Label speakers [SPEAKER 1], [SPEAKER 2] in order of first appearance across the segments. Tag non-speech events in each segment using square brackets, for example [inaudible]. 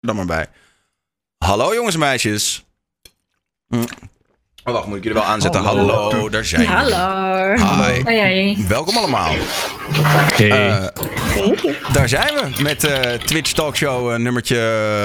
[SPEAKER 1] dan maar bij. Hallo jongens en meisjes. Hm. Oh, wacht, moet ik jullie wel aanzetten? Hallo,
[SPEAKER 2] Hallo.
[SPEAKER 1] daar zijn jullie.
[SPEAKER 3] Hallo.
[SPEAKER 1] Hi.
[SPEAKER 3] Hoi, hoi.
[SPEAKER 1] Welkom allemaal. Eh, daar zijn we met eh, Twitch Talkshow eh, nummertje.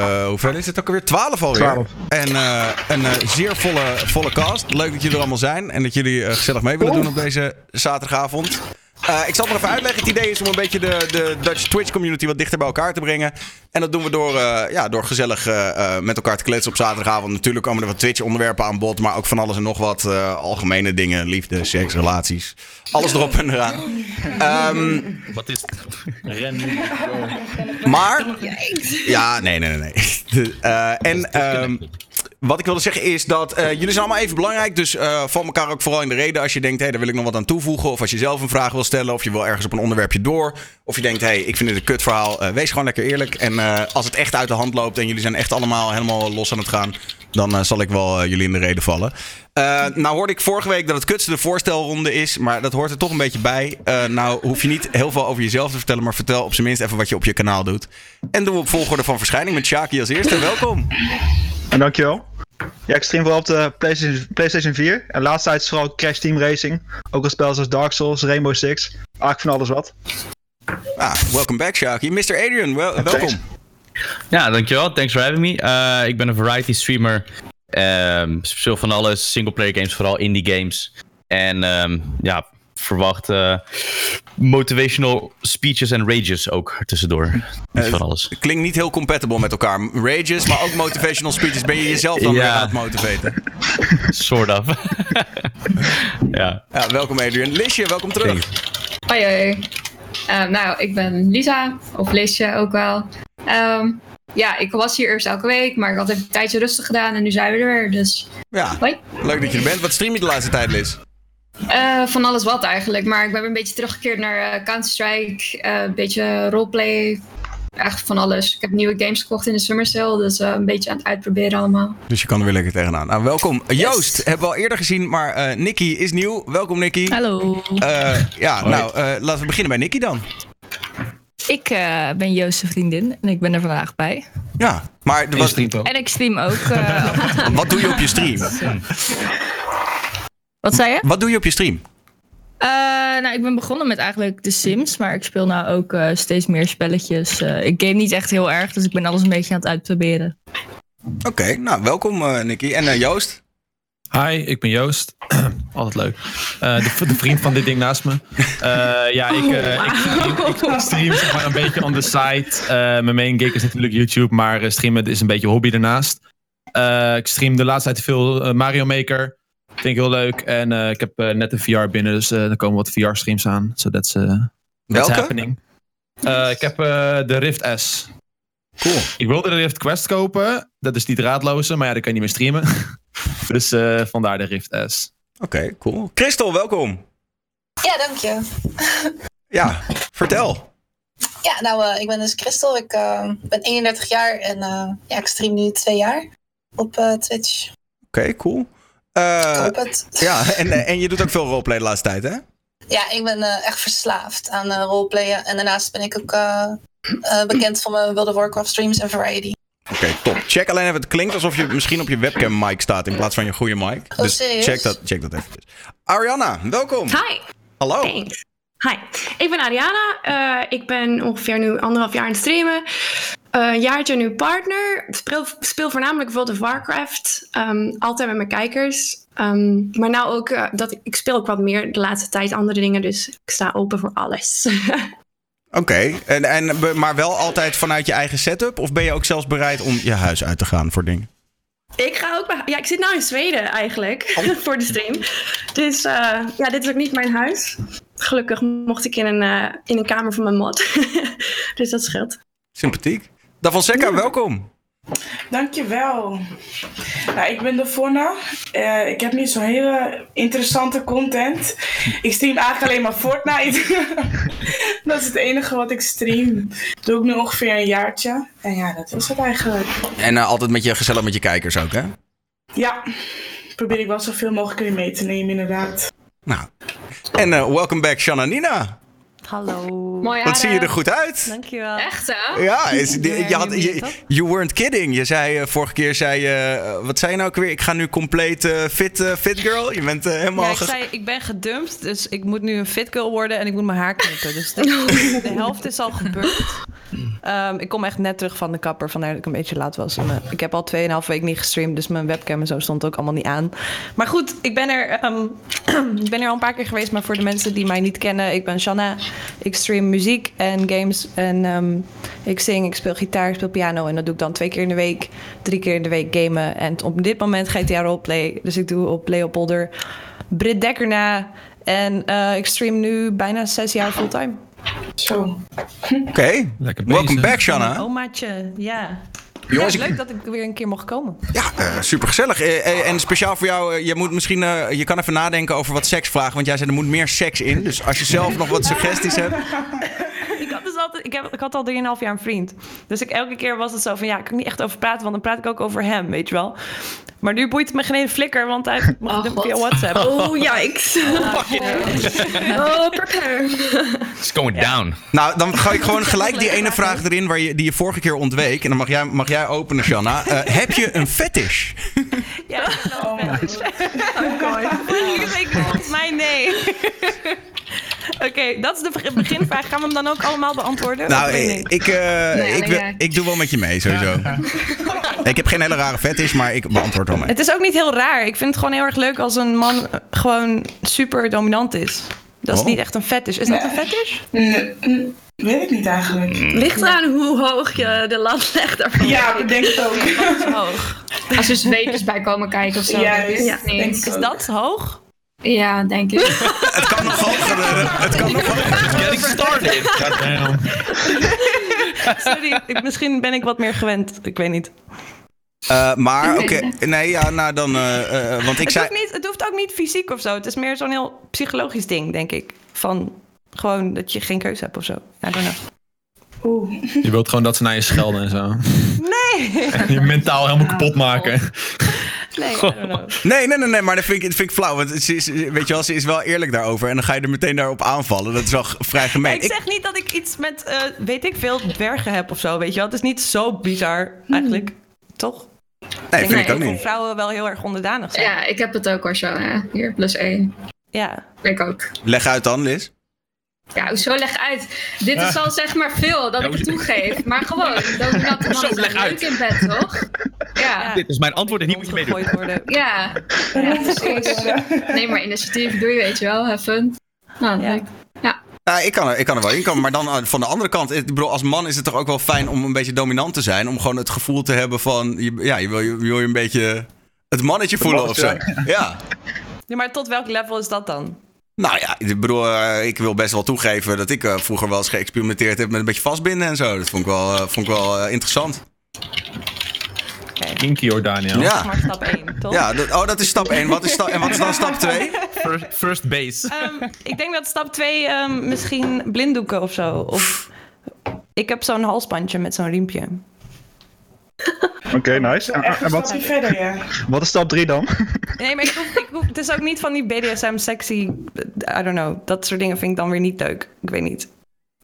[SPEAKER 1] eh, hoeveel is het ook alweer? 12 alweer.
[SPEAKER 2] 12.
[SPEAKER 1] En eh, een eh, zeer volle, volle cast. Leuk dat jullie er allemaal zijn en dat jullie eh, gezellig mee willen doen op deze zaterdagavond. Eh, ik zal het maar even uitleggen. Het idee is om een beetje de, de Dutch Twitch community wat dichter bij elkaar te brengen. En dat doen we door, eh, ja, door gezellig eh, eh, met elkaar te kletsen op zaterdagavond. Natuurlijk komen er wat Twitch-onderwerpen aan bod, maar ook van alles en nog wat. eh, algemene dingen, liefde, seks, relaties. Alles erop en eraan. Ehm
[SPEAKER 4] Wat is het? Ren.
[SPEAKER 1] [laughs]
[SPEAKER 5] [laughs]
[SPEAKER 1] maar. [laughs] Ja, nee, nee, nee. nee. [laughs] De- eh, en ehm, wat ik wilde zeggen is dat eh, jullie zijn allemaal even belangrijk. Dus eh val elkaar ook vooral in de reden als je denkt: hé, daar wil ik nog wat aan toevoegen. Of als je zelf een vraag wil stellen. Of je wil ergens op een onderwerpje door. Of je denkt: hé, hey, ik vind dit een kutverhaal. verhaal. Eh, wees gewoon lekker eerlijk. En eh, als het echt uit de hand loopt en jullie zijn echt allemaal helemaal los aan het gaan. Dan eh, zal ik wel eh, jullie in de reden vallen. Eh, nou hoorde ik vorige week dat het kutste de voorstelronde is. Maar dat hoort er toch een beetje bij. Eh, nou hoef je niet heel veel over jezelf te vertellen. Maar vertel op zijn minst even wat je op je kanaal doet. En doen we op volgorde van verschijning met Shaki als eerste. Welkom.
[SPEAKER 2] En dankjewel. Ja, ik stream vooral op de PlayStation, PlayStation 4. En laatst tijd is vooral Crash Team Racing. Ook al spel zoals Dark Souls, Rainbow Six. Eigenlijk van alles wat.
[SPEAKER 1] Ah, welcome back Shaki. Mr. Adrian, wel- welkom.
[SPEAKER 4] Ja, dankjewel. Thanks for having me. Eh, ik ben een variety streamer. Ehm speel van alles. Singleplayer games, vooral indie games. En ehm, ja, verwacht eh, motivational speeches en rages ook
[SPEAKER 1] Eh,
[SPEAKER 4] tussendoor. Dus
[SPEAKER 1] [laughs]
[SPEAKER 4] van alles.
[SPEAKER 1] Klinkt niet heel compatible met elkaar. Rages, maar ook motivational speeches. Ben je jezelf dan weer
[SPEAKER 4] Ja.
[SPEAKER 1] aan het motivaten?
[SPEAKER 4] Sort of. ja.
[SPEAKER 1] Ja, welkom Adrian. Lisje, welkom terug.
[SPEAKER 3] Hoi, hoi. Ehm, nou, ik ben Lisa, of Lisje ook wel. Ehm, ja, ik was hier eerst elke week, maar ik had even een tijdje rustig gedaan en nu zijn we er weer. Dus
[SPEAKER 1] Ja,
[SPEAKER 3] hoi.
[SPEAKER 1] leuk dat je er bent. Wat stream je de laatste tijd, Lis?
[SPEAKER 3] Eh, van alles wat eigenlijk, maar ik ben een beetje teruggekeerd naar eh, Counter-Strike, eh, een beetje roleplay, echt van alles. Ik heb nieuwe games gekocht in de summer sale, dus eh, een beetje aan het uitproberen allemaal.
[SPEAKER 1] Dus je kan er weer lekker tegenaan. Nou, welkom. Joost, hebben we al eerder gezien, maar eh Nicky is nieuw. Welkom Nicky.
[SPEAKER 6] Hallo,
[SPEAKER 1] Eh, ja, nou, eh, laten we beginnen bij Nicky dan.
[SPEAKER 6] ik eh, ben Joost's vriendin en ik ben er vandaag bij.
[SPEAKER 1] Ja, maar er was,
[SPEAKER 7] Oh.
[SPEAKER 6] En ik stream ook. eh, af
[SPEAKER 7] [laughs]
[SPEAKER 6] en toe.
[SPEAKER 1] [laughs] wat doe je op je stream?
[SPEAKER 6] wat zei je?
[SPEAKER 1] Wat doe je op je stream?
[SPEAKER 6] Eh, nou, ik ben begonnen met eigenlijk The Sims, maar ik speel nou ook eh, steeds meer spelletjes. Eh, ik game niet echt heel erg, dus ik ben alles een beetje aan het uitproberen.
[SPEAKER 7] Dus
[SPEAKER 1] Oké, nou, welkom eh Nicky. En eh, Joost?
[SPEAKER 7] Hi, ik ben Joost. [clears throat] Altijd leuk. Eh, de, de vriend van dit ding naast me. Eh, ja, ik, eh, ik stream, ik stream zeg maar een beetje on the side. Eh, mijn main gig is natuurlijk YouTube, maar eh, streamen is een beetje hobby daarnaast. Eh, ik stream de laatste tijd veel eh, Mario Maker. Vind ik heel leuk. En eh, ik heb eh, net een VR binnen, dus eh, er komen wat VR-streams aan. So that's, eh, that's
[SPEAKER 1] Welke?
[SPEAKER 7] happening. Eh, ik heb eh, de Rift S.
[SPEAKER 1] Cool.
[SPEAKER 7] Ik wilde de Rift Quest kopen. Dat is die draadloze, maar ja, die kan je niet meer streamen. [laughs] dus eh, vandaar de Rift S.
[SPEAKER 1] Oké, cool. Christel, welkom.
[SPEAKER 8] Ja, dank je. [laughs]
[SPEAKER 1] Ja, vertel.
[SPEAKER 8] Ja, nou, eh, ik ben dus Christel. Ik eh, ben 31 jaar en eh, ja, ik stream nu twee jaar op eh, Twitch.
[SPEAKER 1] Oké, cool. Eh,
[SPEAKER 8] Op het.
[SPEAKER 1] ja, en, eh, en je doet ook veel roleplay de laatste tijd, hè?
[SPEAKER 8] Ja, ik ben eh, echt verslaafd aan eh, roleplayen. En daarnaast ben ik ook eh, eh, bekend van mijn World of Warcraft streams en variety.
[SPEAKER 1] Oké, top. Check alleen even. Het klinkt alsof je misschien op je webcam mic staat in plaats van je goede mic. Dus
[SPEAKER 8] serieus?
[SPEAKER 1] check dat, check dat even. Ariana, welkom.
[SPEAKER 9] Hi,
[SPEAKER 1] Hallo.
[SPEAKER 9] thanks. Hi, ik ben Ariana. Eh, ik ben ongeveer nu anderhalf jaar aan het streamen. Eh, een jaartje nu partner. Speel, speel voornamelijk World of Warcraft. Ehm, altijd met mijn kijkers. Ehm, maar nou ook, eh, dat, ik speel ook wat meer de laatste tijd andere dingen. Dus ik sta open voor alles. [laughs]
[SPEAKER 1] Oké, en, en, be- maar wel altijd vanuit je eigen setup? Of ben je ook zelfs bereid om je huis uit te gaan voor dingen?
[SPEAKER 9] ik ga ook... bij- Ja, ik zit nou in Zweden eigenlijk. [laughs] voor de stream. Dus eh, ja, dit is ook niet mijn huis. Gelukkig mocht ik in een, eh, in een kamer van mijn mod. [laughs] dus dat scheelt.
[SPEAKER 1] Sympathiek. Davon Sekka, welkom.
[SPEAKER 5] Dankjewel. Nou, ik ben Davonna. Eh ik heb niet zo'n hele interessante content. Ik stream eigenlijk alleen maar Fortnite. [laughs] dat is het enige wat ik stream. Doe ik nu ongeveer een jaartje. En ja, dat is het eigenlijk.
[SPEAKER 1] En eh, altijd met je, gezellig met je kijkers ook, hè?
[SPEAKER 5] Ja, probeer ik wel zoveel mogelijk mee te nemen inderdaad.
[SPEAKER 1] Nou. En eh welcome back, Shanna Nina.
[SPEAKER 10] Hallo.
[SPEAKER 3] Mooi
[SPEAKER 1] Wat zie je er goed uit?
[SPEAKER 10] Dankjewel.
[SPEAKER 3] Echt
[SPEAKER 10] Ah.
[SPEAKER 3] hè?
[SPEAKER 1] Ja, is,
[SPEAKER 10] Ik
[SPEAKER 1] die-
[SPEAKER 10] ben
[SPEAKER 1] je had,
[SPEAKER 10] nu
[SPEAKER 1] je,
[SPEAKER 10] benieuwd,
[SPEAKER 1] you weren't kidding. Je zei, eh, vorige keer zei je, eh, wat zei je nou ook weer? Ik ga nu compleet eh, fit, eh, fit girl. Je bent eh, helemaal...
[SPEAKER 10] Ja, ik
[SPEAKER 1] ge-
[SPEAKER 10] zei, ik ben gedumpt, dus ik moet nu een fit girl worden en ik moet mijn haar knippen. Dus de, de helft is al gebeurd. Ehm, ik kom echt net terug van de kapper, vandaar dat ik een beetje laat was. En, eh, ik heb al 2,5 week niet gestreamd, dus mijn webcam en zo stond ook allemaal niet aan. Maar goed, ik ben er, ehm, [clears throat] ik ben er al een paar keer geweest, maar voor de mensen die mij niet kennen, ik ben Shanna. Ik stream muziek en games en ehm, ik zing, ik speel gitaar, ik speel piano en dat doe ik dan twee keer in de week, drie keer in de week gamen. En op dit moment GTA Roleplay, dus ik doe op Leopolder Brit Dekker na. En eh, ik stream nu bijna zes jaar fulltime.
[SPEAKER 5] Zo.
[SPEAKER 1] Oké,
[SPEAKER 7] Lekker
[SPEAKER 1] welcome
[SPEAKER 7] bezig.
[SPEAKER 1] back Shanna.
[SPEAKER 10] Omaatje, ja.
[SPEAKER 1] Jongens,
[SPEAKER 10] ja,
[SPEAKER 1] ik-
[SPEAKER 10] leuk dat ik weer een keer mocht komen.
[SPEAKER 1] Eh, supergezellig. Eh, eh, en speciaal voor jou, eh, je moet misschien, eh, je kan even nadenken over wat seksvragen. Want jij zei, er moet meer seks in. Dus als je zelf nog wat suggesties hebt.
[SPEAKER 10] [laughs] Ik had, dus altijd, ik, heb, ik had al 3,5 jaar een vriend. Dus ik, elke keer was het zo van ja, ik kan er niet echt over praten, want dan praat ik ook over hem, weet je wel. Maar nu boeit het me geen ene flikker, want hij heeft me
[SPEAKER 3] Oh,
[SPEAKER 10] gedumpt
[SPEAKER 3] God.
[SPEAKER 10] via WhatsApp.
[SPEAKER 3] Oh,
[SPEAKER 10] [laughs]
[SPEAKER 3] yikes. Oh,
[SPEAKER 9] [laughs]
[SPEAKER 3] prepare.
[SPEAKER 4] It's going down.
[SPEAKER 1] Nou, dan ga ik gewoon gelijk die ene vraag erin waar je, die je vorige keer ontweek. En dan mag jij, mag jij openen, Shanna. Eh, heb je een fetish?
[SPEAKER 10] Ja, ik snap het.
[SPEAKER 5] Oh,
[SPEAKER 10] [laughs] Vorige week volgens mij nee. [laughs] Oké, dat is de beg- beginvraag. Gaan we hem dan ook allemaal beantwoorden?
[SPEAKER 1] Nou,
[SPEAKER 10] Of
[SPEAKER 1] eh,
[SPEAKER 10] niet?
[SPEAKER 1] ik, eh, ik,
[SPEAKER 3] alleen
[SPEAKER 1] wil-
[SPEAKER 3] jij.
[SPEAKER 1] ik doe wel met je mee, sowieso. Ik heb geen hele rare fetish, maar ik beantwoord wel mee.
[SPEAKER 10] Het is ook niet heel raar. Ik vind het gewoon heel erg leuk als een man eh, gewoon super dominant is. Dat is
[SPEAKER 1] Oh.
[SPEAKER 10] niet echt een fetish. Is dat een fetish?
[SPEAKER 5] Nee, mm, weet ik niet
[SPEAKER 1] Mm.
[SPEAKER 5] eigenlijk.
[SPEAKER 11] Ligt aan hoe hoog je de lat legt daarvan.
[SPEAKER 5] Ja, ik denk het ook.
[SPEAKER 10] Hoog.
[SPEAKER 3] Als er zwepers bij komen kijken of zo.
[SPEAKER 5] Juist.
[SPEAKER 3] Ja,
[SPEAKER 5] denk ik
[SPEAKER 10] Is
[SPEAKER 5] ook.
[SPEAKER 10] dat hoog?
[SPEAKER 3] ja denk ik.
[SPEAKER 1] Het kan nog hoger. Het kan nog hoger.
[SPEAKER 4] Getting started.
[SPEAKER 7] Damn.
[SPEAKER 10] [laughs] Sorry, ik- misschien ben ik wat meer gewend. Ik weet niet.
[SPEAKER 1] Eh, maar, oké.
[SPEAKER 10] [laughs]
[SPEAKER 1] Nee, ja, nou dan... eh, eh, want ik
[SPEAKER 10] Het,
[SPEAKER 1] zei...
[SPEAKER 10] hoeft niet. het hoeft ook niet fysiek of zo. Het is meer zo'n heel psychologisch ding, denk ik. Van gewoon dat je geen keuze hebt of zo. I don't know.
[SPEAKER 5] Oeh.
[SPEAKER 7] Je wilt gewoon dat ze naar je schelden en zo.
[SPEAKER 10] Nee. [laughs]
[SPEAKER 7] [laughs] Je mentaal helemaal kapot maken. [laughs]
[SPEAKER 10] Nee, I don't know.
[SPEAKER 1] Nee, nee, nee, nee, maar dat vind ik, dat vind ik flauw. Want ze is, weet je wel, ze is wel eerlijk daarover. En dan ga je er meteen daarop aanvallen. Dat is wel g- vrij gemeen.
[SPEAKER 10] Ik zeg niet dat ik iets met, eh, weet ik veel, dwergen heb of zo, weet je wel. Het is niet zo bizar, eigenlijk. Toch?
[SPEAKER 1] Ik- nee, vind
[SPEAKER 3] nee,
[SPEAKER 1] ik ook
[SPEAKER 10] dat
[SPEAKER 1] niet.
[SPEAKER 10] vrouwen wel heel erg onderdanig zijn. Ja.
[SPEAKER 3] Ja, ik heb het ook hoor, zo. hè. Hier, plus één. Ik ook.
[SPEAKER 1] Leg uit dan, Liz.
[SPEAKER 3] Ja, hoezo leg uit? Dit is al zeg maar veel dat ik het toegeef. Maar gewoon, dominante
[SPEAKER 4] Hoezo,
[SPEAKER 3] mannen
[SPEAKER 4] leg
[SPEAKER 3] zijn leuk
[SPEAKER 4] uit?
[SPEAKER 3] in bed, toch? Ja.
[SPEAKER 4] [laughs] Dit is mijn antwoord en hier moet je mee doen.
[SPEAKER 10] Rondgegooid worden.
[SPEAKER 3] Ja. ja, precies. Neem maar initiatief, doe je, weet je wel. Have fun. Nou,
[SPEAKER 10] Ja.
[SPEAKER 3] leuk.
[SPEAKER 1] Nou, ik kan, er, ik kan er wel in komen. Maar dan eh, van de andere kant, ik bedoel, als man is het toch ook wel fijn om een beetje dominant te zijn. Om gewoon het gevoel te hebben van, je, ja, je wil je, je wil je een beetje het mannetje voelen of zo.
[SPEAKER 7] [laughs]
[SPEAKER 1] Ja.
[SPEAKER 10] Ja, maar tot welk level is dat dan?
[SPEAKER 1] Nou ja, ik bedoel, eh, ik wil best wel toegeven dat ik eh, vroeger wel eens geëxperimenteerd heb met een beetje vastbinden en zo. Dat vond ik wel, eh, vond ik wel eh, interessant.
[SPEAKER 7] Kinky hoor, Daniel.
[SPEAKER 1] Ja.
[SPEAKER 10] Maar stap 1, toch?
[SPEAKER 1] ja dat, oh, dat is stap 1. Wat is sta- en wat is dan stap 2?
[SPEAKER 4] [laughs] First, first base.
[SPEAKER 10] Ehm, [laughs] ik denk dat stap 2 misschien blinddoeken of zo. Of, ik heb zo'n halsbandje met zo'n riempje.
[SPEAKER 2] Oké, nice. En,
[SPEAKER 5] Echt
[SPEAKER 2] en
[SPEAKER 5] een
[SPEAKER 2] wat,
[SPEAKER 5] stapje verder, ja.
[SPEAKER 2] wat is stap 3 dan?
[SPEAKER 10] Nee, maar ik hoef, ik hoef- het is ook niet van die BDSM sexy, eh, I don't know. Dat soort dingen vind ik dan weer niet leuk. Ik weet niet.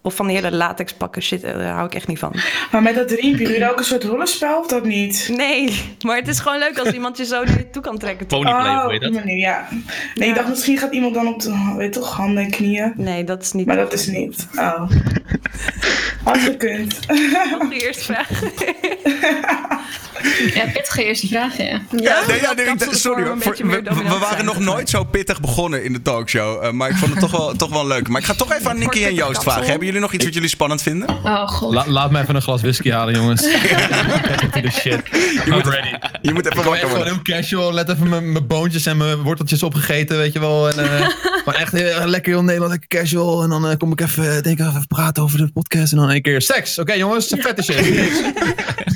[SPEAKER 10] Of van die hele latex pakken shit, eh, daar hou ik echt niet van.
[SPEAKER 5] Maar met dat riempje, doe je dan ook een soort rollenspel of dat niet?
[SPEAKER 10] Nee, maar het is gewoon leuk als iemand je zo naar je toe kan trekken. toch?
[SPEAKER 4] Ponyplay, hoe heet
[SPEAKER 5] Oh, op die
[SPEAKER 4] dat?
[SPEAKER 5] manier, ja. Nee, ik dacht misschien gaat iemand dan op de, weet toch, handen en knieën.
[SPEAKER 10] Nee, dat is niet.
[SPEAKER 5] Maar dat is niet. Oh. Had gekund.
[SPEAKER 10] [laughs] Nog de eerste vraag.
[SPEAKER 3] Ja, pittige eerste vraag, ja.
[SPEAKER 1] Ja, nee, ja,
[SPEAKER 10] dat
[SPEAKER 1] nee,
[SPEAKER 10] kan
[SPEAKER 1] ik-
[SPEAKER 10] soms
[SPEAKER 1] sorry
[SPEAKER 10] wel
[SPEAKER 1] hoor.
[SPEAKER 10] een
[SPEAKER 1] Voor-
[SPEAKER 10] beetje
[SPEAKER 1] we,
[SPEAKER 10] meer dominant
[SPEAKER 1] we waren
[SPEAKER 10] zijn.
[SPEAKER 1] nog nooit zo pittig begonnen in de talkshow. eh, maar ik vond het toch wel, toch wel leuk. Maar ik ga toch even aan Nicky en Joost vragen. Hebben jullie nog iets wat jullie spannend vinden?
[SPEAKER 3] Oh, god.
[SPEAKER 7] La- laat me even een glas whisky halen, jongens. Into the shit. I'm ready.
[SPEAKER 1] Je moet even
[SPEAKER 7] Ik ben echt
[SPEAKER 1] wakker
[SPEAKER 7] gewoon
[SPEAKER 1] worden.
[SPEAKER 7] heel casual. Let even mijn mijn boontjes en mijn worteltjes opgegeten, weet je wel. En,
[SPEAKER 10] [laughs]
[SPEAKER 7] eh, maar echt eh, lekker heel Nederland, lekker casual. En dan eh, kom ik even, eh, denk ik, even praten over de podcast. En dan een keer seks. Oké jongens, een vette shit.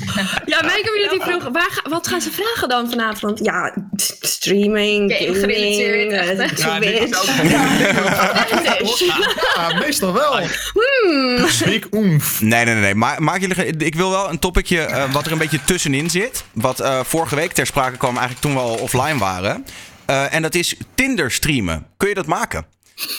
[SPEAKER 10] [laughs]
[SPEAKER 11] Ja, mijn community vroeg, waar ga- wat gaan ze vragen dan vanavond? Ja, s- streaming,
[SPEAKER 3] Game
[SPEAKER 11] gaming,
[SPEAKER 3] gerelateerd,
[SPEAKER 11] eh,
[SPEAKER 3] echt,
[SPEAKER 7] Ja, dit is
[SPEAKER 11] Twitch.
[SPEAKER 9] [laughs]
[SPEAKER 7] Ja, meestal wel.
[SPEAKER 10] Hmm.
[SPEAKER 7] Speak oemf.
[SPEAKER 1] Nee, nee, nee. nee. Maar, maak jullie, ge- ik wil wel een topicje eh, wat er een beetje tussenin zit. Wat eh, vorige week ter sprake kwam, eigenlijk toen we al offline waren. Eh, en dat is Tinder streamen. Kun je dat maken?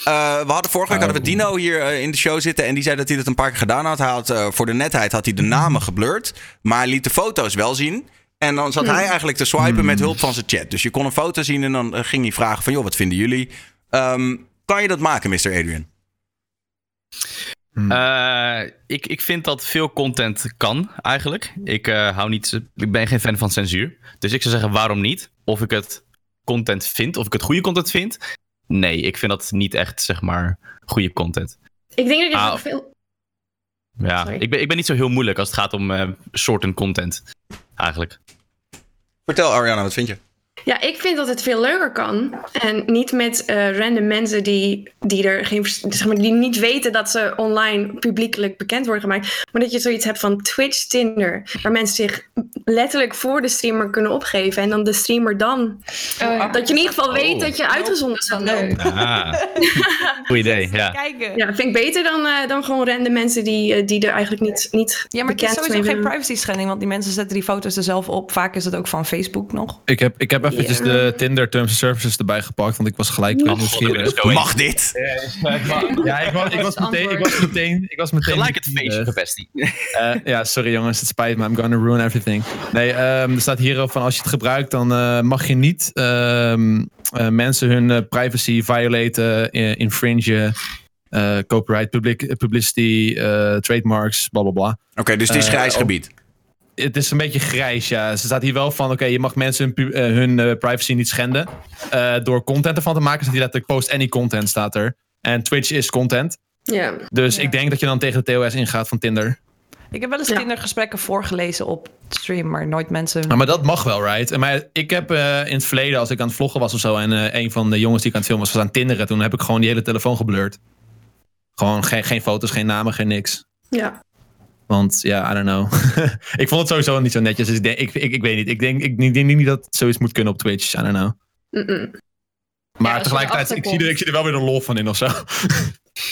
[SPEAKER 1] Eh, we hadden vorige week hadden we Dino hier eh, in de show zitten. En die zei dat hij dat een paar keer gedaan had. Hij had eh, voor de netheid had hij de namen geblurred. Maar hij liet de foto's wel zien. En dan zat
[SPEAKER 12] Hmm.
[SPEAKER 1] hij eigenlijk te swipen met hulp van zijn chat. Dus je kon een foto zien en dan eh, ging hij vragen van... joh, wat vinden jullie? Ehm, kan je dat maken, Mr. Adrian? Mm.
[SPEAKER 4] Eh, ik, ik vind dat veel content kan, eigenlijk. Ik, eh, hou niet, ik ben geen fan van censuur. Dus ik zou zeggen, waarom niet? Of ik het content vind, of ik het goede content vind. Nee, ik vind dat niet echt, zeg maar, goede content.
[SPEAKER 11] Ik denk dat je
[SPEAKER 4] Ah.
[SPEAKER 11] ook veel...
[SPEAKER 4] Ja,
[SPEAKER 11] Sorry.
[SPEAKER 4] ik ben, ik ben niet zo heel moeilijk als het gaat om eh, soorten content, eigenlijk.
[SPEAKER 1] Vertel, Ariana, wat vind je?
[SPEAKER 9] Ja, ik vind dat het veel leuker kan. En niet met eh, random mensen die, die er geen vers- zeg maar, die niet weten dat ze online publiekelijk bekend worden gemaakt. Maar dat je zoiets hebt van Twitch, Tinder. Waar mensen zich letterlijk voor de streamer kunnen opgeven. En dan de streamer dan. Dat je in ieder geval weet
[SPEAKER 4] Oh.
[SPEAKER 9] dat je uitgezonden zal worden.
[SPEAKER 4] Ah, goed idee, ja.
[SPEAKER 10] Kijken.
[SPEAKER 9] Ja, vind ik beter dan, eh, dan gewoon random mensen die, eh, die er eigenlijk niet, niet
[SPEAKER 10] Ja, maar het is
[SPEAKER 9] bekend
[SPEAKER 10] sowieso
[SPEAKER 9] mee
[SPEAKER 10] geen
[SPEAKER 9] zijn.
[SPEAKER 10] privacy schending, want die mensen zetten die foto's er zelf op. Vaak is het ook van Facebook nog.
[SPEAKER 7] Ik heb, ik heb eventjes
[SPEAKER 10] Ja.
[SPEAKER 7] de Tinder Terms and Services erbij gepakt, want ik was gelijk weer
[SPEAKER 10] Oh, god,
[SPEAKER 7] nieuwsgierig.
[SPEAKER 4] ik ben er zo
[SPEAKER 1] Mag dit?
[SPEAKER 7] Ja, ik was, ik was meteen... Ik was meteen, ik was meteen
[SPEAKER 4] Gelijk het feestje gevestigd.
[SPEAKER 7] [laughs] Eh, ja, sorry jongens, het spijt me. I'm gonna ruin everything. Nee, ehm, er staat hier van als je het gebruikt, dan eh, mag je niet ehm, eh, mensen hun eh, privacy violaten, eh, infringen, eh, copyright, public, publicity, eh, trademarks, bla bla bla. Eh, Oké,
[SPEAKER 1] dus het is grijs gebied.
[SPEAKER 7] Eh, Het is een beetje grijs, ja. Ze staat hier wel van, oké, je mag mensen hun, pu- eh, hun eh, privacy niet schenden. Eh, door content ervan te maken, staat hier letterlijk post any content, staat er. En Twitch is content.
[SPEAKER 9] Ja.
[SPEAKER 7] Dus ik denk dat je dan tegen de TOS ingaat van Tinder.
[SPEAKER 10] Ik heb wel eens Tinder-gesprekken voorgelezen op stream, maar nooit mensen.
[SPEAKER 7] Nou, maar dat mag wel, right? En Maar ik heb eh, in het verleden, als ik aan het vloggen was of zo... en eh, een van de jongens die ik aan het filmen was, was aan het tinderen... toen heb ik gewoon die hele telefoon geblurred. Gewoon geen, geen foto's, geen namen, geen niks.
[SPEAKER 9] Ja.
[SPEAKER 7] Want ja, I don't know. [laughs] ik vond het sowieso niet zo netjes. Dus ik, denk, ik, ik, ik weet niet. Ik denk, ik, ik denk niet dat het zoiets moet kunnen op Twitch. I don't know. Maar tegelijkertijd, ik zie, er, ik zie er wel weer een lol van in of zo. [laughs]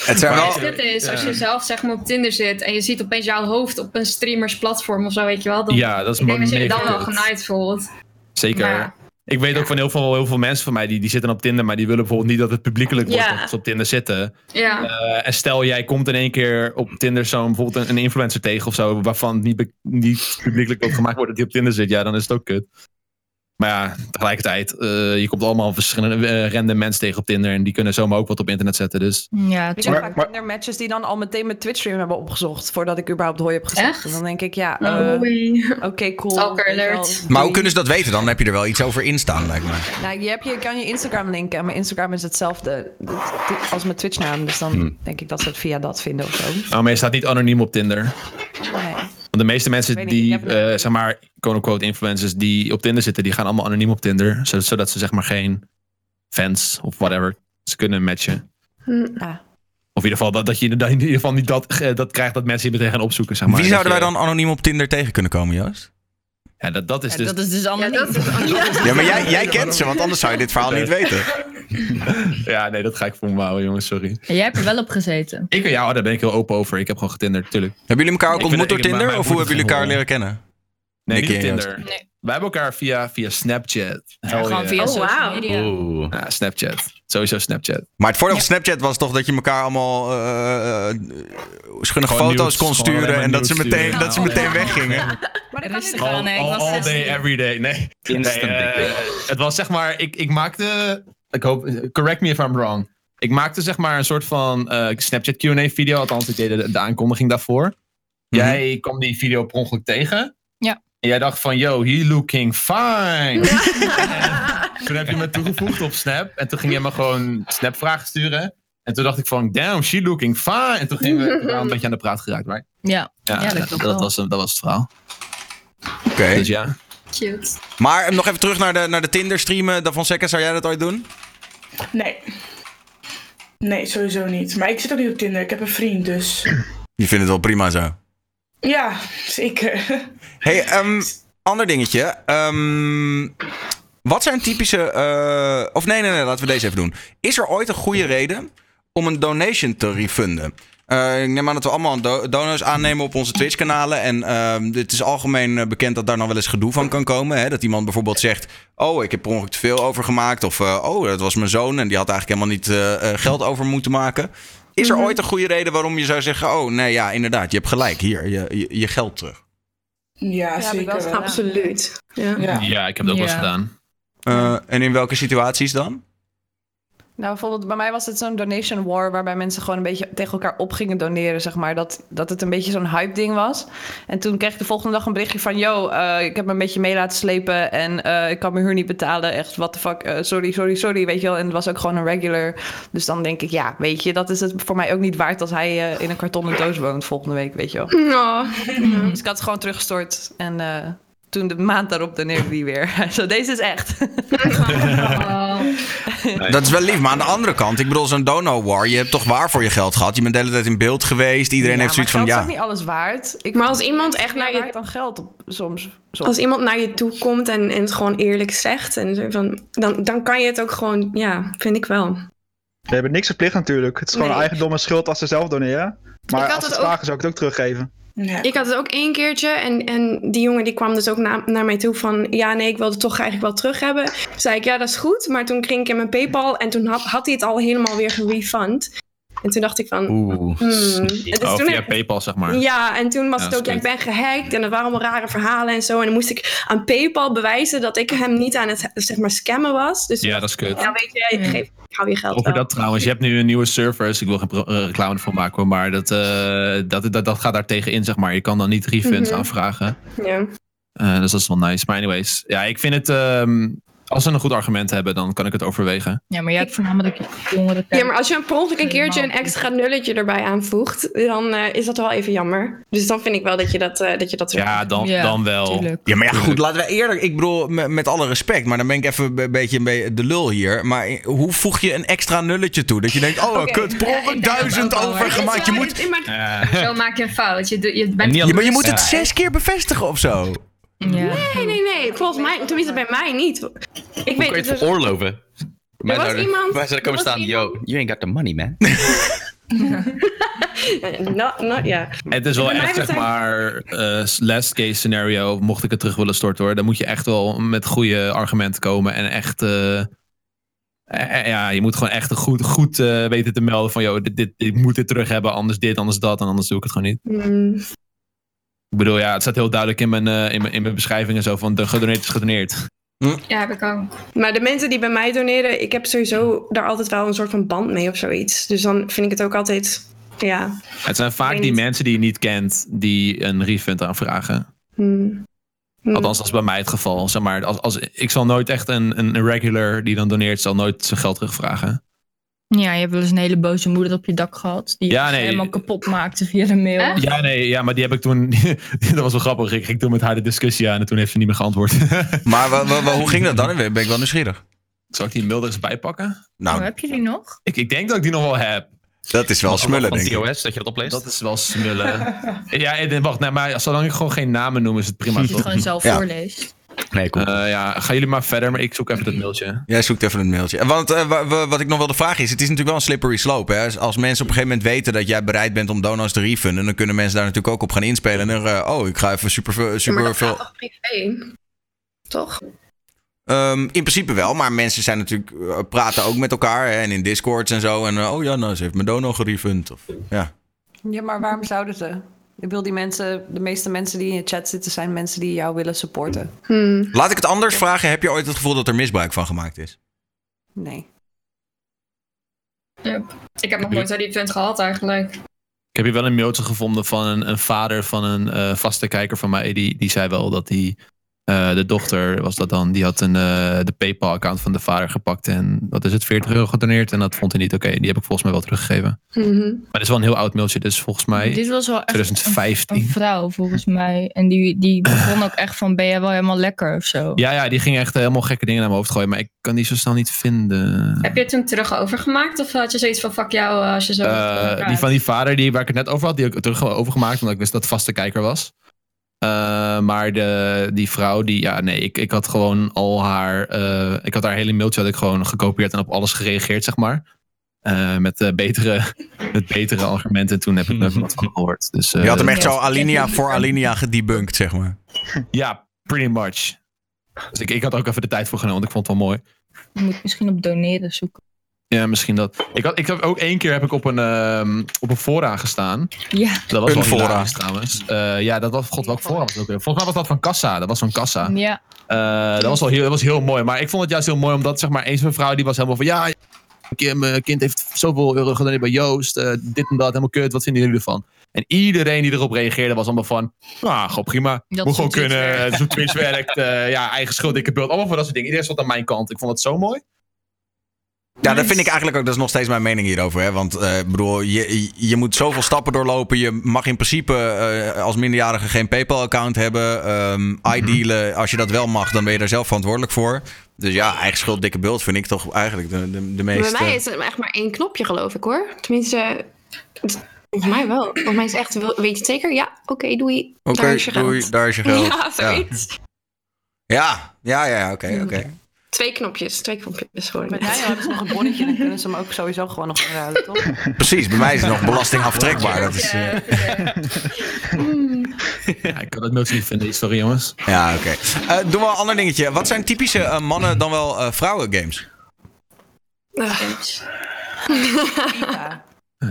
[SPEAKER 1] Het
[SPEAKER 7] zijn
[SPEAKER 3] Als dit is, als je zelf zeg maar op Tinder zit en je ziet opeens jouw hoofd op een streamers platform of zo, weet je wel. Dan,
[SPEAKER 7] Ja, dat is
[SPEAKER 3] ik denk
[SPEAKER 7] me-
[SPEAKER 3] dat je je dan
[SPEAKER 7] mega
[SPEAKER 3] wel
[SPEAKER 7] kut.
[SPEAKER 3] genaaid voelt.
[SPEAKER 7] Zeker.
[SPEAKER 3] Maar-
[SPEAKER 7] Ik weet ook van heel veel, heel veel mensen van mij die, die zitten op Tinder, maar die willen bijvoorbeeld niet dat het publiekelijk wordt
[SPEAKER 3] Ja.
[SPEAKER 7] dat ze op Tinder zitten.
[SPEAKER 3] Ja.
[SPEAKER 7] Eh, en stel jij komt in één keer op Tinder zo'n bijvoorbeeld een, een influencer tegen of zo, waarvan het niet, be- niet publiekelijk ook gemaakt wordt dat die op Tinder zit, ja, dan is het ook kut. Maar ja, tegelijkertijd, eh, je komt allemaal verschillende eh, random mensen tegen op Tinder en die kunnen zomaar ook wat op internet zetten. Dus
[SPEAKER 6] Ja,
[SPEAKER 10] Ik heb vaak Tinder matches die dan al meteen met Twitch stream hebben opgezocht voordat ik überhaupt hooi heb gezet. En dan denk ik, ja, eh,
[SPEAKER 9] Nou, [laughs]
[SPEAKER 10] oké, cool.
[SPEAKER 3] Stalker
[SPEAKER 10] weet je wel.
[SPEAKER 3] alert.
[SPEAKER 1] Maar hoe kunnen ze dat weten? Dan heb je er wel iets over in staan, lijkt me.
[SPEAKER 10] Nou, je, hebt, je kan je Instagram linken, en mijn Instagram is hetzelfde als mijn Twitch naam. Dus
[SPEAKER 7] Hm.
[SPEAKER 10] dan denk ik dat ze het via dat vinden of zo.
[SPEAKER 7] Nou, maar je staat niet anoniem op Tinder.
[SPEAKER 10] Nee.
[SPEAKER 7] Want de meeste mensen
[SPEAKER 10] Ik weet niet,
[SPEAKER 7] die,
[SPEAKER 10] ik heb-
[SPEAKER 7] eh, zeg maar, quote-unquote influencers die op Tinder zitten, die gaan allemaal anoniem op Tinder. zo- Zodat ze zeg maar geen fans of whatever ze kunnen matchen.
[SPEAKER 10] Ah.
[SPEAKER 7] Of in ieder geval dat, dat je inderdaad in ieder geval niet dat, eh, dat krijgt dat mensen je meteen gaan opzoeken. Zeg maar.
[SPEAKER 1] Wie
[SPEAKER 7] Dat
[SPEAKER 1] zouden wij
[SPEAKER 7] je-
[SPEAKER 1] dan anoniem op Tinder tegen kunnen komen, Joost?
[SPEAKER 7] Ja, dat, dat is dus...
[SPEAKER 6] Dat is dus allemaal [laughs]
[SPEAKER 1] Ja, maar jij, jij kent ze, want anders zou je dit verhaal niet weten.
[SPEAKER 7] [laughs] Ja, nee, dat ga ik voor me houden, jongens, sorry.
[SPEAKER 6] Jij hebt er wel op gezeten.
[SPEAKER 7] Ik, ja, daar ben ik heel open over. Ik heb gewoon getinderd, tuurlijk.
[SPEAKER 1] Hebben jullie elkaar ook
[SPEAKER 7] Ik vind
[SPEAKER 1] ontmoet door
[SPEAKER 7] het- ik- maar-
[SPEAKER 1] Tinder?
[SPEAKER 7] maar
[SPEAKER 1] Of
[SPEAKER 7] ik
[SPEAKER 1] hoe
[SPEAKER 7] moet
[SPEAKER 1] hebben jullie elkaar
[SPEAKER 7] het
[SPEAKER 1] leren kennen?
[SPEAKER 7] Nee,
[SPEAKER 1] Nicky
[SPEAKER 7] niet op
[SPEAKER 1] en
[SPEAKER 7] Tinder. Wij hebben elkaar via, via Snapchat. Hell
[SPEAKER 6] Gewoon
[SPEAKER 7] yeah.
[SPEAKER 6] via
[SPEAKER 9] Oh,
[SPEAKER 6] social
[SPEAKER 9] wauw.
[SPEAKER 6] media.
[SPEAKER 7] Ja, Snapchat. Sowieso Snapchat.
[SPEAKER 1] Maar het voordeel van Snapchat was toch dat je elkaar allemaal eh, eh, schunnige
[SPEAKER 7] Gewoon
[SPEAKER 1] foto's
[SPEAKER 7] nudes,
[SPEAKER 1] kon
[SPEAKER 7] gewoon alleen
[SPEAKER 1] sturen
[SPEAKER 7] maar
[SPEAKER 1] en dat ze
[SPEAKER 7] nudes
[SPEAKER 1] meteen,
[SPEAKER 7] sturen.
[SPEAKER 1] dat ze
[SPEAKER 7] Ja,
[SPEAKER 1] meteen
[SPEAKER 7] ja.
[SPEAKER 1] weggingen.
[SPEAKER 6] Rustig
[SPEAKER 7] All,
[SPEAKER 6] aan, nee, ik
[SPEAKER 7] all-
[SPEAKER 6] was
[SPEAKER 7] all
[SPEAKER 6] zestien.
[SPEAKER 7] day, every day. Nee.
[SPEAKER 4] Instant
[SPEAKER 7] Nee,
[SPEAKER 4] dick
[SPEAKER 7] eh, het was zeg maar, ik, ik maakte, ik hoop, correct me if I'm wrong. Ik maakte zeg maar een soort van eh, Snapchat Q&A video, althans ik deed de, de aankondiging daarvoor. Jij kwam die video per ongeluk tegen.
[SPEAKER 6] Ja.
[SPEAKER 7] En jij dacht van, yo, he looking fine. En [laughs] toen heb je me toegevoegd op Snap. En toen ging je me gewoon Snap vragen sturen. En toen dacht ik van, damn, she looking fine. En toen gingen we toen waren we een beetje aan de praat geraakt. right?
[SPEAKER 6] Ja,
[SPEAKER 7] Ja, dat,
[SPEAKER 6] klopt
[SPEAKER 7] dat
[SPEAKER 6] wel.
[SPEAKER 7] was, dat was het verhaal.
[SPEAKER 1] Oké.
[SPEAKER 7] Dus ja.
[SPEAKER 3] Cute.
[SPEAKER 1] Maar eh, nog even terug naar de, naar de Tinder streamen. Da Fonseca, zou jij dat ooit doen?
[SPEAKER 5] Nee. Nee, sowieso niet. Maar ik zit ook niet op Tinder. Ik heb een vriend, dus...
[SPEAKER 1] Je vindt het wel prima zo.
[SPEAKER 5] Ja, zeker.
[SPEAKER 1] Hey, ehm, ander dingetje. Ehm, wat zijn typische. eh, of nee, nee, nee, laten we deze even doen. Is er ooit een goede reden om een donation te refunden? Eh, Eh, ik neem aan dat we allemaal do- donors aannemen op onze Twitch-kanalen. En ehm, het is algemeen eh, bekend dat daar nou wel eens gedoe van kan komen. Hè? Dat iemand bijvoorbeeld zegt: Oh, ik heb per ongeluk te veel overgemaakt. Of eh, Oh, dat was mijn zoon en die had eigenlijk helemaal niet eh, eh, geld over moeten maken. Is er
[SPEAKER 13] Mhm.
[SPEAKER 1] ooit een goede reden waarom je zou zeggen: Oh, nee, ja, inderdaad, je hebt gelijk. Hier, je, je, je geld terug.
[SPEAKER 5] Ja,
[SPEAKER 9] heb ik wel
[SPEAKER 5] zeker.
[SPEAKER 9] eens
[SPEAKER 5] wel.
[SPEAKER 9] gedaan. Absoluut. Ja.
[SPEAKER 7] Ja, ik heb dat ook wel eens gedaan.
[SPEAKER 1] Eh, en in welke situaties
[SPEAKER 7] [laughs]
[SPEAKER 1] dan?
[SPEAKER 10] Nou, bijvoorbeeld bij mij was het zo'n donation war... waarbij mensen gewoon een beetje tegen elkaar op gingen doneren, zeg maar. Dat, dat het een beetje zo'n hype ding was. En toen kreeg ik de volgende dag een berichtje van... yo, eh, ik heb me een beetje mee laten slepen en eh, ik kan mijn huur niet betalen. Echt, what the fuck, eh, sorry, sorry, sorry, weet je wel. En het was ook gewoon een regular. Dus dan denk ik, ja, weet je, dat is het voor mij ook niet waard... als hij eh, in een kartonnen doos woont volgende week, weet je wel. Dus ik had het gewoon teruggestort en... eh, toen de maand daarop doneerde die weer. [laughs] Zo, deze is echt.
[SPEAKER 1] Dat is wel lief, maar aan de andere kant, ik bedoel, zo'n dono war, je hebt toch waar voor je geld gehad? Je bent de hele tijd in beeld geweest, iedereen heeft zoiets van,
[SPEAKER 10] geld is
[SPEAKER 1] ja.
[SPEAKER 10] ook niet alles waard. Ik
[SPEAKER 9] Maar als iemand echt
[SPEAKER 10] naar
[SPEAKER 9] naar je-
[SPEAKER 10] dan geld op, soms, soms.
[SPEAKER 9] Als iemand naar je toe komt en, en het gewoon eerlijk zegt, en zo van, dan, dan kan je het ook gewoon, ja, vind ik wel.
[SPEAKER 2] Je hebt niks verplicht natuurlijk. Het is gewoon
[SPEAKER 9] Nee.
[SPEAKER 2] eigendom en schuld als ze zelf doneren. Maar
[SPEAKER 9] Ik
[SPEAKER 2] als ze
[SPEAKER 9] had het
[SPEAKER 2] het
[SPEAKER 9] ook-
[SPEAKER 2] vragen zou ik het ook teruggeven.
[SPEAKER 9] Ik had het ook één keertje en, en die jongen die kwam dus ook na- naar mij toe van... ja, nee, ik wil het toch eigenlijk wel terug hebben. Toen zei ik, ja, dat is goed. Maar toen kreeg ik in mijn Paypal en toen had, had hij het al helemaal weer gerefund. En toen dacht ik van...
[SPEAKER 7] Oeh.
[SPEAKER 9] hmm.
[SPEAKER 7] [laughs] sneaky.
[SPEAKER 9] En dus
[SPEAKER 7] Oh,
[SPEAKER 9] toen
[SPEAKER 7] via
[SPEAKER 9] heb-
[SPEAKER 7] Paypal, zeg maar.
[SPEAKER 9] Ja, en toen was
[SPEAKER 7] Ja,
[SPEAKER 9] het ook, ja, ik
[SPEAKER 7] sweet.
[SPEAKER 9] ben gehackt en er waren allemaal rare verhalen en zo. En dan moest ik aan Paypal bewijzen dat ik hem niet aan het, zeg maar, scammen was. Dus
[SPEAKER 7] Ja, dat is kut.
[SPEAKER 9] ja, weet je, ik, geef, ik hou je geld
[SPEAKER 7] Over
[SPEAKER 9] wel.
[SPEAKER 7] dat trouwens, je hebt nu een nieuwe server, dus ik wil geen pro- eh, reclame ervoor maken, hoor, maar dat, eh, dat, dat, dat gaat daar tegen in, zeg maar. Je kan dan niet refunds
[SPEAKER 9] Mhm.
[SPEAKER 7] aanvragen.
[SPEAKER 9] Ja.
[SPEAKER 7] Eh, dus dat is wel nice. Maar anyways, ja, ik vind het, ehm, als ze een goed argument hebben, dan kan ik het overwegen.
[SPEAKER 6] Ja, maar jij hebt voornamelijk jongeren.
[SPEAKER 9] Ja, maar als je per ongeluk een keertje een extra nulletje erbij aanvoegt, dan eh, is dat wel even jammer. Dus dan vind ik wel dat je dat, eh, dat, je dat terug
[SPEAKER 7] Ja, dan,
[SPEAKER 9] Ja,
[SPEAKER 7] dan wel.
[SPEAKER 9] tuurlijk.
[SPEAKER 1] Ja, maar ja, goed, laten we eerlijk. Ik bedoel, me- met alle respect, maar dan ben ik even een beetje een be- de lul hier. Maar hoe voeg je een extra nulletje toe? Dat je denkt, oh,
[SPEAKER 3] Oké.
[SPEAKER 1] kut, per
[SPEAKER 3] Ja,
[SPEAKER 1] ongeluk
[SPEAKER 3] ik denk
[SPEAKER 1] duizend
[SPEAKER 3] dat ook wel, hoor.
[SPEAKER 1] overgemaakt. Je
[SPEAKER 3] Het is
[SPEAKER 1] moet,
[SPEAKER 3] wel- [laughs] Zo maak je een fout. Je, doet- je
[SPEAKER 1] Ja,
[SPEAKER 3] bent
[SPEAKER 1] maar je moet het zes keer bevestigen of zo.
[SPEAKER 9] Nee, nee, nee. Volgens mij, tenminste bij mij niet. Ik
[SPEAKER 4] Hoe kun je
[SPEAKER 9] weet
[SPEAKER 4] het
[SPEAKER 9] dus, [laughs]
[SPEAKER 4] veroorloven? Wij
[SPEAKER 9] was
[SPEAKER 4] zouden-
[SPEAKER 9] iemand-
[SPEAKER 4] Wij zouden komen
[SPEAKER 9] er was
[SPEAKER 4] staan, yo, you ain't got the money, man.
[SPEAKER 9] not, not, ja.
[SPEAKER 7] Het is wel
[SPEAKER 9] Bij mij
[SPEAKER 7] echt,
[SPEAKER 9] was
[SPEAKER 7] zeg
[SPEAKER 9] hij-
[SPEAKER 7] maar, eh, last case scenario, mocht ik het terug willen storten hoor. Dan moet je echt wel met goede argumenten komen en echt... eh, eh, eh, ja, je moet gewoon echt een goed, goed eh, weten te melden van, joh, dit, dit, ik moet dit terug hebben, anders dit, anders dat, en anders doe ik het gewoon niet.
[SPEAKER 9] Mm.
[SPEAKER 7] Ik bedoel, ja, het staat heel duidelijk in mijn, eh, in mijn, in mijn beschrijving en zo van, de gedoneerd is gedoneerd.
[SPEAKER 9] Ja, heb ik ook. Maar de mensen die bij mij doneren, ik heb sowieso daar altijd wel een soort van band mee of zoiets. Dus dan vind ik het ook altijd, ja.
[SPEAKER 7] Het zijn vaak die mensen die je niet kent, die een refund aanvragen.
[SPEAKER 9] Hmm. Hmm.
[SPEAKER 7] Althans, dat is bij mij het geval. Zeg maar, als, als, ik zal nooit echt een, een regular die dan doneert, zal nooit zijn geld terugvragen.
[SPEAKER 6] Ja, je hebt wel eens een hele boze moeder op je dak gehad. Die
[SPEAKER 7] Ja,
[SPEAKER 6] je
[SPEAKER 7] nee.
[SPEAKER 6] helemaal kapot maakte via de mail.
[SPEAKER 7] Ja, nee, ja, maar die heb ik toen. [laughs] dat was wel grappig. Ik ging toen met haar de discussie aan en toen heeft ze niet meer geantwoord. [laughs]
[SPEAKER 1] Maar wa- wa- wa- hoe ging dat dan? Ben ik wel nieuwsgierig. Nou,
[SPEAKER 7] Zal ik die mail er eens bij pakken?
[SPEAKER 6] Oh, heb je die nog?
[SPEAKER 7] Ik, ik denk dat ik die nog wel heb.
[SPEAKER 1] Dat is wel smullen, denk ik.
[SPEAKER 4] TOS, dat je dat opleest?
[SPEAKER 7] Dat is wel [laughs] smullen. ja, eh, wacht, nee, maar zolang ik gewoon geen namen noem, is het prima.
[SPEAKER 6] Dat je
[SPEAKER 7] toch?
[SPEAKER 6] het gewoon zelf voorleest.
[SPEAKER 4] Nee,
[SPEAKER 7] cool. ja, gaan jullie maar verder, maar ik zoek even dat mailtje.
[SPEAKER 1] Jij zoekt even een mailtje. En Want eh, wa- wa- wat ik nog wilde vragen is, het is natuurlijk wel een slippery slope. Hè? Als- Als mensen op een gegeven moment weten dat jij bereid bent om donors te refunden, dan kunnen mensen daar natuurlijk ook op gaan inspelen. En dan, eh, oh, ik ga even super,
[SPEAKER 9] Ja, maar
[SPEAKER 1] super
[SPEAKER 9] dat gaat
[SPEAKER 1] veel...
[SPEAKER 9] toch privé? Toch?
[SPEAKER 1] Ehm, in principe wel, maar mensen zijn natuurlijk, eh, praten ook met elkaar hè, en in discords en zo. En eh, oh ja, nou, ze heeft mijn dono gerefund. Of, ja.
[SPEAKER 10] Ja, maar waarom zouden ze? Ik wil die mensen, de meeste mensen die in je chat zitten, zijn mensen die jou willen supporten.
[SPEAKER 9] Hmm.
[SPEAKER 1] Laat ik het anders vragen. Heb je ooit het gevoel dat er misbruik van gemaakt is?
[SPEAKER 10] Nee.
[SPEAKER 3] Ik heb nog nooit zo'n event gehad eigenlijk.
[SPEAKER 7] Ik heb hier wel een mailtje gevonden van een, een vader van een eh, vaste kijker van mij. Die, die zei wel dat die, eh, de dochter was dat dan, die had een, eh, de PayPal-account van de vader gepakt. En wat is het, 40 euro gedoneerd. En dat vond hij niet oké. Die heb ik volgens mij wel teruggegeven.
[SPEAKER 9] Mhm.
[SPEAKER 7] Maar het is wel een heel oud mailtje, dus volgens mij
[SPEAKER 6] Dit was wel echt
[SPEAKER 7] 2015.
[SPEAKER 6] Een vrouw volgens mij. En die, die begon ook echt van ben jij wel helemaal lekker of zo.
[SPEAKER 7] Ja, ja, die ging echt eh, helemaal gekke dingen naar mijn hoofd gooien. Maar ik kan die zo snel niet vinden.
[SPEAKER 3] Heb je het toen terug overgemaakt? Of had je zoiets van fuck jou eh, als je zo...
[SPEAKER 7] Eh, die van die vader die, waar ik het net over had, die heb ik terug overgemaakt, omdat ik wist dat het vaste kijker was. Eh, maar de, die vrouw, die, ja, nee, ik, ik had gewoon al haar, eh, ik had haar hele mailtje had ik gewoon gekopieerd en op alles gereageerd, zeg maar. eh, met eh, betere, [laughs] met betere argumenten. Toen heb ik er wat van gehoord. Dus, eh,
[SPEAKER 1] Je had hem echt zo Alinea voor Alinea gedebunkt, zeg maar.
[SPEAKER 7] Ja, pretty much. Dus ik, ik had er ook even de tijd voor genomen, want ik vond het wel mooi.
[SPEAKER 6] Je moet misschien op doneren zoeken. [laughs]
[SPEAKER 7] Ja, misschien dat. Ik had, ik had ook één keer heb ik op een, ehm, op een fora gestaan.
[SPEAKER 6] Ja.
[SPEAKER 7] Dat was
[SPEAKER 1] Een
[SPEAKER 7] wel
[SPEAKER 1] fora.
[SPEAKER 7] hilarisch trouwens. Eh, ja, dat was, god, welk fora was het ook weer? Volgens mij was dat van Kassa. Dat was van Kassa.
[SPEAKER 6] Ja.
[SPEAKER 7] Eh, dat, was wel heel, dat was heel mooi. Maar ik vond het juist heel mooi omdat zeg maar, eens een vrouw die was helemaal van ja, mijn ki- mijn kind heeft zoveel euro gedaan bij Joost, eh, dit en dat, helemaal kut, wat vinden jullie ervan? En iedereen die erop reageerde was allemaal van, nou, gewoon prima,
[SPEAKER 6] Dat
[SPEAKER 7] moet gewoon
[SPEAKER 6] is hoe Twitch
[SPEAKER 7] kunnen,
[SPEAKER 6] werkt.
[SPEAKER 7] het is hoe Twitch
[SPEAKER 6] [laughs]
[SPEAKER 7] werkt, eh, ja, eigen schuld, dikke beeld, allemaal van dat soort dingen. Iedereen stond aan mijn kant. Ik vond het zo mooi.
[SPEAKER 1] Ja, dat vind ik eigenlijk ook. Dat is nog steeds mijn mening hierover. Hè? Want eh, ik bedoel, je, je moet zoveel stappen doorlopen. Je mag in principe eh, als minderjarige geen PayPal-account hebben. ehm iDealen, als je dat wel mag, dan ben je daar zelf verantwoordelijk voor. Dus ja, eigen schuld, dikke bult vind ik toch eigenlijk de, de, de meest.
[SPEAKER 9] Bij mij
[SPEAKER 1] eh,
[SPEAKER 9] is het echt maar één knopje, geloof ik hoor. Tenminste, eh, volgens mij wel. Volgens mij is echt, wil- weet je het zeker? Ja, oké, doei.
[SPEAKER 1] Oké,
[SPEAKER 9] Daar is je
[SPEAKER 1] doei,
[SPEAKER 9] geld.
[SPEAKER 1] daar is je geld.
[SPEAKER 9] [laughs] Ja, zoiets. Mhm.
[SPEAKER 1] Ja, ja, ja, ja, oké, oké.
[SPEAKER 9] Twee knopjes, twee knopjes gewoon.
[SPEAKER 10] Bij Daniel hebben ze nog een bonnetje, dan kunnen ze hem ook sowieso gewoon nog
[SPEAKER 9] [laughs]
[SPEAKER 10] inruilen, toch?
[SPEAKER 1] [laughs] Precies, bij mij is het nog belasting aftrekbaar. Dat is, eh,
[SPEAKER 7] [laughs] Ja, ik kan het nooit lief vinden, sorry jongens.
[SPEAKER 1] ja, oké. Eh, doen we een ander dingetje. Wat zijn typische eh, mannen dan wel eh, vrouwen games?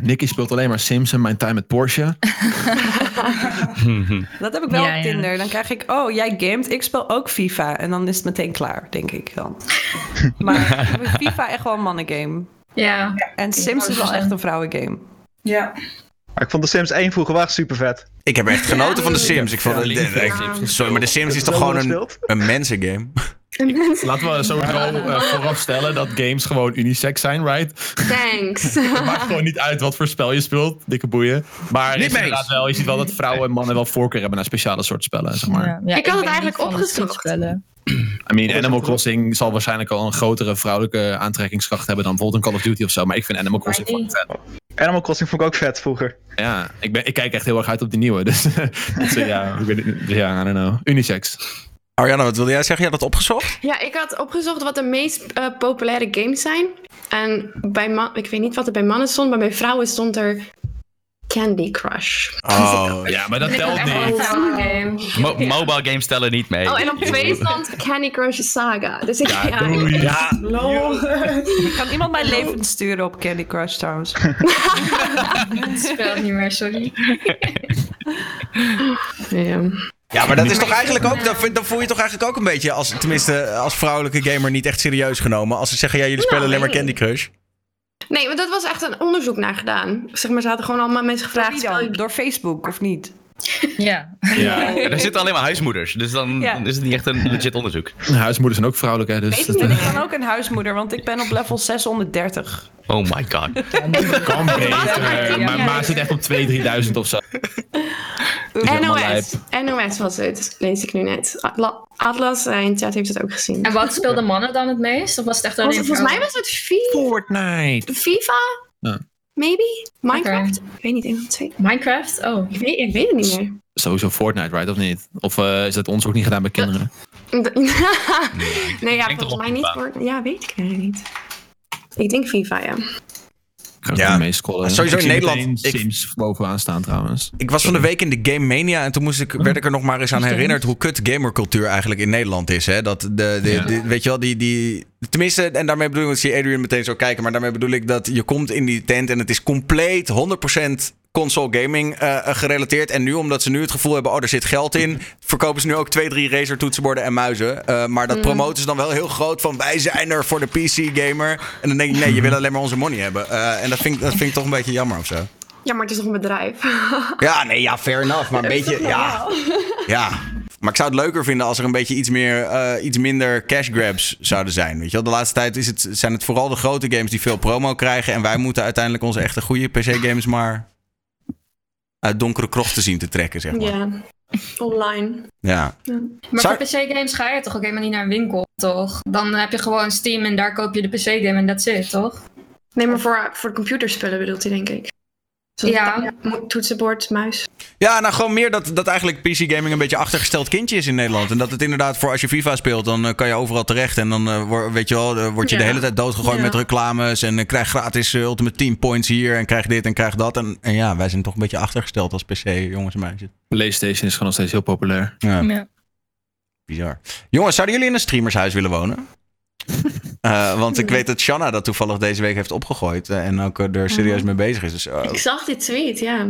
[SPEAKER 7] Nicky speelt alleen maar Sims en mijn time met Porsche.
[SPEAKER 10] Dat heb ik wel
[SPEAKER 6] Ja,
[SPEAKER 10] op
[SPEAKER 6] ja.
[SPEAKER 10] Tinder. Dan krijg ik, oh, jij gamet, ik speel ook FIFA. En dan is het meteen klaar, denk ik
[SPEAKER 9] [laughs]
[SPEAKER 10] dan. Maar ik vind FIFA echt wel een mannengame.
[SPEAKER 3] Ja.
[SPEAKER 10] En Sims is wel echt een vrouwengame.
[SPEAKER 5] Ja.
[SPEAKER 2] Maar ik vond de Sims 1 vroeger wel echt super vet.
[SPEAKER 1] Ik heb echt genoten van de Sims. Ik vond,
[SPEAKER 7] Ja,
[SPEAKER 1] het-
[SPEAKER 7] Link
[SPEAKER 1] eh,
[SPEAKER 7] Sims
[SPEAKER 1] ik- sorry, maar de Sims is
[SPEAKER 2] Heb je
[SPEAKER 1] toch
[SPEAKER 2] wel
[SPEAKER 1] gewoon een,
[SPEAKER 2] gespeeld?
[SPEAKER 1] een mensengame?
[SPEAKER 7] Laten we sowieso eh, vooraf stellen dat games gewoon unisex zijn, right?
[SPEAKER 9] [laughs] Thanks.
[SPEAKER 7] Het maakt gewoon niet uit wat voor spel je speelt, dikke boeien. Maar
[SPEAKER 1] Niet
[SPEAKER 7] is
[SPEAKER 1] mee
[SPEAKER 7] inderdaad wel, je ziet wel dat vrouwen en mannen wel voorkeur hebben naar speciale soort spellen, zeg maar.
[SPEAKER 6] ja,
[SPEAKER 9] Ik had het
[SPEAKER 6] ben
[SPEAKER 9] eigenlijk
[SPEAKER 6] niet van de
[SPEAKER 9] opgezocht.
[SPEAKER 6] Switch-spellen.
[SPEAKER 7] I mean, Animal Crossing zal waarschijnlijk al een grotere vrouwelijke aantrekkingskracht hebben dan bijvoorbeeld een Call of Duty of zo. Maar ik vind Animal Crossing
[SPEAKER 3] Maar die-
[SPEAKER 7] fucking vet.
[SPEAKER 2] Animal Crossing vond ik ook vet vroeger.
[SPEAKER 7] Ja, ik, ben, ik kijk echt heel erg uit op die nieuwe. [laughs] Dus, dus, eh, ja, ik weet niet- ja, I don't know. Unisex.
[SPEAKER 1] Arjana, wat wilde jij zeggen? Je had dat opgezocht?
[SPEAKER 9] Ja, ik had opgezocht wat de meest eh, populaire games zijn. En bij man, ik weet niet wat er bij mannen stond, maar bij vrouwen stond er Candy Crush.
[SPEAKER 1] Oh,
[SPEAKER 7] Ja, maar
[SPEAKER 4] [laughs]
[SPEAKER 7] dat
[SPEAKER 3] Ik vind
[SPEAKER 7] telt
[SPEAKER 3] het echt wel een
[SPEAKER 7] niet.
[SPEAKER 3] vrouwengame.
[SPEAKER 4] Mo- Mobile games tellen niet mee.
[SPEAKER 9] Oh, en op twee stond Candy Crush Saga. Dus ik, ja,
[SPEAKER 7] Ja, doei. Ja,
[SPEAKER 5] Lol.
[SPEAKER 10] Kan iemand mijn leven sturen op Candy Crush trouwens?
[SPEAKER 3] Ik speel [laughs] het niet meer, sorry.
[SPEAKER 9] Ja.
[SPEAKER 1] ja, maar dat is toch eigenlijk ook. Dan, vind- dan voel je toch eigenlijk ook een beetje als, tenminste, als vrouwelijke gamer niet echt serieus genomen. Als ze zeggen, ja, jullie spelen
[SPEAKER 9] Nou,
[SPEAKER 1] alleen maar Candy
[SPEAKER 9] nee.
[SPEAKER 1] Crush.
[SPEAKER 9] Nee, want dat was echt een onderzoek naar gedaan. Zeg maar, ze hadden gewoon allemaal mensen
[SPEAKER 10] Door
[SPEAKER 9] gevraagd.
[SPEAKER 10] wie
[SPEAKER 9] speel
[SPEAKER 10] dan?
[SPEAKER 9] je-
[SPEAKER 10] Door Facebook of niet?
[SPEAKER 6] Ja.
[SPEAKER 7] ja.
[SPEAKER 4] [laughs] Er zitten alleen maar huismoeders, dus dan
[SPEAKER 10] Ja.
[SPEAKER 4] is het niet echt een legit onderzoek.
[SPEAKER 7] Huismoeders zijn ook vrouwelijk, hè. Dus
[SPEAKER 10] Ik
[SPEAKER 7] dat,
[SPEAKER 10] ben
[SPEAKER 7] eh,
[SPEAKER 10] ik dan ook een huismoeder, want ik ben op level 630.
[SPEAKER 4] Oh my god.
[SPEAKER 7] [laughs] kan
[SPEAKER 9] Eh,
[SPEAKER 7] beter.
[SPEAKER 6] Ja.
[SPEAKER 7] Mijn ma zit echt op 2.000, 3.000 of zo. helemaal
[SPEAKER 9] NOS. NOS was het, lees ik nu net. Atla- Atlas eh, in chat heeft het ook gezien.
[SPEAKER 3] En wat speelden mannen dan het meest? Of was het echt alleen
[SPEAKER 9] Was het- volgens mij
[SPEAKER 3] vrouwen?
[SPEAKER 9] was het FIFA.
[SPEAKER 7] Fortnite.
[SPEAKER 9] FIFA?
[SPEAKER 7] Ja.
[SPEAKER 9] Maybe? Minecraft? Ik weet niet, één van de twee.
[SPEAKER 3] Minecraft? Oh.
[SPEAKER 9] Ik weet, ik weet het niet meer.
[SPEAKER 7] Sowieso Fortnite, right? Of niet? Of eh, is dat ons ook niet gedaan bij kinderen?
[SPEAKER 9] nee, ja, [laughs] volgens
[SPEAKER 4] denk toch
[SPEAKER 9] mij
[SPEAKER 4] op
[SPEAKER 9] niet.
[SPEAKER 4] FIFA.
[SPEAKER 9] Voor, ja, weet ik eigenlijk niet. Ik denk FIFA, ja.
[SPEAKER 7] Ik ga
[SPEAKER 1] Ja.
[SPEAKER 7] ja. mee scrollen.
[SPEAKER 1] Sowieso
[SPEAKER 7] eh, Ik zie
[SPEAKER 1] in Nederland-
[SPEAKER 7] meteen
[SPEAKER 1] ik-
[SPEAKER 7] Sims bovenaan staan trouwens.
[SPEAKER 1] Ik was van de week in de Game Mania en toen moest ik, werd ik er nog maar eens aan herinnerd hoe kut gamercultuur eigenlijk in Nederland is. Hè? Dat de, de,
[SPEAKER 7] Ja.
[SPEAKER 1] de- weet je wel, die, die. Tenminste, en daarmee bedoel ik, want ik zie Adrian meteen zo kijken, maar daarmee bedoel ik dat je komt in die tent en het is compleet 100% console gaming eh, gerelateerd. En nu, omdat ze nu het gevoel hebben, oh, er zit geld in, verkopen ze nu ook twee, drie Razer toetsenborden en muizen. Eh, maar dat promoten ze dan wel heel groot van wij zijn er voor de PC gamer. En dan denk ik, nee, je wil alleen maar onze money hebben. Eh, en dat vind, ik- dat vind ik toch een beetje jammer of zo.
[SPEAKER 9] Ja, maar het is toch een [laughs] bedrijf?
[SPEAKER 1] Ja, nee, ja, fair enough. Maar een beetje, ja, ja. Maar ik zou het leuker vinden als er een beetje iets, meer, eh, iets minder cash grabs zouden zijn. Weet je wel? De laatste tijd is het, zijn het vooral de grote games die veel promo krijgen. En wij moeten uiteindelijk onze echte goede PC-games maar uit donkere krochten zien te trekken, zeg maar. Ja.
[SPEAKER 9] ja. Online.
[SPEAKER 3] Maar
[SPEAKER 1] Zou-
[SPEAKER 3] voor PC-games ga je toch ook helemaal niet naar een winkel, toch? Dan heb je gewoon Steam en daar koop je de PC-game en that's it, toch?
[SPEAKER 9] Nee, maar voor, voor computerspullen bedoelt hij, denk ik.
[SPEAKER 11] Ja, toetsenbord,
[SPEAKER 9] [laughs]
[SPEAKER 4] [laughs]
[SPEAKER 11] muis.
[SPEAKER 1] Ja, nou gewoon meer dat, dat eigenlijk PC gaming een beetje achtergesteld kindje is in Nederland. En dat het inderdaad voor als je FIFA speelt, dan eh, kan je overal terecht. En dan eh, wor- weet je wel, eh, word je de
[SPEAKER 12] Ja.
[SPEAKER 1] hele tijd doodgegooid
[SPEAKER 12] Ja.
[SPEAKER 1] met reclames. En eh, krijg gratis eh, Ultimate Team Points hier. En krijg dit en krijg dat. En, en ja, wij zijn toch een beetje achtergesteld als PC, jongens en meisjes.
[SPEAKER 7] PlayStation is gewoon nog steeds heel populair.
[SPEAKER 1] Ja. Bizar. Jongens, zouden jullie in een streamershuis willen
[SPEAKER 12] [laughs]
[SPEAKER 1] wonen? Eh, want ik weet dat Shanna dat toevallig deze week heeft opgegooid. eh, en ook eh, er
[SPEAKER 12] Mhm.
[SPEAKER 1] serieus mee bezig is. Dus, eh,
[SPEAKER 9] Ik zag dit tweet, ja.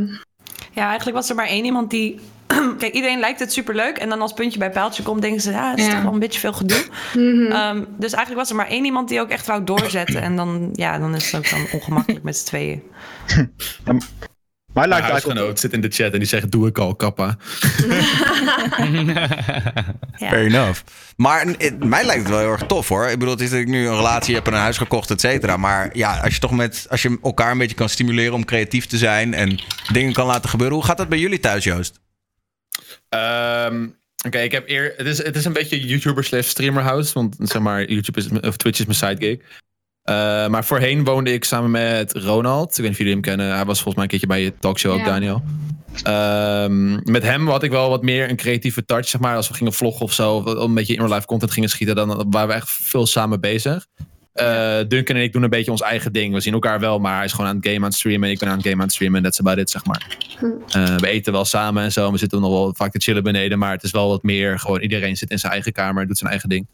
[SPEAKER 10] Ja, eigenlijk was er maar één iemand die. [clears throat] Kijk, iedereen lijkt het superleuk. En dan als puntje bij paaltje komt, denken ze, ja, het is
[SPEAKER 9] Ja.
[SPEAKER 10] toch wel een beetje veel gedoe. Ehm, dus eigenlijk was er maar één iemand die ook echt wou doorzetten. En dan, ja, dan is het ook dan ongemakkelijk met z'n tweeën.
[SPEAKER 7] Mijn huisgenoot zit in de chat en die zegt, doe ik al, kappa.
[SPEAKER 1] Fair enough. Maar eh, mij lijkt het wel heel erg tof hoor. Ik bedoel, het is dat ik nu een relatie heb en een huis gekocht, et cetera. Maar ja, als je toch met als je elkaar een beetje kan stimuleren om creatief te zijn en dingen kan laten gebeuren. Hoe gaat dat bij jullie thuis, Joost?
[SPEAKER 7] Ehm, Oké, ik heb eer. Het is, het is een beetje YouTuber slash streamer house. Want zeg maar, YouTube is, of Twitch is mijn sidegig. Eh, maar voorheen woonde ik samen met Ronald. Ik weet niet of jullie hem kennen. Hij was volgens mij een keertje bij je talkshow ook,
[SPEAKER 12] Ja.
[SPEAKER 7] Daniel. Ehm, met hem had ik wel wat meer een creatieve touch, zeg maar. Als we gingen vloggen of zo, of een beetje in real life content gingen schieten, dan waren we echt veel samen bezig. Eh, Duncan en ik doen een beetje ons eigen ding. We zien elkaar wel, maar hij is gewoon aan het game aan het streamen. en Ik ben aan het game aan het streamen. En that's about it, zeg maar.
[SPEAKER 1] Hm.
[SPEAKER 7] Eh, we eten wel samen en zo. en We zitten nog wel vaak te chillen beneden. Maar het is wel wat meer. Gewoon iedereen zit in zijn eigen kamer. Doet zijn eigen ding.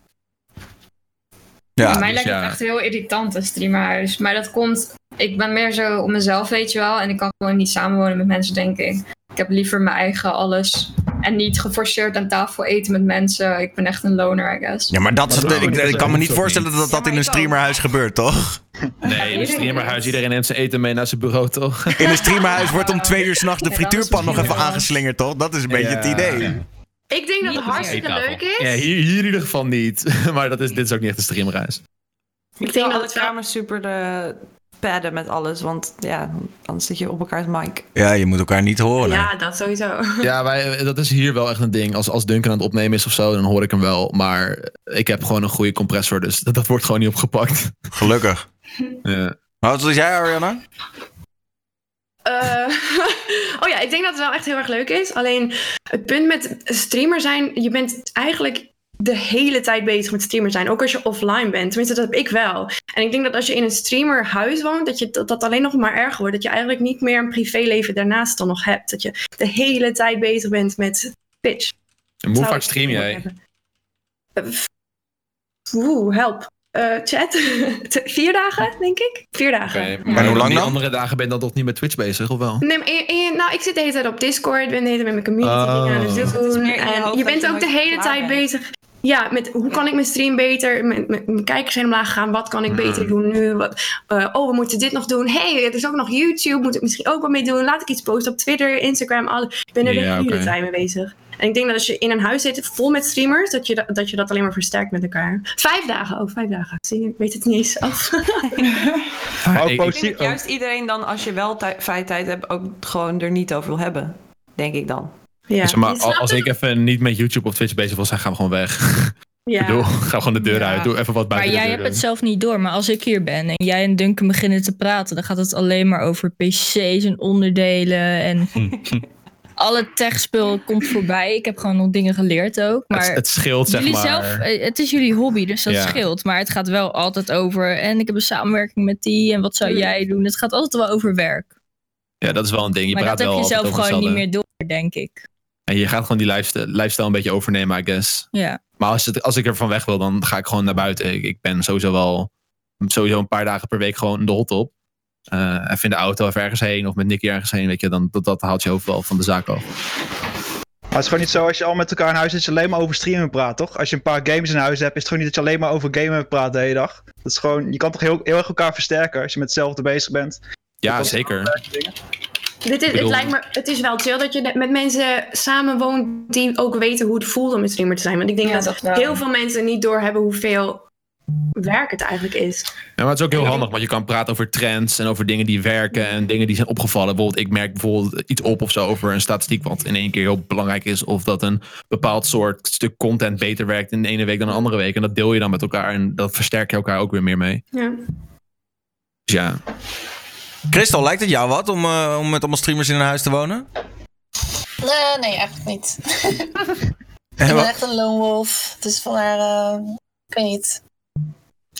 [SPEAKER 3] mij
[SPEAKER 7] dus
[SPEAKER 3] lijkt
[SPEAKER 7] ja.
[SPEAKER 3] het echt heel irritant, een streamerhuis. Maar dat komt... Ik ben meer zo op mezelf, weet je wel. En ik kan gewoon niet samenwonen met mensen, denk ik. Ik heb liever mijn eigen alles. En niet geforceerd aan tafel eten met mensen. Ik ben echt een loner, I guess.
[SPEAKER 1] Ja, maar dat, is- ik, ik kan me niet voorstellen dat dat in een streamerhuis gebeurt, toch?
[SPEAKER 7] Nee, in een streamerhuis. Iedereen neemt zijn eten mee naar zijn bureau, toch?
[SPEAKER 1] In een streamerhuis wordt om twee uur s'nachts de frituurpan nog even aangeslingerd, toch? Dat is een beetje het
[SPEAKER 7] [laughs] Ja.
[SPEAKER 1] idee.
[SPEAKER 9] Ik denk dat het hartstikke
[SPEAKER 7] Eettafel.
[SPEAKER 9] leuk is.
[SPEAKER 7] Ja, hier, hier in ieder geval niet. [laughs] maar dat is, dit is ook niet echt een streamerhuis.
[SPEAKER 10] Ik denk dat het kamer super eh, padden met alles. Want ja, anders zit je op elkaars mic.
[SPEAKER 1] Ja, je moet elkaar niet horen.
[SPEAKER 7] [laughs]
[SPEAKER 9] Ja, dat sowieso.
[SPEAKER 7] Oh, Ja, wij, dat is hier wel echt een ding. Als, als Duncan aan het opnemen is of zo, dan hoor ik hem wel. Maar ik heb gewoon een goede compressor, dus dat, dat wordt gewoon niet opgepakt.
[SPEAKER 1] Gelukkig.
[SPEAKER 7] Ja.
[SPEAKER 1] Wat was jij, Ariana?
[SPEAKER 9] Eh, [laughs] oh ja, ik denk dat het wel echt heel erg leuk is. Alleen het punt met streamer zijn, je bent eigenlijk de hele tijd bezig met streamer zijn. Ook als je offline bent. Tenminste, dat heb ik wel. En ik denk dat als je in een streamerhuis woont, dat je dat, dat alleen nog maar erger wordt. Dat je eigenlijk niet meer een privéleven daarnaast dan nog hebt. Dat je de hele tijd bezig bent met pitch. Eh,
[SPEAKER 7] En hoe vaak stream jij?
[SPEAKER 9] Oeh, help. Eh, chat. [laughs] T- Vier dagen, denk ik. Vier dagen.
[SPEAKER 7] Maar hoe lang dan? andere dagen ben je dan toch niet met Twitch bezig, of wel?
[SPEAKER 9] Nee, maar in- in- nou, ik zit de hele tijd op Discord, ben de hele tijd met mijn community
[SPEAKER 7] Oh.
[SPEAKER 9] dingen aan
[SPEAKER 7] Dus
[SPEAKER 9] het
[SPEAKER 7] het is
[SPEAKER 9] doen.
[SPEAKER 10] meer in je
[SPEAKER 9] En
[SPEAKER 10] hoofd
[SPEAKER 9] je
[SPEAKER 10] dat
[SPEAKER 9] bent
[SPEAKER 10] je
[SPEAKER 9] ook de
[SPEAKER 10] nooit
[SPEAKER 9] hele
[SPEAKER 10] klaar
[SPEAKER 9] tijd
[SPEAKER 10] bent.
[SPEAKER 9] bezig. Ja, met hoe kan ik mijn stream beter, mijn, mijn, mijn kijkers zijn omlaag gaan, wat kan ik
[SPEAKER 7] Mhm.
[SPEAKER 9] beter doen nu? Wat, eh, oh, we moeten dit nog doen. hey, er is ook nog YouTube, moet ik misschien ook wat mee doen? Laat ik iets posten op Twitter, Instagram, alles. Ik ben er de
[SPEAKER 7] Ja,
[SPEAKER 9] hele
[SPEAKER 7] oké.
[SPEAKER 9] tijd mee bezig. En ik denk dat als je in een huis zit vol met streamers, dat je dat, dat, je dat alleen maar versterkt met elkaar. Vijf dagen, oh, vijf dagen. Zie je, ik weet het niet eens
[SPEAKER 10] [laughs]
[SPEAKER 9] af.
[SPEAKER 2] Maar ook
[SPEAKER 10] ik denk
[SPEAKER 2] positief.
[SPEAKER 10] dat juist iedereen dan, als je wel tij- vrije tijd hebt, ook gewoon er niet over wil hebben. Denk ik dan.
[SPEAKER 9] Ja,
[SPEAKER 7] Zeg maar, al- als ik even niet met YouTube of Twitch bezig was, dan gaan we gewoon weg. [laughs]
[SPEAKER 9] Ja.
[SPEAKER 7] Ik bedoel, ga gewoon de deur uit. Doe even wat
[SPEAKER 6] Maar
[SPEAKER 7] buiten
[SPEAKER 6] jij
[SPEAKER 7] de deur
[SPEAKER 6] hebt het
[SPEAKER 7] doen.
[SPEAKER 6] zelf niet door. Maar als ik hier ben en jij en Duncan beginnen te praten, dan gaat het alleen maar over PC's en onderdelen.
[SPEAKER 7] [laughs]
[SPEAKER 6] En alle techspul komt voorbij. Ik heb gewoon nog dingen geleerd ook. Maar
[SPEAKER 7] Het- het scheelt, zeg
[SPEAKER 6] jullie
[SPEAKER 7] maar.
[SPEAKER 6] zelf- eh, het is jullie hobby, dus dat
[SPEAKER 7] Ja.
[SPEAKER 6] scheelt. Maar het gaat wel altijd over. En ik heb een samenwerking met die. En wat zou jij doen? Het gaat altijd wel over werk.
[SPEAKER 7] Ja, dat is wel een ding. Je
[SPEAKER 6] maar
[SPEAKER 7] praat
[SPEAKER 6] dat heb
[SPEAKER 7] wel
[SPEAKER 6] je
[SPEAKER 7] altijd
[SPEAKER 6] zelf
[SPEAKER 7] over
[SPEAKER 6] gewoon niet
[SPEAKER 7] hetzelfde.
[SPEAKER 6] meer door, denk ik.
[SPEAKER 7] En je gaat gewoon die lifestyle, lifestyle een beetje overnemen, I guess.
[SPEAKER 6] Ja.
[SPEAKER 7] Maar als, het, als ik er van weg wil, dan ga ik gewoon naar buiten. Ik, ik ben sowieso wel sowieso een paar dagen per week gewoon de hot op. Eh even in de auto, even ergens heen. Of met Nicky ergens heen, weet je. Dan, dat, dat haalt je overal van de zaak af.
[SPEAKER 2] Maar het is gewoon niet zo als je al met elkaar in huis zit, dat je alleen maar over streamen praat, toch? Als je een paar games in huis hebt, is het gewoon niet dat je alleen maar over gamen praat de hele dag. Dat is gewoon, je kan toch heel, heel erg elkaar versterken als je met hetzelfde bezig bent. [laughs]
[SPEAKER 7] Ja, zeker.
[SPEAKER 9] Dit is, het,
[SPEAKER 7] bedoel-
[SPEAKER 9] lijkt me, het is wel chill dat je met mensen samen woont die ook weten hoe het voelt om een streamer te zijn. Want ik denk dat, heel veel mensen niet doorhebben hoeveel werk het eigenlijk is.
[SPEAKER 7] Ja, maar het is ook heel handig, want je kan praten over trends en over dingen die werken en dingen die zijn opgevallen. Bijvoorbeeld, ik merk bijvoorbeeld iets op of zo over een statistiek, wat in één keer heel belangrijk is. Of dat een bepaald soort stuk content beter werkt in de ene week dan de andere week. En dat deel je dan met elkaar en dat versterk je elkaar ook weer meer mee.
[SPEAKER 9] Ja.
[SPEAKER 7] Dus ja.
[SPEAKER 1] Christel, lijkt het jou wat om, eh, om met allemaal streamers in een huis te wonen?
[SPEAKER 8] Eh, Nee, nee, eigenlijk niet. ik
[SPEAKER 1] [laughs] En
[SPEAKER 8] ben
[SPEAKER 1] wat-
[SPEAKER 8] echt een lone wolf. Dus vandaar, eh ik weet niet.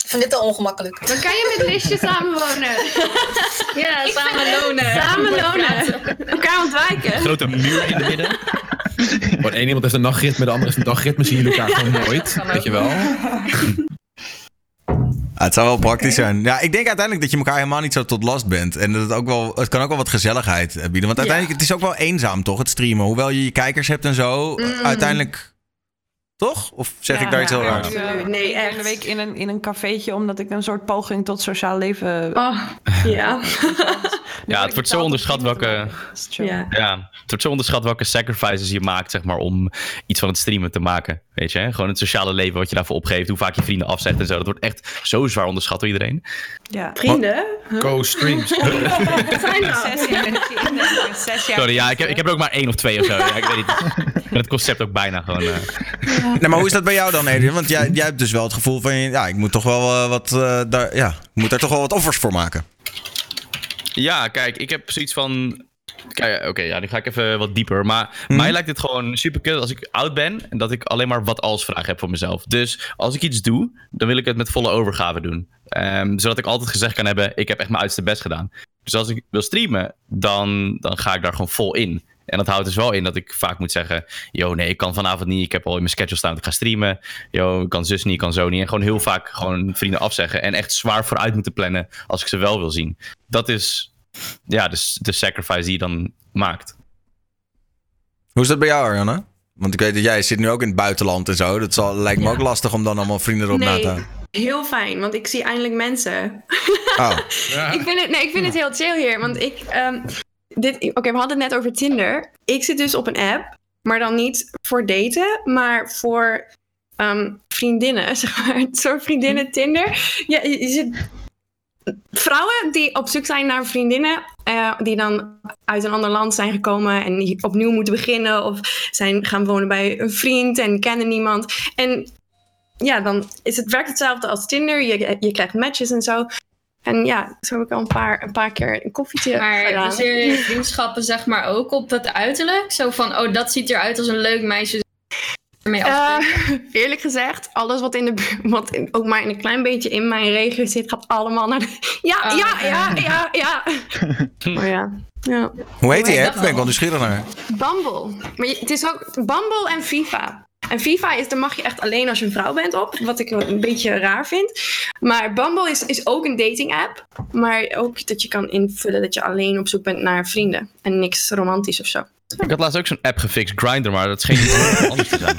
[SPEAKER 8] Ik vind dit al ongemakkelijk.
[SPEAKER 9] Dan kan je met Lisje
[SPEAKER 8] [laughs]
[SPEAKER 9] samenwonen.
[SPEAKER 3] Ja,
[SPEAKER 9] Ik
[SPEAKER 3] samen
[SPEAKER 9] vind-
[SPEAKER 3] lonen.
[SPEAKER 9] Samen
[SPEAKER 3] Wordt
[SPEAKER 9] lonen. Elkaar ontwijken.
[SPEAKER 7] Grote muur in het midden. Want één iemand heeft een nachtritme, de andere heeft een dagritme. Zien jullie elkaar gewoon nooit. [laughs] Weet je wel?
[SPEAKER 1] Ah, het zou wel praktisch zijn. Ja, ik denk uiteindelijk dat je elkaar helemaal niet zo tot last bent. En dat het, ook wel, het kan ook wel wat gezelligheid eh, bieden. Want uiteindelijk, het is ook wel eenzaam toch, het streamen. Hoewel je je kijkers hebt en zo, eh,
[SPEAKER 10] Mm.
[SPEAKER 1] uiteindelijk... Toch? Of zeg ik daar iets heel raars?
[SPEAKER 10] Nee, echt. Een week in een, in een cafeetje omdat ik een soort poging tot sociaal leven. [laughs]
[SPEAKER 11] Oh, ja.
[SPEAKER 4] Ja, het wordt zo onderschat welke.
[SPEAKER 10] Ja.
[SPEAKER 4] Ja, het wordt zo onderschat welke sacrifices je maakt, zeg maar, om iets van het streamen te maken. Weet je, hè? gewoon het sociale leven wat je daarvoor opgeeft, hoe vaak je vrienden afzegt en zo. Dat wordt echt zo zwaar onderschat door iedereen.
[SPEAKER 10] Ja.
[SPEAKER 11] Vrienden?
[SPEAKER 9] [laughs]
[SPEAKER 7] Co-streams.
[SPEAKER 11] Zijn
[SPEAKER 10] Zes jaar. Zes jaar.
[SPEAKER 4] Sorry, ja, ik heb, ik heb er ook maar één of twee of zo. Ja, ik weet het. Ik ben het concept ook bijna gewoon. eh.
[SPEAKER 1] Nee, maar hoe is dat bij jou dan, Adrian? Want jij, jij hebt dus wel het gevoel van, ja, ik moet toch wel eh, wat, eh, daar, ja, ik moet daar toch wel wat offers voor maken.
[SPEAKER 4] Ja, kijk, ik heb zoiets van. Kijk, Oké, ja, nu ga ik even wat dieper. Maar mij lijkt het gewoon super kut als ik oud ben en dat ik alleen maar wat als vraag heb voor mezelf. Dus als ik iets doe, dan wil ik het met volle overgave doen. Ehm, zodat ik altijd gezegd kan hebben: ik heb echt mijn uiterste best gedaan. Dus als ik wil streamen, dan, dan ga ik daar gewoon vol in. En dat houdt dus wel in dat ik vaak moet zeggen: Yo, nee, ik kan vanavond niet. Ik heb al in mijn schedule staan dat ik ga streamen. Yo, ik kan zus niet, ik kan zo niet. En gewoon heel vaak gewoon vrienden afzeggen. En echt zwaar vooruit moeten plannen als ik ze wel wil zien. Dat is ja, dus de, de sacrifice die je dan maakt.
[SPEAKER 1] Hoe is dat bij jou, Arianna? Want ik weet dat jij zit nu ook in het buitenland en zo. Dat zal, lijkt me ook lastig om dan allemaal vrienden erop na te
[SPEAKER 9] Nee,
[SPEAKER 1] houden.
[SPEAKER 9] heel fijn, want ik zie eindelijk mensen. [laughs]
[SPEAKER 1] Oh.
[SPEAKER 9] Ik vind het, nee, ik vind het heel chill hier, want ik... ehm, dit, Oké, we hadden het net over Tinder. Ik zit dus op een app, maar dan niet voor daten, maar voor ehm, vriendinnen, [laughs] zeg maar. Een soort vriendinnen Tinder. Ja, je, je zit vrouwen die op zoek zijn naar vriendinnen, eh, die dan uit een ander land zijn gekomen en die opnieuw moeten beginnen of zijn gaan wonen bij een vriend en kennen niemand. En ja, dan is het werkt hetzelfde als Tinder. Je, je krijgt matches en zo. En ja, zo heb ik al een paar, een paar keer een koffietje
[SPEAKER 3] Maar
[SPEAKER 9] gedaan.
[SPEAKER 3] baseer je vriendschappen zeg maar ook op het uiterlijk? Zo van, oh, dat ziet eruit als een leuk meisje. Ermee af-
[SPEAKER 9] Eh, eerlijk gezegd, alles wat in de bu- wat in- ook maar in een klein beetje in mijn regio zit, gaat allemaal naar de. Ja,
[SPEAKER 3] Oh,
[SPEAKER 9] ja,
[SPEAKER 3] oké.
[SPEAKER 9] ja, ja,
[SPEAKER 1] [laughs]
[SPEAKER 9] ja. Maar ja. ja.
[SPEAKER 1] Hoe heet die
[SPEAKER 9] dat
[SPEAKER 1] app? Ben ik wel nieuwsgierig naar.
[SPEAKER 9] Bumble. Maar je- het is ook Bumble en FIFA. En FIFA is, daar mag je echt alleen als je een vrouw bent op. Wat ik een beetje raar vind. Maar Bumble is, is ook een dating app. Maar ook dat je kan invullen dat je alleen op zoek bent naar vrienden. En niks romantisch of
[SPEAKER 10] [laughs]
[SPEAKER 9] zo.
[SPEAKER 4] Ik had laatst ook zo'n app gefixt, Grindr, maar dat scheen niet [laughs] anders te zijn.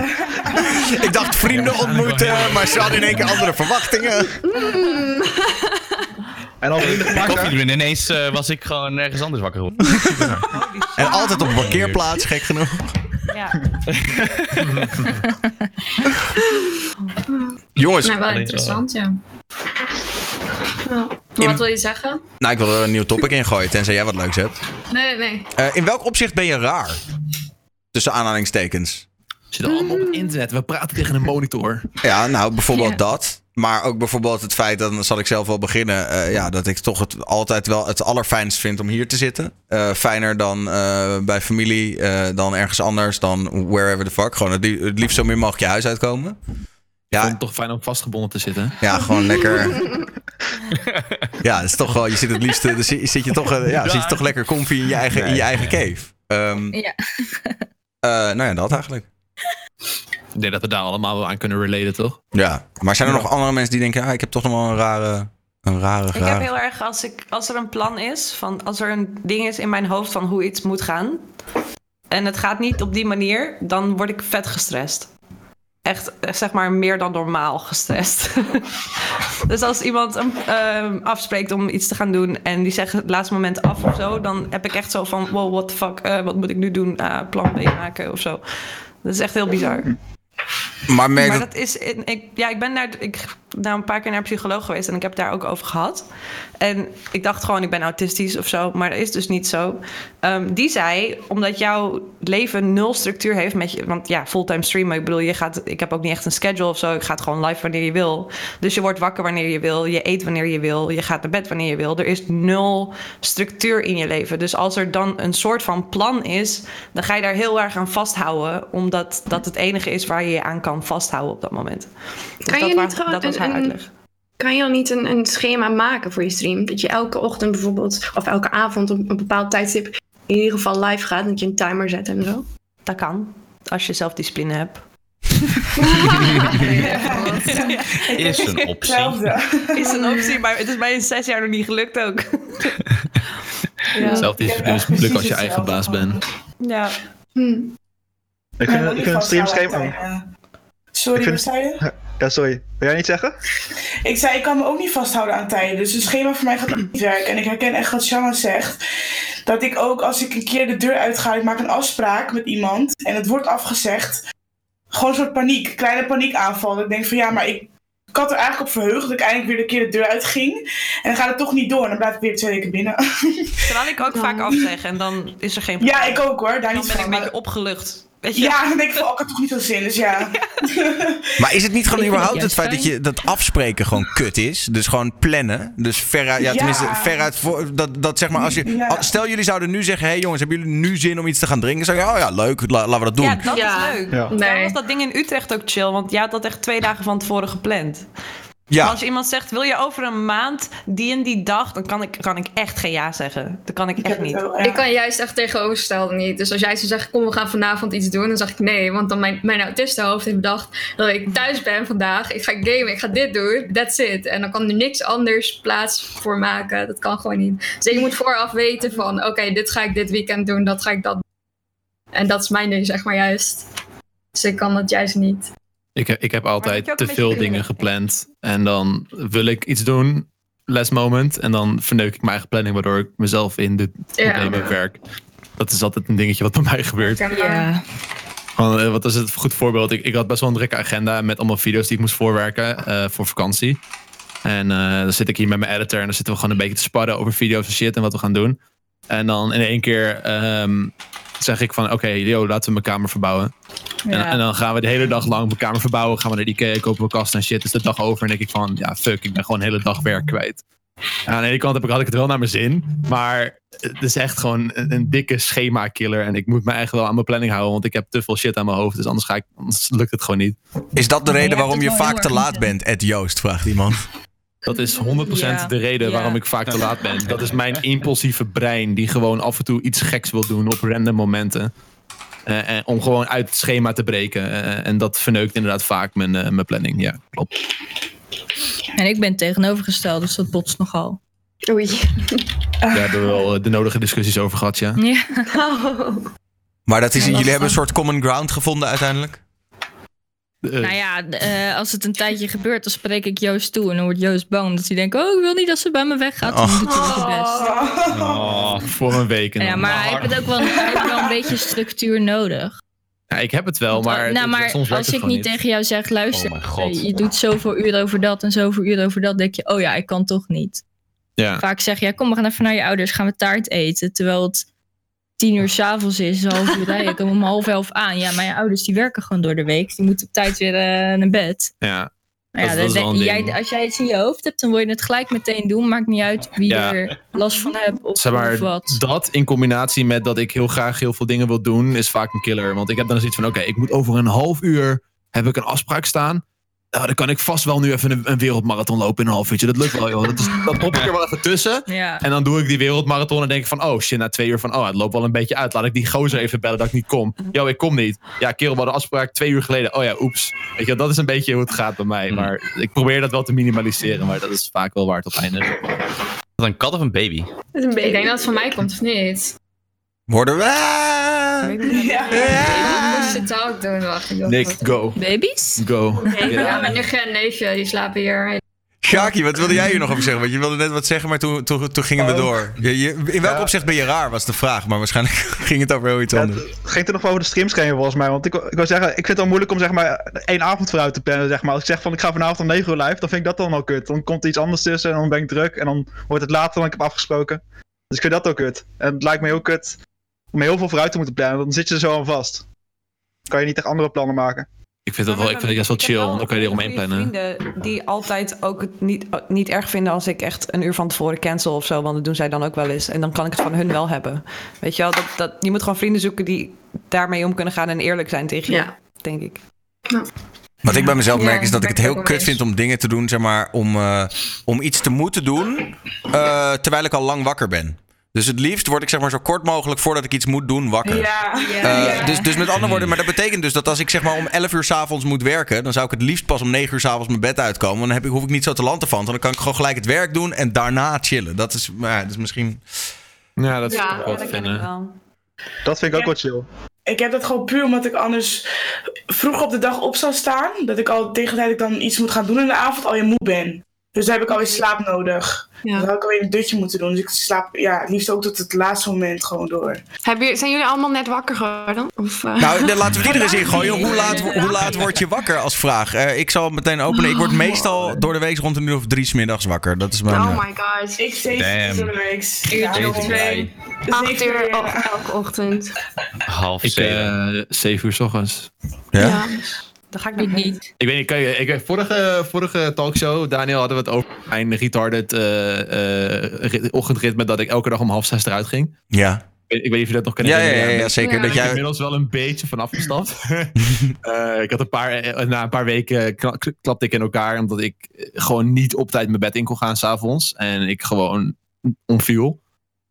[SPEAKER 1] [laughs] Ik dacht vrienden ontmoeten, maar ze hadden in één keer andere
[SPEAKER 7] [laughs]
[SPEAKER 1] verwachtingen.
[SPEAKER 2] En al vrienden gemaakt, hè?
[SPEAKER 4] Koffie doen. Ineens eh, was ik gewoon ergens anders wakker geworden.
[SPEAKER 7] [laughs]
[SPEAKER 1] En altijd op een parkeerplaats, gek genoeg.
[SPEAKER 10] Ja.
[SPEAKER 1] Jongens,
[SPEAKER 3] Nou, wel interessant, ja. Maar
[SPEAKER 1] In-
[SPEAKER 3] wat wil je zeggen?
[SPEAKER 1] nou, ik wil er een nieuw topic in gooien, tenzij jij wat leuks hebt.
[SPEAKER 3] Nee, nee.
[SPEAKER 1] Eh, in welk opzicht ben je raar? Tussen aanhalingstekens.
[SPEAKER 7] Ze zitten allemaal op het internet. We praten tegen een monitor.
[SPEAKER 1] Ja, nou, bijvoorbeeld
[SPEAKER 6] Ja.
[SPEAKER 1] dat. Maar ook bijvoorbeeld het feit, dan zal ik zelf wel beginnen, eh, ja, dat ik toch het altijd wel het allerfijnst vind om hier te zitten. Eh, fijner dan eh, bij familie, eh, dan ergens anders, dan wherever the fuck. Gewoon het, li- het liefst zo min mogelijk je huis uitkomen.
[SPEAKER 7] Ik
[SPEAKER 1] Ja,
[SPEAKER 7] vond het toch fijn om vastgebonden te zitten.
[SPEAKER 1] ja gewoon
[SPEAKER 7] [laughs]
[SPEAKER 1] lekker. Ja, het is toch wel, je zit het liefst, eh, dan zit, zit je toch, eh, ja, zit je toch lekker comfy in je eigen, in je eigen cave. Ehm,
[SPEAKER 6] Ja.
[SPEAKER 1] eh, nou ja, dat eigenlijk.
[SPEAKER 7] Ik denk dat we daar allemaal wel aan kunnen relaten, toch?
[SPEAKER 1] Ja, maar zijn er nog andere mensen die denken, ah, ik heb toch nog wel een rare, een rare,
[SPEAKER 10] Ik heb
[SPEAKER 1] rare-
[SPEAKER 10] heel erg, als, ik, als er een plan is, van, als er een ding is in mijn hoofd van hoe iets moet gaan. En het gaat niet op die manier, dan word ik vet gestrest. Echt, eh, zeg maar, meer dan normaal gestrest. [laughs] dus als iemand een, ehm, afspreekt om iets te gaan doen en die zegt het laatste moment af of zo, dan heb ik echt zo van, wow, what the fuck, eh, wat moet ik nu doen? Ah, plan B maken of zo. Dat is echt heel bizar.
[SPEAKER 1] Maar merk
[SPEAKER 10] Maar
[SPEAKER 1] dat-
[SPEAKER 10] dat is. in- Ik, ja, ik ben daar, ik, daar een paar keer naar een psycholoog geweest en ik heb daar ook over gehad. En ik dacht gewoon, ik ben autistisch of zo, maar dat is dus niet zo. Ehm, die zei, omdat jouw leven nul structuur heeft met je. Want ja, fulltime streamen, ik bedoel, je gaat, ik heb ook niet echt een schedule of zo. Ik ga het gewoon live wanneer je wil. Dus je wordt wakker wanneer je wil, je eet wanneer je wil, je gaat naar bed wanneer je wil. Er is nul structuur in je leven. Dus als er dan een soort van plan is, dan ga je daar heel erg aan vasthouden, omdat dat het enige is waar je je aan kan vasthouden op dat moment. Dus
[SPEAKER 11] Kan
[SPEAKER 10] dat
[SPEAKER 11] je
[SPEAKER 10] wa-
[SPEAKER 11] niet gewoon
[SPEAKER 10] dat was
[SPEAKER 11] een-
[SPEAKER 10] haar
[SPEAKER 11] een-
[SPEAKER 10] uitleg. [laughs]
[SPEAKER 7] [laughs]
[SPEAKER 11] Kan je dan niet een, een schema maken voor je stream? Dat je elke ochtend bijvoorbeeld, of elke avond op een bepaald tijdstip in ieder geval live gaat. Dat je een timer zet en zo.
[SPEAKER 10] Dat kan. Als je zelfdiscipline hebt.
[SPEAKER 4] Is een optie. Hetzelfde.
[SPEAKER 10] Is een optie, maar het is mij in zes jaar nog niet gelukt ook. Ja.
[SPEAKER 7] Hetzelfde is
[SPEAKER 10] Ik heb
[SPEAKER 7] dus
[SPEAKER 10] echt
[SPEAKER 7] moeilijk als je
[SPEAKER 10] precies
[SPEAKER 7] eigen baas bent.
[SPEAKER 10] Ja. Hm.
[SPEAKER 2] Ik vind, ik vind het streamschema...
[SPEAKER 5] Sorry,
[SPEAKER 2] Ik vind-
[SPEAKER 5] wat zei je?
[SPEAKER 2] Ja, sorry. Wil jij niet zeggen?
[SPEAKER 5] Ik zei, ik kan me ook niet vasthouden aan tijden. Dus een schema voor mij gaat ook niet werken. En ik herken echt wat Shanna zegt. Dat ik ook, als ik een keer de deur uitga, ik maak een afspraak met iemand. En het wordt afgezegd. Gewoon een soort paniek. Kleine paniekaanval. Dat ik denk van, ja, maar ik, ik had er eigenlijk op verheugd. Dat ik eindelijk weer een keer de deur uitging. En dan gaat het toch niet door. En dan blijf ik weer twee weken binnen.
[SPEAKER 10] Terwijl ik ook vaak afzeg en dan [laughs] is er geen
[SPEAKER 5] Ja, ik ook hoor. Daar
[SPEAKER 10] Dan
[SPEAKER 5] niet
[SPEAKER 10] ben ik
[SPEAKER 5] van,
[SPEAKER 10] een
[SPEAKER 5] maar-
[SPEAKER 10] beetje opgelucht. Weet je?
[SPEAKER 5] Ja, dan denk ik van, oh, ik had toch niet veel zin. Dus
[SPEAKER 10] [laughs]
[SPEAKER 5] ja.
[SPEAKER 1] Maar is het
[SPEAKER 5] Ik
[SPEAKER 1] niet gewoon
[SPEAKER 5] vind het
[SPEAKER 1] überhaupt het
[SPEAKER 5] juist
[SPEAKER 1] feit dat
[SPEAKER 5] fijn.
[SPEAKER 1] je dat afspreken gewoon kut is? Dus gewoon plannen. Dus veruit, ja,
[SPEAKER 5] Ja.
[SPEAKER 1] tenminste, veruit voor, dat, dat zeg maar als je.
[SPEAKER 5] Ja.
[SPEAKER 1] al- Stel jullie zouden nu zeggen: hé hey jongens, hebben jullie nu zin om iets te gaan drinken? Dan Zeg je, oh ja, leuk, la- laten we dat doen.
[SPEAKER 10] Ja, dat is leuk.
[SPEAKER 1] Ja.
[SPEAKER 10] Daarom was dat ding in Utrecht ook chill, want jij had dat echt twee dagen van tevoren gepland.
[SPEAKER 1] Ja.
[SPEAKER 10] Maar Als iemand zegt, wil je over een maand die en die dag, dan kan ik, kan ik echt geen ja zeggen. Dat kan ik echt niet.
[SPEAKER 3] Ik kan juist echt tegenovergestelde niet. Dus als jij zou zeggen, kom we gaan vanavond iets doen, dan zeg ik nee. Want dan mijn, mijn autistenhoofd heeft bedacht dat ik thuis ben vandaag. Ik ga gamen, ik ga dit doen, that's it. En dan kan er niks anders plaats voor maken. Dat kan gewoon niet. Dus ik moet vooraf weten van, oké, dit ga ik dit weekend doen, dat ga ik dat doen. En dat is mijn ding, zeg maar juist. Dus ik kan dat juist niet.
[SPEAKER 7] Ik heb, ik heb altijd
[SPEAKER 3] ook een
[SPEAKER 7] te
[SPEAKER 3] beetje
[SPEAKER 7] veel
[SPEAKER 3] kunnen
[SPEAKER 7] dingen gepland. En dan wil ik iets doen, last moment. En dan verneuk ik mijn eigen planning, waardoor ik mezelf in de
[SPEAKER 3] Ja.
[SPEAKER 7] problemen werk. Dat is altijd een dingetje wat bij mij gebeurt.
[SPEAKER 6] Ja.
[SPEAKER 7] Gewoon, eh, wat is het voor goed voorbeeld? Ik, ik had best wel een drukke agenda met allemaal video's die ik moest voorwerken eh, voor vakantie. En eh, dan zit ik hier met mijn editor en dan zitten we gewoon een beetje te sparren over video's en shit en wat we gaan doen. En dan in één keer ehm, zeg ik van oké, yo, laten we mijn kamer verbouwen. En,
[SPEAKER 12] Ja.
[SPEAKER 7] en dan eh. gaan we de hele dag lang mijn kamer verbouwen. Gaan we naar de Ikea, kopen we kasten en shit. Dus de dag over en denk ik van ja, fuck, ik ben gewoon de hele dag werk kwijt. En aan de ene kant heb ik, had ik het wel naar mijn zin. Maar het is echt gewoon een, een dikke schema-killer. En ik moet me eigenlijk wel aan mijn planning houden. Want ik heb te veel shit aan mijn hoofd. Dus anders, ga ik, anders lukt het gewoon niet.
[SPEAKER 1] Is dat de reden waarom je vaak te laat bent, Ed Joost? Vraagt iemand.
[SPEAKER 7] Dat is 100% de reden waarom ik vaak te laat ben. Dat is mijn impulsieve brein. Die gewoon af en toe iets geks wil doen op random momenten. Eh, eh, om gewoon uit het schema te breken. Eh, en dat verneukt inderdaad vaak mijn, eh, mijn planning. Ja, klopt.
[SPEAKER 6] En ik ben tegenovergesteld, dus dat botst nogal. Oei. Ah.
[SPEAKER 7] Daar hebben we wel eh, de nodige discussies over gehad, ja.
[SPEAKER 6] Ja. Oh.
[SPEAKER 1] Maar dat is,
[SPEAKER 6] Ja,
[SPEAKER 1] jullie
[SPEAKER 6] lastig.
[SPEAKER 1] hebben een soort common ground gevonden uiteindelijk?
[SPEAKER 7] Dus.
[SPEAKER 6] Nou ja, d- eh, als het een tijdje gebeurt, dan spreek ik Joost toe. En dan wordt Joost bang omdat hij denkt: Oh, ik wil niet dat ze bij me weggaat. Dan
[SPEAKER 7] Oh.
[SPEAKER 6] doet hij zijn best.
[SPEAKER 7] voor een week. en
[SPEAKER 6] Ja,
[SPEAKER 7] dan-
[SPEAKER 6] maar hij heeft het ook wel, hij heeft wel een beetje structuur nodig.
[SPEAKER 7] Ja, ik heb het wel, maar, het-
[SPEAKER 6] nou,
[SPEAKER 7] het-
[SPEAKER 6] maar
[SPEAKER 7] soms werkt
[SPEAKER 6] als
[SPEAKER 7] het
[SPEAKER 6] ik
[SPEAKER 7] gewoon
[SPEAKER 6] niet tegen jou zeg: Luister,
[SPEAKER 7] Oh mijn god.
[SPEAKER 6] eh, je doet zoveel uur over dat en zoveel uur over dat, denk je: Oh ja, ik kan toch niet.
[SPEAKER 7] Ja.
[SPEAKER 6] Vaak zeg je: ja, Kom, we gaan even naar je ouders, gaan we taart eten. Terwijl het tien uur s'avonds is, een half uur rijden. Ik kom om half elf aan. Ja, mijn ouders die werken gewoon door de week. Die moeten op tijd weer eh, naar bed.
[SPEAKER 7] Ja.
[SPEAKER 6] Nou ja,
[SPEAKER 7] dat, dat is
[SPEAKER 6] dat-
[SPEAKER 7] wel een ding.
[SPEAKER 6] jij, als jij iets in je hoofd hebt, dan wil je het gelijk meteen doen. Maakt niet uit wie
[SPEAKER 7] Ja.
[SPEAKER 6] er last van hebt of,
[SPEAKER 7] Zeg maar,
[SPEAKER 6] of wat.
[SPEAKER 7] dat in combinatie met dat ik heel graag heel veel dingen wil doen, is vaak een killer. Want ik heb dan zoiets van, oké, ik moet over een half uur, heb ik een afspraak staan. Nou, dan kan ik vast wel nu even een, een wereldmarathon lopen in een half uurtje. Dat lukt wel, joh. Dat, is, dat hop ik er wel even tussen.
[SPEAKER 6] Ja.
[SPEAKER 7] En dan doe ik die wereldmarathon en denk ik van, oh shit, na twee uur van, oh, het loopt wel een beetje uit. Laat ik die gozer even bellen dat ik niet kom.
[SPEAKER 6] Mhm.
[SPEAKER 7] Yo, ik kom niet. Ja, kerel, we hadden afspraak twee uur geleden. Oh ja, oeps. Weet je, dat is een beetje hoe het gaat bij
[SPEAKER 4] Mhm.
[SPEAKER 7] mij. Maar ik probeer dat wel te minimaliseren, maar dat is vaak wel waar het op eindigt.
[SPEAKER 4] Wat een kat of een baby?
[SPEAKER 3] Ik denk dat het van mij komt, of
[SPEAKER 9] [laughs]
[SPEAKER 3] niet?
[SPEAKER 1] Worden we?
[SPEAKER 3] Ja. Ik moest het ook doen, wacht. ik dacht
[SPEAKER 7] Nick,
[SPEAKER 3] dat-
[SPEAKER 7] go.
[SPEAKER 6] Baby's?
[SPEAKER 7] Go.
[SPEAKER 3] Ja,
[SPEAKER 7] Ja.
[SPEAKER 3] mijn nichtje en neefje, die slapen hier.
[SPEAKER 1] Shaki, wat wilde jij hier nog over zeggen? Want je wilde net wat zeggen, maar toen, toen, toen gingen we door. Je, je- in welk opzicht ben je raar, was de vraag. Maar waarschijnlijk [laughs] ging het over heel iets anders.
[SPEAKER 2] Ging het er nog wel over de streamschema volgens mij? Want ik, wil- ik wil zeggen, ik vind het al moeilijk om zeg maar één avond vooruit te plannen. Zeg maar. Als ik zeg van ik ga vanavond om 9 uur live, dan vind ik dat dan al kut. Dan komt er iets anders tussen en dan ben ik druk en dan wordt het later dan ik heb afgesproken. Dus ik vind dat ook kut. En het lijkt me heel kut om heel veel vooruit te moeten plannen, want dan zit je er zo aan vast. Kan je niet echt andere plannen maken.
[SPEAKER 7] Ik vind dat wel, ik vind dat juist wel chill, want dan kan je eromheen plannen.
[SPEAKER 10] Vrienden die altijd ook het niet, niet erg vinden als ik echt een uur van tevoren cancel of zo. Want dat doen zij dan ook wel eens. En dan kan ik het van hun wel hebben. Weet je wel, dat, dat, je moet gewoon vrienden zoeken die daarmee om kunnen gaan en eerlijk zijn tegen je.
[SPEAKER 9] Ja.
[SPEAKER 10] Denk ik.
[SPEAKER 1] Wat ik bij mezelf
[SPEAKER 10] Ja,
[SPEAKER 1] merk is dat ik
[SPEAKER 10] ben
[SPEAKER 1] het
[SPEAKER 10] ik
[SPEAKER 1] heel
[SPEAKER 10] ook
[SPEAKER 1] kut
[SPEAKER 10] mee
[SPEAKER 1] vind om dingen te doen, zeg maar, om, eh, om iets te moeten doen eh, terwijl ik al lang wakker ben. Dus het liefst word ik zeg maar zo kort mogelijk voordat ik iets moet doen wakker.
[SPEAKER 5] Ja.
[SPEAKER 1] Eh, Dus, dus met andere woorden, maar dat betekent dus dat als ik zeg maar om 11 uur s'avonds moet werken, dan zou ik het liefst pas om 9 uur s'avonds mijn bed uitkomen. Want Dan heb ik, hoef ik niet zo te lanten van. Dan kan ik gewoon gelijk het werk doen en daarna chillen. Dat is, maar ja, dat is misschien.
[SPEAKER 7] Ja,
[SPEAKER 5] dat is Ja, ook wel te dat ken vinden. ik wel.
[SPEAKER 2] Dat vind ik ook wel chill. Nou,
[SPEAKER 5] Ik heb dat gewoon puur omdat ik anders vroeg op de dag op zou staan. Dat ik al tegen de tijd dat ik dan iets moet gaan doen in de avond al je moe ben. Dus dan heb ik alweer slaap nodig. Dan zou ik alweer een dutje moeten doen. Dus ik slaap ja, het liefst ook tot het laatste moment gewoon door.
[SPEAKER 9] Hebben, jullie- zijn jullie allemaal net wakker geworden? Of, [laughs] eh?
[SPEAKER 1] Nou, dan laten we die er eens in gooien. Hoe laat, hoe laat word je wakker als vraag? Eh, ik zal meteen openen. Ik word meestal door de week rond een uur of drie 's middags wakker. Dat is mijn.
[SPEAKER 9] Oh my god.
[SPEAKER 5] Ik steeds
[SPEAKER 1] Damn.
[SPEAKER 5] door de week.
[SPEAKER 9] Uurtje
[SPEAKER 1] Ja,
[SPEAKER 9] of
[SPEAKER 1] weet
[SPEAKER 9] twee. Acht uur el- eh, elke ochtend.
[SPEAKER 7] Half ik, zeven. zeven uur s ochtends.
[SPEAKER 1] Ja?
[SPEAKER 10] Dat ga ik nog niet.
[SPEAKER 7] Ik weet niet, kan je, ik, vorige, vorige talkshow, Daniel, hadden we het over mijn retarded eh, eh, rit- ochtendritme dat ik elke dag om half zes eruit ging.
[SPEAKER 1] Ja.
[SPEAKER 7] Ik, ik weet niet of je dat nog kan
[SPEAKER 1] Ja,
[SPEAKER 7] herinneren,
[SPEAKER 1] ja, ja, ja,
[SPEAKER 7] maar
[SPEAKER 1] zeker.
[SPEAKER 7] daar
[SPEAKER 1] Dat
[SPEAKER 7] ben ik
[SPEAKER 1] jij-
[SPEAKER 7] inmiddels wel een beetje van
[SPEAKER 1] [laughs]
[SPEAKER 7] afgestapt. [laughs] Eh, ik had een paar, eh, na een paar weken kna- k- klapte ik in elkaar, omdat ik eh, gewoon niet op tijd mijn bed in kon gaan s'avonds. En ik gewoon omviel.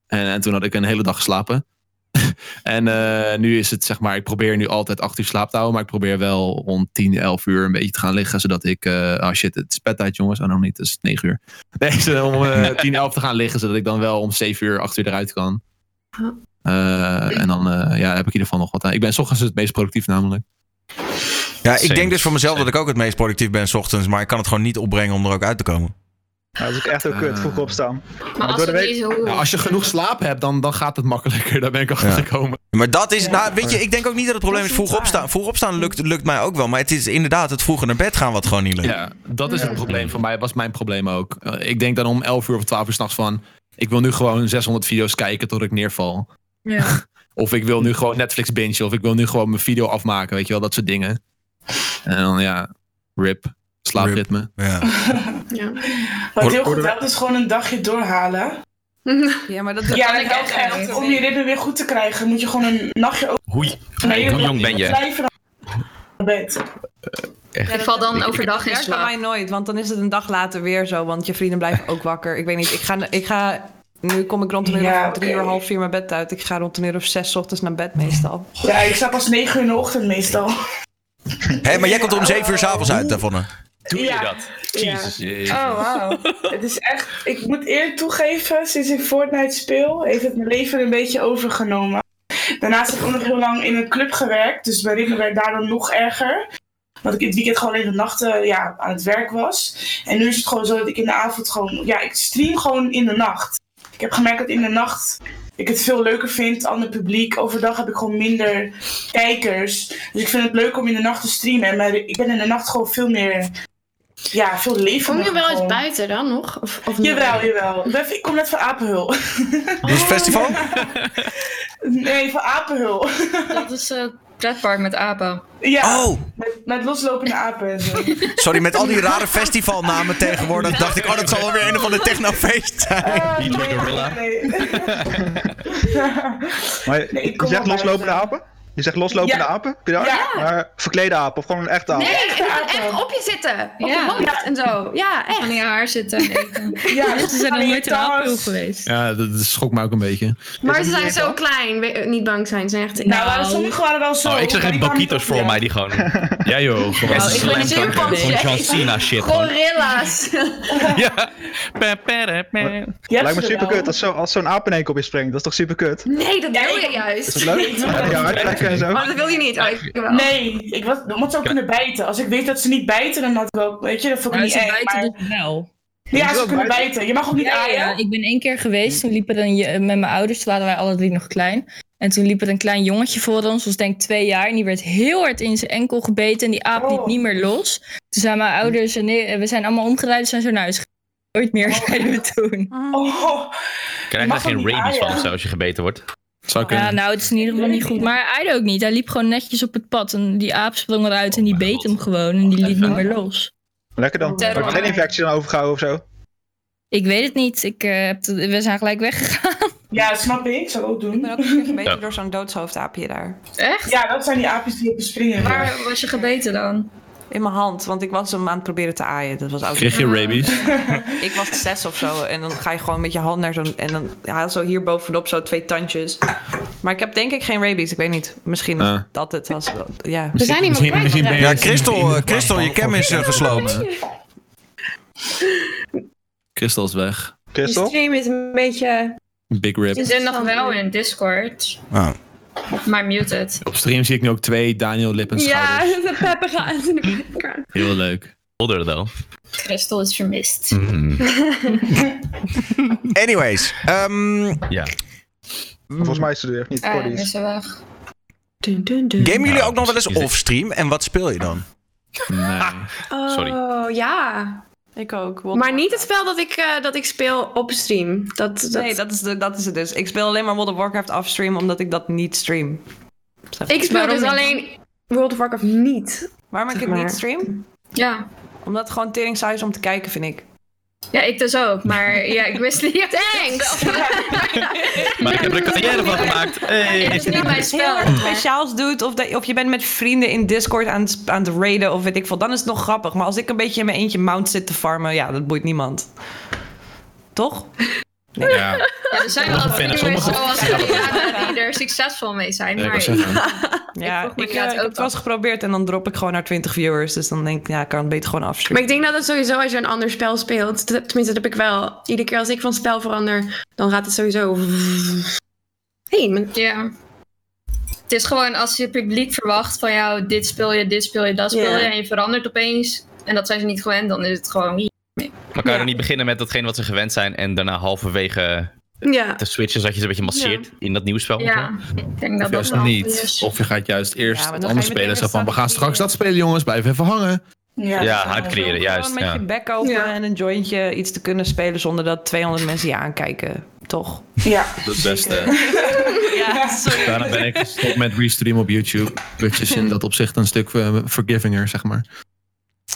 [SPEAKER 7] En, en toen had ik een hele dag geslapen. [laughs] en eh, nu is het zeg maar, ik probeer nu altijd acht uur slaap te houden, maar ik probeer wel rond 10, 11 uur een beetje te gaan liggen, zodat ik, eh oh shit, het is bedtijd jongens, oh nog niet, het is 9 uur. Nee, zo om eh 10, 11 te gaan liggen, zodat ik dan wel om 7 uur, 8 uur eruit kan. Eh, en dan eh, ja, heb ik in ieder geval nog wat aan. Ik ben 's ochtends het meest productief namelijk.
[SPEAKER 1] Ja, ik denk dus voor mezelf dat ik ook het meest productief ben 's ochtends, maar ik kan het gewoon niet opbrengen om er ook uit te komen.
[SPEAKER 2] Ja, dat is ook echt heel kut, vroeg opstaan.
[SPEAKER 3] Maar als het niet zo-
[SPEAKER 7] Nou, als je genoeg slaap hebt, dan, dan gaat het makkelijker. Daar ben ik achter gekomen.
[SPEAKER 1] Maar dat is, nou, weet je, ik denk ook niet dat het probleem is vroeg opstaan. Vroeg opstaan lukt, lukt mij ook wel, maar het is inderdaad het vroeger naar bed gaan wat gewoon niet lukt.
[SPEAKER 7] Ja, dat is het probleem van mij. was mijn probleem ook. Eh, ik denk dan om 11 uur of 12 uur s'nachts van... ik wil nu gewoon 600 video's kijken tot ik neerval.
[SPEAKER 6] Ja.
[SPEAKER 7] Of ik wil nu gewoon Netflix bingen. Of ik wil nu gewoon mijn video afmaken. Weet je wel, dat soort dingen. En dan ja, rip. Slaapritme.
[SPEAKER 1] Ja.
[SPEAKER 5] [laughs]
[SPEAKER 9] Ja.
[SPEAKER 5] Wat heel goed helpt is gewoon een dagje doorhalen.
[SPEAKER 10] Ja, maar dat
[SPEAKER 5] Ja, dat helpt echt. Om je ritme weer goed te krijgen moet je gewoon een nachtje ook...
[SPEAKER 4] Hoe, hoe jong ben je? Eh,
[SPEAKER 5] Bed.
[SPEAKER 3] Ik val dan overdag in
[SPEAKER 10] Het werkt bij
[SPEAKER 3] slaap.
[SPEAKER 10] mij nooit, want dan is het een dag later weer zo. Want je vrienden blijven ook wakker. Ik weet niet, ik ga... Ik ga nu kom ik rond een uur
[SPEAKER 5] Ja,
[SPEAKER 10] of drie
[SPEAKER 5] oké.
[SPEAKER 10] uur, half vier mijn bed uit. Ik ga rond een uur of zes 's ochtends naar bed meestal.
[SPEAKER 5] Ja, ik slaap pas 9 uur in de ochtend meestal.
[SPEAKER 1] Hé, maar jij komt om 7 uur s'avonds uit, Davonne.
[SPEAKER 5] Doe je dat? Jezus. Oh, wauw. het is echt... Ik moet eerlijk toegeven, sinds ik Fortnite speel, heeft het mijn leven een beetje overgenomen. Daarnaast heb ik ook nog heel lang in een club gewerkt, dus mijn ritme werd daardoor nog erger. Want ik in het weekend gewoon in de nachten ja, aan het werk was. En nu is het gewoon zo dat ik in de avond gewoon... Ja, ik stream gewoon in de nacht. Ik heb gemerkt dat in de nacht ik het veel leuker vind, ander publiek. Overdag heb ik gewoon minder kijkers. Dus ik vind het leuk om in de nacht te streamen. Maar ik ben in de nacht gewoon veel meer... Ja, veel
[SPEAKER 9] Kom
[SPEAKER 5] levendiger.
[SPEAKER 9] je wel eens
[SPEAKER 5] gewoon.
[SPEAKER 9] buiten dan nog? Of, of
[SPEAKER 5] Jawel, jawel. Ik ben- Ik kom net van Apenhul. [laughs]
[SPEAKER 1] Dus festival?
[SPEAKER 5] Nee, van Apenhul. [laughs]
[SPEAKER 3] Dat is eh, het pretpark met apen.
[SPEAKER 5] Ja,
[SPEAKER 1] Oh.
[SPEAKER 5] met, met loslopende apen en zo.
[SPEAKER 1] Sorry, met al die rare festivalnamen tegenwoordig dacht ik, oh, dat zal wel weer een van de technofeest zijn.
[SPEAKER 5] DJ Gorilla.
[SPEAKER 2] Maar
[SPEAKER 5] ik
[SPEAKER 2] je
[SPEAKER 5] kom
[SPEAKER 2] zegt
[SPEAKER 5] wel
[SPEAKER 2] loslopende apen? Je zegt loslopende
[SPEAKER 5] Ja.
[SPEAKER 2] apen? Heb je daar?
[SPEAKER 9] Ja.
[SPEAKER 2] Maar verklede apen of gewoon een echte apen?
[SPEAKER 9] Nee, ik moet echt op je zitten. Op
[SPEAKER 3] Ja.
[SPEAKER 9] je hoofd en zo. Ja,
[SPEAKER 3] Van
[SPEAKER 9] echt.
[SPEAKER 3] je haar zitten en eten.
[SPEAKER 6] [laughs]
[SPEAKER 5] Ja,
[SPEAKER 6] Mensen zijn nog nooit in Apel geweest.
[SPEAKER 7] Ja, dat, dat schokt mij ook een beetje.
[SPEAKER 9] Maar ze zijn zo klein. We- eh, Niet bang zijn. Ze zijn echt...
[SPEAKER 5] Nou, waren sommigen waren wel zo.
[SPEAKER 4] Oh, ik zeg
[SPEAKER 5] maar
[SPEAKER 4] echt
[SPEAKER 5] die kwamen
[SPEAKER 4] Boquitos
[SPEAKER 5] niet
[SPEAKER 4] voor
[SPEAKER 5] op-
[SPEAKER 4] mij die gewoon.
[SPEAKER 7] Ja joh, gewoon.
[SPEAKER 4] Gewoon
[SPEAKER 9] ik ben een
[SPEAKER 4] slam dunk,
[SPEAKER 9] zeerpantje.
[SPEAKER 4] Gewoon John Cena shit. gewoon.
[SPEAKER 9] Gorilla's.
[SPEAKER 4] Ja. Pe, pe, pe, pe.
[SPEAKER 5] Ja,
[SPEAKER 2] Lijkt me
[SPEAKER 5] ze wel.
[SPEAKER 2] super kut als zo'n als zo'n aap in één keer op je springt. Dat is toch super kut?
[SPEAKER 9] Nee, dat
[SPEAKER 5] Ja,
[SPEAKER 9] wil
[SPEAKER 5] ik-
[SPEAKER 9] je juist.
[SPEAKER 2] Is dat
[SPEAKER 5] [laughs]
[SPEAKER 2] leuk? Heb je haar uitplekken en zo?
[SPEAKER 9] Oh, dat wil je niet. Oh, ik wel.
[SPEAKER 5] Nee, ik was, omdat ze ook kunnen bijten. Als ik weet dat ze niet bijten, dan had ik wel, weet je, dat vond ik
[SPEAKER 6] Maar
[SPEAKER 5] niet
[SPEAKER 6] ze
[SPEAKER 5] eng.
[SPEAKER 6] buiten
[SPEAKER 5] maar-
[SPEAKER 6] dus wel.
[SPEAKER 5] Ja, ze kunnen bijten. Je mag ook niet
[SPEAKER 6] Ja,
[SPEAKER 5] aaien.
[SPEAKER 6] ja, ik ben één keer geweest. Toen liepen er een, je- met mijn ouders, toen waren wij alle drie nog klein. En toen liep er een klein jongetje voor ons, was denk ik twee jaar. En die werd heel hard in zijn enkel gebeten en die aap
[SPEAKER 5] Oh.
[SPEAKER 6] liep niet meer los. Toen zijn mijn ouders, en nee, we zijn allemaal omgedraaid en zijn zo naar huis gegaan. Nooit meer zeiden we toen.
[SPEAKER 5] Oh.
[SPEAKER 4] Krijg daar geen rabies van of zo als je gebeten wordt?
[SPEAKER 7] Zou
[SPEAKER 6] Ja, nou, het is in ieder geval niet goed. Maar hij aaide ook niet. Hij liep gewoon netjes op het pad. En die aap sprong eruit en die beet hem gewoon. En die liep niet meer los.
[SPEAKER 2] Lekker dan.
[SPEAKER 6] Terror.
[SPEAKER 2] Heb je geen infectie aan overgehouden of zo?
[SPEAKER 6] Ik weet het niet. Ik, eh, heb het- we zijn gelijk weggegaan.
[SPEAKER 5] Ja, snap ik. Ik zou het ook doen. Ik
[SPEAKER 10] ben ook een keer gebeten door zo'n doodshoofdaapje daar.
[SPEAKER 6] Echt?
[SPEAKER 5] Ja, dat zijn die aapjes die op je springen.
[SPEAKER 10] Waar
[SPEAKER 3] was je gebeten dan?
[SPEAKER 10] In mijn hand, want ik was hem aan het proberen te aaien. Dat was oud.
[SPEAKER 7] Kreeg je
[SPEAKER 3] Ah. [laughs]
[SPEAKER 7] rabies?
[SPEAKER 10] ik was zes of zo. En dan ga je gewoon met je hand naar zo'n... En dan ja, zo hier bovenop zo twee tandjes. Maar ik heb denk ik geen rabies. Ik weet niet. Misschien
[SPEAKER 7] Ah.
[SPEAKER 10] dat het was. Ja.
[SPEAKER 1] Er zijn iemand
[SPEAKER 7] Misschien- misschien ben je-
[SPEAKER 1] Ja, Christel, eh, Christel, je cam is eh,
[SPEAKER 9] [laughs]
[SPEAKER 1] gesloopt.
[SPEAKER 7] Christel is weg.
[SPEAKER 3] De stream is een beetje...
[SPEAKER 7] Big rip.
[SPEAKER 3] Ze zijn nog wel in Discord, maar muted.
[SPEAKER 7] Op stream zie ik nu ook twee Daniel Lippens
[SPEAKER 3] Ja, [laughs]
[SPEAKER 11] de peppen gaan in de background.
[SPEAKER 7] Heel leuk.
[SPEAKER 4] Older though.
[SPEAKER 3] Crystal is vermist.
[SPEAKER 1] Mhm. Hmm.
[SPEAKER 3] [laughs] Ah,
[SPEAKER 1] Anyways. ehm,
[SPEAKER 4] ja.
[SPEAKER 2] Volgens mij is ze er echt niet.
[SPEAKER 3] Ah,
[SPEAKER 2] Cordy.
[SPEAKER 3] is ze weg.
[SPEAKER 1] Gamen jullie ook nog wel eens off-stream? En wat speel je dan?
[SPEAKER 9] Oh, ja.
[SPEAKER 10] Ik ook.
[SPEAKER 9] Maar niet het spel dat ik, eh, dat ik speel op stream. Dat, dat...
[SPEAKER 10] Nee, dat is, de, dat is het dus. Ik speel alleen maar World of Warcraft offstream omdat ik dat niet stream.
[SPEAKER 9] Ik speel dus alleen World of Warcraft niet.
[SPEAKER 10] Waarom ik
[SPEAKER 9] zeg
[SPEAKER 10] het niet
[SPEAKER 9] maar.
[SPEAKER 10] stream?
[SPEAKER 3] Ja.
[SPEAKER 10] Omdat het gewoon tering saai is om te kijken, vind ik.
[SPEAKER 3] Ja, ik dus ook,
[SPEAKER 10] [laughs]
[SPEAKER 3] maar ja, ik wist niet. Thanks! [laughs]
[SPEAKER 4] Maar ik heb er een carrière van gemaakt. Hey.
[SPEAKER 10] Ja,
[SPEAKER 3] niet mijn
[SPEAKER 10] iets
[SPEAKER 3] spel,
[SPEAKER 10] heel erg
[SPEAKER 3] maar-
[SPEAKER 10] speciaals doet. Of, dat, of je bent met vrienden in Discord aan het, sp- aan het raiden of weet ik veel. Dan is het nog grappig. Maar als ik een beetje in mijn eentje mount zit te farmen, ja, dat boeit niemand. Toch?
[SPEAKER 7] Ja.
[SPEAKER 3] Ja, er zijn wel
[SPEAKER 10] Sommige
[SPEAKER 3] wat
[SPEAKER 10] vinden-
[SPEAKER 3] streamers
[SPEAKER 10] sommige
[SPEAKER 3] zoals
[SPEAKER 10] vinden-
[SPEAKER 3] Adriana die er succesvol mee zijn,
[SPEAKER 10] Ja, ik
[SPEAKER 3] maar
[SPEAKER 10] wou
[SPEAKER 3] ik, [laughs]
[SPEAKER 10] Ja,
[SPEAKER 3] vroeg
[SPEAKER 10] ik,
[SPEAKER 3] me inderdaad
[SPEAKER 10] eh, ik heb
[SPEAKER 3] ook
[SPEAKER 10] het wel eens geprobeerd en dan drop ik gewoon naar 20 viewers. Dus dan denk ik, ja, ik kan het beter gewoon
[SPEAKER 9] Maar
[SPEAKER 10] afstreamen.
[SPEAKER 9] ik denk dat het sowieso als je een ander spel speelt. dat- Tenminste, dat heb ik wel. Iedere keer als ik van spel verander, dan gaat het sowieso. Heen.
[SPEAKER 3] Ja. Het is gewoon als je publiek verwacht van jou, dit speel je, dit speel je, dat speel je,
[SPEAKER 9] Ja.
[SPEAKER 3] en je verandert opeens, en dat zijn ze niet gewend, dan is het gewoon...
[SPEAKER 4] Maar kan je dan niet beginnen met datgene wat ze gewend zijn en daarna halverwege
[SPEAKER 9] Ja.
[SPEAKER 4] te switchen zodat je ze een beetje masseert in dat nieuwe spel?
[SPEAKER 3] Ja, ik denk dat
[SPEAKER 7] Of
[SPEAKER 3] dat
[SPEAKER 7] juist
[SPEAKER 3] wel
[SPEAKER 7] niet.
[SPEAKER 3] is.
[SPEAKER 7] Of je gaat juist eerst
[SPEAKER 10] maar
[SPEAKER 7] het
[SPEAKER 10] dan
[SPEAKER 7] anders
[SPEAKER 10] ga je
[SPEAKER 7] spelen.
[SPEAKER 10] meteen
[SPEAKER 7] Zo van, we
[SPEAKER 10] weer
[SPEAKER 7] gaan straks dat spelen jongens, blijf even hangen.
[SPEAKER 4] Ja, hype creëren,
[SPEAKER 10] Gewoon
[SPEAKER 4] juist,
[SPEAKER 10] met
[SPEAKER 4] ja.
[SPEAKER 10] je bek open en een jointje iets te kunnen spelen zonder dat 200 mensen je aankijken. Toch?
[SPEAKER 5] Ja.
[SPEAKER 7] Dat is best. eh,
[SPEAKER 10] [laughs]
[SPEAKER 5] [laughs]
[SPEAKER 10] ja, sorry.
[SPEAKER 7] [laughs] daarna ben ik gestopt met restream op YouTube. Which is in dat opzicht een stuk eh, forgivinger, zeg maar.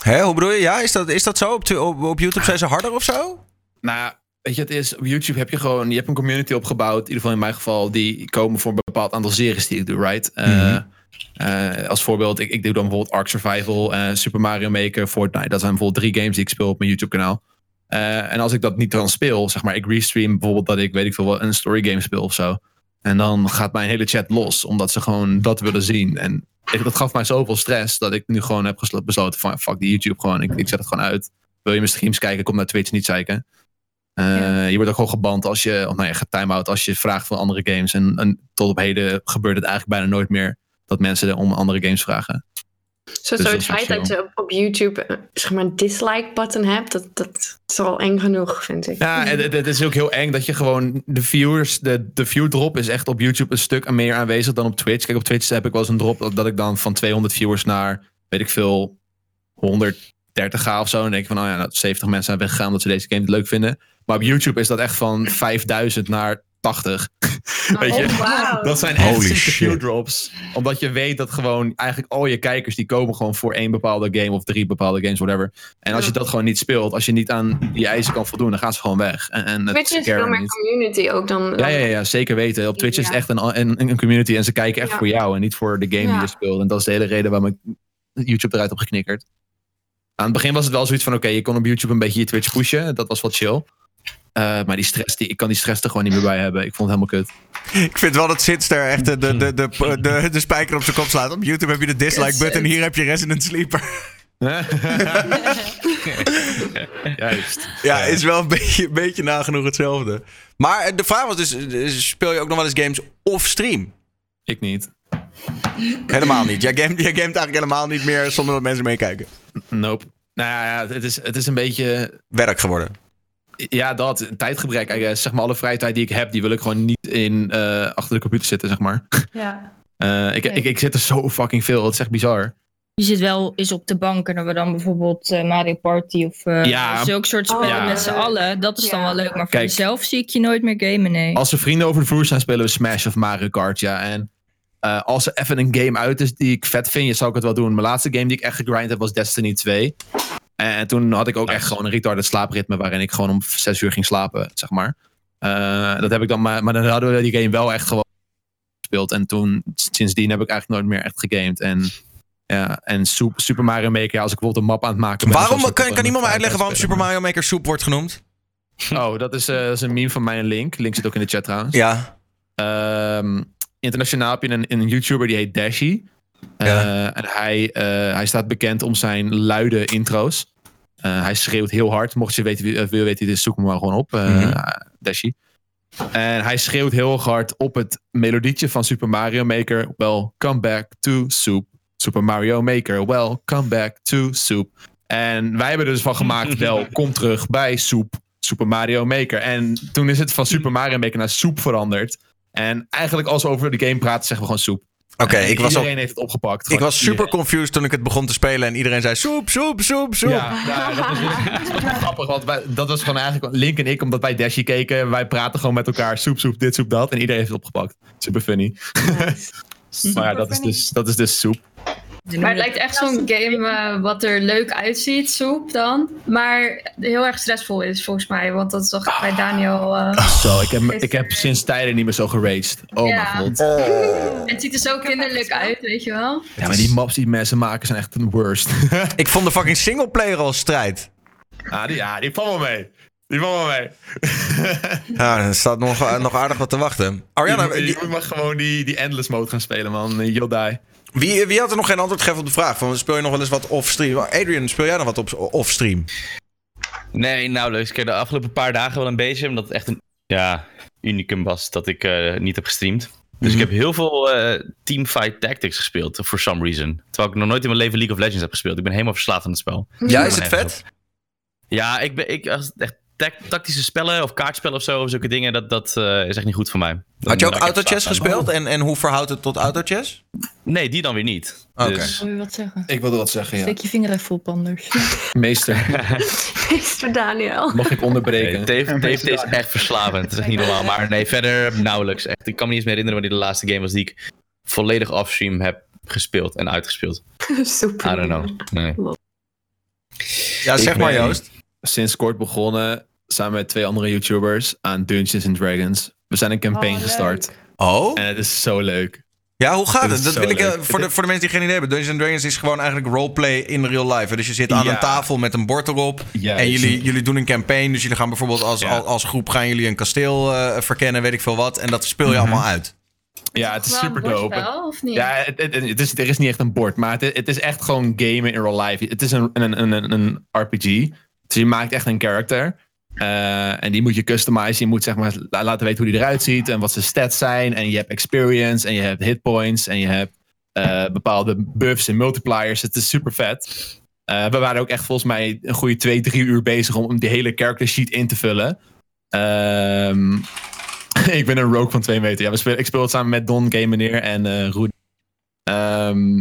[SPEAKER 1] Hè, hoe bedoel je? Ja, is dat, is dat zo? Op, tu- op, op YouTube zijn ze harder of zo?
[SPEAKER 7] Nou, weet je, het is, op YouTube heb je gewoon, je hebt een community opgebouwd, in ieder geval in mijn geval, die komen voor een bepaald aantal series die ik doe, right? Eh, eh, als voorbeeld, ik, ik doe dan bijvoorbeeld Ark Survival, eh, Super Mario Maker, Fortnite. Dat zijn bijvoorbeeld drie games die ik speel op mijn YouTube-kanaal. Eh, en als ik dat niet dan speel, zeg maar, ik restream bijvoorbeeld dat ik, weet ik veel, wel, een story game speel of zo. En dan gaat mijn hele chat los, omdat ze gewoon dat willen zien. En ik- dat gaf mij zoveel stress dat ik nu gewoon heb geslo- besloten van, fuck die YouTube gewoon, ik, ik zet het gewoon uit. Wil je mijn streams kijken, kom naar Twitch, niet zeiken. Uh, Je wordt ook gewoon geband als je, of nou ja, getimeout als je vraagt van andere games. En, en tot op heden gebeurt het eigenlijk bijna nooit meer dat mensen om andere games vragen.
[SPEAKER 9] Zo,
[SPEAKER 7] Dus
[SPEAKER 9] zo
[SPEAKER 7] dat
[SPEAKER 9] het
[SPEAKER 7] is
[SPEAKER 9] feit
[SPEAKER 7] wel
[SPEAKER 9] dat
[SPEAKER 7] chill.
[SPEAKER 9] je op, op YouTube eh, zeg maar een dislike-button hebt, dat, dat is al eng genoeg, vind ik.
[SPEAKER 1] Hmm.
[SPEAKER 7] Ja, en het, het is ook heel eng dat je gewoon de viewers, de, de view drop is echt op YouTube een stuk meer aanwezig dan op Twitch. Kijk, op Twitch heb ik wel eens een drop dat, dat ik dan van 200 viewers naar, weet ik veel, 130 ga of zo. En dan denk ik van, oh ja, nou, 70 mensen zijn weggegaan omdat ze deze game niet leuk vinden. Maar op YouTube is dat echt van 5000 naar [laughs] 80. Weet je? Dat zijn echt
[SPEAKER 1] Oh, Holy
[SPEAKER 7] zieke
[SPEAKER 1] shit.
[SPEAKER 7] view drops. Omdat je weet dat gewoon eigenlijk al je kijkers die komen gewoon voor één bepaalde game of drie bepaalde games, whatever. En als je dat gewoon niet speelt, als je niet aan die eisen kan voldoen, dan gaan ze gewoon weg. En, en het
[SPEAKER 9] Twitch is
[SPEAKER 7] scaren
[SPEAKER 9] veel meer
[SPEAKER 7] niet.
[SPEAKER 9] community ook dan.
[SPEAKER 7] Ja, ja, ja, zeker weten. Op Twitch is het echt een, een, een community en ze kijken echt
[SPEAKER 9] Ja.
[SPEAKER 7] voor jou en niet voor de game
[SPEAKER 9] Ja.
[SPEAKER 7] die je speelt. En dat is de hele reden waarom ik YouTube eruit heb geknikkerd. Aan het begin was het wel zoiets van, oké, je kon op YouTube een beetje je Twitch pushen. Dat was wel chill. Eh, maar die stress, die, ik kan die stress er gewoon niet meer bij hebben. Ik vond het helemaal kut.
[SPEAKER 1] Ik vind wel dat Sitster echt de, de, de, de, de, de spijker op zijn kop slaat. Op YouTube heb je de dislike-button, hier heb je Resident Sleeper.
[SPEAKER 7] Juist.
[SPEAKER 1] Ja, is wel een beetje, een beetje nagenoeg hetzelfde. Maar eh, de vraag was dus, eh, speel je ook nog wel eens games off-stream?
[SPEAKER 7] Ik niet.
[SPEAKER 1] Helemaal niet. Jij gamet, jij gamet eigenlijk helemaal niet meer zonder dat mensen meekijken.
[SPEAKER 7] Nope. Nou ja, ja, het is, het is een beetje...
[SPEAKER 1] Werk geworden.
[SPEAKER 7] Ja, dat. Tijdgebrek, I guess. Zeg maar, alle vrije tijd die ik heb, die wil ik gewoon niet in, eh, achter de computer zitten, zeg maar. [laughs]
[SPEAKER 10] Ja.
[SPEAKER 7] Eh, ik,
[SPEAKER 6] Nee.
[SPEAKER 7] ik, ik zit er zo fucking veel. Het is echt bizar.
[SPEAKER 6] Je zit wel eens op de bank en dan we dan bijvoorbeeld eh, Mario Party of eh
[SPEAKER 7] Ja.
[SPEAKER 6] zulke soort spellen
[SPEAKER 7] Ja.
[SPEAKER 6] met z'n allen. Dat is dan wel leuk, maar voor
[SPEAKER 7] Kijk.
[SPEAKER 6] jezelf zie ik je nooit meer gamen, nee.
[SPEAKER 7] Als er vrienden over de vloer zijn, spelen we Smash of Mario Kart, ja. En eh, als er even een game uit is die ik vet vind, zou ik het wel doen. Mijn laatste game die ik echt gegrind heb, was Destiny 2. En, toen had ik ook echt gewoon een retarded slaapritme, waarin ik gewoon om zes uur ging slapen, zeg maar. Eh, dat heb ik dan, maar, maar dan hadden we die game wel echt gewoon gespeeld. En toen, sindsdien heb ik eigenlijk nooit meer echt gegamed. En, ja, en Sup- Super Mario Maker, ja, als ik bijvoorbeeld een map aan het maken ben...
[SPEAKER 1] Waarom,
[SPEAKER 7] dan zou ik
[SPEAKER 1] kan,
[SPEAKER 7] dat
[SPEAKER 1] kan
[SPEAKER 7] wel
[SPEAKER 1] iemand me
[SPEAKER 7] in mijn
[SPEAKER 1] uitleggen waarom
[SPEAKER 7] vrije tijd
[SPEAKER 1] Super Mario Maker soep wordt genoemd?
[SPEAKER 7] spelen. Oh, dat is, eh, dat is een meme van mij en Link. Link zit ook in de chat trouwens.
[SPEAKER 1] Ja.
[SPEAKER 7] Ehm, internationaal heb je een, een YouTuber die heet Dashi. Eh, En hij, eh, hij staat bekend om zijn luide intro's. Eh, hij schreeuwt heel hard. Mocht je weten wie, eh, wil weten wie dit is, zoek hem maar gewoon op. eh, Dashi. En hij schreeuwt heel hard op het melodietje van Super Mario Maker. Well, come back to Soup. Super Mario Maker. Well, come back to Soup. En wij hebben er dus van gemaakt, wel, kom terug bij Soep. Super Mario Maker. En toen is het van Super Mario Maker naar Soep veranderd. En eigenlijk als we over de game praten, zeggen we gewoon Soep.
[SPEAKER 1] Oké,
[SPEAKER 7] En
[SPEAKER 1] ik was
[SPEAKER 7] Iedereen
[SPEAKER 1] al-
[SPEAKER 7] heeft het opgepakt.
[SPEAKER 1] Ik
[SPEAKER 7] Gewoon
[SPEAKER 1] was super confused toen ik het begon te spelen en iedereen zei soep, soep, soep, soep.
[SPEAKER 7] Ja, ja, dat was, dat was wel grappig, want wij- dat was gewoon eigenlijk Link en ik, omdat wij Dashie keken, wij praten gewoon met elkaar soep, soep, dit, soep, dat. En iedereen heeft het opgepakt. Super funny. [laughs] maar ja, dat is, dus, dat is dus soep.
[SPEAKER 3] Maar het lijkt echt zo'n game eh, wat er leuk uitziet, soep dan. Maar heel erg stressvol is volgens mij. Want dat zag ik bij Daniel. eh.
[SPEAKER 7] Ah. Zo, ik heb, ik heb sinds tijden niet meer zo geraged. Oh
[SPEAKER 3] Ja. Oh.
[SPEAKER 7] mijn god.
[SPEAKER 3] Het ziet er zo kinderlijk uit, weet je wel.
[SPEAKER 7] Ja, maar die maps die mensen maken zijn echt de worst.
[SPEAKER 1] [laughs] Ik vond de fucking singleplayer al strijd.
[SPEAKER 7] ah, die, ja, die valt wel mee. Die valt wel mee.
[SPEAKER 1] Ja, er staat nog, eh, nog aardig wat te wachten.
[SPEAKER 7] Arjana,
[SPEAKER 1] Ariana,
[SPEAKER 7] je, moet maar gewoon die, die endless mode gaan spelen, man. You'll die.
[SPEAKER 1] wie, wie had er nog geen antwoord gegeven op de vraag? Van, speel je nog wel eens wat off-stream? Adrian, speel jij nog wat op- off-stream?
[SPEAKER 4] Nee, nauwelijks. Ik heb de afgelopen paar dagen wel een beetje, omdat het echt een ja, unicum was dat ik eh, niet heb gestreamd. Dus ik
[SPEAKER 1] Mhm.
[SPEAKER 4] heb heel veel eh Teamfight Tactics gespeeld, for some reason. Terwijl ik nog nooit in mijn leven League of Legends heb gespeeld. Ik ben helemaal verslaafd aan het spel.
[SPEAKER 1] Ja, is het vet?
[SPEAKER 4] Ja, ik ben ik, als het echt tac- tactische spellen of kaartspellen of zo, of zulke dingen, dat, dat eh, is echt niet goed voor mij. Dan
[SPEAKER 1] Had je ook
[SPEAKER 4] raak ik echt
[SPEAKER 1] autochess
[SPEAKER 4] verslaafd aan.
[SPEAKER 1] gespeeld? En, en hoe verhoudt het tot autochess?
[SPEAKER 4] Nee, die dan weer niet.
[SPEAKER 1] Oké.
[SPEAKER 4] Dus,
[SPEAKER 6] Wil je wat zeggen?
[SPEAKER 7] Ik wilde wat zeggen, ja.
[SPEAKER 6] Steek je vinger even op anders.
[SPEAKER 7] Meester,
[SPEAKER 4] [laughs]
[SPEAKER 9] Meester Daniel.
[SPEAKER 7] mag ik onderbreken?
[SPEAKER 4] Nee, Dave, Dave is echt verslavend. Het is echt niet normaal. Maar nee, verder nauwelijks. Echt, ik kan me niet eens meer herinneren wanneer de laatste game was die ik volledig offstream heb gespeeld en uitgespeeld.
[SPEAKER 9] Soep.
[SPEAKER 4] I don't know. Nee.
[SPEAKER 1] Ja, zeg
[SPEAKER 7] Ik
[SPEAKER 1] maar
[SPEAKER 7] ben
[SPEAKER 1] Joost.
[SPEAKER 7] Sinds kort begonnen, samen met twee andere YouTubers, aan Dungeons and Dragons. We zijn een campaign
[SPEAKER 10] Oh, leuk.
[SPEAKER 7] gestart.
[SPEAKER 1] Oh?
[SPEAKER 7] En het is zo leuk.
[SPEAKER 1] Ja, hoe gaat
[SPEAKER 7] Dit
[SPEAKER 1] het?
[SPEAKER 7] is
[SPEAKER 1] Dat
[SPEAKER 7] zo
[SPEAKER 1] wil ik, eh,
[SPEAKER 7] leuk.
[SPEAKER 1] voor, de, voor de mensen die geen idee hebben, Dungeons Dragons is gewoon eigenlijk roleplay in real life. Dus je zit aan
[SPEAKER 7] Ja.
[SPEAKER 1] een tafel met een bord erop
[SPEAKER 7] Juist.
[SPEAKER 1] en jullie, jullie doen een campaign. Dus jullie gaan bijvoorbeeld als,
[SPEAKER 7] Ja.
[SPEAKER 1] als, als groep gaan jullie een kasteel eh, verkennen, weet ik veel wat. En dat speel je allemaal uit.
[SPEAKER 7] Mhm. Ja, het is
[SPEAKER 3] Wel een
[SPEAKER 7] super dope.
[SPEAKER 3] bordspel, of niet?
[SPEAKER 7] Ja, het, het, het is, er is niet echt een bord, maar het, het is echt gewoon gamen in real life. Het is een, een, een, een, een RPG. Dus je maakt echt een character. Eh, en die moet je customizen. Je moet zeg maar la- laten weten hoe die eruit ziet en wat zijn stats zijn. En je hebt experience en je hebt hitpoints en je hebt eh, bepaalde buffs en multipliers. Het is super vet. Eh, we waren ook echt volgens mij een goede twee, drie uur bezig om, om die hele character sheet in te vullen. Ehm, [laughs] ik ben een rogue van twee meter. Ja, we spelen, ik speel het samen met Don, Game Meneer en eh Rudy. Ehm,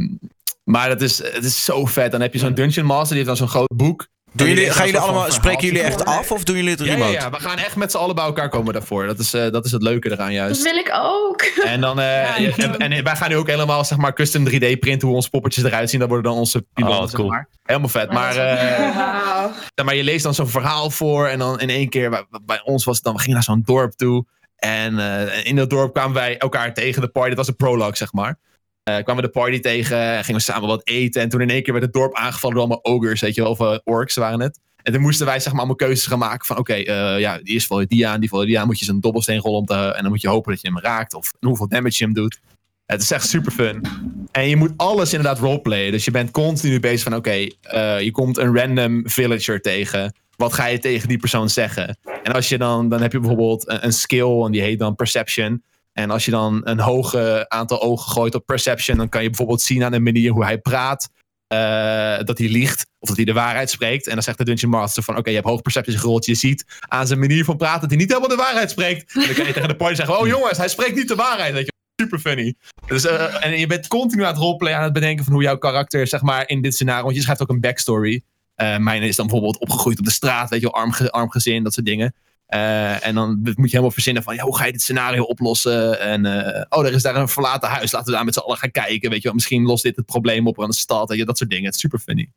[SPEAKER 7] maar dat is, het is zo vet. Dan heb je zo'n Dungeon Master, die heeft dan zo'n groot boek.
[SPEAKER 1] Doen
[SPEAKER 7] En die
[SPEAKER 1] jullie,
[SPEAKER 7] heeft
[SPEAKER 1] gaan
[SPEAKER 7] dan
[SPEAKER 1] jullie
[SPEAKER 7] zo'n
[SPEAKER 1] allemaal,
[SPEAKER 7] verhaal
[SPEAKER 1] spreken jullie echt
[SPEAKER 7] voor.
[SPEAKER 1] af of doen jullie het
[SPEAKER 7] Ja, ja,
[SPEAKER 1] remote?
[SPEAKER 7] ja, we gaan echt met z'n allen bij elkaar komen daarvoor. Dat is, eh, dat is het leuke eraan
[SPEAKER 9] Dat [laughs]
[SPEAKER 7] juist.
[SPEAKER 9] wil ik ook.
[SPEAKER 7] En, dan, eh,
[SPEAKER 10] ik
[SPEAKER 7] en,
[SPEAKER 10] ook.
[SPEAKER 7] en wij gaan nu ook helemaal zeg maar, custom 3D printen hoe onze poppetjes eruit zien. Dat worden dan onze piloten.
[SPEAKER 4] wat
[SPEAKER 1] Ah,
[SPEAKER 7] zeg
[SPEAKER 4] cool.
[SPEAKER 7] maar. Helemaal vet. Maar, eh,
[SPEAKER 9] Wauw.
[SPEAKER 7] ja, maar je leest dan zo'n verhaal voor en dan in één keer, bij, bij ons was het dan, we gingen naar zo'n dorp toe. En eh, in dat dorp kwamen wij elkaar tegen, de party, dat was een prologue zeg maar. Eh, kwamen we de party tegen, gingen we samen wat eten. En toen in één keer werd het dorp aangevallen door allemaal ogres, weet je wel, of eh, orks waren het. En toen moesten wij zeg maar allemaal keuzes gaan maken van, oké, eh, ja, eerst val je die aan, die val je die aan. Moet je zo'n dobbelsteen rollen om te, en dan moet je hopen dat je hem raakt of hoeveel damage je hem doet. Het is echt super fun. En je moet alles inderdaad roleplayen. Dus je bent continu bezig van: oké, eh, je komt een random villager tegen. Wat ga je tegen die persoon zeggen? En als je dan, dan heb je bijvoorbeeld een, een skill en die heet dan perception. En als je dan een hoge aantal ogen gooit op perception, dan kan je bijvoorbeeld zien aan de manier hoe hij praat. eh, dat hij liegt of dat hij de waarheid spreekt. En dan zegt de Dungeon Master van, oké, je hebt hoog percepties gerold. Je ziet aan zijn manier van praten dat hij niet helemaal de waarheid spreekt. En dan kan je tegen de party zeggen, oh jongens, hij spreekt niet de waarheid. Weet je. Super funny. Dus, eh, en je bent continu aan het roleplayen, aan het bedenken van hoe jouw karakter, zeg maar, in dit scenario, want je schrijft ook een backstory. Eh mijn is dan bijvoorbeeld opgegroeid op de straat, weet je wel, arm, ge- arm gezin, dat soort dingen. Eh, en dan moet je helemaal verzinnen van, ja, hoe ga je dit scenario oplossen? En, eh, oh, er is daar een verlaten huis, laten we daar met z'n allen gaan kijken, weet je wel. Misschien lost dit het probleem op aan de stad, weet je, dat soort dingen. Het is super funny.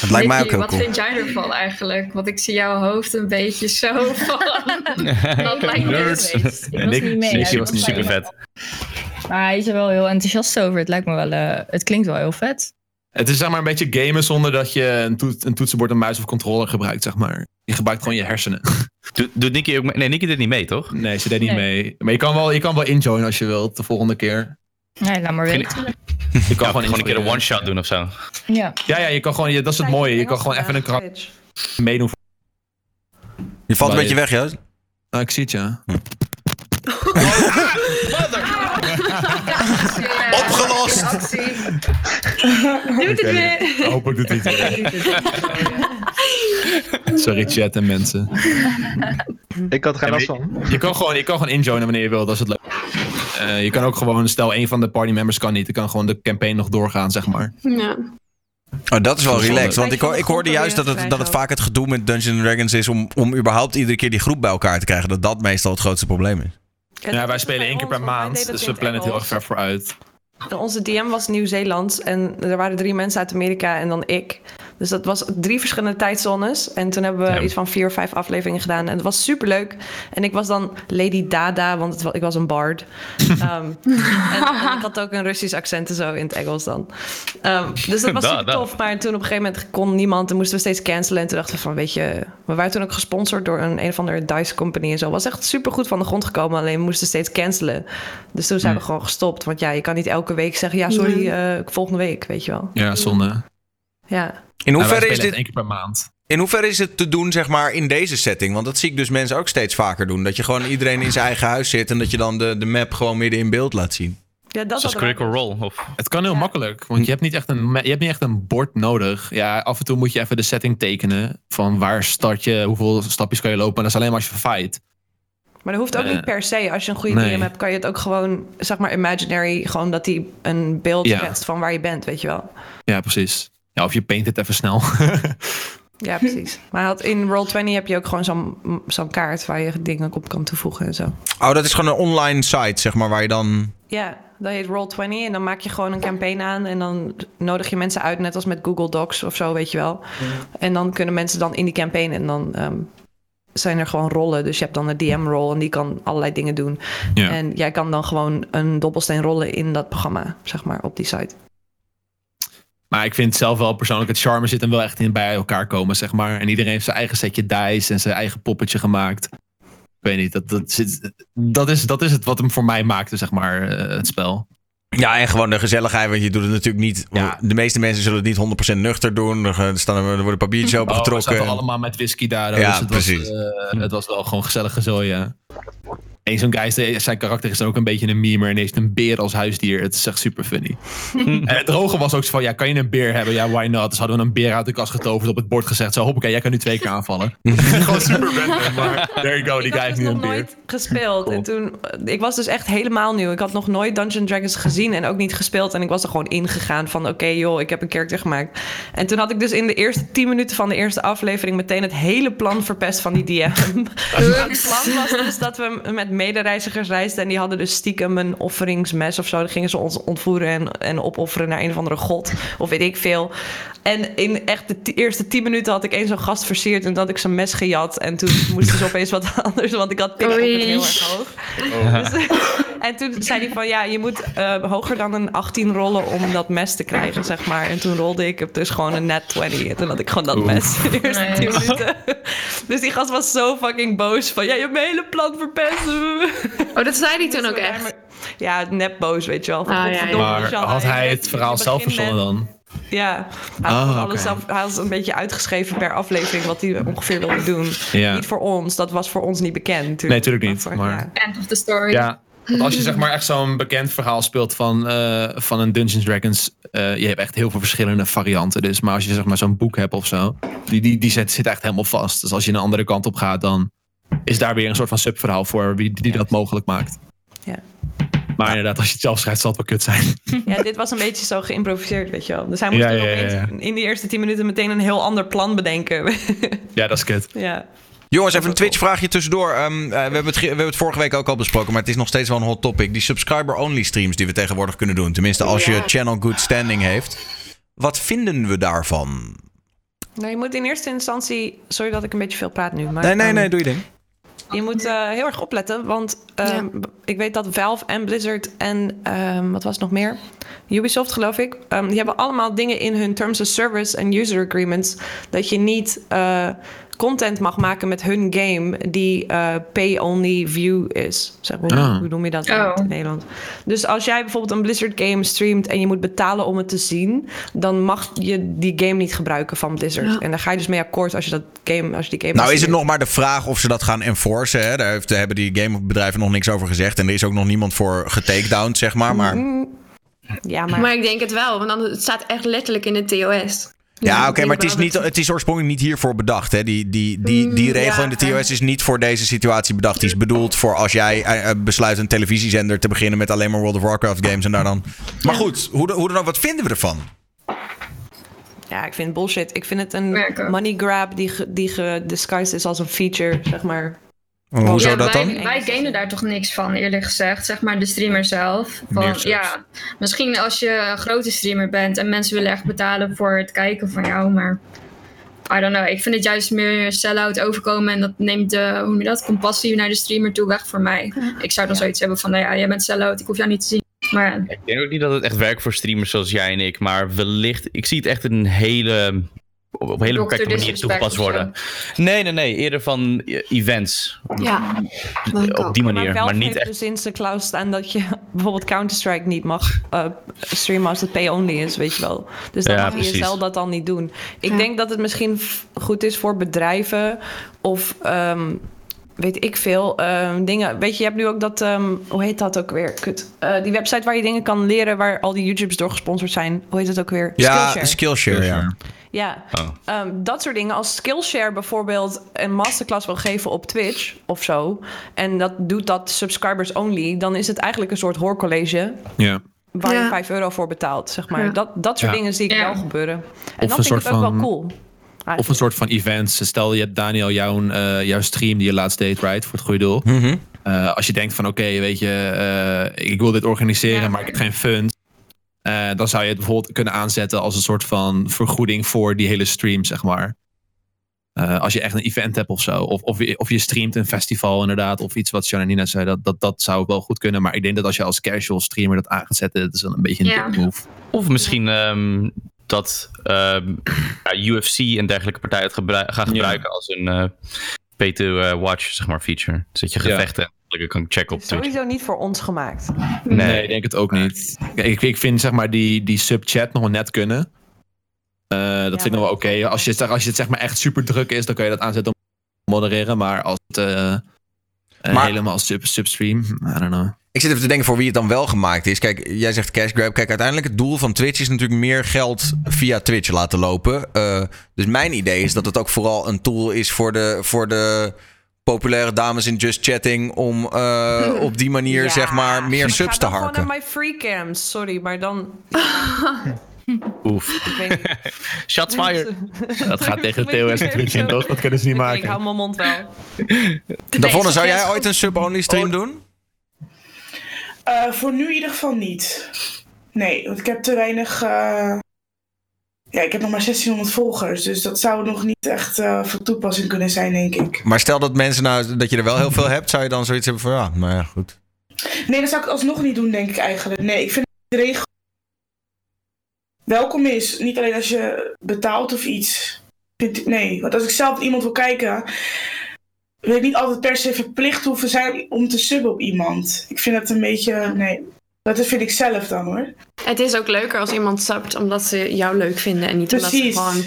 [SPEAKER 1] Het lijkt mij ook
[SPEAKER 3] Nicky,
[SPEAKER 1] heel
[SPEAKER 3] Wat
[SPEAKER 1] cool.
[SPEAKER 4] [laughs]
[SPEAKER 3] vind jij ervan eigenlijk? Want ik zie jouw hoofd een beetje zo [laughs] van...
[SPEAKER 7] [laughs]
[SPEAKER 3] dat lijkt me
[SPEAKER 4] Nerds.
[SPEAKER 3] heel leuk.
[SPEAKER 6] Ik was niet mee, hè,
[SPEAKER 4] Nicky
[SPEAKER 6] ik
[SPEAKER 4] was
[SPEAKER 6] was
[SPEAKER 4] super
[SPEAKER 6] bij
[SPEAKER 4] vet.
[SPEAKER 6] Maar hij is er wel heel enthousiast over. Het lijkt me wel, eh, het klinkt wel heel vet.
[SPEAKER 7] Het is zeg maar een beetje gamen zonder dat je een, toet- een toetsenbord, een muis of controller gebruikt, zeg maar. Je gebruikt gewoon je hersenen.
[SPEAKER 4] [laughs] Doet, doet Nicky ook mee? Nee, Nicky deed niet mee, toch?
[SPEAKER 7] Nee, ze deed niet
[SPEAKER 6] Nee.
[SPEAKER 7] mee. Maar je kan wel, je kan wel injoinen als je wilt de volgende
[SPEAKER 4] [laughs]
[SPEAKER 7] keer.
[SPEAKER 6] Nee, laat maar
[SPEAKER 4] Geen-
[SPEAKER 6] weten.
[SPEAKER 7] Je kan
[SPEAKER 4] Gewoon, gewoon een keer een
[SPEAKER 7] injoinen.
[SPEAKER 4] one-shot doen of zo.
[SPEAKER 6] Ja.
[SPEAKER 7] Ja, ja, je kan gewoon, je- dat is het mooie. Je kan gewoon even een karakter meedoen. voor-
[SPEAKER 1] Je valt een
[SPEAKER 7] Bij-
[SPEAKER 1] beetje weg, Joost.
[SPEAKER 7] Ah, ik zie het, ja.
[SPEAKER 1] Opgelost!
[SPEAKER 11] Doet het weer.
[SPEAKER 7] Hopelijk doet hij het weer. Sorry, chat en mensen.
[SPEAKER 2] Ik had er geen
[SPEAKER 7] Ja,
[SPEAKER 2] last
[SPEAKER 7] maar
[SPEAKER 2] van.
[SPEAKER 7] Je kan gewoon, je kan gewoon injoinen wanneer je wilt, dat is het leuk. Eh, je kan ook gewoon, stel een van de partymembers kan niet, dan kan gewoon de campaign nog doorgaan, zeg maar.
[SPEAKER 11] Ja.
[SPEAKER 1] Oh, dat is wel relaxed. Want ik,
[SPEAKER 10] van
[SPEAKER 1] hoor-
[SPEAKER 10] de
[SPEAKER 1] ik hoorde
[SPEAKER 10] groepen
[SPEAKER 1] juist dat
[SPEAKER 10] weer
[SPEAKER 1] het, dat het
[SPEAKER 10] krijgen.
[SPEAKER 1] vaak het gedoe met Dungeons Dragons is om, om überhaupt iedere keer die groep bij elkaar te krijgen. Dat dat meestal het grootste probleem is.
[SPEAKER 7] Ja, wij spelen één keer per maand, dus we plannen het heel erg ver vooruit.
[SPEAKER 10] En onze DM was Nieuw-Zeelands en er waren drie mensen uit Amerika en dan ik. Dus dat was drie verschillende tijdzones. En toen hebben we
[SPEAKER 4] Ja.
[SPEAKER 10] iets van vier of vijf afleveringen gedaan. En het was super leuk. En ik was dan Lady Dada, want het wa- ik was een
[SPEAKER 4] [laughs]
[SPEAKER 10] bard. Ehm, en, en ik had ook een Russisch accent en zo in het Engels dan. Ehm, dus dat was
[SPEAKER 4] Da,
[SPEAKER 10] super
[SPEAKER 4] da.
[SPEAKER 10] tof. Maar toen op een gegeven moment kon niemand en moesten we steeds cancelen. En toen dachten we van, weet je... We waren toen ook gesponsord door een, een of andere DICE company en zo. Was echt super goed van de grond gekomen. Alleen we moesten steeds cancelen. Dus toen zijn we gewoon gestopt. Want ja, je kan niet elke week zeggen... Ja, sorry, eh, volgende week, weet je wel.
[SPEAKER 7] Ja, zonde.
[SPEAKER 10] Ja.
[SPEAKER 1] In hoeverre,
[SPEAKER 7] wij
[SPEAKER 1] is
[SPEAKER 7] spelen
[SPEAKER 1] dit,
[SPEAKER 7] één keer per maand.
[SPEAKER 1] in hoeverre is het te doen, zeg maar, in deze setting? Want dat zie ik dus mensen ook steeds vaker doen. Dat je gewoon iedereen in zijn eigen huis zit en dat je dan de, de map gewoon midden in beeld laat zien.
[SPEAKER 10] ja dat
[SPEAKER 4] Zoals
[SPEAKER 10] hadden we-
[SPEAKER 4] Critical Role. Of...
[SPEAKER 7] Het kan heel
[SPEAKER 10] Ja.
[SPEAKER 7] makkelijk, want je hebt, niet echt een, me- je hebt niet echt een bord nodig. Ja, af en toe moet je even de setting tekenen van waar start je, hoeveel stapjes kan je lopen. En dat is alleen maar als je fight.
[SPEAKER 10] Maar dat hoeft ook
[SPEAKER 7] Eh,
[SPEAKER 10] niet per se. Als je een goede
[SPEAKER 7] nee.
[SPEAKER 10] DM hebt, kan je het ook gewoon, zeg maar, imaginary, gewoon dat hij een beeld
[SPEAKER 7] Ja.
[SPEAKER 10] schetst van waar je bent, weet je wel.
[SPEAKER 7] Ja, precies. Ja, of je paint het even snel. [laughs]
[SPEAKER 10] Ja, precies. Maar hij had- in Roll20 heb je ook gewoon zo'n zo'n kaart waar je dingen op kan toevoegen en zo.
[SPEAKER 1] Oh, dat is gewoon een online site, zeg maar, waar je dan...
[SPEAKER 10] Ja, dat heet Roll20 en dan maak je gewoon een campaign aan en dan nodig je mensen uit, net als met Google Docs of zo, weet je wel. En dan kunnen mensen dan in die campaign en dan ehm, zijn er gewoon rollen. Dus je hebt dan een DM-rol en die kan allerlei dingen doen.
[SPEAKER 7] Ja.
[SPEAKER 10] En jij kan dan gewoon een dobbelsteen rollen in dat programma, zeg maar, op die site.
[SPEAKER 7] Maar ik vind zelf wel persoonlijk, het charme zit hem wel echt in bij elkaar komen, zeg maar. En iedereen heeft zijn eigen setje dice en zijn eigen poppetje gemaakt. Ik weet niet, dat, dat, zit, dat, is, dat is het wat hem voor mij maakte, zeg maar, eh, het spel.
[SPEAKER 1] Ja, en gewoon de gezelligheid, want je doet het natuurlijk niet...
[SPEAKER 7] Ja.
[SPEAKER 1] De meeste mensen zullen het niet 100% nuchter doen. Er, gaan- er staan, er worden
[SPEAKER 7] [laughs]
[SPEAKER 1] papiertjes
[SPEAKER 7] Oh, we
[SPEAKER 1] opengetrokken.
[SPEAKER 7] zaten allemaal met whisky daar.
[SPEAKER 1] Ja,
[SPEAKER 7] dus het
[SPEAKER 1] precies.
[SPEAKER 7] Was, eh, het was wel gewoon gezellig gezooi, ja. Eén zo'n guy, is- zijn karakter is dan ook een beetje een meme en heeft een beer als huisdier. Het is echt super funny. en het droge was ook zo van, ja, kan je een beer hebben? Ja, why not? Dus hadden we een beer uit de kast getoverd op het bord gezegd. Zo, hoppakee, jij kan nu twee keer
[SPEAKER 1] [laughs]
[SPEAKER 7] aanvallen. gewoon super random, maar there you go, die
[SPEAKER 10] ik
[SPEAKER 7] guy
[SPEAKER 10] had
[SPEAKER 7] heeft
[SPEAKER 10] dus
[SPEAKER 7] nu
[SPEAKER 10] nog
[SPEAKER 7] een beer.
[SPEAKER 10] nooit gespeeld. En toen, ik was dus echt helemaal nieuw. Ik had nog nooit Dungeons Dragons gezien en ook niet gespeeld. En ik was er gewoon ingegaan van, oké joh, ik heb een character gemaakt. En toen had ik dus in de eerste 10 minuten van de eerste aflevering... meteen het hele plan verpest van die DM.
[SPEAKER 9] [laughs]
[SPEAKER 10] het plan was dus dat we met medereizigers reisden... en die hadden dus stiekem een offeringsmes of zo. Dan gingen ze ons ontvoeren en, en opofferen naar een of andere god. Of weet ik veel. En in echt de ti- eerste 10 minuten had ik één zo'n gast versierd... en dat ik zijn mes gejat.
[SPEAKER 11] [laughs]
[SPEAKER 10] En toen moesten ze opeens wat anders, want ik had pick-up
[SPEAKER 11] Oei.
[SPEAKER 10] heel erg hoog. Dus, [laughs] en toen zei hij van ja, je moet eh, hoger dan een 18 rollen om dat mes te krijgen, zeg maar. En toen rolde ik dus gewoon een net 20. En toen had ik gewoon dat mes in de eerste
[SPEAKER 3] Nice.
[SPEAKER 10] 10 minuten. Dus die gast was zo fucking boos van ja, je hebt mijn hele plan verpest.
[SPEAKER 11] Oh, dat zei hij toen ook echt.
[SPEAKER 10] Ja, nep boos, weet je wel. Van,
[SPEAKER 11] Ah, ja, ja.
[SPEAKER 10] godverdomme,
[SPEAKER 7] Maar
[SPEAKER 10] Shanna,
[SPEAKER 7] had
[SPEAKER 10] je
[SPEAKER 7] hij
[SPEAKER 10] weet
[SPEAKER 7] het
[SPEAKER 10] Oh, je
[SPEAKER 7] verhaal zelf
[SPEAKER 10] begint met-
[SPEAKER 7] verzonnen dan?
[SPEAKER 10] Ja, hij had,
[SPEAKER 7] Ah,
[SPEAKER 10] alles
[SPEAKER 7] oké.
[SPEAKER 10] zelf, hij had een beetje uitgeschreven per aflevering wat hij ongeveer wilde doen.
[SPEAKER 7] Ja.
[SPEAKER 10] Niet voor ons, dat was voor ons niet bekend natuurlijk.
[SPEAKER 7] Nee, tuurlijk niet,
[SPEAKER 10] voor-
[SPEAKER 7] maar-
[SPEAKER 10] ja.
[SPEAKER 3] End of the story.
[SPEAKER 7] Ja, Want als je zeg maar echt zo'n bekend verhaal speelt van, eh, van een Dungeons Dragons, eh, je hebt echt heel veel verschillende varianten. Dus, maar als je zeg maar zo'n boek hebt of zo, die, die, die zit, zit echt helemaal vast. Dus als je een andere kant op gaat, dan is daar weer een soort van subverhaal voor wie, die dat mogelijk maakt.
[SPEAKER 10] Ja.
[SPEAKER 7] Maar inderdaad, als je het zelf schrijft, zal het wel kut zijn.
[SPEAKER 10] Ja, dit was een beetje zo geïmproviseerd, weet je wel. Dus hij moest
[SPEAKER 7] Ja,
[SPEAKER 10] dan
[SPEAKER 7] ja, ja,
[SPEAKER 10] opeens
[SPEAKER 7] ja.
[SPEAKER 10] in die eerste tien minuten meteen een heel ander plan bedenken. [laughs]
[SPEAKER 7] Ja, dat is kut.
[SPEAKER 10] ja.
[SPEAKER 1] Jongens, even een Twitch-vraagje tussendoor. Ehm, eh, we, hebben het, ge- we hebben het vorige week ook al besproken, maar het is nog steeds wel een hot topic. Die subscriber-only streams die we tegenwoordig kunnen doen. Tenminste, als je
[SPEAKER 10] Ja.
[SPEAKER 1] channel good standing heeft. Wat vinden we daarvan?
[SPEAKER 10] Nou, je moet in eerste instantie... Sorry dat ik een beetje veel praat nu. Maar,
[SPEAKER 1] Nee, nee,
[SPEAKER 10] ehm,
[SPEAKER 1] nee, doe je ding.
[SPEAKER 10] Je moet eh, heel erg opletten, want ehm, b- ik weet dat Valve en Blizzard en ehm, wat was het nog meer? Ubisoft geloof ik. ehm, die hebben allemaal dingen in hun terms of service en user agreements dat je niet eh, content mag maken met hun game die eh, pay-only view is. Zeg, hoe,
[SPEAKER 12] Ah.
[SPEAKER 10] hoe noem je dat in het Nederland? Dus als jij bijvoorbeeld een Blizzard game streamt en je moet betalen om het te zien, dan mag je die game niet gebruiken van Blizzard.
[SPEAKER 1] Ja.
[SPEAKER 10] En daar ga je dus mee akkoord als je dat game, als je die game.
[SPEAKER 1] Nou is het
[SPEAKER 10] bestudeert.
[SPEAKER 1] nog maar de vraag of ze dat gaan enforcen. Hè? Daar heeft, daar hebben die gamebedrijven nog niks over gezegd. En er is ook nog niemand voor getakedowned, zeg maar. maar
[SPEAKER 10] Ja,
[SPEAKER 11] maar... ik denk het wel, want dan, het staat echt letterlijk in de
[SPEAKER 9] Dus
[SPEAKER 11] TOS.
[SPEAKER 1] ja, oké, maar het is, niet, het is oorspronkelijk niet hiervoor bedacht. Hè? Die, die, die, die
[SPEAKER 11] Mm,
[SPEAKER 1] regel
[SPEAKER 11] ja,
[SPEAKER 1] in de TOS is niet voor deze situatie bedacht. Die is bedoeld voor als jij eh, eh, besluit een televisiezender te beginnen met alleen maar World of Warcraft games en daar dan. Maar goed, hoe, dan- hoe dan ook, wat vinden we ervan?
[SPEAKER 10] Ja, ik vind het bullshit. Ik vind het een money grab die, ge- die gedisguised is als een feature, zeg maar.
[SPEAKER 1] Hoezo
[SPEAKER 3] Ja,
[SPEAKER 1] dat
[SPEAKER 3] wij,
[SPEAKER 1] dan?
[SPEAKER 3] Wij gamen daar toch niks van, eerlijk gezegd. Zeg maar de streamer zelf.
[SPEAKER 1] Meer
[SPEAKER 3] Van,
[SPEAKER 1] zelfs.
[SPEAKER 3] ja, misschien als je een grote streamer bent en mensen willen echt betalen voor het kijken van jou, maar... I don't know. Ik vind het juist meer sell-out overkomen en dat neemt de, hoe noem je dat, compassie naar de streamer toe weg voor mij. Ik zou dan zoiets hebben van, nou ja, jij bent sell-out, ik hoef jou niet te zien. Maar ja.
[SPEAKER 4] Ik denk ook niet dat het echt werkt voor streamers zoals jij en ik, maar wellicht, ik zie het echt een hele, op op een hele
[SPEAKER 3] Dr.
[SPEAKER 4] beperkte manier
[SPEAKER 3] Disrespect
[SPEAKER 4] toegepast
[SPEAKER 3] of zo.
[SPEAKER 4] worden. Nee, nee, nee, eerder van eh, events.
[SPEAKER 10] Ja,
[SPEAKER 4] Dus Op die manier, maar,
[SPEAKER 10] Valve
[SPEAKER 4] niet
[SPEAKER 10] heeft
[SPEAKER 4] echt.
[SPEAKER 10] dus in zijn clause staan dat je [laughs] bijvoorbeeld Counter-Strike niet mag eh, streamen als het pay-only is, weet je wel. Dus dan
[SPEAKER 4] Ja,
[SPEAKER 10] mag je
[SPEAKER 4] precies.
[SPEAKER 10] zelf dat dan niet doen. Ik denk dat het misschien f- goed is voor bedrijven of... ehm, Weet ik veel ehm, dingen. Weet je, je hebt nu ook dat. ehm, hoe heet dat ook weer? Kut. Eh, die website waar je dingen kan leren. waar al die YouTubes door gesponsord zijn. Hoe heet dat ook weer?
[SPEAKER 1] Ja, Skillshare. ja.
[SPEAKER 10] Ja, Ehm, dat soort dingen. Als Skillshare bijvoorbeeld een masterclass wil geven op Twitch of zo. En dat doet dat subscribers only. Dan is het eigenlijk een soort hoorcollege.
[SPEAKER 7] Ja.
[SPEAKER 10] Waar
[SPEAKER 11] Ja.
[SPEAKER 10] je 5 euro voor betaalt, zeg maar.
[SPEAKER 11] Ja.
[SPEAKER 10] Dat, dat soort
[SPEAKER 7] Ja.
[SPEAKER 10] dingen zie ik
[SPEAKER 11] Ja.
[SPEAKER 10] wel gebeuren. En
[SPEAKER 7] Of
[SPEAKER 10] dat
[SPEAKER 7] een
[SPEAKER 10] vind ik
[SPEAKER 7] soort
[SPEAKER 10] het ook
[SPEAKER 7] van-
[SPEAKER 10] wel cool.
[SPEAKER 7] Of een soort van events. Stel je hebt Daniel jouw, eh, jouw stream die je laatst deed, right? Voor het goede doel. Eh, als je denkt van oké, weet je, eh, ik wil dit organiseren, maar ik heb geen funds. eh, dan zou je het bijvoorbeeld kunnen aanzetten als een soort van vergoeding voor die hele stream, zeg maar. Eh, als je echt een event hebt of zo. Of, of, je, of je streamt een festival inderdaad. Of iets wat Janina zei. Dat, dat, dat zou wel goed kunnen. Maar ik denk dat als je als casual streamer dat aan gaat zetten. Dat is dan een beetje een
[SPEAKER 4] Ja.
[SPEAKER 7] dick move.
[SPEAKER 4] Of misschien ehm, dat ehm, ja, UFC en dergelijke partijen het gebru- gaan gebruiken als een eh pay-to-watch zeg maar, feature. Dus dat je gevechten en dergelijke kan checken op Twitch.
[SPEAKER 10] Sowieso niet voor ons gemaakt.
[SPEAKER 7] Nee, ik denk het ook niet. Kijk, ik, ik vind zeg maar die, die subchat nog wel net kunnen. Eh, dat vind ik nog wel oké. Als, je het- als je het zeg maar echt super druk is, dan kun je dat aanzetten om te modereren. Maar als het eh, eh, helemaal sub, substream, I don't know.
[SPEAKER 1] Ik zit even te denken voor wie het dan wel gemaakt is. Kijk, jij zegt cash grab. Kijk, uiteindelijk het doel van Twitch is natuurlijk meer geld via Twitch laten lopen. Eh, dus mijn idee is dat het ook vooral een tool is voor de, voor de populaire dames in Just Chatting... om eh, op die manier,
[SPEAKER 10] Ja.
[SPEAKER 1] zeg maar, meer
[SPEAKER 10] Ik ga
[SPEAKER 1] subs te
[SPEAKER 10] dan Gewoon
[SPEAKER 1] harken.
[SPEAKER 10] naar my free cams, sorry, maar dan.
[SPEAKER 4] Oef.
[SPEAKER 10] Ik weet niet.
[SPEAKER 4] Shots
[SPEAKER 10] [laughs]
[SPEAKER 4] fired.
[SPEAKER 7] Dat gaat tegen de TOS natuurlijk in, toch? Dat kunnen ze niet
[SPEAKER 10] Ik
[SPEAKER 7] [laughs]
[SPEAKER 10] hou
[SPEAKER 7] maken.
[SPEAKER 10] mijn mond wel.
[SPEAKER 1] Davonne, zou jij ooit een sub-only
[SPEAKER 10] Oh.
[SPEAKER 1] stream doen?
[SPEAKER 5] Eh, voor nu in ieder geval niet. Nee, want ik heb te weinig. eh, Ja, ik heb nog maar 1600 volgers, dus dat zou nog niet echt eh, van toepassing kunnen zijn, denk ik.
[SPEAKER 1] Maar stel dat mensen nou, dat je er wel heel veel hebt... zou je dan zoiets hebben van, ja, nou ja, goed.
[SPEAKER 5] Nee, dat zou ik alsnog niet doen, denk ik eigenlijk. Nee, ik vind dat iedereen gewoon welkom is. Niet alleen als je betaalt of iets. Ik vind- Nee, want als ik zelf iemand wil kijken, wil ik niet altijd per se verplicht hoeven zijn om te subben op iemand. Ik vind dat een beetje. Nee, dat vind ik zelf dan hoor.
[SPEAKER 11] Het is ook leuker als iemand subt omdat ze jou leuk vinden en niet omdat
[SPEAKER 5] Precies.
[SPEAKER 11] ze gewoon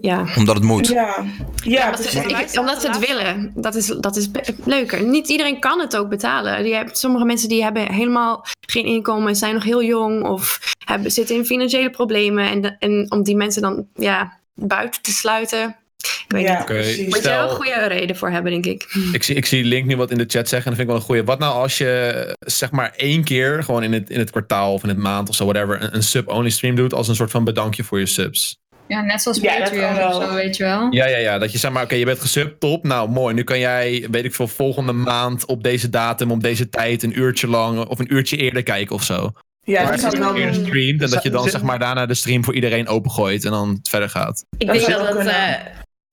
[SPEAKER 11] ja.
[SPEAKER 1] Omdat het moet.
[SPEAKER 5] Ja, ja
[SPEAKER 11] omdat, ze, ik- omdat ze het willen. Dat is, dat is be- leuker. Niet iedereen kan het ook betalen. Je hebt, sommige mensen die hebben helemaal geen inkomen, zijn nog heel jong of hebben, zitten in financiële problemen. En, de- en om die mensen dan ja, buiten te sluiten. Ik weet
[SPEAKER 5] Ja,
[SPEAKER 11] niet.
[SPEAKER 7] Oké,
[SPEAKER 11] Moet je wel een
[SPEAKER 7] stel-
[SPEAKER 11] goede reden voor hebben, denk ik.
[SPEAKER 7] Ik zie, ik zie Link nu wat in de chat zeggen en dat vind ik wel een goeie. Wat nou als je eh, zeg maar één keer gewoon in het, in het kwartaal of in het maand of zo, whatever, een, een sub-only stream doet als een soort van bedankje voor je subs?
[SPEAKER 3] Ja, net zoals
[SPEAKER 5] Ja, dat
[SPEAKER 3] Patreon
[SPEAKER 5] kan
[SPEAKER 3] of
[SPEAKER 5] wel.
[SPEAKER 3] zo, weet je wel.
[SPEAKER 7] Ja, ja, ja. Dat je zeg maar, oké, je bent gesubt, top. Nou, mooi. Nu kan jij, weet ik veel, volgende maand op deze datum, op deze tijd, een uurtje lang of een uurtje eerder kijken of zo.
[SPEAKER 5] Ja,
[SPEAKER 7] Maar
[SPEAKER 5] dat zou ik wel Dus
[SPEAKER 7] Eerder
[SPEAKER 5] doen.
[SPEAKER 7] streamt en dat je dan
[SPEAKER 2] Zou-
[SPEAKER 7] zeg maar daarna de stream voor iedereen opengooit en dan verder gaat.
[SPEAKER 11] Ik
[SPEAKER 5] Dat
[SPEAKER 11] denk
[SPEAKER 5] zou
[SPEAKER 11] dat
[SPEAKER 5] ook
[SPEAKER 11] dat,
[SPEAKER 5] kunnen.
[SPEAKER 11] eh,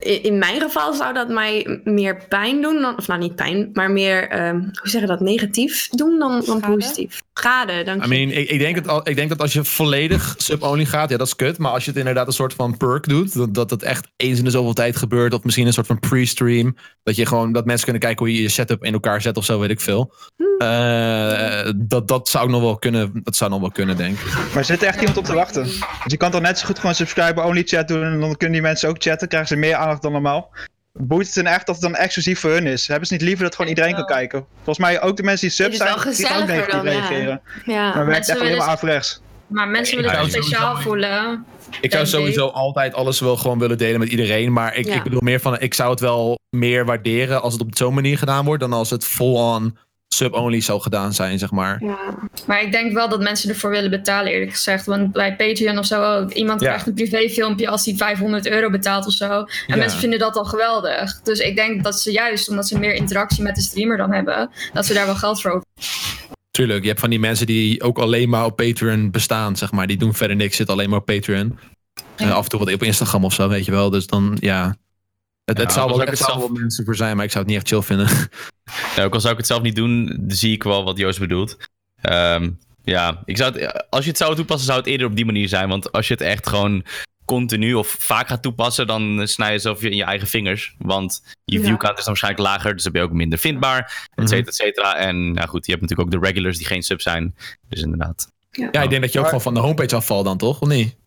[SPEAKER 11] in in mijn geval zou dat mij m- meer pijn doen. Dan, of nou, niet pijn, maar meer, ehm, hoe zeg je dat, negatief doen dan, dan
[SPEAKER 10] Schade?
[SPEAKER 11] positief. Schade, dank
[SPEAKER 7] I
[SPEAKER 11] je.
[SPEAKER 7] mean, ik, ik, denk het al, ik denk dat als je volledig sub-only gaat, ja, dat is kut. Maar als je het inderdaad een soort van perk doet, dat dat, dat echt eens in de zoveel tijd gebeurt. Of misschien een soort van pre-stream. Dat je gewoon, dat mensen kunnen kijken hoe je je setup in elkaar zet of zo, weet ik veel. Eh, dat, dat zou nog wel kunnen, dat zou nog wel kunnen, denk ik.
[SPEAKER 2] Maar er zit echt iemand op te wachten. Dus je kan toch net zo goed gewoon subscriber only chat doen en dan kunnen die mensen ook chatten, krijgen ze meer aandacht dan normaal. Boeit het hen echt dat het dan exclusief voor hun is? Hebben ze niet liever dat gewoon iedereen kan kijken? Volgens mij ook de mensen die sub
[SPEAKER 11] Het is
[SPEAKER 2] zijn,
[SPEAKER 11] wel
[SPEAKER 2] die gaan ook
[SPEAKER 11] gezelliger
[SPEAKER 2] negatief
[SPEAKER 11] dan, ja.
[SPEAKER 2] reageren. Maar
[SPEAKER 11] ja.
[SPEAKER 2] werkt
[SPEAKER 3] Mensen
[SPEAKER 2] echt alleen
[SPEAKER 3] willen
[SPEAKER 2] maar averechts.
[SPEAKER 3] Maar mensen willen
[SPEAKER 7] Ja,
[SPEAKER 3] zich
[SPEAKER 7] sowieso
[SPEAKER 3] speciaal
[SPEAKER 7] niet.
[SPEAKER 3] voelen.
[SPEAKER 7] Ik zou
[SPEAKER 3] Denk ik.
[SPEAKER 7] sowieso altijd alles wel gewoon willen delen met iedereen. Maar ik,
[SPEAKER 11] Ja.
[SPEAKER 7] ik bedoel meer van, ik zou het wel meer waarderen als het op zo'n manier gedaan wordt. Dan als het full-on sub-only zou gedaan zijn, zeg maar.
[SPEAKER 11] ja.
[SPEAKER 3] Maar ik denk wel dat mensen ervoor willen betalen, eerlijk gezegd. Want bij Patreon of zo, iemand
[SPEAKER 7] Ja.
[SPEAKER 3] krijgt een privéfilmpje als hij 500 euro betaalt of zo. En
[SPEAKER 7] Ja.
[SPEAKER 3] mensen vinden dat al geweldig. Dus ik denk dat ze juist, omdat ze meer interactie met de streamer dan hebben, dat ze daar wel geld voor over.
[SPEAKER 7] Tuurlijk, je hebt van die mensen die ook alleen maar op Patreon bestaan, zeg maar. Die doen verder niks, zitten alleen maar op Patreon. Eh, af en toe wat op Instagram of zo, weet je wel. Dus dan, ja. Het, het
[SPEAKER 4] Ja,
[SPEAKER 7] zou
[SPEAKER 4] dat
[SPEAKER 7] wel
[SPEAKER 4] is ook
[SPEAKER 7] het zou
[SPEAKER 4] hetzelfde.
[SPEAKER 7] wel mensen voor zijn, maar ik zou het niet echt chill vinden.
[SPEAKER 4] [laughs] Ja, ook al zou ik het zelf niet doen, zie ik wel wat Joost bedoelt. Ehm, ja, ik zou het, als je het zou toepassen, zou het eerder op die manier zijn. Want als je het echt gewoon continu of vaak gaat toepassen, dan snij je zelf je, in je eigen vingers. Want je
[SPEAKER 11] Ja.
[SPEAKER 4] viewcount is dan waarschijnlijk lager, dus dan ben je ook minder vindbaar,
[SPEAKER 7] Mhm.
[SPEAKER 4] et cetera, et cetera. En nou goed, je hebt natuurlijk ook de regulars die geen sub zijn. Dus inderdaad.
[SPEAKER 7] Ja, ik denk dat je ook
[SPEAKER 2] Maar-
[SPEAKER 7] gewoon van de homepage afvalt dan, toch? Of niet?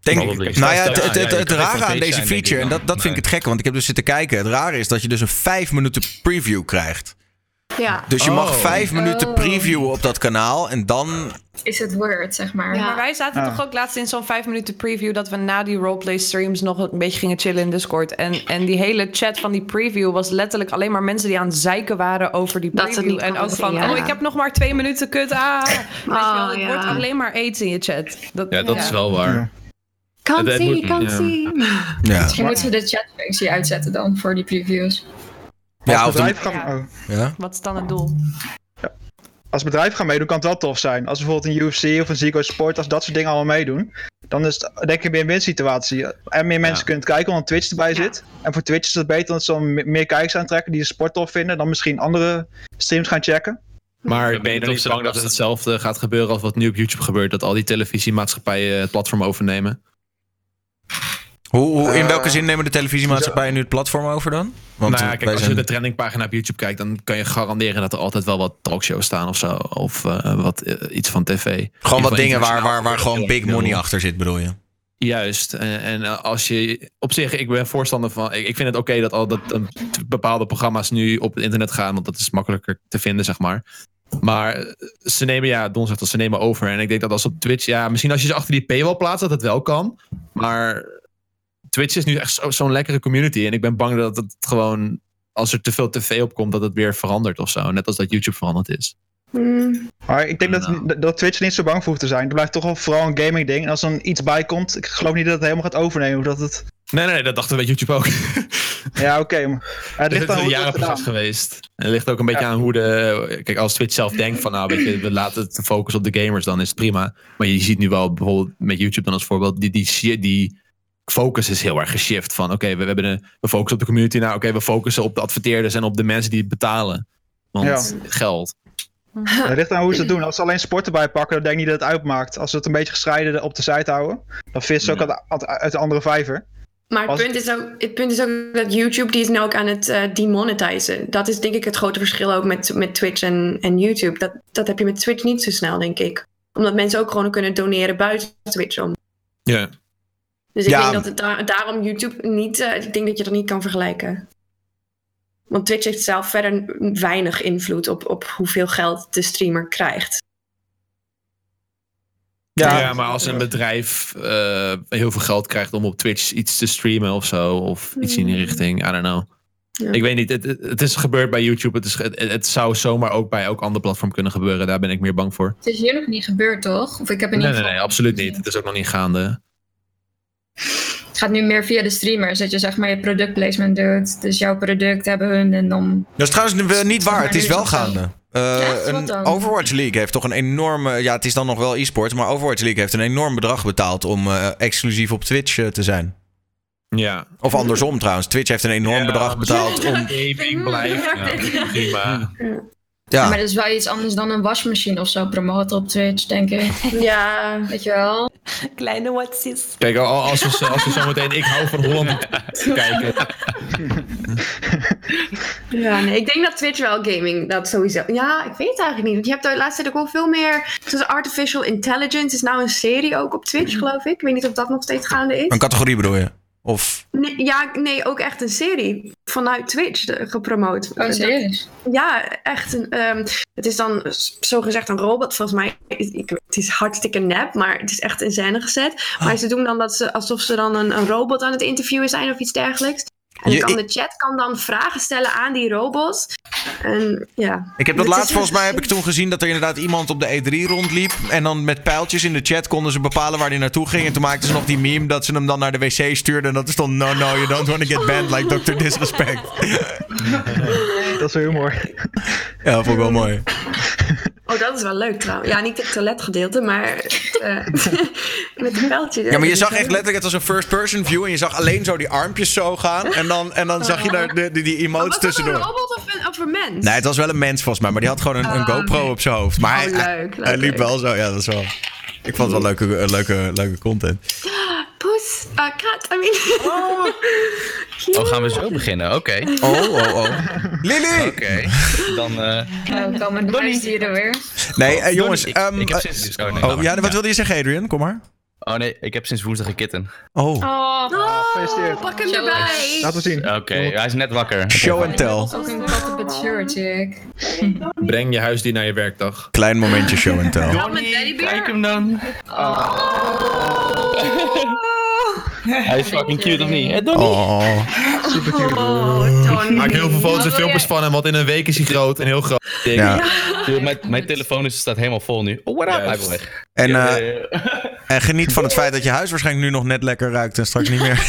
[SPEAKER 1] Denk
[SPEAKER 4] Probably.
[SPEAKER 1] ik. Nou ja, het,
[SPEAKER 4] Ja,
[SPEAKER 1] het,
[SPEAKER 4] ja,
[SPEAKER 1] het,
[SPEAKER 4] je
[SPEAKER 1] het
[SPEAKER 4] kan geen
[SPEAKER 1] rare
[SPEAKER 4] fan
[SPEAKER 1] aan deze
[SPEAKER 4] zijn, denk
[SPEAKER 1] feature,
[SPEAKER 4] ik
[SPEAKER 1] en
[SPEAKER 4] dan.
[SPEAKER 1] dat, dat vind ik het gekke, want ik heb dus zitten kijken. Het rare is dat je dus een 5 minuten preview krijgt.
[SPEAKER 11] ja.
[SPEAKER 1] Dus je mag
[SPEAKER 7] Oh.
[SPEAKER 1] 5 minuten
[SPEAKER 3] Oh.
[SPEAKER 1] previewen op dat kanaal en dan.
[SPEAKER 3] Is het word, zeg maar.
[SPEAKER 11] Ja.
[SPEAKER 10] Maar wij zaten
[SPEAKER 2] Ah.
[SPEAKER 10] toch ook laatst in zo'n vijf minuten preview dat we na die roleplay streams nog een beetje gingen chillen in Discord. En, en die hele chat van die preview was letterlijk alleen maar mensen die aan het zeiken waren over die
[SPEAKER 11] Dat ze het
[SPEAKER 10] preview.
[SPEAKER 11] niet
[SPEAKER 10] en
[SPEAKER 11] konden
[SPEAKER 10] ook van,
[SPEAKER 11] zien, ja. Oh,
[SPEAKER 10] oh ik heb nog maar twee minuten,
[SPEAKER 11] [laughs]
[SPEAKER 10] kut, ah. Weet je wel, het
[SPEAKER 11] ja.
[SPEAKER 10] wordt alleen maar aids in je chat. Dat,
[SPEAKER 7] [laughs] Ja, dat is wel waar.
[SPEAKER 2] Ja.
[SPEAKER 11] Kan
[SPEAKER 7] Het- het
[SPEAKER 11] zien,
[SPEAKER 7] moet-
[SPEAKER 11] kan
[SPEAKER 7] ja.
[SPEAKER 11] zien.
[SPEAKER 1] Ja.
[SPEAKER 3] Misschien moeten ze de chatfunctie uitzetten dan voor die previews.
[SPEAKER 1] Ja,
[SPEAKER 2] als,
[SPEAKER 1] of dan,
[SPEAKER 2] bedrijf gaan, oh.
[SPEAKER 1] ja.
[SPEAKER 10] Wat is dan het doel?
[SPEAKER 2] als bedrijf gaan meedoen kan het wel tof zijn. Als bijvoorbeeld een UFC of een Ziggo Sport, als dat soort dingen allemaal meedoen. Dan is het denk ik meer een win situatie. En meer mensen kunnen kijken omdat Twitch erbij zit. En voor Twitch is het beter dat ze dan me- meer kijkers aantrekken die de sport tof vinden. Dan misschien andere streams gaan checken.
[SPEAKER 7] Maar
[SPEAKER 4] ben
[SPEAKER 7] ben je
[SPEAKER 4] benieuwd
[SPEAKER 7] dan
[SPEAKER 4] of
[SPEAKER 7] niet
[SPEAKER 4] ze
[SPEAKER 7] bang dat
[SPEAKER 4] dat
[SPEAKER 7] het
[SPEAKER 4] als-
[SPEAKER 7] hetzelfde gaat gebeuren als wat nu op YouTube gebeurt? Dat al die televisiemaatschappijen het platform overnemen?
[SPEAKER 1] Hoe, hoe, in
[SPEAKER 2] Eh,
[SPEAKER 1] welke zin nemen de televisiemaatschappijen nu het platform over dan? Want
[SPEAKER 7] nou ja,
[SPEAKER 1] eh,
[SPEAKER 7] kijk,
[SPEAKER 1] wij
[SPEAKER 7] als je
[SPEAKER 1] zijn-
[SPEAKER 7] de trendingpagina op YouTube kijkt, dan kan je garanderen dat er altijd wel wat talkshows staan of zo. Of eh, wat, eh, iets van tv.
[SPEAKER 1] gewoon wat
[SPEAKER 7] Ieder
[SPEAKER 1] dingen waar, waar, waar
[SPEAKER 7] internationaal
[SPEAKER 1] gewoon big
[SPEAKER 7] heel-
[SPEAKER 1] money achter zit, bedoel je?
[SPEAKER 7] Juist. En, en eh, als je op zich, ik ben voorstander van. Ik, ik vind het oké dat al dat eh, t- bepaalde programma's nu op het internet gaan, want dat is makkelijker te vinden, zeg maar. Maar eh, ze nemen, ja, Don zegt dat ze nemen over. En ik denk dat als op Twitch, ja, misschien als je ze achter die paywall plaatst, dat het wel kan. Maar Twitch is nu echt zo- zo'n lekkere community. En ik ben bang dat het gewoon, als er te veel tv op komt, dat het weer verandert of zo. Net als dat YouTube veranderd is.
[SPEAKER 11] Mm,
[SPEAKER 2] Maar ik denk
[SPEAKER 7] Nou.
[SPEAKER 2] dat, dat Twitch niet zo bang voor hoeft te zijn. Het blijft toch wel vooral een gaming ding. En als er dan iets bij komt, ik geloof niet dat het helemaal gaat overnemen. of Dat het... [laughs]
[SPEAKER 7] Nee, nee, nee, dat dachten we met YouTube ook.
[SPEAKER 2] Ja, oké. maar het ligt
[SPEAKER 7] Het is
[SPEAKER 2] aan
[SPEAKER 7] een
[SPEAKER 2] hoe je het
[SPEAKER 7] jarenproces
[SPEAKER 2] gedaan.
[SPEAKER 7] geweest. En het ligt ook een beetje aan hoe de. Kijk, als Twitch zelf denkt van nou, weet je, we laten het de focus op de gamers, dan is het prima. Maar je ziet nu wel bijvoorbeeld met YouTube dan als voorbeeld, die, die, shi- die focus is heel erg geshift. Van oké, we, we hebben een, we focussen op de community. Nou, oké, we focussen op de adverteerders en op de mensen die het betalen. Want geld.
[SPEAKER 2] Het ligt aan hoe ze het doen. Als ze alleen sport erbij pakken, dan denk ik niet dat het uitmaakt. Als ze het een beetje gescheiden op de site houden, dan vissen ze ook uit- uit, uit de andere
[SPEAKER 1] [laughs]
[SPEAKER 2] vijver.
[SPEAKER 11] Maar het
[SPEAKER 2] Als-
[SPEAKER 11] punt, is ook, het punt is ook dat YouTube die is nu ook aan het eh, demonetizen. Dat is denk ik het grote verschil ook met, met Twitch en, en YouTube. Dat, dat heb je met Twitch niet zo snel, denk ik. Omdat mensen ook gewoon kunnen doneren buiten Twitch om.
[SPEAKER 7] Ja.
[SPEAKER 9] Dus ik
[SPEAKER 1] Ja.
[SPEAKER 9] denk dat het da- daarom YouTube niet. eh, ik denk dat je dat niet kan vergelijken. Want Twitch heeft zelf verder weinig invloed op, op hoeveel geld de streamer krijgt.
[SPEAKER 7] Ja. maar als een bedrijf eh, heel veel geld krijgt om op Twitch iets te streamen of zo, of iets in die richting, I don't know.
[SPEAKER 9] Ja.
[SPEAKER 7] Ik weet niet, het, het- het is gebeurd bij YouTube, het, is, ge- het, het zou zomaar ook bij elk ander platform kunnen gebeuren, daar ben ik meer bang voor.
[SPEAKER 3] Het is hier nog niet gebeurd, toch? Of ik heb in
[SPEAKER 7] Nee,
[SPEAKER 3] ieder
[SPEAKER 7] nee,
[SPEAKER 3] geval...
[SPEAKER 7] nee, absoluut niet. Het is ook nog niet gaande.
[SPEAKER 3] Het gaat nu meer via de streamers, dat je zeg maar je productplacement doet. Dus jouw product hebben hun en dan...
[SPEAKER 1] Dat is trouwens eh, niet waar. Het is wel gaande. Eh,
[SPEAKER 3] Echt? Wat
[SPEAKER 1] een
[SPEAKER 3] dan?
[SPEAKER 1] Overwatch League heeft toch een enorme. Ja, het is dan nog wel e-sports, maar Overwatch League heeft een enorm bedrag betaald om eh, exclusief op Twitch eh, te zijn.
[SPEAKER 7] Ja.
[SPEAKER 1] Of andersom trouwens. Twitch heeft een enorm bedrag betaald [laughs] om.
[SPEAKER 7] Gaming blijft. [laughs] Ja, prima.
[SPEAKER 1] Ja.
[SPEAKER 3] Maar dat is wel iets anders dan een wasmachine of zo promoten op Twitch, denk ik.
[SPEAKER 9] Ja.
[SPEAKER 3] Weet je wel?
[SPEAKER 10] Kleine watjes.
[SPEAKER 7] Kijk, al- al- als we, zo- als we zo meteen Ik hou van [laughs] Holland kijken.
[SPEAKER 9] Ja, nee, ik denk dat Twitch wel gaming dat sowieso. Ja, ik weet het eigenlijk niet. Want je hebt de laatste tijd ook wel veel meer. Zoals Artificial Intelligence is nou een serie ook op Twitch, geloof ik. Ik weet niet of dat nog steeds gaande is.
[SPEAKER 1] Een categorie bedoel je? Of.
[SPEAKER 9] Nee, ja, nee, ook echt een serie vanuit Twitch eh, gepromoot.
[SPEAKER 3] Oh, serieus?
[SPEAKER 9] Ja, echt. Een, ehm, het is dan s- zogezegd een robot, volgens mij. Ik- Het is hartstikke nep, maar het is echt in scène gezet.
[SPEAKER 1] Ah.
[SPEAKER 9] Maar ze doen dan dat ze, alsof ze dan een, een robot aan het interviewen zijn of iets dergelijks. En
[SPEAKER 1] Je-
[SPEAKER 9] dan kan
[SPEAKER 1] ik-
[SPEAKER 9] de chat kan dan vragen stellen aan die robot. En, ja.
[SPEAKER 1] Ik heb dat
[SPEAKER 9] Het is
[SPEAKER 1] laatst, volgens mij
[SPEAKER 9] echt-
[SPEAKER 1] heb ik toen gezien dat er inderdaad iemand op de E3 rondliep. En dan met pijltjes in de chat konden ze bepalen waar hij naartoe ging. En toen maakten ze nog die meme dat ze hem dan naar de wc stuurden. En dat is dan: No, no, you don't want to get banned like Dr. Disrespect.
[SPEAKER 2] Dat is wel heel mooi.
[SPEAKER 1] Ja, vond ik wel mooi.
[SPEAKER 9] Oh, dat is wel leuk trouwens. Ja, niet het toiletgedeelte, maar eh, [laughs] met een pijltje.
[SPEAKER 1] Ja, maar je zag echt letterlijk, het was een first-person view. En je zag alleen zo die armpjes zo gaan. En dan, en dan zag je daar de, die, die emotes
[SPEAKER 9] Was dat een
[SPEAKER 1] tussendoor.
[SPEAKER 9] robot of een, of een mens?
[SPEAKER 1] Nee, het was wel een mens volgens mij, maar die had gewoon een, een GoPro op zijn hoofd. Maar hij,
[SPEAKER 9] Ah, Oh,
[SPEAKER 1] hij-
[SPEAKER 9] leuk, leuk,
[SPEAKER 1] hij liep
[SPEAKER 9] leuk.
[SPEAKER 1] wel zo, ja, dat is wel. Ik vond het wel leuke, eh, leuke, leuke content.
[SPEAKER 9] Poes, eh, kat, I mean.
[SPEAKER 4] Oh, gaan we zo beginnen? Oké.
[SPEAKER 1] Oh, oh, oh. Lily!
[SPEAKER 4] [laughs] Oké. Dan. eh,
[SPEAKER 3] Nou, komen de huisdieren weer.
[SPEAKER 1] Nee, eh, jongens.
[SPEAKER 4] ik-
[SPEAKER 1] ehm,
[SPEAKER 4] ik heb
[SPEAKER 1] eh,
[SPEAKER 4] sinds- oh, nee,
[SPEAKER 1] oh, ja,
[SPEAKER 4] ja.
[SPEAKER 1] wat wilde je zeggen, Adrian? Kom maar.
[SPEAKER 4] Oh nee, ik heb sinds woensdag een kitten.
[SPEAKER 1] Oh,
[SPEAKER 3] Oh,
[SPEAKER 2] Gefeliciteerd.
[SPEAKER 9] Pak hem erbij.
[SPEAKER 2] Laten we zien.
[SPEAKER 4] Oké, hij is net wakker.
[SPEAKER 1] show and tell.
[SPEAKER 3] fucking kat shirt, chick.
[SPEAKER 7] Breng je huisdier naar je werkdag.
[SPEAKER 1] Klein momentje show and tell.
[SPEAKER 3] Wat met
[SPEAKER 4] Kijk
[SPEAKER 3] daddybeer?
[SPEAKER 4] hem nou. dan.
[SPEAKER 3] Oh.
[SPEAKER 4] Hij is fucking cute, of niet? Hè, Donnie?
[SPEAKER 1] Oh.
[SPEAKER 9] Oh,
[SPEAKER 8] [laughs]
[SPEAKER 9] Tony.
[SPEAKER 7] Maak heel veel foto's en
[SPEAKER 3] Wat wil
[SPEAKER 7] filmpjes
[SPEAKER 3] jij?
[SPEAKER 7] van hem, want in een week is hij groot en heel groot. Dik.
[SPEAKER 1] Ja.
[SPEAKER 4] Dude, mijn, mijn telefoon is, staat helemaal vol nu. Oh, what up? Hij wil weg.
[SPEAKER 1] En,
[SPEAKER 4] Ja,
[SPEAKER 1] eh,
[SPEAKER 4] ja, ja.
[SPEAKER 1] en geniet van het feit dat je huis waarschijnlijk nu nog net lekker ruikt en straks niet meer.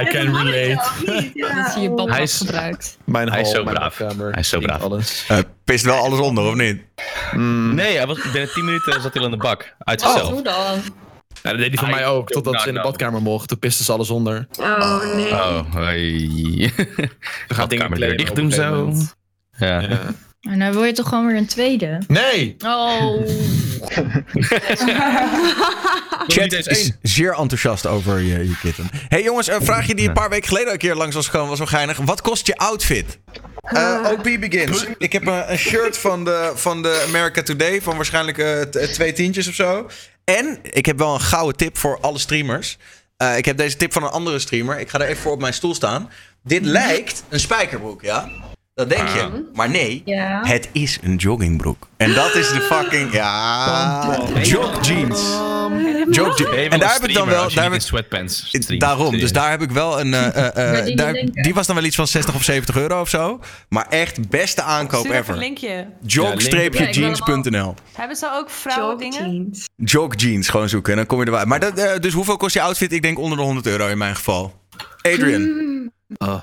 [SPEAKER 7] I can relate.
[SPEAKER 6] Dat je je bad
[SPEAKER 4] Hij
[SPEAKER 6] had
[SPEAKER 4] is-
[SPEAKER 6] gebruikt.
[SPEAKER 7] Mijn
[SPEAKER 4] Hij is
[SPEAKER 7] hal,
[SPEAKER 4] zo
[SPEAKER 7] mijn
[SPEAKER 4] braaf.
[SPEAKER 7] badkamer,
[SPEAKER 4] Hij is zo
[SPEAKER 7] ding,
[SPEAKER 4] braaf.
[SPEAKER 7] Alles.
[SPEAKER 1] Eh, pist wel alles onder, of niet?
[SPEAKER 4] Nee, hij was, binnen 10 minuten zat hij al in de bak. Uit
[SPEAKER 3] Oh,
[SPEAKER 4] zichzelf.
[SPEAKER 3] hoe dan?
[SPEAKER 7] Ja, dat deed hij van
[SPEAKER 4] I
[SPEAKER 7] mij ook,
[SPEAKER 4] do
[SPEAKER 7] totdat
[SPEAKER 4] not
[SPEAKER 7] ze in de
[SPEAKER 4] know.
[SPEAKER 7] badkamer mochten. Toen pisten ze alles onder.
[SPEAKER 9] Oh, nee.
[SPEAKER 4] Oh,
[SPEAKER 7] [laughs]
[SPEAKER 4] hoi.
[SPEAKER 7] We gaan dingen
[SPEAKER 4] Kamerdeur
[SPEAKER 7] claimen
[SPEAKER 4] dicht
[SPEAKER 7] op een
[SPEAKER 4] doen
[SPEAKER 7] gegeven
[SPEAKER 4] zo.
[SPEAKER 7] moment.
[SPEAKER 4] Ja.
[SPEAKER 7] Ja.
[SPEAKER 6] En dan wil je toch gewoon weer een tweede?
[SPEAKER 7] Nee!
[SPEAKER 6] Oh.
[SPEAKER 1] Chat is zeer enthousiast over je, je kitten. hey jongens, een vraagje die een paar weken geleden een keer langs was gekomen was wel geinig. Wat kost je outfit? [laughs] Eh OP begins. Ik heb eh, een, een shirt van de, van de America Today van waarschijnlijk eh, t- twee tientjes of zo. En ik heb wel een gouden tip voor alle streamers. Eh, ik heb deze tip van een andere streamer. Ik ga er even voor op mijn stoel staan. Dit lijkt een spijkerbroek, ja? Dat denk je. Maar nee,
[SPEAKER 3] Ja.
[SPEAKER 1] het is een joggingbroek. En dat is de fucking... Ja, jog jeans. Joke Jim.
[SPEAKER 4] Nee,
[SPEAKER 1] en daar heb ik dan wel.
[SPEAKER 4] Daar
[SPEAKER 1] Daar
[SPEAKER 4] heb
[SPEAKER 1] heb
[SPEAKER 4] ik
[SPEAKER 1] ik,
[SPEAKER 4] sweatpants. streamt.
[SPEAKER 1] daarom. Dus
[SPEAKER 4] Serieus.
[SPEAKER 1] daar heb ik wel een. eh, eh, eh,
[SPEAKER 3] die
[SPEAKER 1] daar-
[SPEAKER 3] linker.
[SPEAKER 1] die was dan wel iets van 60 of 70 euro of zo. Maar echt beste aankoop
[SPEAKER 10] Stuur even een
[SPEAKER 1] ever.
[SPEAKER 10] linkje.
[SPEAKER 1] Jog-jeans.nl.
[SPEAKER 10] Hebben ze ook
[SPEAKER 9] Joke
[SPEAKER 10] vrouwendingen?
[SPEAKER 9] jeans.
[SPEAKER 1] Jog jeans, gewoon zoeken. En dan kom je er wel uit. Maar dat, eh, dus hoeveel kost je outfit? Ik denk onder de 100 euro in mijn geval. Adrian,
[SPEAKER 10] Oh.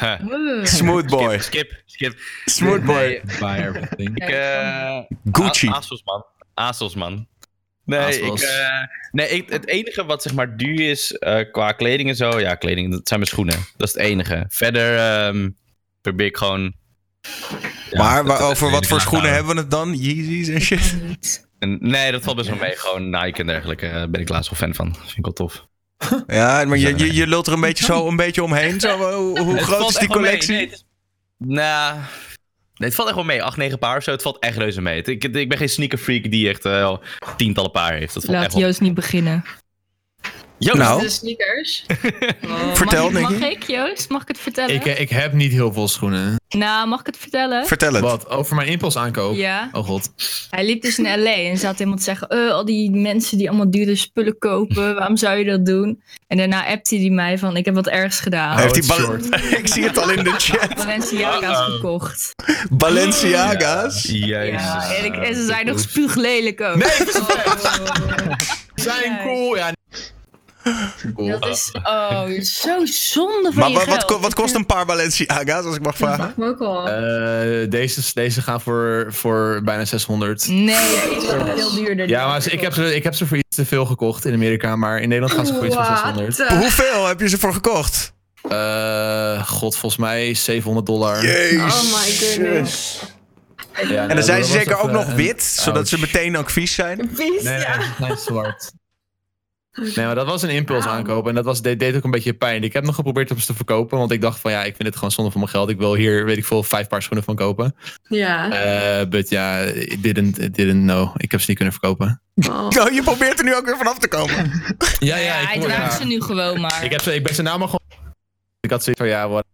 [SPEAKER 4] Huh.
[SPEAKER 1] smooth boy.
[SPEAKER 4] Skip, skip.
[SPEAKER 1] Smooth boy.
[SPEAKER 4] Nee, Ik, eh,
[SPEAKER 1] [laughs] Gucci.
[SPEAKER 4] A- ASOS, man. ASOS, man. Nee,
[SPEAKER 7] ASOS.
[SPEAKER 4] Ik, eh, nee ik, het enige wat zeg maar duur is eh, qua kleding en zo. Ja, kleding, dat zijn mijn schoenen. Dat is het enige. Verder ehm, probeer ik gewoon. Ja,
[SPEAKER 1] Maar
[SPEAKER 4] dat-
[SPEAKER 1] waar-
[SPEAKER 4] dat-
[SPEAKER 1] over
[SPEAKER 4] dat-
[SPEAKER 1] wat voor
[SPEAKER 4] dat-
[SPEAKER 1] schoenen
[SPEAKER 4] dat-
[SPEAKER 1] hebben we het dan? Yeezys en shit.
[SPEAKER 4] En- Nee, dat valt best wel mee. Gewoon Nike en dergelijke. eh, ben ik laatst wel fan van. Vind ik wel tof.
[SPEAKER 1] Ja, Ah, maar je, je, je lult er een beetje zo een beetje omheen. Zo, eh, hoe hoe
[SPEAKER 4] Het
[SPEAKER 1] groot
[SPEAKER 4] valt
[SPEAKER 1] is die
[SPEAKER 4] echt wel mee.
[SPEAKER 1] collectie?
[SPEAKER 4] Nee, het is- Nou, Nee, het valt echt wel mee. 8, 9 paar of zo. Het valt echt reuze mee. Het- Ik, ik ben geen sneaker freak die echt eh, al tientallen paar heeft. Dat valt echt
[SPEAKER 6] Laat
[SPEAKER 4] wel.
[SPEAKER 6] Joost niet beginnen.
[SPEAKER 4] Joost,
[SPEAKER 1] Nou.
[SPEAKER 6] De [laughs] sneakers. Oh,
[SPEAKER 4] Vertel,
[SPEAKER 6] mag, ik-
[SPEAKER 4] Nicky.
[SPEAKER 6] Mag ik, Joost? Mag ik het vertellen?
[SPEAKER 7] Ik, eh, ik heb niet heel veel schoenen.
[SPEAKER 6] Nou, mag ik het vertellen?
[SPEAKER 7] Wat? Over mijn impuls aankoop?
[SPEAKER 6] Ja.
[SPEAKER 7] Oh god.
[SPEAKER 6] Hij liep dus in L.A. en zat iemand te zeggen... eh, al die mensen die allemaal dure spullen kopen, waarom zou je dat doen? En daarna appte hij mij van, ik heb wat ergs gedaan.
[SPEAKER 1] Hij heeft die bal- Ik zie het al in de chat.
[SPEAKER 6] Balenciaga's
[SPEAKER 1] Uh-oh.
[SPEAKER 6] gekocht.
[SPEAKER 1] Balenciaga's.
[SPEAKER 6] Ja, en, ik- en ze zijn nog spuuglelijk ook. Oh.
[SPEAKER 7] Zijn cool, ja.
[SPEAKER 6] Dat is, oh, zo zonde van
[SPEAKER 1] Maar
[SPEAKER 6] je
[SPEAKER 1] wa- wat,
[SPEAKER 6] geld.
[SPEAKER 1] ko- wat kost een paar Balenciaga's, als ik mag vragen?
[SPEAKER 6] Ook al.
[SPEAKER 7] Eh, deze, deze gaan voor, voor bijna 600.
[SPEAKER 6] Nee, dat is wel veel duurder.
[SPEAKER 7] Ja, maar ze- ik heb, ze, ik heb ze voor iets te veel gekocht in Amerika, maar in Nederland gaan ze voor iets van
[SPEAKER 6] What Eh.
[SPEAKER 7] 600.
[SPEAKER 6] the-
[SPEAKER 1] Hoeveel heb je ze voor gekocht?
[SPEAKER 7] Eh, god, volgens mij 700 dollar.
[SPEAKER 6] Oh
[SPEAKER 7] Ja,
[SPEAKER 1] en
[SPEAKER 7] nee,
[SPEAKER 1] dan zijn ze
[SPEAKER 7] dat was
[SPEAKER 1] zeker
[SPEAKER 7] even
[SPEAKER 1] ook nog
[SPEAKER 7] een-
[SPEAKER 1] wit, zodat ze meteen ook vies zijn.
[SPEAKER 7] Nee, nee, ze zijn zwart. Nee, maar dat was een impuls aankopen en dat was, deed, deed ook een beetje pijn. Ik heb nog geprobeerd om ze te verkopen, want ik dacht van ja, ik vind het gewoon zonde van mijn geld. Ik wil hier, weet ik veel, vijf paar schoenen van kopen.
[SPEAKER 9] Ja.
[SPEAKER 7] Eh but ja, it didn't, it didn't know. Ik heb ze niet kunnen verkopen.
[SPEAKER 1] Nou, je probeert er nu ook weer vanaf te komen.
[SPEAKER 7] Ja, ja, ik,
[SPEAKER 6] Hij
[SPEAKER 7] hoor-
[SPEAKER 6] draagt
[SPEAKER 7] ja.
[SPEAKER 6] ze nu gewoon maar.
[SPEAKER 7] Ik, heb ze, ik ben ze naam al gewoon... Ik had zoiets van, ja, wat...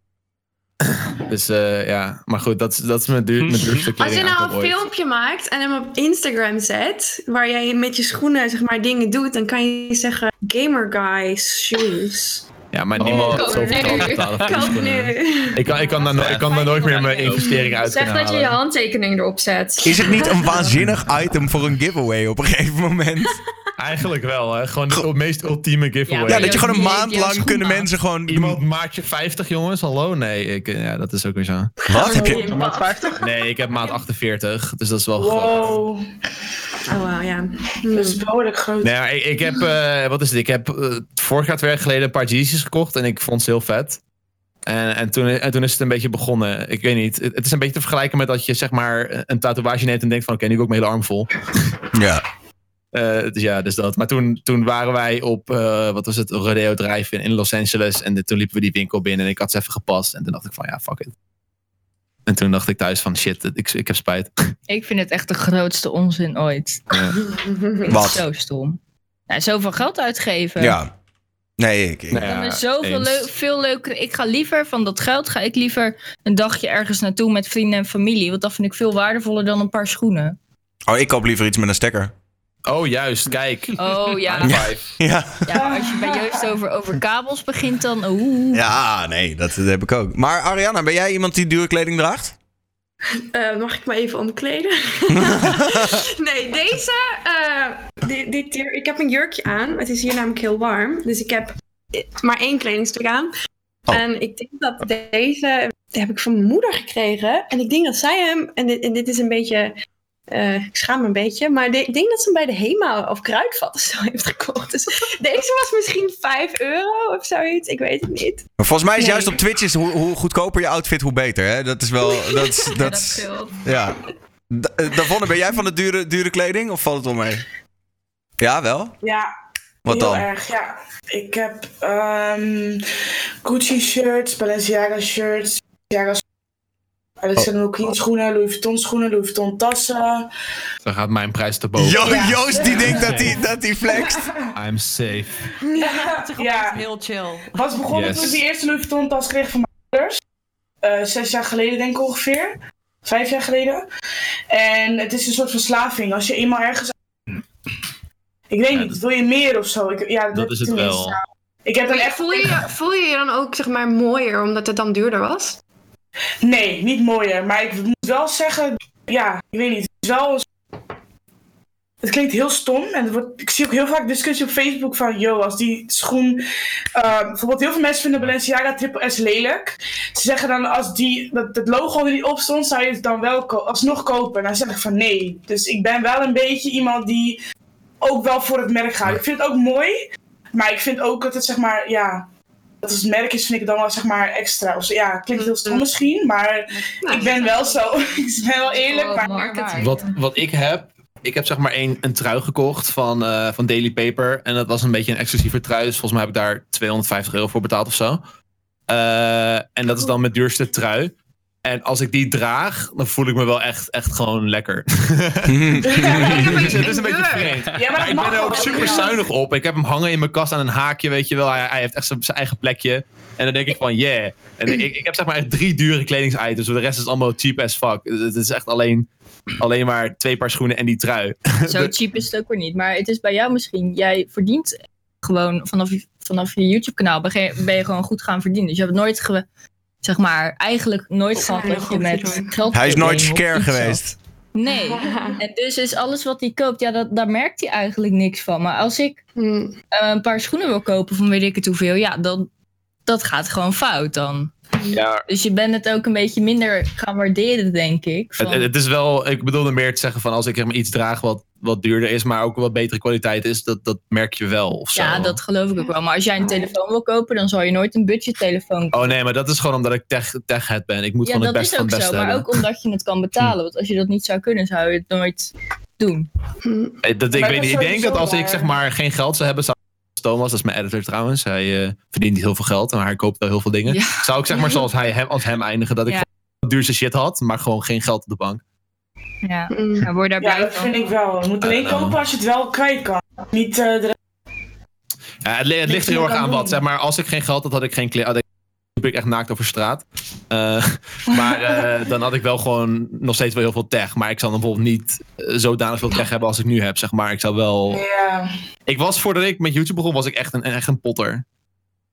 [SPEAKER 7] [laughs] Dus eh, ja, maar goed, dat, is- dat is mijn, duur, mijn duurste kleding
[SPEAKER 9] Als je nou een
[SPEAKER 7] aankoop ooit.
[SPEAKER 9] filmpje maakt en hem op Instagram zet, waar jij met je schoenen zeg maar dingen doet, dan kan je zeggen gamer guys shoes. Oh.
[SPEAKER 7] Ja, maar niemand
[SPEAKER 9] Koop
[SPEAKER 7] had zoveel
[SPEAKER 9] nu.
[SPEAKER 7] geld betalen voor die
[SPEAKER 9] Koop
[SPEAKER 7] schoenen.
[SPEAKER 9] nu.
[SPEAKER 7] Ik kan, ik kan, daar, no- ik kan daar nooit meer mijn investering uit
[SPEAKER 3] Zeg
[SPEAKER 7] kunnen
[SPEAKER 3] dat je je
[SPEAKER 7] halen.
[SPEAKER 3] handtekening erop zet.
[SPEAKER 1] Is het niet een
[SPEAKER 3] [laughs]
[SPEAKER 1] waanzinnig item [laughs] voor een giveaway op een gegeven moment?
[SPEAKER 7] [laughs] Eigenlijk wel, hè. Gewoon de meest ultieme giveaway.
[SPEAKER 1] Ja, dat je gewoon een maand lang kunnen mensen gewoon...
[SPEAKER 7] Iemand maakt je 50, jongens. Hallo? Nee, ik, eh, ja, dat is ook weer zo.
[SPEAKER 1] Wat? Heb je...
[SPEAKER 7] Maat 50? Nee, ik heb maat 48, dus dat is wel groot.
[SPEAKER 5] Wow.
[SPEAKER 9] Oh wow, ja.
[SPEAKER 5] Dat is behoorlijk groot.
[SPEAKER 7] Nee, maar Nou ik, ik heb, eh, wat is het? Ik heb eh, vorig jaar twee jaar geleden een paar Yeezys gekocht en ik vond ze heel vet. En, en, toen, en toen is het een beetje begonnen. Ik weet niet. Het, het is een beetje te vergelijken met dat je zeg maar een tatoeage neemt en denkt van oké, nu heb ik ook mijn hele arm vol.
[SPEAKER 1] Ja.
[SPEAKER 7] Eh, dus ja, dus dat. Maar toen, toen waren wij op, eh, wat was het, Rodeo Drive in, in Los Angeles. En de- toen liepen we die winkel binnen en ik had ze even gepast. En toen dacht ik van ja, fuck it. En toen dacht ik thuis van shit, ik, ik heb spijt. [laughs]
[SPEAKER 6] Ik vind het echt de grootste onzin ooit. [laughs]
[SPEAKER 7] Ja.
[SPEAKER 6] Ik vind het
[SPEAKER 7] Wat?
[SPEAKER 6] Zo stom. Nou, zoveel geld uitgeven.
[SPEAKER 1] Ja. Nee, ik... ik-
[SPEAKER 7] Nou ja,
[SPEAKER 6] Er is zoveel
[SPEAKER 7] eens.
[SPEAKER 6] leu- veel leuker. Ik ga liever van dat geld ga ik liever een dagje ergens naartoe met vrienden en familie. Want dat vind ik veel waardevoller dan een paar schoenen.
[SPEAKER 1] Oh, ik koop liever iets met een stekker.
[SPEAKER 7] Oh, juist, kijk.
[SPEAKER 6] Oh ja.
[SPEAKER 7] Ja.
[SPEAKER 1] [laughs] Ja.
[SPEAKER 6] ja maar als je bij Joost over, over kabels begint, dan. Oeh.
[SPEAKER 1] Ja, nee, dat, dat heb ik ook. Maar Ariana, ben jij iemand die dure kleding draagt?
[SPEAKER 9] Eh, mag ik me even omkleden? nee, deze. eh, dit, dit, hier- ik heb een jurkje aan. Het is hier namelijk heel warm. Dus ik heb eh, maar één kledingstuk aan. En ik denk dat deze. Die heb ik van mijn moeder gekregen. En ik denk dat zij hem. En dit, en dit is een beetje. eh, ik schaam me een beetje. Maar de- ik denk dat ze hem bij de HEMA of Kruidvat of zo heeft gekocht. Dus deze was misschien 5 euro of zoiets. Ik weet het niet.
[SPEAKER 1] Maar volgens mij is
[SPEAKER 9] Nee.
[SPEAKER 1] juist op Twitch is hoe, hoe goedkoper je outfit, hoe beter. Hè? Dat is wel. Dat, is- dat, is- ja. Da- eh, Davonne, ben jij van de dure, dure kleding of valt het wel mee? Ja, wel.
[SPEAKER 5] Ja.
[SPEAKER 1] Wat
[SPEAKER 5] heel
[SPEAKER 1] dan?
[SPEAKER 5] erg, ja. Ik heb ehm, Gucci shirts, Balenciaga shirts, Balenciaga Alexander
[SPEAKER 7] Oh.
[SPEAKER 5] McQueen schoenen, Louis Vuitton schoenen, Louis Vuitton tassen.
[SPEAKER 7] Dan gaat mijn prijs te boven.
[SPEAKER 1] Jo- Joost die denkt dat hij dat hij flext.
[SPEAKER 7] I'm safe.
[SPEAKER 5] [laughs] Ja,
[SPEAKER 10] Heel chill.
[SPEAKER 5] was begonnen
[SPEAKER 7] Yes.
[SPEAKER 5] toen ik die eerste Louis Vuitton tas kreeg van mijn ouders. Eh, zes jaar geleden denk ik ongeveer. Vijf jaar geleden. En het is een soort verslaving. Als je eenmaal ergens... Ik weet niet, wil je meer of zo? Ik, ja, dat,
[SPEAKER 7] is het
[SPEAKER 5] tenminste.
[SPEAKER 7] wel.
[SPEAKER 5] Ik heb dan echt...
[SPEAKER 9] Voel
[SPEAKER 5] [laughs]
[SPEAKER 9] je, voel je je dan ook zeg maar mooier omdat het dan duurder was?
[SPEAKER 5] Nee, niet mooier. Maar ik moet wel zeggen, ja, ik weet niet. Het is wel. Het klinkt heel stom. En het wordt, ik zie ook heel vaak discussie op Facebook van: yo, als die schoen. eh, bijvoorbeeld, heel veel mensen vinden Balenciaga Triple S lelijk. Ze zeggen dan: als die, dat, dat logo er niet op stond, zou je het dan wel ko- alsnog kopen. En dan zeg ik van nee. Dus ik ben wel een beetje iemand die ook wel voor het merk gaat. Ik vind het ook mooi. Maar ik vind ook dat het zeg maar, ja, dat als het merk is, vind ik het dan wel zeg maar extra. Of zo. Ja, klinkt heel stom misschien, maar ik ben wel zo. [laughs] ik ben wel eerlijk, maar
[SPEAKER 7] Wat, wat ik heb, ik heb zeg maar een, een trui gekocht van, eh, van Daily Paper. En dat was een beetje een exclusieve trui. Dus volgens mij heb ik daar 250 euro voor betaald of zo. Eh, en dat is dan mijn duurste trui. En als ik die draag, dan voel ik me wel echt, echt gewoon lekker. [laughs]
[SPEAKER 5] Het
[SPEAKER 7] is een beetje vreemd.
[SPEAKER 5] Ja, maar dat
[SPEAKER 7] ik ben
[SPEAKER 5] mag
[SPEAKER 7] er ook
[SPEAKER 5] wel.
[SPEAKER 7] super zuinig op. Ik heb hem hangen in mijn kast aan een haakje, weet je wel. Hij, hij heeft echt zijn, zijn eigen plekje. En dan denk ik van, yeah. En ik, ik heb zeg maar echt drie dure kledingsitems. maar De rest is allemaal cheap as fuck. Het- Het is echt alleen, alleen maar twee paar schoenen en die trui.
[SPEAKER 1] [laughs]
[SPEAKER 6] Zo cheap is het ook weer niet. Maar het is bij jou misschien. Jij verdient gewoon vanaf, je- vanaf je YouTube-kanaal ben je, ben je gewoon goed gaan verdienen. Dus je hebt nooit, ge- zeg maar, eigenlijk nooit gehad dat je met geld.
[SPEAKER 1] Hij is nooit
[SPEAKER 6] problemen of
[SPEAKER 1] scare
[SPEAKER 6] iets
[SPEAKER 1] geweest.
[SPEAKER 6] Nee. En dus is alles wat hij koopt, ja, dat, daar merkt hij eigenlijk niks van. Maar als ik eh, een paar schoenen wil kopen van weet ik het hoeveel, ja, dan dat gaat gewoon fout dan.
[SPEAKER 7] Ja.
[SPEAKER 6] Dus je bent het ook een beetje minder gaan waarderen, denk ik.
[SPEAKER 7] Het,
[SPEAKER 6] van-
[SPEAKER 7] het- het is wel, ik bedoelde meer te zeggen van als ik zeg maar, iets draag wat, wat duurder is, maar ook wat betere kwaliteit is, dat, dat merk je wel of zo.
[SPEAKER 6] ja, dat geloof ik ook wel. Maar als jij een telefoon wil kopen, dan zal je nooit een budgettelefoon kopen.
[SPEAKER 7] Oh nee, maar dat is gewoon omdat ik tech, tech head ben. Ik moet
[SPEAKER 6] ja,
[SPEAKER 7] gewoon het
[SPEAKER 6] dat is
[SPEAKER 7] beste van
[SPEAKER 6] ook
[SPEAKER 7] het
[SPEAKER 6] zo.
[SPEAKER 7] beste
[SPEAKER 6] Maar
[SPEAKER 7] hebben. Hm.
[SPEAKER 6] ook omdat je het kan betalen. Want als je dat niet zou kunnen, zou je het nooit doen.
[SPEAKER 7] Eh, Dat, ik
[SPEAKER 6] Maar
[SPEAKER 7] weet
[SPEAKER 6] dat
[SPEAKER 7] niet.
[SPEAKER 6] is
[SPEAKER 7] Ik denk dat
[SPEAKER 6] sowieso
[SPEAKER 7] als ik
[SPEAKER 6] waar.
[SPEAKER 7] zeg maar geen geld zou hebben, zou Thomas, dat is mijn editor trouwens, hij eh, verdient niet heel veel geld, maar hij koopt wel heel veel dingen. Zou ik zeg maar zoals hij hem, als hem eindigen, dat ik
[SPEAKER 6] Ja.
[SPEAKER 7] gewoon de duurste shit had, maar gewoon geen geld op de bank.
[SPEAKER 6] Ja, ja word daar
[SPEAKER 5] Ja,
[SPEAKER 6] blij
[SPEAKER 5] dat
[SPEAKER 6] van.
[SPEAKER 5] vind ik wel. Je moet alleen
[SPEAKER 7] I don't know.
[SPEAKER 5] kopen als je het wel kwijt kan. Niet eh, de
[SPEAKER 7] Ja, het, li- het ligt er heel erg aan wat. Zeg maar, als ik geen geld had, had ik geen kleren. had ik- liep ik echt naakt over straat. Eh, [laughs] maar eh, dan had ik wel gewoon nog steeds wel heel veel tech. Maar ik zou dan bijvoorbeeld niet eh, zodanig veel tech hebben als ik nu heb. Zeg maar, ik zou wel.
[SPEAKER 5] Ja.
[SPEAKER 7] Ik was voordat ik met YouTube begon, was ik echt een, echt een potter.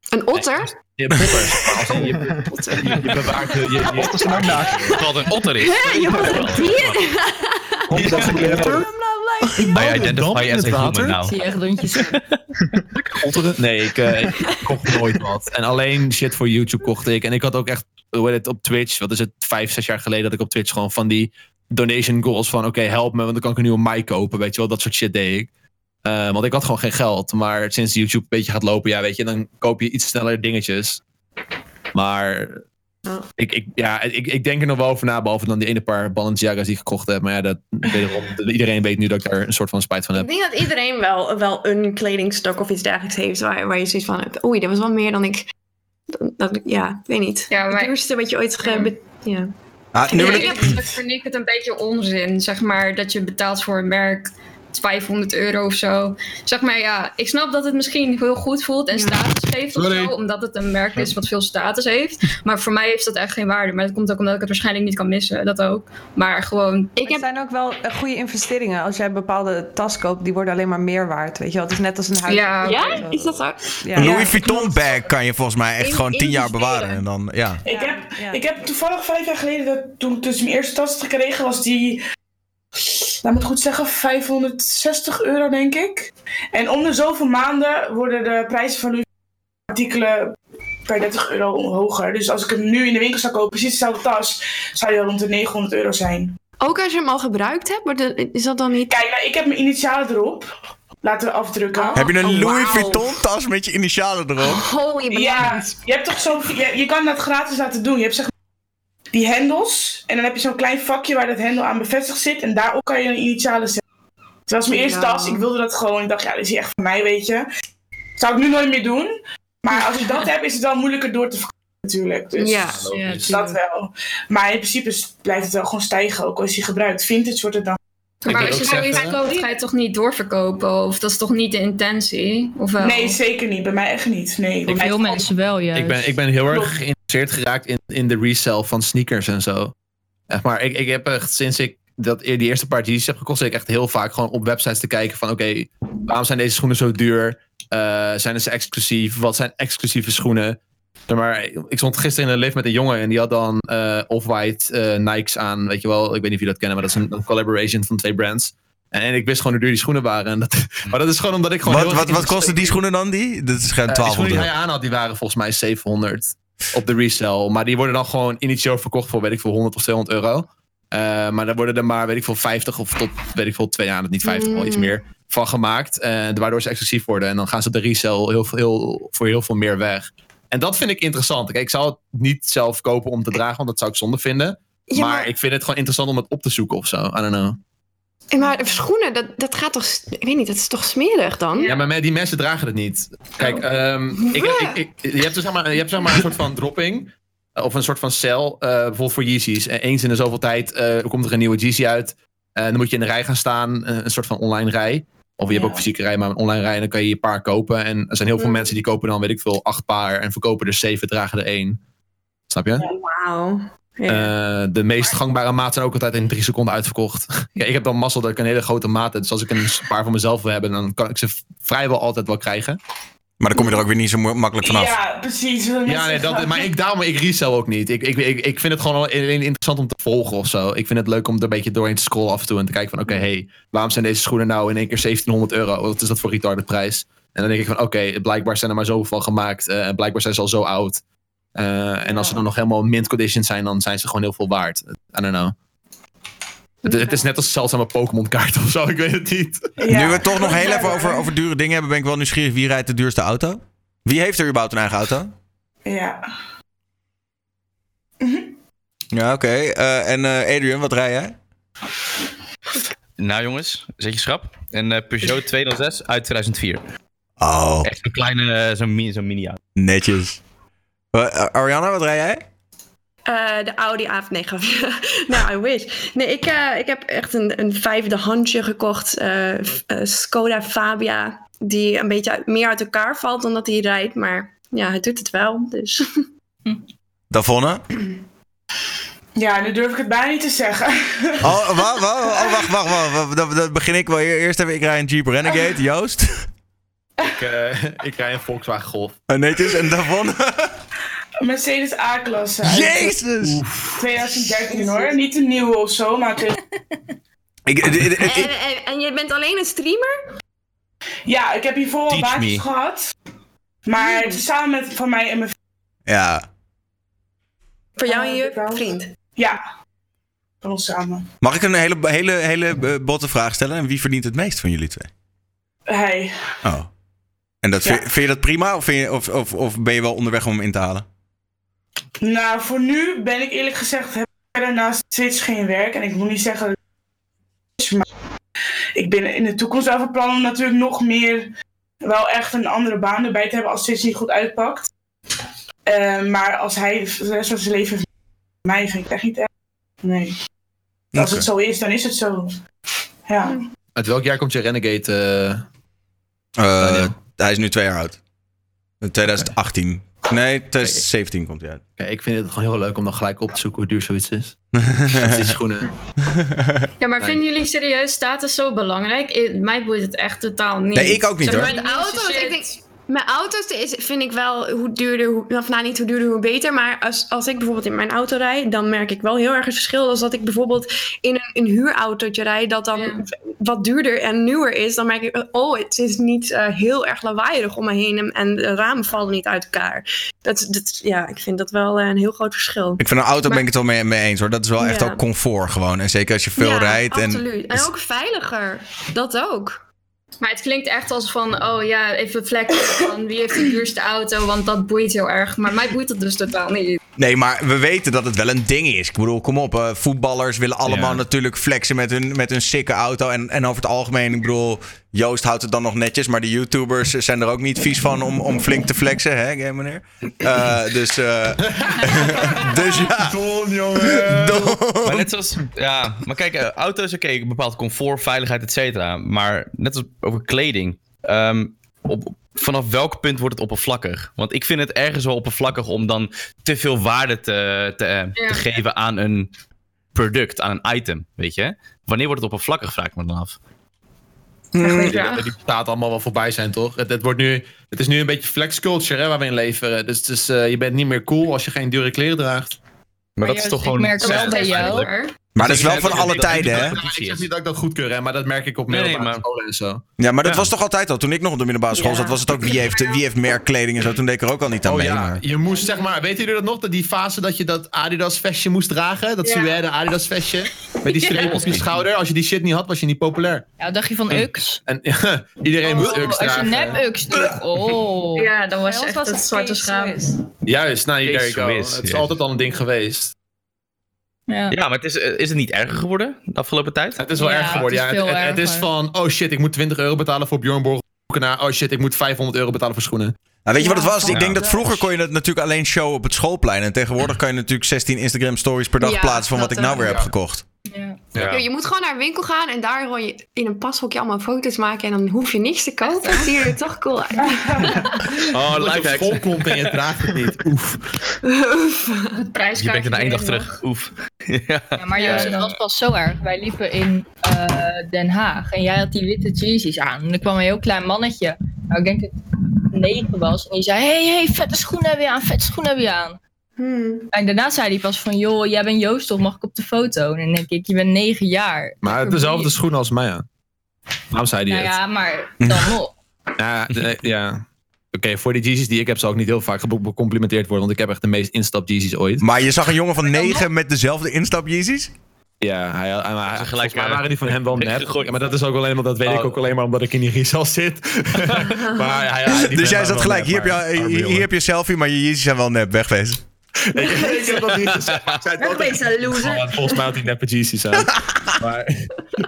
[SPEAKER 9] Een otter?
[SPEAKER 7] Je hebt potters. maar als je, je, [laughs] je, je bewaart je. je, je
[SPEAKER 2] Otters zijn ook naakt.
[SPEAKER 4] Wat een otter is.
[SPEAKER 9] [laughs] Hè, je was een dier?
[SPEAKER 7] [laughs]
[SPEAKER 2] Omdat ze kleren-
[SPEAKER 4] I identify as a human
[SPEAKER 6] Ik
[SPEAKER 4] now.
[SPEAKER 6] zie echt rondjes.
[SPEAKER 7] Otteren? Nee, ik, eh, ik kocht nooit wat. En alleen shit voor YouTube kocht ik. En ik had ook echt, hoe heet het, op Twitch, wat is het, vijf, zes jaar geleden, dat ik op Twitch gewoon van die donation goals van, oké, help me, want dan kan ik een nieuwe mic kopen, weet je wel, dat soort shit deed ik. Eh, want ik had gewoon geen geld. Maar sinds YouTube een beetje gaat lopen, ja, weet je, dan koop je iets sneller dingetjes. Maar ik, ik, ja, ik, ik denk er nog wel over na, behalve dan die ene paar Balenciaga's die ik gekocht heb. Maar ja, dat, wederom, iedereen weet nu dat ik daar een soort van spijt van heb.
[SPEAKER 9] Ik denk dat iedereen wel, wel een kledingstuk of iets dergelijks heeft waar, waar je zoiets van hebt. Oei, dat was wel meer dan ik. dan- dat ik- ja, ik weet niet.
[SPEAKER 3] Ja, maar-
[SPEAKER 9] Het duurste wat je ooit ge... be- Ja.
[SPEAKER 1] Ah, nu
[SPEAKER 3] Ja,
[SPEAKER 1] wil
[SPEAKER 3] ik
[SPEAKER 1] ik-
[SPEAKER 3] heb- ik vind ik het een beetje onzin, zeg maar, dat je betaalt voor een merk 500 euro of zo. Zeg maar, ja, ik snap dat het misschien heel goed voelt en status geeft of zo, omdat het een merk is wat veel status heeft. Maar voor mij heeft dat echt geen waarde. Maar dat komt ook omdat ik het waarschijnlijk niet kan missen, dat ook. Maar gewoon,
[SPEAKER 10] Ik heb... zijn ook wel eh, goede investeringen. Als jij bepaalde tas koopt, die worden alleen maar meer waard. Weet je wel? Het is net als een huis.
[SPEAKER 3] ja,
[SPEAKER 9] Ja? Is dat zo?
[SPEAKER 10] Ja.
[SPEAKER 1] Een Louis Vuitton bag kan je volgens mij echt
[SPEAKER 3] In-
[SPEAKER 1] gewoon tien jaar
[SPEAKER 3] investeren.
[SPEAKER 1] bewaren. En dan, ja.
[SPEAKER 5] Ik,
[SPEAKER 10] Ja,
[SPEAKER 5] heb,
[SPEAKER 10] ja.
[SPEAKER 5] ik heb toevallig vijf jaar geleden, dat, toen ik dus mijn eerste tas had gekregen, was die, laat me het goed zeggen, 560 euro denk ik. En om de zoveel maanden worden de prijzen van Louis Vuitton artikelen per 30 euro hoger. Dus als ik hem nu in de winkel zou kopen, precies dezelfde tas, zou die al rond de 900 euro zijn.
[SPEAKER 9] Ook als je hem al gebruikt hebt, wordt het- is dat dan niet...
[SPEAKER 5] Kijk, nou, ik heb mijn initialen erop. Laten we afdrukken.
[SPEAKER 1] Heb je een
[SPEAKER 9] Oh,
[SPEAKER 1] Louis
[SPEAKER 9] wauw.
[SPEAKER 1] Vuitton tas met je initialen erop?
[SPEAKER 9] Holy
[SPEAKER 5] Ja, je hebt toch zo'n. Je, je kan dat gratis laten doen. Je hebt zeg maar die hendels. En dan heb je zo'n klein vakje waar dat hendel aan bevestigd zit. En daarop kan je een initialen zetten. Het was mijn eerste
[SPEAKER 9] Ja.
[SPEAKER 5] tas. Ik wilde dat gewoon. Ik dacht, ja, dit is echt voor mij, weet je. Zou ik nu nooit meer doen. Maar als ik dat heb, is het wel moeilijker door te verkopen, natuurlijk. Dus
[SPEAKER 9] Ja.
[SPEAKER 6] Ja,
[SPEAKER 5] dat wel. Maar in principe s- blijft het wel gewoon stijgen. Ook als je gebruikt. Vintage wordt het dan.
[SPEAKER 3] maar als
[SPEAKER 7] wil
[SPEAKER 3] je
[SPEAKER 7] ook
[SPEAKER 3] zoiets
[SPEAKER 7] zeggen-
[SPEAKER 3] koopt, ga je toch niet doorverkopen? Of dat is toch niet de intentie? Of wel?
[SPEAKER 5] Nee, zeker niet. Bij mij echt niet. Nee.
[SPEAKER 6] Voor veel mensen wel, juist.
[SPEAKER 7] Ik ben, ik ben heel
[SPEAKER 5] Klopt.
[SPEAKER 7] erg geïnteresseerd geraakt in, in de resell van sneakers en zo. Echt maar, ik, ik heb echt sinds ik dat, eer- die eerste paar Yeezys heb gekocht, zit ik echt heel vaak gewoon op websites te kijken van oké, waarom zijn deze schoenen zo duur? Eh, zijn ze exclusief? Wat zijn exclusieve schoenen? Zeg maar, ik stond gisteren in een lift met een jongen en die had dan eh, Off-White eh, Nikes aan. Weet je wel, ik weet niet of jullie dat kennen, maar dat is een, een collaboration van twee brands. En, en ik wist gewoon hoe duur die schoenen waren. En dat, [laughs] maar dat is gewoon omdat ik [laughs] gewoon...
[SPEAKER 1] Wat,
[SPEAKER 7] heel erg
[SPEAKER 1] wat, wat kosten die schoenen dan? Die? Dat is geen
[SPEAKER 7] eh, die schoenen
[SPEAKER 1] 1200
[SPEAKER 7] die
[SPEAKER 1] euro.
[SPEAKER 7] hij aan had, die waren volgens mij 700 op de resale. Maar die worden dan gewoon initieel verkocht voor, weet ik veel, 100 of 200 euro. Eh, maar daar worden er maar, weet ik veel, 50 of tot, weet ik veel, twee jaar, niet 50, wel
[SPEAKER 9] Mm.
[SPEAKER 7] iets meer, van gemaakt. eh, waardoor ze exclusief worden. En dan gaan ze op de resale heel, veel- heel, voor heel veel meer weg. En dat vind ik interessant. Kijk, ik zou het niet zelf kopen om te dragen, want dat zou ik zonde vinden.
[SPEAKER 9] Ja,
[SPEAKER 7] maar,
[SPEAKER 9] maar-
[SPEAKER 7] ik vind het gewoon interessant om het op te zoeken of zo. I don't know.
[SPEAKER 9] Ja, Maar schoenen, dat, dat gaat toch... s- Ik weet niet, dat is toch smerig dan?
[SPEAKER 7] Ja, maar me- die mensen dragen het niet. Kijk, ehm, ik, ik, ik, je hebt dus zeg maar, je hebt zeg maar een soort van dropping. Of een soort van cel, eh, bijvoorbeeld voor Yeezys. En eens in de zoveel tijd eh, komt er een nieuwe Yeezy uit. eh, En dan moet je in de rij gaan staan, eh, een soort van online rij. Of je hebt ook fysieke rij, maar een online rij. En dan kan je je paar kopen. En er zijn heel veel
[SPEAKER 11] Mm.
[SPEAKER 7] mensen die kopen dan, weet ik veel, acht paar. En verkopen er zeven, dragen er één. Snap je?
[SPEAKER 11] Wauw. Ja.
[SPEAKER 7] Eh, de meest gangbare maat zijn ook altijd in drie seconden uitverkocht. [laughs] ja, ik heb dan mazzel dat ik een hele grote maat heb. Dus als ik een paar van mezelf wil hebben, dan kan ik ze v- vrijwel altijd wel krijgen.
[SPEAKER 1] Maar dan kom je er ook weer niet zo mo- makkelijk vanaf.
[SPEAKER 5] Ja, precies. wil ik net
[SPEAKER 7] Ja, nee,
[SPEAKER 5] zeggen.
[SPEAKER 7] dat, maar ik, daarom, ik resell ook niet. Ik, ik, ik, ik vind het gewoon alleen interessant om te volgen of zo. Ik vind het leuk om er een beetje doorheen te scrollen af en toe. En te kijken van, oké, hey, waarom zijn deze schoenen nou in één keer 1700 euro? Wat is dat voor retarded prijs? En dan denk ik van, oké, blijkbaar zijn er maar zoveel van gemaakt. eh, en blijkbaar zijn ze al zo oud. Eh, en als ze dan nog helemaal mint condition zijn, dan zijn ze gewoon heel veel waard. I don't know. Het, het is net als zeldzame Pokémon kaart of zo, ik weet het niet.
[SPEAKER 1] Nu we het toch nog heel even over, over dure dingen hebben, ben ik wel nieuwsgierig. Wie rijdt de duurste auto? Wie heeft er überhaupt een eigen auto?
[SPEAKER 5] Ja.
[SPEAKER 1] Ja, oké. Eh, en eh, Adrian, wat rij jij?
[SPEAKER 4] Nou jongens, zet je schrap. Een eh, Peugeot 206 uit 2004.
[SPEAKER 1] Oh,
[SPEAKER 4] Echt zo'n kleine, eh, zo'n mini, zo'n mini auto.
[SPEAKER 1] netjes. Eh, Ariana, wat rij jij?
[SPEAKER 11] Eh, de Audi A9. [laughs] nou, I wish. Nee, ik, eh, ik heb echt een, een vijfde handje gekocht. eh, f- eh, Skoda Fabia. Die een beetje uit- meer uit elkaar valt dan dat hij rijdt. Maar ja, het doet het wel. Dus. [laughs]
[SPEAKER 1] Davonne?
[SPEAKER 5] Ja, nu durf ik het bijna niet te zeggen.
[SPEAKER 1] [laughs]
[SPEAKER 5] [laughs]
[SPEAKER 1] Oh, wa- wa- wa- oh, wacht, wacht, wacht. wacht. Dan, dan begin ik wel hier. eerst even. Ik rij een Jeep Renegade, Joost.
[SPEAKER 7] Ik, eh, ik rij een Volkswagen Golf.
[SPEAKER 1] Eh, netjes. En Davonne?
[SPEAKER 5] Mercedes A-klasse.
[SPEAKER 1] Jezus!
[SPEAKER 5] 2013 hoor. Niet een nieuwe of zo, maar. het-
[SPEAKER 1] [laughs] Ik, d- d- d-
[SPEAKER 11] En,
[SPEAKER 1] ik-
[SPEAKER 11] eh, en, en je bent alleen een streamer?
[SPEAKER 5] Ja, ik heb hiervoor al
[SPEAKER 4] Teach
[SPEAKER 5] baantjes
[SPEAKER 4] me.
[SPEAKER 5] gehad. Maar het is samen met van mij en mijn
[SPEAKER 1] [laughs] ja.
[SPEAKER 11] Voor jou en
[SPEAKER 5] Ah,
[SPEAKER 11] je
[SPEAKER 5] dat
[SPEAKER 11] vriend.
[SPEAKER 5] Ja. Van ons samen.
[SPEAKER 1] Mag ik een hele, hele, hele eh, botte vraag stellen? En wie verdient het meest van jullie twee?
[SPEAKER 5] Hij.
[SPEAKER 1] Oh. En dat,
[SPEAKER 5] Ja.
[SPEAKER 1] vind, vind je dat prima? Of, vind je, of, of, of ben je wel onderweg om hem in te halen?
[SPEAKER 5] Nou, voor nu ben ik eerlijk gezegd. heb ik daarnaast steeds geen werk. En ik moet niet zeggen. dat het is, Maar ik ben in de toekomst wel van plan om natuurlijk nog meer. wel echt een andere baan erbij te hebben. als het steeds niet goed uitpakt. Eh, maar als hij de rest van zijn leven. mij vind ik het echt niet erg. Nee. Als
[SPEAKER 1] Oké.
[SPEAKER 5] het zo is, dan is het zo. Ja.
[SPEAKER 7] Uit welk jaar komt je Renegade? eh,
[SPEAKER 1] Eh,
[SPEAKER 7] Daniel?
[SPEAKER 1] Hij is nu twee jaar oud. 2018. Nee, 2017 komt hij uit.
[SPEAKER 7] Kijk, ik vind het gewoon heel leuk om dan gelijk op te zoeken hoe duur zoiets
[SPEAKER 1] [laughs]
[SPEAKER 7] is. Met die schoenen.
[SPEAKER 3] Ja, maar
[SPEAKER 7] Nee.
[SPEAKER 3] vinden jullie serieus status zo belangrijk? I- mij boeit het echt totaal niet.
[SPEAKER 1] Nee, ik ook niet,
[SPEAKER 3] Zeg maar,
[SPEAKER 1] hoor.
[SPEAKER 3] de
[SPEAKER 9] Mijn auto's,
[SPEAKER 3] shit.
[SPEAKER 9] ik denk, mijn auto's is, vind ik wel hoe duurder, hoe, of nou niet hoe duurder, hoe beter. Maar als, als ik bijvoorbeeld in mijn auto rijd, dan merk ik wel heel erg het verschil. Als dat ik bijvoorbeeld in een, een huurautootje rijd, dat dan
[SPEAKER 3] Ja.
[SPEAKER 9] wat duurder en nieuwer is. Dan merk ik, oh, het is niet eh, heel erg lawaaierig om me heen en, en de ramen vallen niet uit elkaar. Dat, dat, ja, ik vind dat wel eh, een heel groot verschil.
[SPEAKER 1] Ik vind een auto ben ik het wel mee, mee eens hoor. Dat is wel echt
[SPEAKER 9] Ja.
[SPEAKER 1] ook comfort gewoon. En zeker als je veel
[SPEAKER 9] ja,
[SPEAKER 1] rijdt. En,
[SPEAKER 9] absoluut. En ook veiliger. Dat ook.
[SPEAKER 3] Maar het klinkt echt als van, oh ja, even flexen van wie heeft de duurste auto, want dat boeit heel erg. Maar mij boeit dat dus totaal niet.
[SPEAKER 1] nee, maar we weten dat het wel een ding is. Ik bedoel, kom op. eh, voetballers willen allemaal
[SPEAKER 7] Ja.
[SPEAKER 1] natuurlijk flexen met hun, met hun sikke auto. En, en over het algemeen, ik bedoel, Joost houdt het dan nog netjes. Maar de YouTubers zijn er ook niet vies van om, om flink te flexen, hè, meneer? Eh dus, eh, [laughs] dus ja.
[SPEAKER 7] Don, jongen!
[SPEAKER 4] Maar net zoals, ja, maar kijk, eh, auto's, oké, bepaald comfort, veiligheid, et cetera. Maar net als over kleding, ehm, op, vanaf welk punt wordt het oppervlakkig? Want ik vind het ergens wel oppervlakkig om dan te veel waarde te, te, eh, te
[SPEAKER 3] Ja.
[SPEAKER 4] geven aan een product, aan een item, weet je? Wanneer wordt het oppervlakkig, vraag ik me dan af.
[SPEAKER 7] Die, die staat allemaal wel voorbij zijn, toch? Het, het wordt nu, het is nu een beetje flex culture hè, waar we in leveren. Dus, het is, eh, je bent niet meer cool als je geen dure kleren draagt.
[SPEAKER 4] Maar, dat
[SPEAKER 6] Juist,
[SPEAKER 4] is toch
[SPEAKER 6] ik
[SPEAKER 4] gewoon...
[SPEAKER 6] merk wel
[SPEAKER 4] Ja,
[SPEAKER 6] bij jou.
[SPEAKER 4] eigenlijk.
[SPEAKER 3] hoor.
[SPEAKER 1] Maar dat is wel van
[SPEAKER 7] Ik-
[SPEAKER 1] alle
[SPEAKER 7] ik- ik-
[SPEAKER 1] tijden, hè?
[SPEAKER 7] Ik ik zeg niet dat ik dat goedkeur, hè, maar dat merk ik op
[SPEAKER 4] Nee,
[SPEAKER 7] middelbare
[SPEAKER 4] maar-
[SPEAKER 7] scholen en zo.
[SPEAKER 1] Ja, maar dat
[SPEAKER 4] Ja.
[SPEAKER 1] was toch altijd al? Toen ik nog op de middelbare school
[SPEAKER 3] Ja.
[SPEAKER 1] zat, was het ook wie heeft, wie heeft meer kleding en zo. Toen deed ik er ook al niet aan
[SPEAKER 7] Oh
[SPEAKER 1] mee.
[SPEAKER 7] ja,
[SPEAKER 1] maar-
[SPEAKER 7] je moest zeg maar, weten jullie dat nog? Dat die fase dat je dat Adidas vestje moest dragen? Dat
[SPEAKER 3] Ja.
[SPEAKER 7] suède Adidas vestje? Met die streep op je schouder. Als je die shit niet had, was je niet populair.
[SPEAKER 6] Ja, dacht je van Ux?
[SPEAKER 7] En iedereen moest
[SPEAKER 6] Oh,
[SPEAKER 7] Uggs
[SPEAKER 6] als je
[SPEAKER 7] dragen.
[SPEAKER 6] nep Ux
[SPEAKER 7] [laughs]
[SPEAKER 6] doet. Oh.
[SPEAKER 3] Ja, dan
[SPEAKER 10] Bij
[SPEAKER 3] was
[SPEAKER 10] ons
[SPEAKER 3] echt
[SPEAKER 10] was
[SPEAKER 3] het
[SPEAKER 10] het
[SPEAKER 3] zwarte
[SPEAKER 10] Kees
[SPEAKER 3] schaap.
[SPEAKER 10] Swiss.
[SPEAKER 7] Juist, nou, there you
[SPEAKER 4] Jezus,
[SPEAKER 7] go.
[SPEAKER 4] Jezus.
[SPEAKER 7] Het is altijd al een ding geweest.
[SPEAKER 6] Ja.
[SPEAKER 4] Ja, maar het is, eh, is het niet erger geworden de afgelopen tijd?
[SPEAKER 7] Het is wel
[SPEAKER 6] Ja,
[SPEAKER 7] erg geworden.
[SPEAKER 6] het
[SPEAKER 7] Ja,
[SPEAKER 6] is
[SPEAKER 7] het,
[SPEAKER 6] veel
[SPEAKER 7] het- het is
[SPEAKER 6] erger.
[SPEAKER 7] van, oh shit, ik moet 20 euro betalen voor Bjorn Borg. Naar, oh shit, ik moet 500 euro betalen voor schoenen.
[SPEAKER 1] Nou, weet je wat het was?
[SPEAKER 4] Ja.
[SPEAKER 1] Ik denk dat vroeger kon je dat natuurlijk alleen showen op het schoolplein. En tegenwoordig kan je natuurlijk 16 Instagram stories per dag
[SPEAKER 9] Ja,
[SPEAKER 1] plaatsen van wat
[SPEAKER 9] dat
[SPEAKER 1] ik nou
[SPEAKER 9] ook.
[SPEAKER 1] weer heb
[SPEAKER 9] Ja.
[SPEAKER 1] gekocht.
[SPEAKER 9] Yo, je moet gewoon naar een winkel gaan en daar gewoon je in een pashokje allemaal foto's maken en dan hoef je niks te kopen. Het ziet er toch cool uit.
[SPEAKER 4] Oh,
[SPEAKER 7] Omdat je
[SPEAKER 4] lifehack.
[SPEAKER 7] vol komt en je draagt het niet. Oef.
[SPEAKER 6] Het prijskaartje.
[SPEAKER 4] Je bent in één dag
[SPEAKER 6] erin,
[SPEAKER 4] terug. Oef. [laughs] ja.
[SPEAKER 6] Ja, maar Joost, het was pas zo erg. Wij liepen in eh, Den Haag en jij had die witte Jeezy's aan. En er kwam een heel klein mannetje, nou, ik denk dat het negen was. En die zei, hey, hey, vette schoenen heb je aan, vette schoenen heb je aan. En daarna zei hij pas van, joh, jij bent Joost toch, mag ik op de foto? En dan denk ik, je bent negen jaar.
[SPEAKER 7] Maar het dezelfde schoenen als mij aan. Waarom zei hij
[SPEAKER 6] Nou
[SPEAKER 7] het?
[SPEAKER 6] ja, maar dan nog.
[SPEAKER 7] Ja, de- ja. Oké, voor die Jeezys die ik heb, zal ik niet heel vaak gebo- gecomplimenteerd worden, want ik heb echt de meest instap Jeezys ooit.
[SPEAKER 1] Maar je zag een jongen van 9 met dezelfde instap Yeezys?
[SPEAKER 7] Ja, hij, hij, hij- volgens mij
[SPEAKER 4] eh,
[SPEAKER 7] waren die van hem wel nep.
[SPEAKER 4] weggegooid.
[SPEAKER 7] Ja, maar dat is ook alleen maar, dat weet ik
[SPEAKER 4] Oh.
[SPEAKER 7] ook alleen maar omdat ik in die Rizal zit. [laughs] maar, ja, ja, die
[SPEAKER 1] Dus jij
[SPEAKER 7] waren wel
[SPEAKER 1] zat gelijk.
[SPEAKER 7] nep,
[SPEAKER 1] Hier heb,
[SPEAKER 7] maar- Ah,
[SPEAKER 1] je,
[SPEAKER 7] arme
[SPEAKER 1] hier,
[SPEAKER 7] jongen.
[SPEAKER 1] hier heb je selfie, maar je Yeezys zijn wel nep. Wegwezen.
[SPEAKER 7] Ik, ik heb dat niet gezegd. Ik zei het altijd.
[SPEAKER 11] een
[SPEAKER 7] Oh, Volgens mij had hij neppe Jeezys
[SPEAKER 1] [laughs]
[SPEAKER 7] aan. Maar [laughs]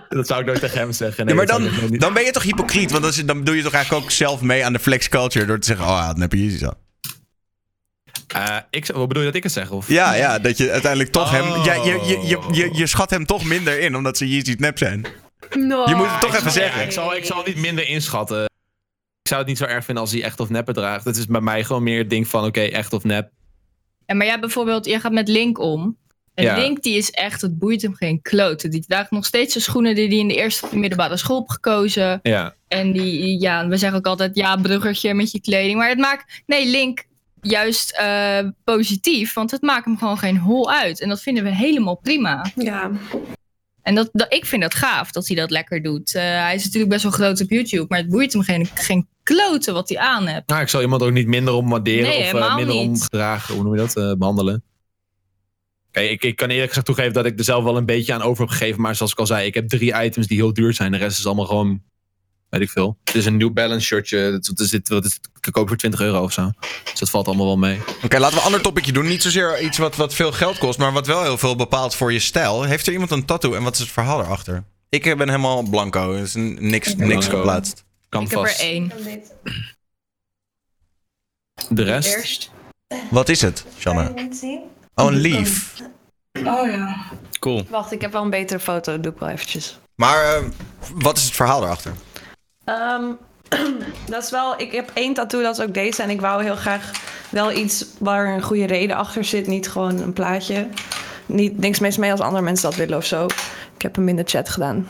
[SPEAKER 7] dat zou ik nooit tegen hem zeggen.
[SPEAKER 1] Ja,
[SPEAKER 7] Nee,
[SPEAKER 1] maar
[SPEAKER 7] dat
[SPEAKER 1] dan,
[SPEAKER 7] zou ik nooit-
[SPEAKER 1] dan ben je toch hypocriet? Want dan, is- dan doe je toch eigenlijk ook zelf mee aan de flex culture door te zeggen: Oh, ja, dan heb je Yeezys aan.
[SPEAKER 7] Eh, ik, wat bedoel je dat ik het zeg? Of?
[SPEAKER 1] Ja, ja, dat je uiteindelijk toch hem.
[SPEAKER 7] Oh.
[SPEAKER 1] Ja, je, je, je, je, je schat hem toch minder in omdat ze Yeezys nep zijn.
[SPEAKER 9] No.
[SPEAKER 6] Oh.
[SPEAKER 1] Je moet het toch
[SPEAKER 7] Ik
[SPEAKER 1] even
[SPEAKER 7] zal-
[SPEAKER 1] zeggen.
[SPEAKER 7] Ik zal, ik zal het niet minder inschatten. Ik zou het niet zo erg vinden als hij echt of neppen draagt. Het is bij mij gewoon meer het ding van, oké, echt of nep.
[SPEAKER 6] Ja, maar jij bijvoorbeeld, jij gaat met Link om. En
[SPEAKER 7] Ja.
[SPEAKER 6] Link die is echt, het boeit hem geen klote. Die draagt nog steeds zijn schoenen die hij in de eerste of de middelbare school heeft gekozen.
[SPEAKER 7] Ja.
[SPEAKER 6] En die, ja, we zeggen ook altijd, ja, bruggertje met je kleding. Maar het maakt, nee, Link, juist eh, positief. Want het maakt hem gewoon geen hol uit. En dat vinden we helemaal prima.
[SPEAKER 11] Ja.
[SPEAKER 6] En dat, dat, ik vind dat gaaf, dat hij dat lekker doet. Eh, hij is natuurlijk best wel groot op YouTube. Maar het boeit hem geen, geen klote wat hij aan hebt.
[SPEAKER 7] Nou, ik zal iemand ook niet minder om waarderen
[SPEAKER 6] Nee,
[SPEAKER 7] of eh,
[SPEAKER 6] helemaal
[SPEAKER 7] minder om
[SPEAKER 6] niet.
[SPEAKER 7] gedragen, hoe noem je dat, eh, behandelen. Kijk, ik, ik kan eerlijk gezegd toegeven dat ik er zelf wel een beetje aan over heb gegeven. Maar zoals ik al zei, ik heb drie items die heel duur zijn. De rest is allemaal gewoon, weet ik veel. Het is een New Balance shirtje. Het, het, is dit- wat is het, ik koop voor 20 euro of zo. Dus dat valt allemaal wel mee.
[SPEAKER 1] Oké, laten we een ander topicje doen. Niet zozeer iets wat, wat veel geld kost, maar wat wel heel veel bepaalt voor je stijl. Heeft er iemand een tattoo en wat is het verhaal erachter? Ik eh, ben helemaal blanco, dus n- niks, niks
[SPEAKER 7] Blanco.
[SPEAKER 1] geplaatst.
[SPEAKER 7] Kan
[SPEAKER 6] Ik heb er
[SPEAKER 7] vast.
[SPEAKER 6] één.
[SPEAKER 7] De rest?
[SPEAKER 11] Eerst.
[SPEAKER 1] Wat is het, Shanna? Oh, een lief.
[SPEAKER 5] Oh ja.
[SPEAKER 4] Cool.
[SPEAKER 10] Wacht, ik heb wel een betere foto. Doe ik wel eventjes.
[SPEAKER 1] Maar eh, wat is het verhaal erachter?
[SPEAKER 10] Ehm, [clears throat] dat is wel, ik heb één tattoo, dat is ook deze. En ik wou heel graag wel iets waar een goede reden achter zit. Niet gewoon een plaatje. Niet, niks mis mee als andere mensen dat willen of zo. Ik heb hem in de chat gedaan.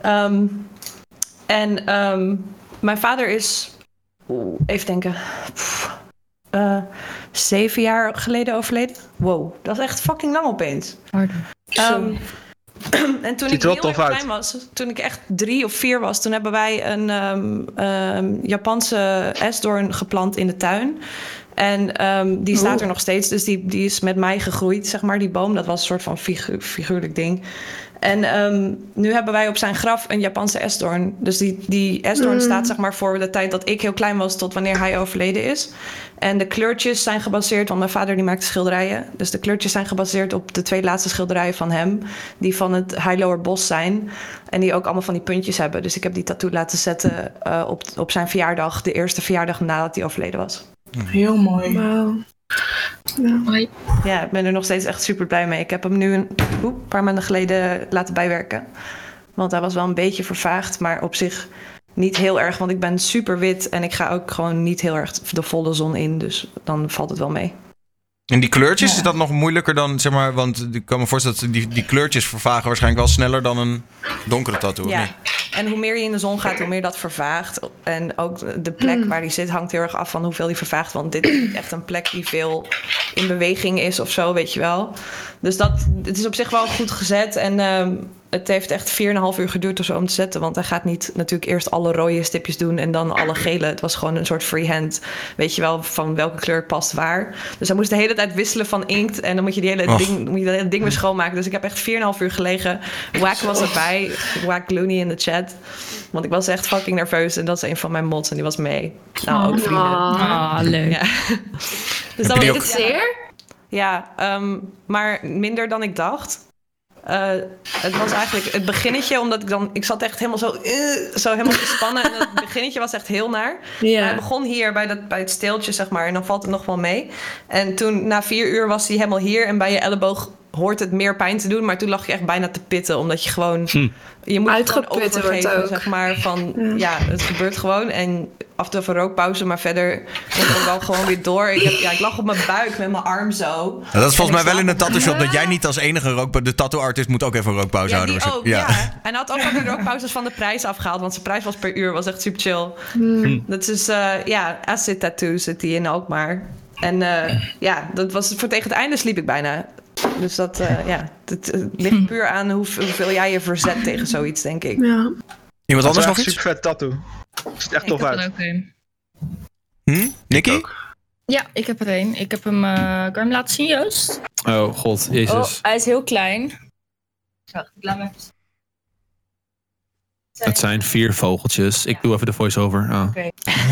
[SPEAKER 10] Ehm, en ehm, mijn vader is, oeh, even denken, Pff, eh, zeven jaar geleden overleden. Wow, dat is echt fucking lang opeens. Ehm, [clears throat] en toen
[SPEAKER 2] Ziet
[SPEAKER 10] ik
[SPEAKER 2] er wel
[SPEAKER 10] heel
[SPEAKER 2] tof
[SPEAKER 10] erg
[SPEAKER 2] uit.
[SPEAKER 10] klein was, toen ik echt drie of vier was, toen hebben wij een ehm, ehm, Japanse esdoorn geplant in de tuin. En ehm, die staat er nog steeds, dus die, die is met mij gegroeid, zeg maar, die boom. Dat was een soort van figu- figuurlijk ding. En ehm, nu hebben wij op zijn graf een Japanse esdoorn. Dus die, die esdoorn staat zeg maar voor de tijd dat ik heel klein was tot wanneer hij overleden is. En de kleurtjes zijn gebaseerd, want mijn vader die maakte schilderijen. Dus de kleurtjes zijn gebaseerd op de twee laatste schilderijen van hem. Die van het Highlower Bos zijn. En die ook allemaal van die puntjes hebben. Dus ik heb die tattoo laten zetten eh, op, op zijn verjaardag. De eerste verjaardag nadat hij overleden was.
[SPEAKER 5] Heel mooi.
[SPEAKER 11] Wauw.
[SPEAKER 6] Hoi.
[SPEAKER 10] Ja, ik ben er nog steeds echt super blij mee. Ik heb hem nu een oep, paar maanden geleden laten bijwerken. Want hij was wel een beetje vervaagd, maar op zich niet heel erg. Want ik ben super wit en ik ga ook gewoon niet heel erg de volle zon in. Dus dan valt het wel mee.
[SPEAKER 1] En die kleurtjes, is dat nog moeilijker dan, zeg maar, want ik kan me voorstellen dat die, die kleurtjes vervagen waarschijnlijk wel sneller dan een donkere tattoo. of
[SPEAKER 10] Ja,
[SPEAKER 1] niet?
[SPEAKER 10] en hoe meer je in de zon gaat, hoe meer dat vervaagt. En ook de plek waar die zit hangt heel erg af van hoeveel die vervaagt. Want dit is echt een plek die veel in beweging is of zo, weet je wel. Dus dat, het is op zich wel goed gezet. En ehm, het heeft echt 4,5 uur geduurd of zo om te zetten. Want hij gaat niet natuurlijk eerst alle rode stipjes doen en dan alle gele. Het was gewoon een soort freehand. Weet je wel, van welke kleur past waar. Dus hij moest de hele tijd wisselen van inkt. En dan moet je die hele
[SPEAKER 1] Och.
[SPEAKER 10] ding moet je dat hele ding weer schoonmaken. Dus ik heb echt 4,5 uur gelegen. Wack was erbij. Wack Looney in de chat. Want ik was echt fucking nerveus. En dat is een van mijn mods. En die was mee. Nou, ook vrienden.
[SPEAKER 9] Ah.
[SPEAKER 6] Ah, leuk.
[SPEAKER 10] Ja. Dus
[SPEAKER 1] Heb je die
[SPEAKER 10] was
[SPEAKER 1] ook-
[SPEAKER 10] het-
[SPEAKER 9] Zeer?
[SPEAKER 10] Ja, ehm, maar minder dan ik dacht. Eh, het was eigenlijk het beginnetje, omdat ik dan... Ik zat echt helemaal zo, eh, zo helemaal gespannen. En
[SPEAKER 11] [laughs]
[SPEAKER 10] het beginnetje was echt heel naar.
[SPEAKER 11] Ja.
[SPEAKER 10] Maar Hij begon hier bij, dat, bij het steeltje, zeg maar. En dan valt het nog wel mee. En toen, na vier uur, was hij helemaal hier. En bij je elleboog hoort het meer pijn te doen. Maar toen lag je echt bijna te pitten, omdat je gewoon... Je moet het gewoon
[SPEAKER 11] Uitgeput wordt
[SPEAKER 10] overgeven,
[SPEAKER 11] ook.
[SPEAKER 10] zeg maar. Van, ja, het gebeurt gewoon. En af en toe even rookpauze, maar verder komt het wel gewoon weer door. Ik, heb, ja, ik lag op mijn buik met mijn arm zo.
[SPEAKER 1] Ja, dat is
[SPEAKER 10] En
[SPEAKER 1] volgens
[SPEAKER 10] ik
[SPEAKER 1] mij
[SPEAKER 10] slaap-
[SPEAKER 1] wel in de tattoo shop dat jij niet als enige rook... De tattoo artist moet ook even een rookpauze
[SPEAKER 10] Ja,
[SPEAKER 1] houden.
[SPEAKER 10] die ook,
[SPEAKER 1] waarschijnlijk.
[SPEAKER 10] ja. En hij had ook al die rookpauzes van de prijs afgehaald, want zijn prijs was per uur, was echt super chill.
[SPEAKER 5] Hmm.
[SPEAKER 10] Dat is, eh, ja, acid tattoo zit die in ook maar. En eh, ja, dat was voor tegen het einde sliep ik bijna. Dus dat, eh, ja, het, het ligt puur aan hoe, hoeveel jij je verzet tegen zoiets, denk ik.
[SPEAKER 11] Ja.
[SPEAKER 1] Iemand
[SPEAKER 2] Dat is
[SPEAKER 1] anders nog
[SPEAKER 2] echt
[SPEAKER 1] iets?
[SPEAKER 2] super vet tattoo. Ziet echt tof uit.
[SPEAKER 1] Hm? Nicky?
[SPEAKER 6] Ja, ik heb er één. Ik heb hem. eh kan ik hem laten zien, Joost?
[SPEAKER 7] Oh, god, jezus.
[SPEAKER 6] Oh, hij is heel klein. Wacht, ik laat hem even-
[SPEAKER 4] [laughs]
[SPEAKER 7] Dat zijn vier vogeltjes. Ik doe even de voice-over. Oh.
[SPEAKER 6] Het zijn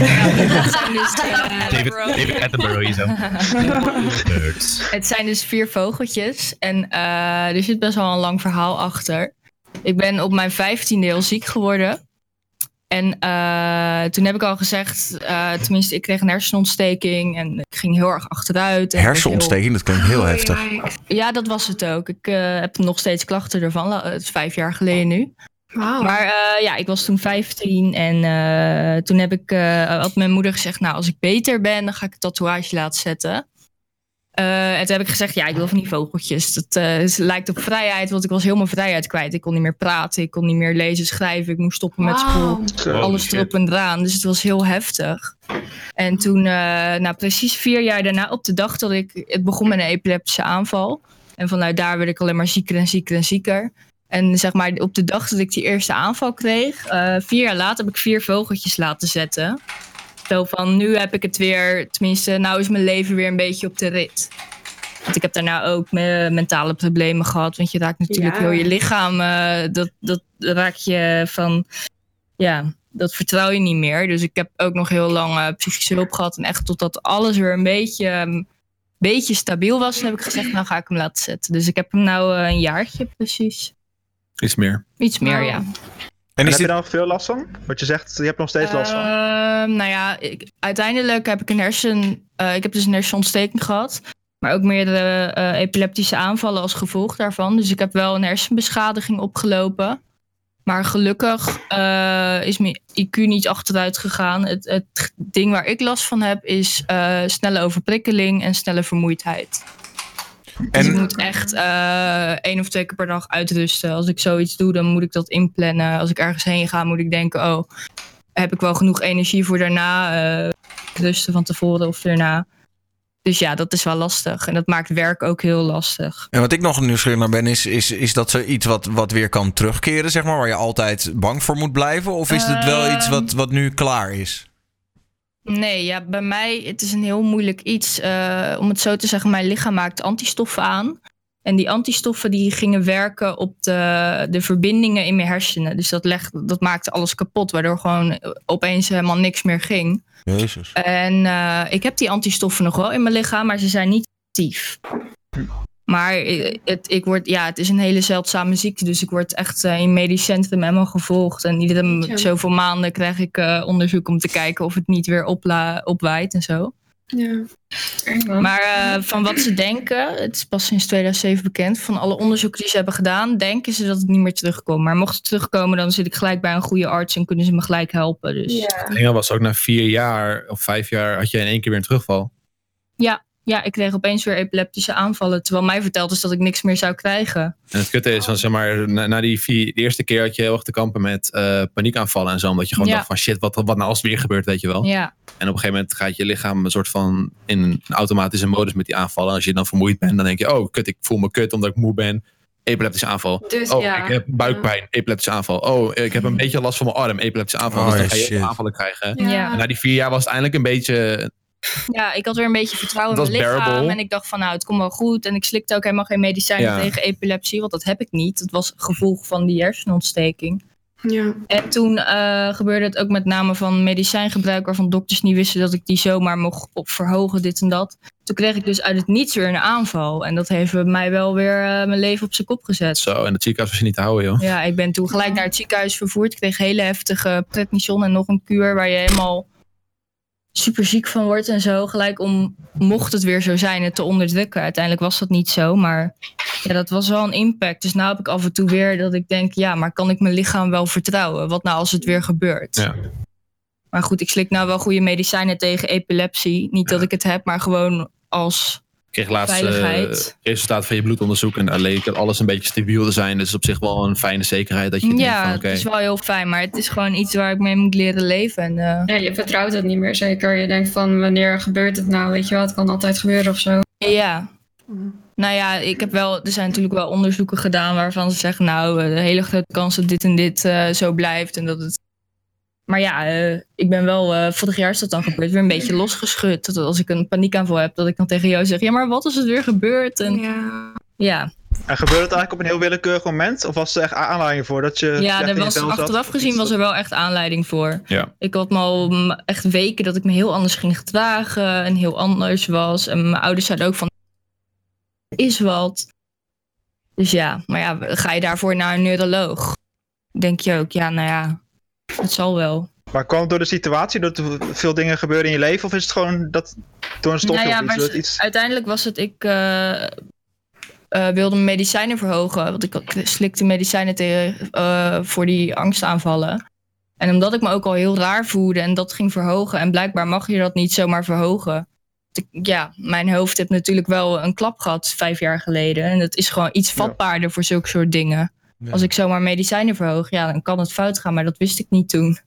[SPEAKER 6] dus, eh,
[SPEAKER 4] David, David Attenborough
[SPEAKER 7] [laughs]
[SPEAKER 4] hier zo.
[SPEAKER 6] [laughs]
[SPEAKER 4] Birds.
[SPEAKER 6] Het zijn dus vier vogeltjes. En eh, er zit best wel een lang verhaal achter. Ik ben op mijn vijftiende heel ziek geworden. En eh, toen heb ik al gezegd, eh, tenminste, ik kreeg een hersenontsteking en ik ging heel erg achteruit. En ik werd heel-
[SPEAKER 1] Hersenontsteking, dat klinkt heel heftig.
[SPEAKER 6] Ja, dat was het ook. Ik eh, heb nog steeds klachten ervan. La- Het is vijf jaar geleden nu.
[SPEAKER 11] Wauw.
[SPEAKER 6] Maar eh, ja, ik was toen 15 en eh, toen heb ik, eh, had mijn moeder gezegd: Nou, als ik beter ben, dan ga ik een tatoeage laten zetten. Eh, en toen heb ik gezegd: Ja, ik wil van die vogeltjes. Dat eh, het lijkt op vrijheid, want ik was heel mijn vrijheid kwijt. Ik kon niet meer praten, ik kon niet meer lezen, schrijven. Ik moest stoppen met school.
[SPEAKER 2] Zo.
[SPEAKER 6] Alles
[SPEAKER 4] shit.
[SPEAKER 6] erop en eraan. Dus het was heel heftig. En toen, eh, nou, precies vier jaar daarna, op de dag dat ik. Het begon met een epileptische aanval. En vanuit daar werd ik alleen maar zieker en zieker en zieker. En zeg maar, op de dag dat ik die eerste aanval kreeg, eh, vier jaar later heb ik vier vogeltjes laten zetten. Zo van, nu heb ik het weer, tenminste, nou is mijn leven weer een beetje op de rit. Want ik heb daarna ook me- mentale problemen gehad. Want je raakt natuurlijk
[SPEAKER 11] Ja.
[SPEAKER 6] heel je lichaam, eh, dat, dat raak je van, ja, dat vertrouw je niet meer. Dus ik heb ook nog heel lang eh, psychische hulp gehad. En echt totdat alles weer een beetje, ehm, beetje stabiel was, toen heb ik gezegd, nou ga ik hem laten zetten. Dus ik heb hem nou eh, een jaartje precies.
[SPEAKER 7] Iets meer.
[SPEAKER 6] Iets meer,
[SPEAKER 11] Wauw.
[SPEAKER 6] ja.
[SPEAKER 1] En
[SPEAKER 2] En heb
[SPEAKER 1] is
[SPEAKER 2] je
[SPEAKER 1] dit...
[SPEAKER 2] daar nog veel last van? Want je zegt, je hebt nog steeds last van.
[SPEAKER 6] Ehm, nou ja, ik, uiteindelijk heb ik een hersen. eh, ik heb dus een hersenontsteking gehad. Maar ook meerdere eh, epileptische aanvallen als gevolg daarvan. Dus ik heb wel een hersenbeschadiging opgelopen. Maar gelukkig eh, is mijn IQ niet achteruit gegaan. Het, het ding waar ik last van heb is eh, snelle overprikkeling en snelle vermoeidheid. Dus ik
[SPEAKER 1] En,
[SPEAKER 6] moet echt eh, één of twee keer per dag uitrusten. Als ik zoiets doe, dan moet ik dat inplannen. Als ik ergens heen ga, moet ik denken: oh, heb ik wel genoeg energie voor daarna? eh, rusten van tevoren of daarna. Dus ja, dat is wel lastig. En dat maakt werk ook heel lastig.
[SPEAKER 1] en wat ik nog nieuwsgierig naar ben, is, is, is dat zoiets wat, wat weer kan terugkeren, zeg maar? Waar je altijd bang voor moet blijven? Of is het
[SPEAKER 10] Ehm.
[SPEAKER 1] wel iets wat, wat nu klaar is?
[SPEAKER 6] Nee, ja, bij mij het is een heel moeilijk iets. eh, om het zo te zeggen, mijn lichaam maakt antistoffen aan. En die antistoffen die gingen werken op de, de verbindingen in mijn hersenen. Dus dat, legt, dat maakte alles kapot, waardoor gewoon eh, opeens helemaal niks meer ging.
[SPEAKER 1] Jezus.
[SPEAKER 6] En eh, ik heb die antistoffen nog wel in mijn lichaam, maar ze zijn niet actief. Maar eh, het, ik word, ja, het is een hele zeldzame ziekte, dus ik word echt eh, in het medisch centrum helemaal gevolgd. En iedere m-
[SPEAKER 11] Zo.
[SPEAKER 6] zoveel maanden krijg ik eh, onderzoek om te kijken of het niet weer opla- opwaait en zo.
[SPEAKER 11] Ja.
[SPEAKER 6] Maar eh, van wat ze denken, het is pas sinds 2007 bekend, van alle onderzoeken die ze hebben gedaan, denken ze dat het niet meer terugkomt. Maar mocht het terugkomen, dan zit ik gelijk bij een goede arts en kunnen ze me gelijk helpen. Dus ja,
[SPEAKER 11] Ja.
[SPEAKER 7] Engel was ook na vier jaar of vijf jaar had je in één keer weer een terugval.
[SPEAKER 6] ik kreeg opeens weer epileptische aanvallen, terwijl mij verteld is dat ik niks meer zou krijgen.
[SPEAKER 7] En het kutte
[SPEAKER 6] Oh.
[SPEAKER 7] is, van, zeg maar, na, na die vier, de eerste keer had je heel erg te kampen met eh, paniekaanvallen en zo. Omdat je gewoon
[SPEAKER 6] Ja.
[SPEAKER 7] dacht van shit, wat, wat nou als het weer gebeurt, weet je wel.
[SPEAKER 6] Ja,
[SPEAKER 7] En op een gegeven moment gaat je lichaam een soort van in een automatische modus met die aanvallen. En als je dan vermoeid bent, dan denk je, oh kut, ik voel me kut omdat ik moe ben. Epileptische aanval.
[SPEAKER 11] Dus
[SPEAKER 7] Oh,
[SPEAKER 11] ja.
[SPEAKER 7] ik heb buikpijn, epileptische aanval. Oh, ik
[SPEAKER 6] Hmm.
[SPEAKER 7] heb een beetje last van mijn arm, epileptische aanval.
[SPEAKER 1] Oh,
[SPEAKER 7] dus dan ga je
[SPEAKER 1] shit.
[SPEAKER 7] heel veel aanvallen krijgen.
[SPEAKER 6] ja.
[SPEAKER 7] En na die vier jaar was het eindelijk een beetje
[SPEAKER 6] ja, ik had weer een beetje vertrouwen in
[SPEAKER 7] Dat
[SPEAKER 6] mijn
[SPEAKER 7] was
[SPEAKER 6] lichaam.
[SPEAKER 7] bearable.
[SPEAKER 6] En ik dacht van nou, het komt wel goed. En ik slikte ook helemaal geen medicijnen
[SPEAKER 7] Ja.
[SPEAKER 6] tegen epilepsie, want dat heb ik niet. Dat was het gevolg van die hersenontsteking. En toen eh, gebeurde het ook met name van medicijngebruik, waarvan dokters niet wisten dat ik die zomaar mocht op verhogen, dit en dat. Toen kreeg ik dus uit het niets weer een aanval. En dat heeft bij mij wel weer eh, mijn leven op zijn kop gezet.
[SPEAKER 7] Zo, en het ziekenhuis was je niet te houden, joh.
[SPEAKER 6] Ja, ik ben toen gelijk naar het ziekenhuis vervoerd. Ik kreeg hele heftige prednison en nog een kuur waar je helemaal super ziek van wordt en zo. Gelijk om, mocht het weer zo zijn, het te onderdrukken. Uiteindelijk was dat niet zo, maar ja, dat was wel een impact. Dus nu heb ik af en toe weer dat ik denk, ja, maar kan ik mijn lichaam wel vertrouwen? Wat nou als het weer gebeurt?
[SPEAKER 7] Ja.
[SPEAKER 6] Maar goed, ik slik nou wel goede medicijnen tegen epilepsie. Niet dat ik het heb, maar gewoon als...
[SPEAKER 7] Ik kreeg laatst eh
[SPEAKER 6] Veiligheid.
[SPEAKER 7] resultaat van je bloedonderzoek. En alleen ik heb alles een beetje stabiel te zijn. Dus op zich wel een fijne zekerheid dat je denkt
[SPEAKER 6] Ja,
[SPEAKER 7] van,
[SPEAKER 6] het
[SPEAKER 7] oké.
[SPEAKER 6] is wel heel fijn, maar het is gewoon iets waar ik mee moet leren leven. En, eh,
[SPEAKER 3] Ja, je vertrouwt het niet meer zeker. Je denkt van wanneer gebeurt het nou? Weet je wel, het kan altijd gebeuren of zo.
[SPEAKER 6] Ja. Nou ja, ik heb wel, er zijn natuurlijk wel onderzoeken gedaan waarvan ze zeggen, nou, eh, de hele grote kans dat dit en dit eh, zo blijft en dat het. Maar ja, eh, ik ben wel, eh, vorig jaar is dat dan gebeurd, weer een beetje losgeschud. Dat als ik een paniekaanval heb, dat ik dan tegen jou zeg, ja, maar wat als het weer gebeurt? En ja, ja,
[SPEAKER 2] En gebeurde het eigenlijk op een heel willekeurig moment? Of was er echt a- aanleiding voor dat je...
[SPEAKER 6] Eh, ja
[SPEAKER 2] slecht in
[SPEAKER 6] er
[SPEAKER 2] je
[SPEAKER 6] was,
[SPEAKER 2] vel zat?
[SPEAKER 6] achteraf gezien was er wel echt aanleiding voor.
[SPEAKER 7] Ja.
[SPEAKER 6] Ik had me al mm, echt weken dat ik me heel anders ging gedragen en heel anders was. En mijn ouders zeiden ook van, is wat. Dus ja, maar ja, ga je daarvoor naar een neuroloog? Denk je ook, ja, nou ja, het zal wel.
[SPEAKER 2] Maar kwam het door de situatie, dat er veel dingen gebeuren in je leven? Of is het gewoon dat door een stofje
[SPEAKER 6] Nou
[SPEAKER 2] of iets?
[SPEAKER 6] ja, maar
[SPEAKER 2] dat
[SPEAKER 6] ze-
[SPEAKER 2] iets...
[SPEAKER 6] uiteindelijk was het, ik eh, eh, wilde mijn medicijnen verhogen. Want ik had- slikte medicijnen tegen, eh, voor die angstaanvallen. En omdat ik me ook al heel raar voelde en dat ging verhogen. En blijkbaar mag je dat niet zomaar verhogen. Want ik- Ja, mijn hoofd heeft natuurlijk wel een klap gehad vijf jaar geleden. En dat is gewoon iets vatbaarder voor zulke soort dingen.
[SPEAKER 7] Ja.
[SPEAKER 6] Als ik zomaar medicijnen verhoog, ja, dan kan het fout gaan. Maar dat wist ik niet toen.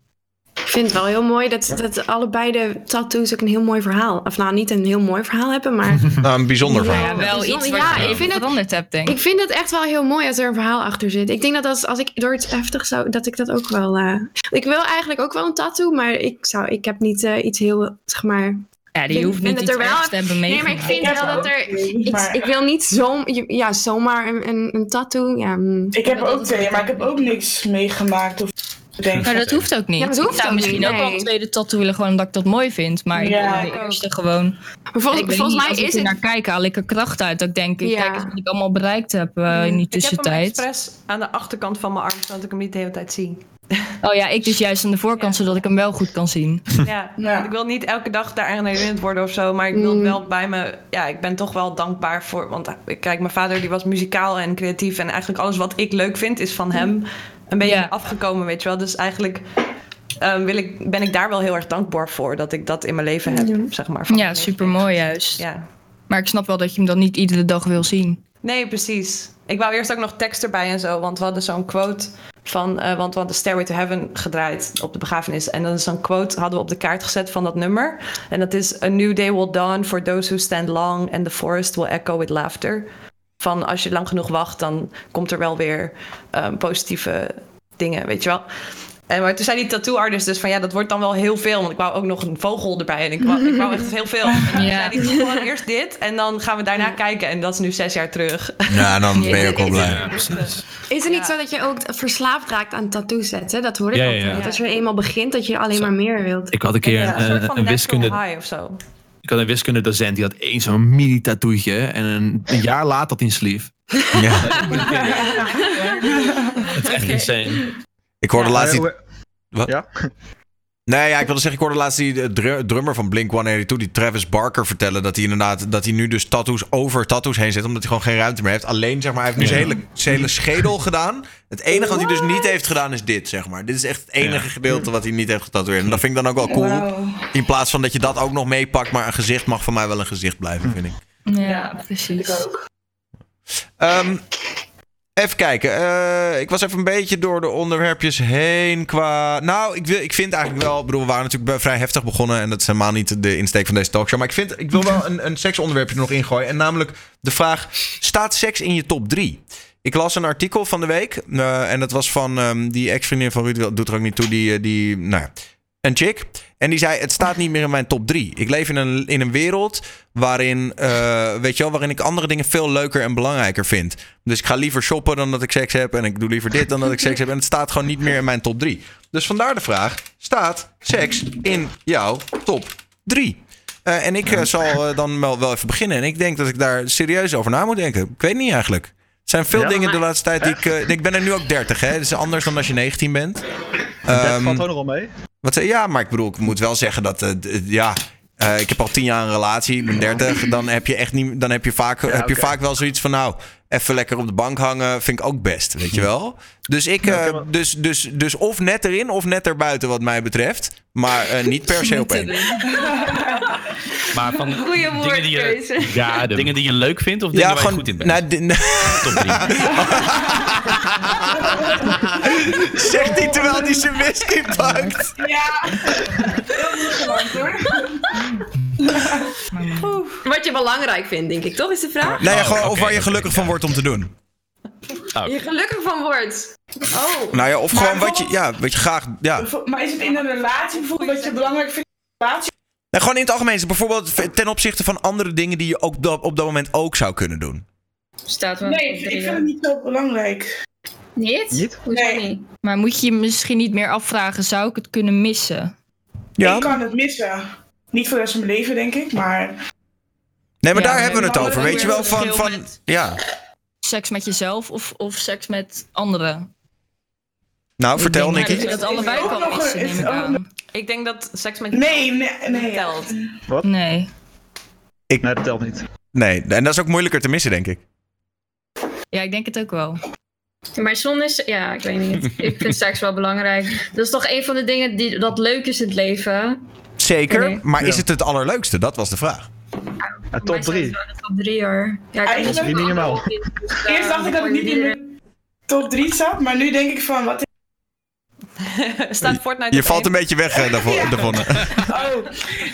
[SPEAKER 11] Ik vind het wel heel mooi dat, dat allebei de tattoos ook een heel mooi verhaal. Of nou, niet een heel mooi verhaal hebben, maar.
[SPEAKER 1] Nou, een bijzonder
[SPEAKER 11] Ja,
[SPEAKER 1] verhaal.
[SPEAKER 11] wel
[SPEAKER 6] Wel
[SPEAKER 11] iets
[SPEAKER 6] iets
[SPEAKER 11] wat
[SPEAKER 6] wat
[SPEAKER 11] je
[SPEAKER 6] je veranderd hebt, denk
[SPEAKER 11] Ik
[SPEAKER 6] ik.
[SPEAKER 11] vind het echt wel heel mooi als er een verhaal achter zit. Ik denk dat als, als ik door het heftig zou, dat ik dat ook wel. eh, ik wil eigenlijk ook wel een tattoo, maar ik, zou, ik heb niet eh, iets heel, zeg maar.
[SPEAKER 6] Ja,
[SPEAKER 11] Ik
[SPEAKER 6] die hoeft
[SPEAKER 11] vind het
[SPEAKER 6] niet
[SPEAKER 11] er
[SPEAKER 6] iets
[SPEAKER 11] wel-
[SPEAKER 6] ergs te hebben
[SPEAKER 11] Nee, maar ik
[SPEAKER 6] meegemaakt.
[SPEAKER 11] vind wel dat er. Ik, ik wil niet zo, ja, zomaar een, een, een tattoo. Ja, mm.
[SPEAKER 5] [laughs] Ik heb er ook twee, maar ik heb ook niks meegemaakt. Of denk
[SPEAKER 6] Maar dat hoeft ook niet.
[SPEAKER 11] Ja, dat hoeft
[SPEAKER 6] ik zou
[SPEAKER 11] ook
[SPEAKER 6] misschien
[SPEAKER 11] niet,
[SPEAKER 6] ook wel
[SPEAKER 11] nee.
[SPEAKER 6] een tweede tattoo willen, gewoon omdat ik dat mooi vind. Maar ik
[SPEAKER 5] Ja,
[SPEAKER 6] wil
[SPEAKER 5] ik
[SPEAKER 6] de
[SPEAKER 5] ook.
[SPEAKER 6] eerste gewoon...
[SPEAKER 11] Maar vol-
[SPEAKER 6] ik weet
[SPEAKER 11] volgens
[SPEAKER 6] niet,
[SPEAKER 11] mij
[SPEAKER 6] als ik
[SPEAKER 11] is
[SPEAKER 6] er
[SPEAKER 11] het.
[SPEAKER 6] naar kijk, haal ik er kracht uit. Dat ik denk,
[SPEAKER 11] Ja.
[SPEAKER 6] kijk eens wat ik allemaal bereikt heb eh, in die
[SPEAKER 10] Hm. Ik heb hem
[SPEAKER 6] tussentijd.
[SPEAKER 10] expres aan de achterkant van mijn arm, zodat ik hem niet de hele tijd zie.
[SPEAKER 6] Oh ja, ik dus juist aan de voorkant, zodat ik hem wel goed kan
[SPEAKER 10] [laughs]
[SPEAKER 6] zien.
[SPEAKER 10] Ja,
[SPEAKER 5] Ja.
[SPEAKER 10] want ik wil niet elke dag daaraan herinnerd worden of zo. Maar ik wil wel bij me... Ja, ik ben toch wel dankbaar voor... Want eh, kijk, mijn vader die was muzikaal en creatief. En eigenlijk alles wat ik leuk vind is van hem een beetje
[SPEAKER 6] Ja.
[SPEAKER 10] afgekomen, weet je wel. Dus eigenlijk ehm, wil ik, ben ik daar wel heel erg dankbaar voor. Dat ik dat in mijn leven heb, zeg maar. van
[SPEAKER 6] Ja,
[SPEAKER 10] mijn
[SPEAKER 6] super mooi juist.
[SPEAKER 10] leven. Ja.
[SPEAKER 6] Maar ik snap wel dat je hem dan niet iedere dag wil zien.
[SPEAKER 10] Nee, precies. Ik wou eerst ook nog tekst erbij en zo, want we hadden zo'n quote van, eh, want we hadden Stairway to Heaven gedraaid op de begrafenis. En dan is zo'n quote hadden we op de kaart gezet van dat nummer. En dat is, a new day will dawn for those who stand long and the forest will echo with laughter. Van als je lang genoeg wacht, dan komt er wel weer eh, positieve dingen, weet je wel. En maar toen zei die tattoo artist dus van ja, dat wordt dan wel heel veel. Want ik wou ook nog een vogel erbij en ik wou, ik wou echt heel veel. En toen
[SPEAKER 6] [laughs] Ja.
[SPEAKER 10] zei die, "Doe gewoon eerst dit en dan gaan we daarna kijken. En dat is nu zes jaar terug.
[SPEAKER 1] Ja, dan ben je ook wel blij.
[SPEAKER 11] Is het niet zo dat je ook verslaafd raakt aan tattoos zetten? Dat hoor ik
[SPEAKER 7] Ja, ja,
[SPEAKER 11] altijd.
[SPEAKER 7] ja.
[SPEAKER 11] Dat als je eenmaal begint, dat je alleen maar meer wilt.
[SPEAKER 7] Ik had een keer
[SPEAKER 10] Ja, soort
[SPEAKER 7] een, een,
[SPEAKER 10] van
[SPEAKER 7] een
[SPEAKER 10] natural
[SPEAKER 7] wiskunde,
[SPEAKER 10] high of zo.
[SPEAKER 7] ik had een wiskundedocent die had één zo'n mini tattoetje en een, een jaar later had hij een sleeve.
[SPEAKER 1] [laughs] Ja.
[SPEAKER 7] Dat is echt insane.
[SPEAKER 1] Ik hoorde laatst die...
[SPEAKER 2] Eh, hoe-
[SPEAKER 1] Wat?
[SPEAKER 2] Ja?
[SPEAKER 1] [laughs] Nee, ja, ik wilde zeggen, ik hoorde laatst die eh, dru- drummer van Blink-182, die Travis Barker, vertellen dat hij inderdaad, dat hij nu dus tattoos over tattoos heen zet, omdat hij gewoon geen ruimte meer heeft. Alleen, zeg maar, hij heeft nu zijn hele, zijn hele schedel gedaan. Het enige wat hij dus niet heeft gedaan is dit, zeg maar. Dit is echt het enige gedeelte wat hij niet heeft getatoeëerd. En dat vind ik dan ook wel cool.
[SPEAKER 5] Wauw.
[SPEAKER 1] In plaats van dat je dat ook nog meepakt, maar een gezicht mag van mij wel een gezicht blijven, vind ik.
[SPEAKER 6] Ja, precies.
[SPEAKER 1] Ehm, even kijken. Eh, ik was even een beetje door de onderwerpjes heen qua... Nou, ik, wil, ik vind eigenlijk wel... Ik bedoel, we waren natuurlijk be- vrij heftig begonnen... en dat is helemaal niet de insteek van deze talkshow. Maar ik, vind, ik wil wel een, een seksonderwerpje er nog ingooien. En namelijk de vraag... Staat seks in je top 3? Ik las een artikel van de week. eh, en dat was van ehm, die ex-vriendin van Ruud. Doet er ook niet toe. Die, eh, die nou ja, een chick. En die zei: Het staat niet meer in mijn top 3. Ik leef in een, in een wereld waarin, eh, weet je wel, waarin ik andere dingen veel leuker en belangrijker vind. Dus ik ga liever shoppen dan dat ik seks heb. En ik doe liever dit dan dat ik seks heb. En het staat gewoon niet meer in mijn top 3. Dus vandaar de vraag: staat seks in jouw top 3? Eh, en ik eh, zal eh, dan wel, wel even beginnen. En ik denk dat ik daar serieus over na moet denken. Ik weet niet eigenlijk. Er zijn veel
[SPEAKER 2] Ja?
[SPEAKER 1] dingen de laatste tijd die ik... eh, ik ben er nu ook 30, hè. Dat is anders dan als je 19 bent. Ehm,
[SPEAKER 2] valt ook nog wel mee.
[SPEAKER 1] wat, zei- ja, maar ik bedoel, ik moet wel zeggen dat... eh, d- eh, ja, eh, ik heb al 10 jaar een relatie, ik ben
[SPEAKER 2] [laughs]
[SPEAKER 1] 30. Dan heb je, echt niet, dan heb je, vaak, heb je
[SPEAKER 2] oké.
[SPEAKER 1] vaak wel zoiets van... Nou, even lekker op de bank hangen vind ik ook best, weet je wel? Dus, ik, eh, dus, dus, dus of net erin of net erbuiten wat mij betreft. Maar eh, niet per se op één.
[SPEAKER 4] Maar van
[SPEAKER 6] Goeie
[SPEAKER 4] dingen die je,
[SPEAKER 6] woordkeuze.
[SPEAKER 4] ja, dingen die je leuk vindt of
[SPEAKER 1] Ja,
[SPEAKER 4] dingen waar
[SPEAKER 1] gewoon-
[SPEAKER 4] je goed in bent?
[SPEAKER 1] nou, di- [laughs] Zegt hij terwijl hij zijn whisky pakt.
[SPEAKER 5] Ja, heel moeilijk hoor.
[SPEAKER 12] [laughs] Wat je belangrijk vindt, denk ik, toch? Is de vraag?
[SPEAKER 1] Nou ja,
[SPEAKER 7] Oh,
[SPEAKER 6] Oh,
[SPEAKER 1] gewoon of waar je gelukkig van wordt om te doen.
[SPEAKER 12] Je gelukkig van wordt. Oh.
[SPEAKER 1] Nou ja, of gewoon wat je, ja, wat je graag... Ja.
[SPEAKER 5] Maar is het in een relatie bijvoorbeeld wat je belangrijk vindt? in een relatie?
[SPEAKER 1] Nou, gewoon in het algemeen. Dus Bijvoorbeeld ten opzichte van andere dingen die je ook dat- op dat moment ook zou kunnen doen.
[SPEAKER 6] Staat wel
[SPEAKER 5] Nee, ik vind het niet zo belangrijk.
[SPEAKER 6] Niet?
[SPEAKER 2] Niet?
[SPEAKER 6] Hoezo
[SPEAKER 5] Nee.
[SPEAKER 6] niet? Maar moet je je misschien niet meer afvragen, zou ik het kunnen missen?
[SPEAKER 5] Ik kan het missen. Niet voor de rest van mijn leven, denk ik, maar...
[SPEAKER 1] Nee, maar
[SPEAKER 6] Ja,
[SPEAKER 1] daar
[SPEAKER 6] nee,
[SPEAKER 1] hebben we het
[SPEAKER 6] maar
[SPEAKER 1] over.
[SPEAKER 6] dat
[SPEAKER 1] Weet je
[SPEAKER 6] is
[SPEAKER 1] wel,
[SPEAKER 6] een
[SPEAKER 1] van...
[SPEAKER 6] verschil
[SPEAKER 1] van
[SPEAKER 6] met-
[SPEAKER 1] ja.
[SPEAKER 6] Seks met jezelf of, of seks met anderen?
[SPEAKER 1] Nou, vertel,
[SPEAKER 6] denk
[SPEAKER 1] Nicky.
[SPEAKER 6] dat je dat allebei
[SPEAKER 5] Ook nog
[SPEAKER 6] kan
[SPEAKER 5] een-
[SPEAKER 6] missen,
[SPEAKER 5] is
[SPEAKER 6] neem ik
[SPEAKER 5] ook nog-
[SPEAKER 6] aan.
[SPEAKER 10] Ik denk dat seks met
[SPEAKER 5] Nee, nee, nee.
[SPEAKER 10] telt.
[SPEAKER 6] Nee.
[SPEAKER 2] Nee, dat telt niet.
[SPEAKER 1] Nee, en dat is ook moeilijker te missen, denk ik.
[SPEAKER 6] Ja, ik denk het ook wel.
[SPEAKER 3] Maar soms is, ja, ik weet niet. Ik vind seks wel belangrijk. Dat is toch een van de dingen die, dat leuk is in het leven.
[SPEAKER 1] Zeker,
[SPEAKER 3] Nee.
[SPEAKER 1] maar is
[SPEAKER 2] Ja.
[SPEAKER 1] het het allerleukste? Dat was de vraag.
[SPEAKER 2] Ja,
[SPEAKER 3] Mij
[SPEAKER 2] top
[SPEAKER 3] staat
[SPEAKER 2] 3.
[SPEAKER 3] het wel in de Top 3 hoor. Ja, ik
[SPEAKER 5] Eigenlijk
[SPEAKER 3] heb
[SPEAKER 2] drie
[SPEAKER 3] ook wel
[SPEAKER 2] minimaal.
[SPEAKER 3] andere opties, dus, eh,
[SPEAKER 5] Eerst dacht ik dat het niet in mijn top 3 zat, maar nu denk ik van, wat is...
[SPEAKER 10] Staat Fortnite
[SPEAKER 1] Je
[SPEAKER 10] op
[SPEAKER 1] valt
[SPEAKER 10] één?
[SPEAKER 1] een beetje weg,
[SPEAKER 5] [laughs]
[SPEAKER 1] eh, daarvo- daarvan.
[SPEAKER 5] Oh,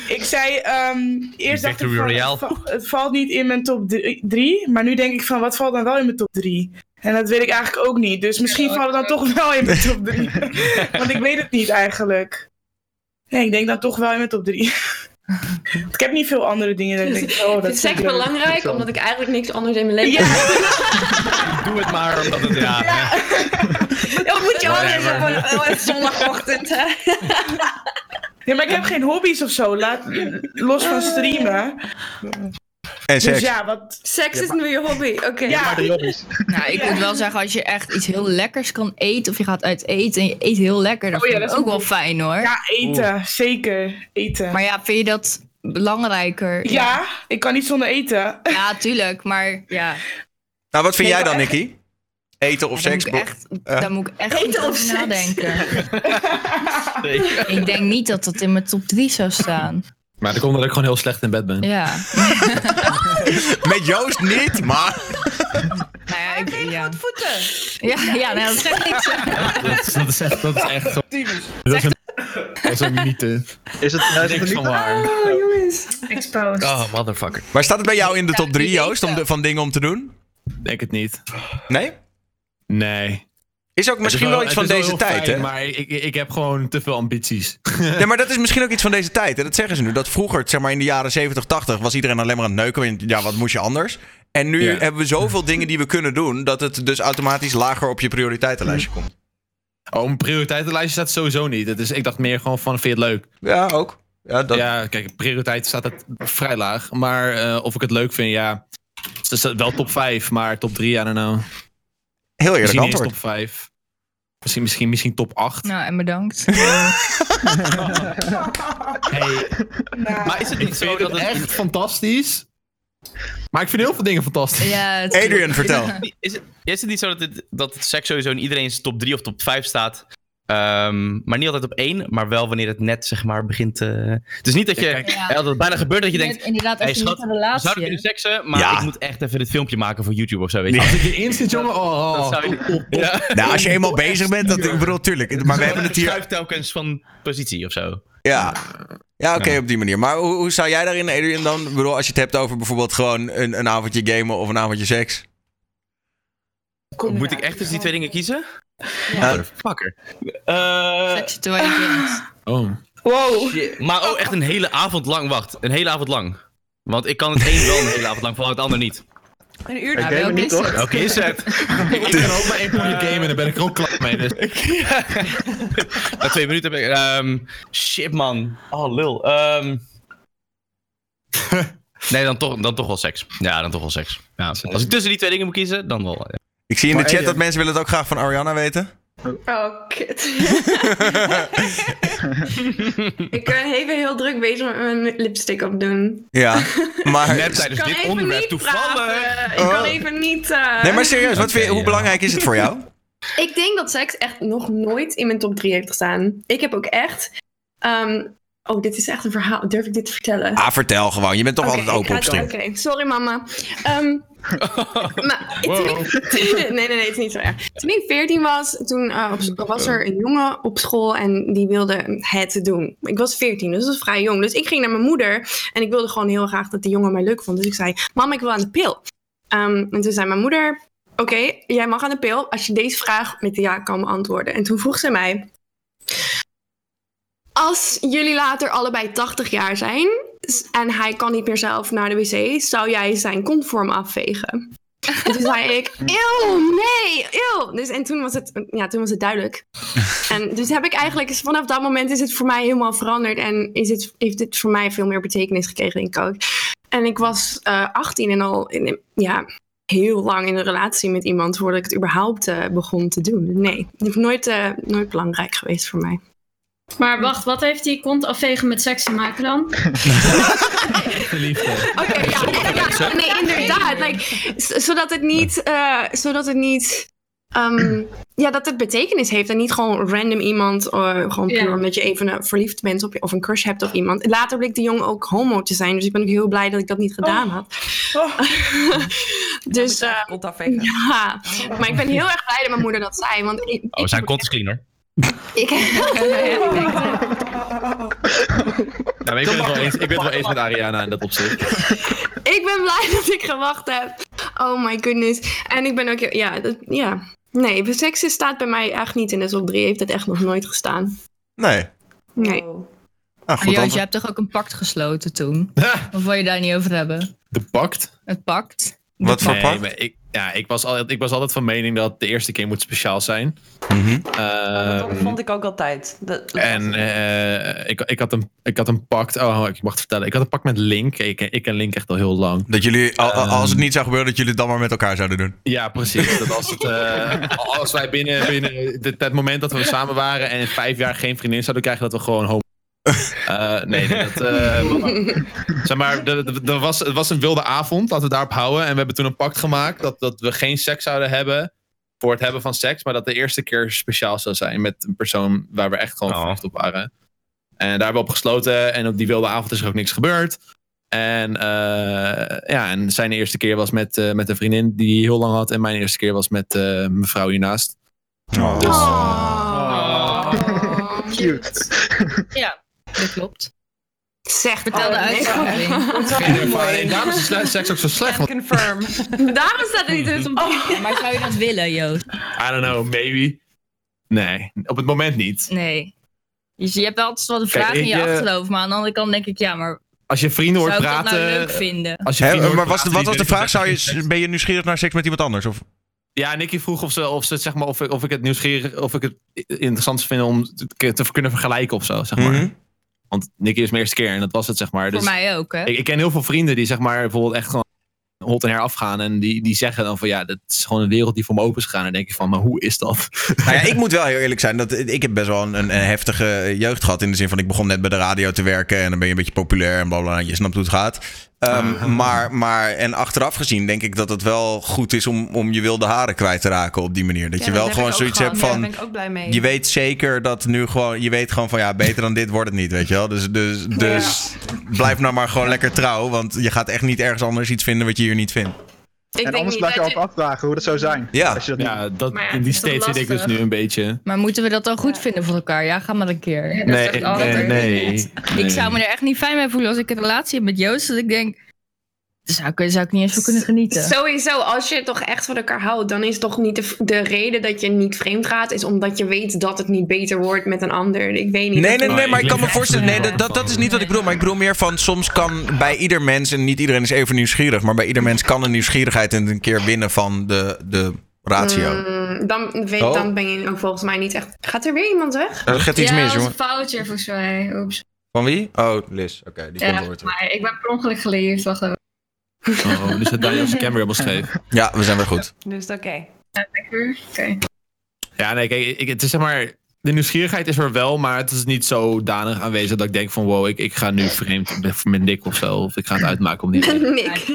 [SPEAKER 5] ik zei, ehm, eerst dacht ik
[SPEAKER 4] Victory
[SPEAKER 5] van,
[SPEAKER 4] Royale.
[SPEAKER 5] het, va- het valt niet in mijn top 3, maar nu denk ik van, wat valt dan wel in mijn top 3? En dat weet ik eigenlijk ook niet, dus misschien valt het dan toch wel in mijn
[SPEAKER 12] [laughs]
[SPEAKER 5] top 3. Want ik weet het niet eigenlijk. Nee, ik denk dan toch wel in mijn top
[SPEAKER 12] [laughs]
[SPEAKER 5] 3. ik heb niet veel andere dingen dat ik denk, oh, dat
[SPEAKER 12] Ik vind
[SPEAKER 5] vind ik
[SPEAKER 12] seks
[SPEAKER 5] leuk.
[SPEAKER 12] belangrijk, omdat ik eigenlijk niks anders in mijn leven
[SPEAKER 5] Ja.
[SPEAKER 4] Doe het maar, omdat
[SPEAKER 7] [laughs]
[SPEAKER 4] het... Ja,
[SPEAKER 12] [laughs] Dat moet je anders op
[SPEAKER 4] Whatever.
[SPEAKER 12] een, op een zondagochtend. hè?
[SPEAKER 5] [laughs] Ja, maar ik heb geen hobby's of zo, laat, los
[SPEAKER 12] Oh,
[SPEAKER 5] van streamen.
[SPEAKER 1] En
[SPEAKER 5] Dus
[SPEAKER 1] seks.
[SPEAKER 5] ja, wat...
[SPEAKER 12] Seks is nu je hobby. Oké.
[SPEAKER 5] Ja,
[SPEAKER 2] Drie hobby's.
[SPEAKER 6] Nou, ik moet wel zeggen, als je echt iets heel lekkers kan eten... of je gaat uit eten en je eet heel lekker... dat
[SPEAKER 5] Oh ja,
[SPEAKER 6] vind ik
[SPEAKER 5] dat is
[SPEAKER 6] ook
[SPEAKER 5] een
[SPEAKER 6] wel fijn, hoor.
[SPEAKER 5] ja eten, zeker, eten.
[SPEAKER 6] Maar ja, vind je dat belangrijker?
[SPEAKER 5] Ja, ik kan niet zonder eten.
[SPEAKER 6] Ja, tuurlijk, maar ja...
[SPEAKER 1] Nou, wat vind
[SPEAKER 5] Nee,
[SPEAKER 1] jij dan,
[SPEAKER 5] maar
[SPEAKER 1] Nicky? Eten of
[SPEAKER 6] Daar
[SPEAKER 1] seks? Eh.
[SPEAKER 6] moet ik echt, daar moet ik echt
[SPEAKER 12] Eten
[SPEAKER 6] goed
[SPEAKER 12] of
[SPEAKER 6] over
[SPEAKER 12] seks?
[SPEAKER 6] nadenken. Ik denk niet dat dat in mijn top 3 zou staan.
[SPEAKER 7] Maar dat komt omdat ik gewoon heel slecht in bed ben.
[SPEAKER 6] Ja.
[SPEAKER 1] [laughs] Met Joost niet, maar...
[SPEAKER 6] Nou ja, ik, ja.
[SPEAKER 10] Voeten.
[SPEAKER 6] Ja, ja nou, dat [laughs] zegt niks.
[SPEAKER 7] Dat is, dat is echt, dat is echt zo. Dat is een, dat is een mythe.
[SPEAKER 2] Is het, nou, is het
[SPEAKER 7] Niks
[SPEAKER 2] niet?
[SPEAKER 7] van waar.
[SPEAKER 3] Exposed.
[SPEAKER 4] Oh, motherfucker.
[SPEAKER 1] Maar staat het bij jou in de top 3,
[SPEAKER 6] niet
[SPEAKER 1] Joost, om de, van dingen om te doen?
[SPEAKER 7] Denk het niet.
[SPEAKER 1] Nee?
[SPEAKER 7] Nee.
[SPEAKER 1] Is ook misschien wel iets van deze tijd, hè?
[SPEAKER 7] Maar ik, ik, ik heb gewoon te veel ambities.
[SPEAKER 1] [laughs] Nee, maar dat is misschien ook iets van deze tijd. En dat zeggen ze nu. Dat vroeger, zeg maar in de jaren 70, 80, was iedereen alleen maar aan het neuken. Want ja, wat moest je anders? En nu
[SPEAKER 7] Ja.
[SPEAKER 1] hebben we zoveel dingen die we kunnen doen. dat het dus automatisch lager op je prioriteitenlijstje komt.
[SPEAKER 7] Oh, mijn prioriteitenlijstje staat sowieso niet. Het is, ik dacht meer gewoon van, vind je het leuk?
[SPEAKER 1] Ja, ook. Ja, dat...
[SPEAKER 7] Ja, kijk, prioriteit staat het vrij laag. Maar eh, of ik het leuk vind, ja. Het is wel top 5, maar top 3, I don't know.
[SPEAKER 1] Heel eerlijk
[SPEAKER 7] Misschien niet eens
[SPEAKER 1] antwoord.
[SPEAKER 7] top 5. Misschien, misschien, misschien top 8.
[SPEAKER 6] Nou, en bedankt.
[SPEAKER 7] Ah, Maar is het niet zo dat het echt fantastisch? Maar ik vind heel veel dingen fantastisch.
[SPEAKER 6] Ja, het
[SPEAKER 1] [laughs] Adrian, vertel.
[SPEAKER 7] Nou,
[SPEAKER 4] Is het, is het niet zo dat, het, dat het seks sowieso in iedereen's top 3 of top 5 staat? Ehm, maar niet altijd op één, maar wel wanneer het net zeg maar begint te... Dus niet dat je...
[SPEAKER 7] Ja, kijk.
[SPEAKER 6] Ja.
[SPEAKER 4] hè, dat het bijna gebeurt dat je denkt...
[SPEAKER 6] Net inderdaad, als
[SPEAKER 4] hey,
[SPEAKER 6] je
[SPEAKER 4] schat,
[SPEAKER 6] net een
[SPEAKER 4] we
[SPEAKER 6] relatie
[SPEAKER 4] zouden kunnen
[SPEAKER 6] hebt.
[SPEAKER 4] seksen, maar
[SPEAKER 1] Ja.
[SPEAKER 4] ik moet echt even dit filmpje maken voor YouTube of zo, weet je.
[SPEAKER 7] Als ik erin zit, jongen, oh.
[SPEAKER 4] [laughs] Dat zou je... Ja.
[SPEAKER 1] Nou, als je eenmaal bezig bent, dat ik bedoel, tuurlijk. Maar we hebben het hier.
[SPEAKER 4] schuift telkens van positie of zo.
[SPEAKER 1] Ja, ja oké, op die manier. Maar hoe, hoe zou jij daarin, Adrian, dan? Ik bedoel, als je het hebt over bijvoorbeeld gewoon een, een avondje gamen of een avondje seks.
[SPEAKER 4] Moet ik echt tussen die twee dingen kiezen?
[SPEAKER 1] Ja.
[SPEAKER 4] Fucker.
[SPEAKER 6] Seks terwijl je gamet.
[SPEAKER 7] Oh.
[SPEAKER 14] Wow.
[SPEAKER 4] Eh, Maar ook echt een hele avond lang, wacht. Een hele avond lang. Want ik kan het een wel een hele avond lang, vooral het ander niet.
[SPEAKER 10] Een uur
[SPEAKER 4] Ik game
[SPEAKER 10] daarna.
[SPEAKER 4] niet, toch? Oké,
[SPEAKER 10] [laughs]
[SPEAKER 4] is het.
[SPEAKER 7] ik kan ook maar
[SPEAKER 4] [laughs]
[SPEAKER 7] één potje gamen en daar ben ik er ook klaar mee. Dus.
[SPEAKER 4] Na twee minuten heb ik... ehm, shit, man. Oh, lul. [laughs] Ehm, nee, dan toch, dan toch wel seks. Ja, dan toch wel seks. Ja. Als ik tussen die twee dingen moet kiezen, dan wel. ja.
[SPEAKER 1] Ik zie in
[SPEAKER 4] Maar eh,
[SPEAKER 1] de chat
[SPEAKER 4] Elian-
[SPEAKER 1] dat mensen willen het ook graag van Ariana
[SPEAKER 7] [laughs]
[SPEAKER 1] weten.
[SPEAKER 9] Oh, kut. ik ben even heel druk bezig met mijn lipstick opdoen.
[SPEAKER 1] Ja, maar...
[SPEAKER 4] Net tijdens
[SPEAKER 9] Ik kan even niet praten. Ik kan
[SPEAKER 1] Oh.
[SPEAKER 9] even niet... eh,
[SPEAKER 1] Nee, maar serieus, wat vind je, hoe belangrijk is het voor
[SPEAKER 7] [laughs]
[SPEAKER 1] jou?
[SPEAKER 9] Ik denk dat seks echt nog nooit in mijn top 3 heeft gestaan. Ik heb ook echt... ehm, oh, dit is echt een verhaal. Durf ik dit te vertellen?
[SPEAKER 1] Ah, vertel gewoon. Je bent toch
[SPEAKER 9] Oké,
[SPEAKER 1] altijd
[SPEAKER 9] ik ga
[SPEAKER 1] open op
[SPEAKER 9] door.
[SPEAKER 1] stream.
[SPEAKER 9] Oké, sorry mama. Ehm, maar [laughs] nee, nee, nee, het is niet zo erg. Toen ik 14 was, toen eh, op- was er een jongen op school en die wilde het doen. Ik was 14, dus dat was vrij jong. Dus ik ging naar mijn moeder en ik wilde gewoon heel graag dat die jongen mij leuk vond. Dus ik zei, mam, ik wil aan de pil. Ehm, en toen zei mijn moeder, oké, jij mag aan de pil als je deze vraag met ja kan beantwoorden. En toen vroeg ze mij, als jullie later allebei 80 jaar zijn s- en hij kan niet meer zelf naar de wc, zou jij zijn kontvorm afvegen? En toen zei ik, eeuw, nee, eeuw. Dus, en toen was, het, ja, toen was het duidelijk. En dus heb ik eigenlijk, vanaf dat moment is het voor mij helemaal veranderd. En is het, heeft het voor mij veel meer betekenis gekregen, denk ik ook. En ik was eh 18 en al in- ja, heel lang in een relatie met iemand voordat ik het überhaupt eh, begon te doen. Nee, het heeft nooit, eh, nooit belangrijk geweest voor mij.
[SPEAKER 3] Maar wacht, wat heeft die kont afvegen met seks te maken dan?
[SPEAKER 9] Ja, nee, inderdaad. Like, z- zodat het niet. eh, zodat het niet. ehm, ja, dat het betekenis heeft en niet gewoon random iemand, eh, gewoon puur omdat je even eh, verliefd bent op, of een crush hebt op iemand. Later bleek de jongen ook homo te zijn, dus ik ben ook heel blij dat ik dat niet gedaan had. [laughs] dus, eh, ja, maar ik ben heel erg blij dat mijn moeder dat zei, want ik,
[SPEAKER 4] Oh, we zijn content hoor.
[SPEAKER 9] ik, [laughs]
[SPEAKER 7] Nou, maar ik ben het wel eens, ik ben het wel eens met Ariana in dat opzicht.
[SPEAKER 9] ik ben
[SPEAKER 11] [laughs]
[SPEAKER 9] blij dat ik gewacht heb. Oh my goodness. En ik ben ook, heel- ja, dat, ja. Nee, seks is- staat bij mij echt niet in de top 3, heeft het echt nog nooit gestaan.
[SPEAKER 1] Nee.
[SPEAKER 9] Nee.
[SPEAKER 3] [laughs]
[SPEAKER 1] Ah,
[SPEAKER 6] Maar Jans, jij hebt toch ook een pact gesloten toen? Of wil je daar niet over hebben?
[SPEAKER 7] De pact?
[SPEAKER 6] Het pact?
[SPEAKER 1] Wat voor
[SPEAKER 7] Nee,
[SPEAKER 1] pact?
[SPEAKER 7] maar ik, ja, ik, was altijd, ik was altijd van mening dat de eerste keer moet speciaal zijn.
[SPEAKER 1] Mhm.
[SPEAKER 10] Dat
[SPEAKER 7] Ehm,
[SPEAKER 10] vond ik ook altijd. Dat-
[SPEAKER 7] En eh, ik, ik, had een, ik had een pact. Oh, ik mag het vertellen. Ik had een pact met Link. Ik, ik ken Link echt al heel lang. Ehm,
[SPEAKER 1] Dat jullie, al- al- als het niet zou gebeuren, dat jullie het dan maar met elkaar zouden doen.
[SPEAKER 7] Ja, precies. Dat als, het, eh, als wij binnen, binnen dit, het moment dat we samen waren en in vijf jaar geen vriendin zouden krijgen, dat we gewoon homo. Eh, nee, nee, dat. eh, zeg maar, dat- dat- dat was, het was een wilde avond, laten we daarop houden. En we hebben toen een pact gemaakt dat, dat we geen seks zouden hebben voor het hebben van seks, maar dat de eerste keer speciaal zou zijn met een persoon waar we echt gewoon verliefd op waren. En daar hebben we op gesloten en op die wilde avond is er ook niks gebeurd. En, eh, ja, en zijn eerste keer was met, eh, met een vriendin die hij heel lang had. En mijn eerste keer was met eh, mevrouw hiernaast. Dus, eh,
[SPEAKER 2] Cute.
[SPEAKER 6] Ja, dat klopt.
[SPEAKER 9] Zeg,
[SPEAKER 6] vertel de
[SPEAKER 9] oh, nee.
[SPEAKER 6] uitzending.
[SPEAKER 7] En daarom is de [laughs] seks ook zo slecht. want-
[SPEAKER 10] Confirm.
[SPEAKER 9] Daarom staat het niet in de top 3.
[SPEAKER 6] Oh. Maar zou je dat willen, Joost?
[SPEAKER 7] I don't know, maybe. Nee, op het moment niet.
[SPEAKER 6] Nee. Je, je hebt wel altijd wel een
[SPEAKER 7] Kijk,
[SPEAKER 6] vraag in
[SPEAKER 7] ik,
[SPEAKER 6] je
[SPEAKER 7] eh,
[SPEAKER 6] achterhoofd, maar aan de andere kant denk ik, ja, maar
[SPEAKER 7] Als je vrienden
[SPEAKER 6] zou
[SPEAKER 7] hoort
[SPEAKER 6] ik dat
[SPEAKER 7] praten.
[SPEAKER 6] nou leuk vinden?
[SPEAKER 7] Als je
[SPEAKER 1] Hè,
[SPEAKER 7] vrienden
[SPEAKER 1] maar
[SPEAKER 7] hoort
[SPEAKER 1] was,
[SPEAKER 7] praten,
[SPEAKER 1] wat
[SPEAKER 7] die
[SPEAKER 1] was de
[SPEAKER 7] willen
[SPEAKER 1] vraag? Zou je, ben je nieuwsgierig naar seks met iemand anders? Of?
[SPEAKER 7] Ja, Nicky vroeg of, ze, of, ze, zeg maar, of, ik, of ik het nieuwsgierig. of ik het interessant vind om te, te kunnen vergelijken of zo, zeg maar. Want Nicky is mijn eerste keer en dat was het, zeg maar. Dus
[SPEAKER 6] Voor mij ook, hè?
[SPEAKER 7] Ik, ik ken heel veel vrienden die, zeg maar, bijvoorbeeld echt gewoon hot en her afgaan. En die, die zeggen dan van ja, dat is gewoon een wereld die voor me open is gegaan. En dan denk je van, maar hoe is dat?
[SPEAKER 1] Nou ja, ik moet wel heel eerlijk zijn. Dat, ik heb best wel een, een heftige jeugd gehad. In de zin van, ik begon net bij de radio te werken. En dan ben je een beetje populair en blablabla. Je snapt hoe het gaat. Ehm, maar, maar, en achteraf gezien denk ik dat het wel goed is om, om je wilde haren kwijt te raken op die manier. Dat
[SPEAKER 10] Ja,
[SPEAKER 1] je wel
[SPEAKER 10] heb
[SPEAKER 1] gewoon
[SPEAKER 10] ik ook
[SPEAKER 1] zoiets
[SPEAKER 10] gehad.
[SPEAKER 1] hebt
[SPEAKER 10] Ja,
[SPEAKER 1] van...
[SPEAKER 10] daar ben ik ook blij mee.
[SPEAKER 1] Je weet zeker dat nu gewoon. Je weet gewoon van ja, beter dan dit wordt het niet, weet je wel. Dus, dus, dus blijf nou maar gewoon lekker trouw. Want je gaat echt niet ergens anders iets vinden wat je hier niet vindt.
[SPEAKER 2] en anders blijf je altijd afvragen hoe dat zou zijn.
[SPEAKER 1] Ja.
[SPEAKER 2] Als je dat niet-
[SPEAKER 7] Ja, dat,
[SPEAKER 6] Maar ja,
[SPEAKER 7] in
[SPEAKER 6] dat
[SPEAKER 7] die
[SPEAKER 6] is wel
[SPEAKER 7] state zit ik dus
[SPEAKER 6] lastig.
[SPEAKER 7] nu een beetje.
[SPEAKER 6] Maar moeten we dat dan goed vinden voor elkaar? Ja, ga maar een keer.
[SPEAKER 7] Nee, nee, nee,
[SPEAKER 6] Ik zou me er echt niet fijn bij voelen als ik een relatie heb met Joost. Dat ik denk, Daar zou, ik- zou ik niet eens van kunnen genieten.
[SPEAKER 11] Sowieso, als je toch echt van elkaar houdt, dan is toch niet de, de reden dat je niet vreemd gaat, is omdat je weet dat het niet beter wordt met een ander. Ik weet niet.
[SPEAKER 1] Nee,
[SPEAKER 11] Dat
[SPEAKER 1] nee,
[SPEAKER 11] is-
[SPEAKER 1] nee, maar ik kan me voorstellen. Nee, dat, dat, dat is niet wat ik bedoel. Maar ik bedoel meer van soms kan bij ieder mens, en niet iedereen is even nieuwsgierig, maar bij ieder mens kan een nieuwsgierigheid een keer winnen van de, de ratio.
[SPEAKER 11] Mm, dan, weet,
[SPEAKER 1] Oh.
[SPEAKER 11] dan ben je ook volgens mij niet echt. Gaat er weer iemand weg?
[SPEAKER 1] Er gaat iets
[SPEAKER 3] ja,
[SPEAKER 1] mis,
[SPEAKER 3] dat was
[SPEAKER 1] jongen.
[SPEAKER 3] een foutje volgens mij. Oeps.
[SPEAKER 1] Van wie? Oh, Liz. Oké, die
[SPEAKER 3] Ja,
[SPEAKER 1] komt door.
[SPEAKER 3] maar ik ben per ongeluk geleerd. Wacht even.
[SPEAKER 7] Oh, dus dat Daniel zijn camera helemaal scheef.
[SPEAKER 1] Ja, we zijn weer goed.
[SPEAKER 10] Dus oké.
[SPEAKER 3] Ja, lekker. Oké.
[SPEAKER 7] Ja, nee, kijk, ik, het is zeg maar... De nieuwsgierigheid is er wel, maar het is niet zodanig aanwezig dat ik denk van... wow, ik, ik ga nu vreemd met Nick of zo. Of ik ga het
[SPEAKER 11] [laughs]
[SPEAKER 7] uitmaken om die reden.
[SPEAKER 11] Nick.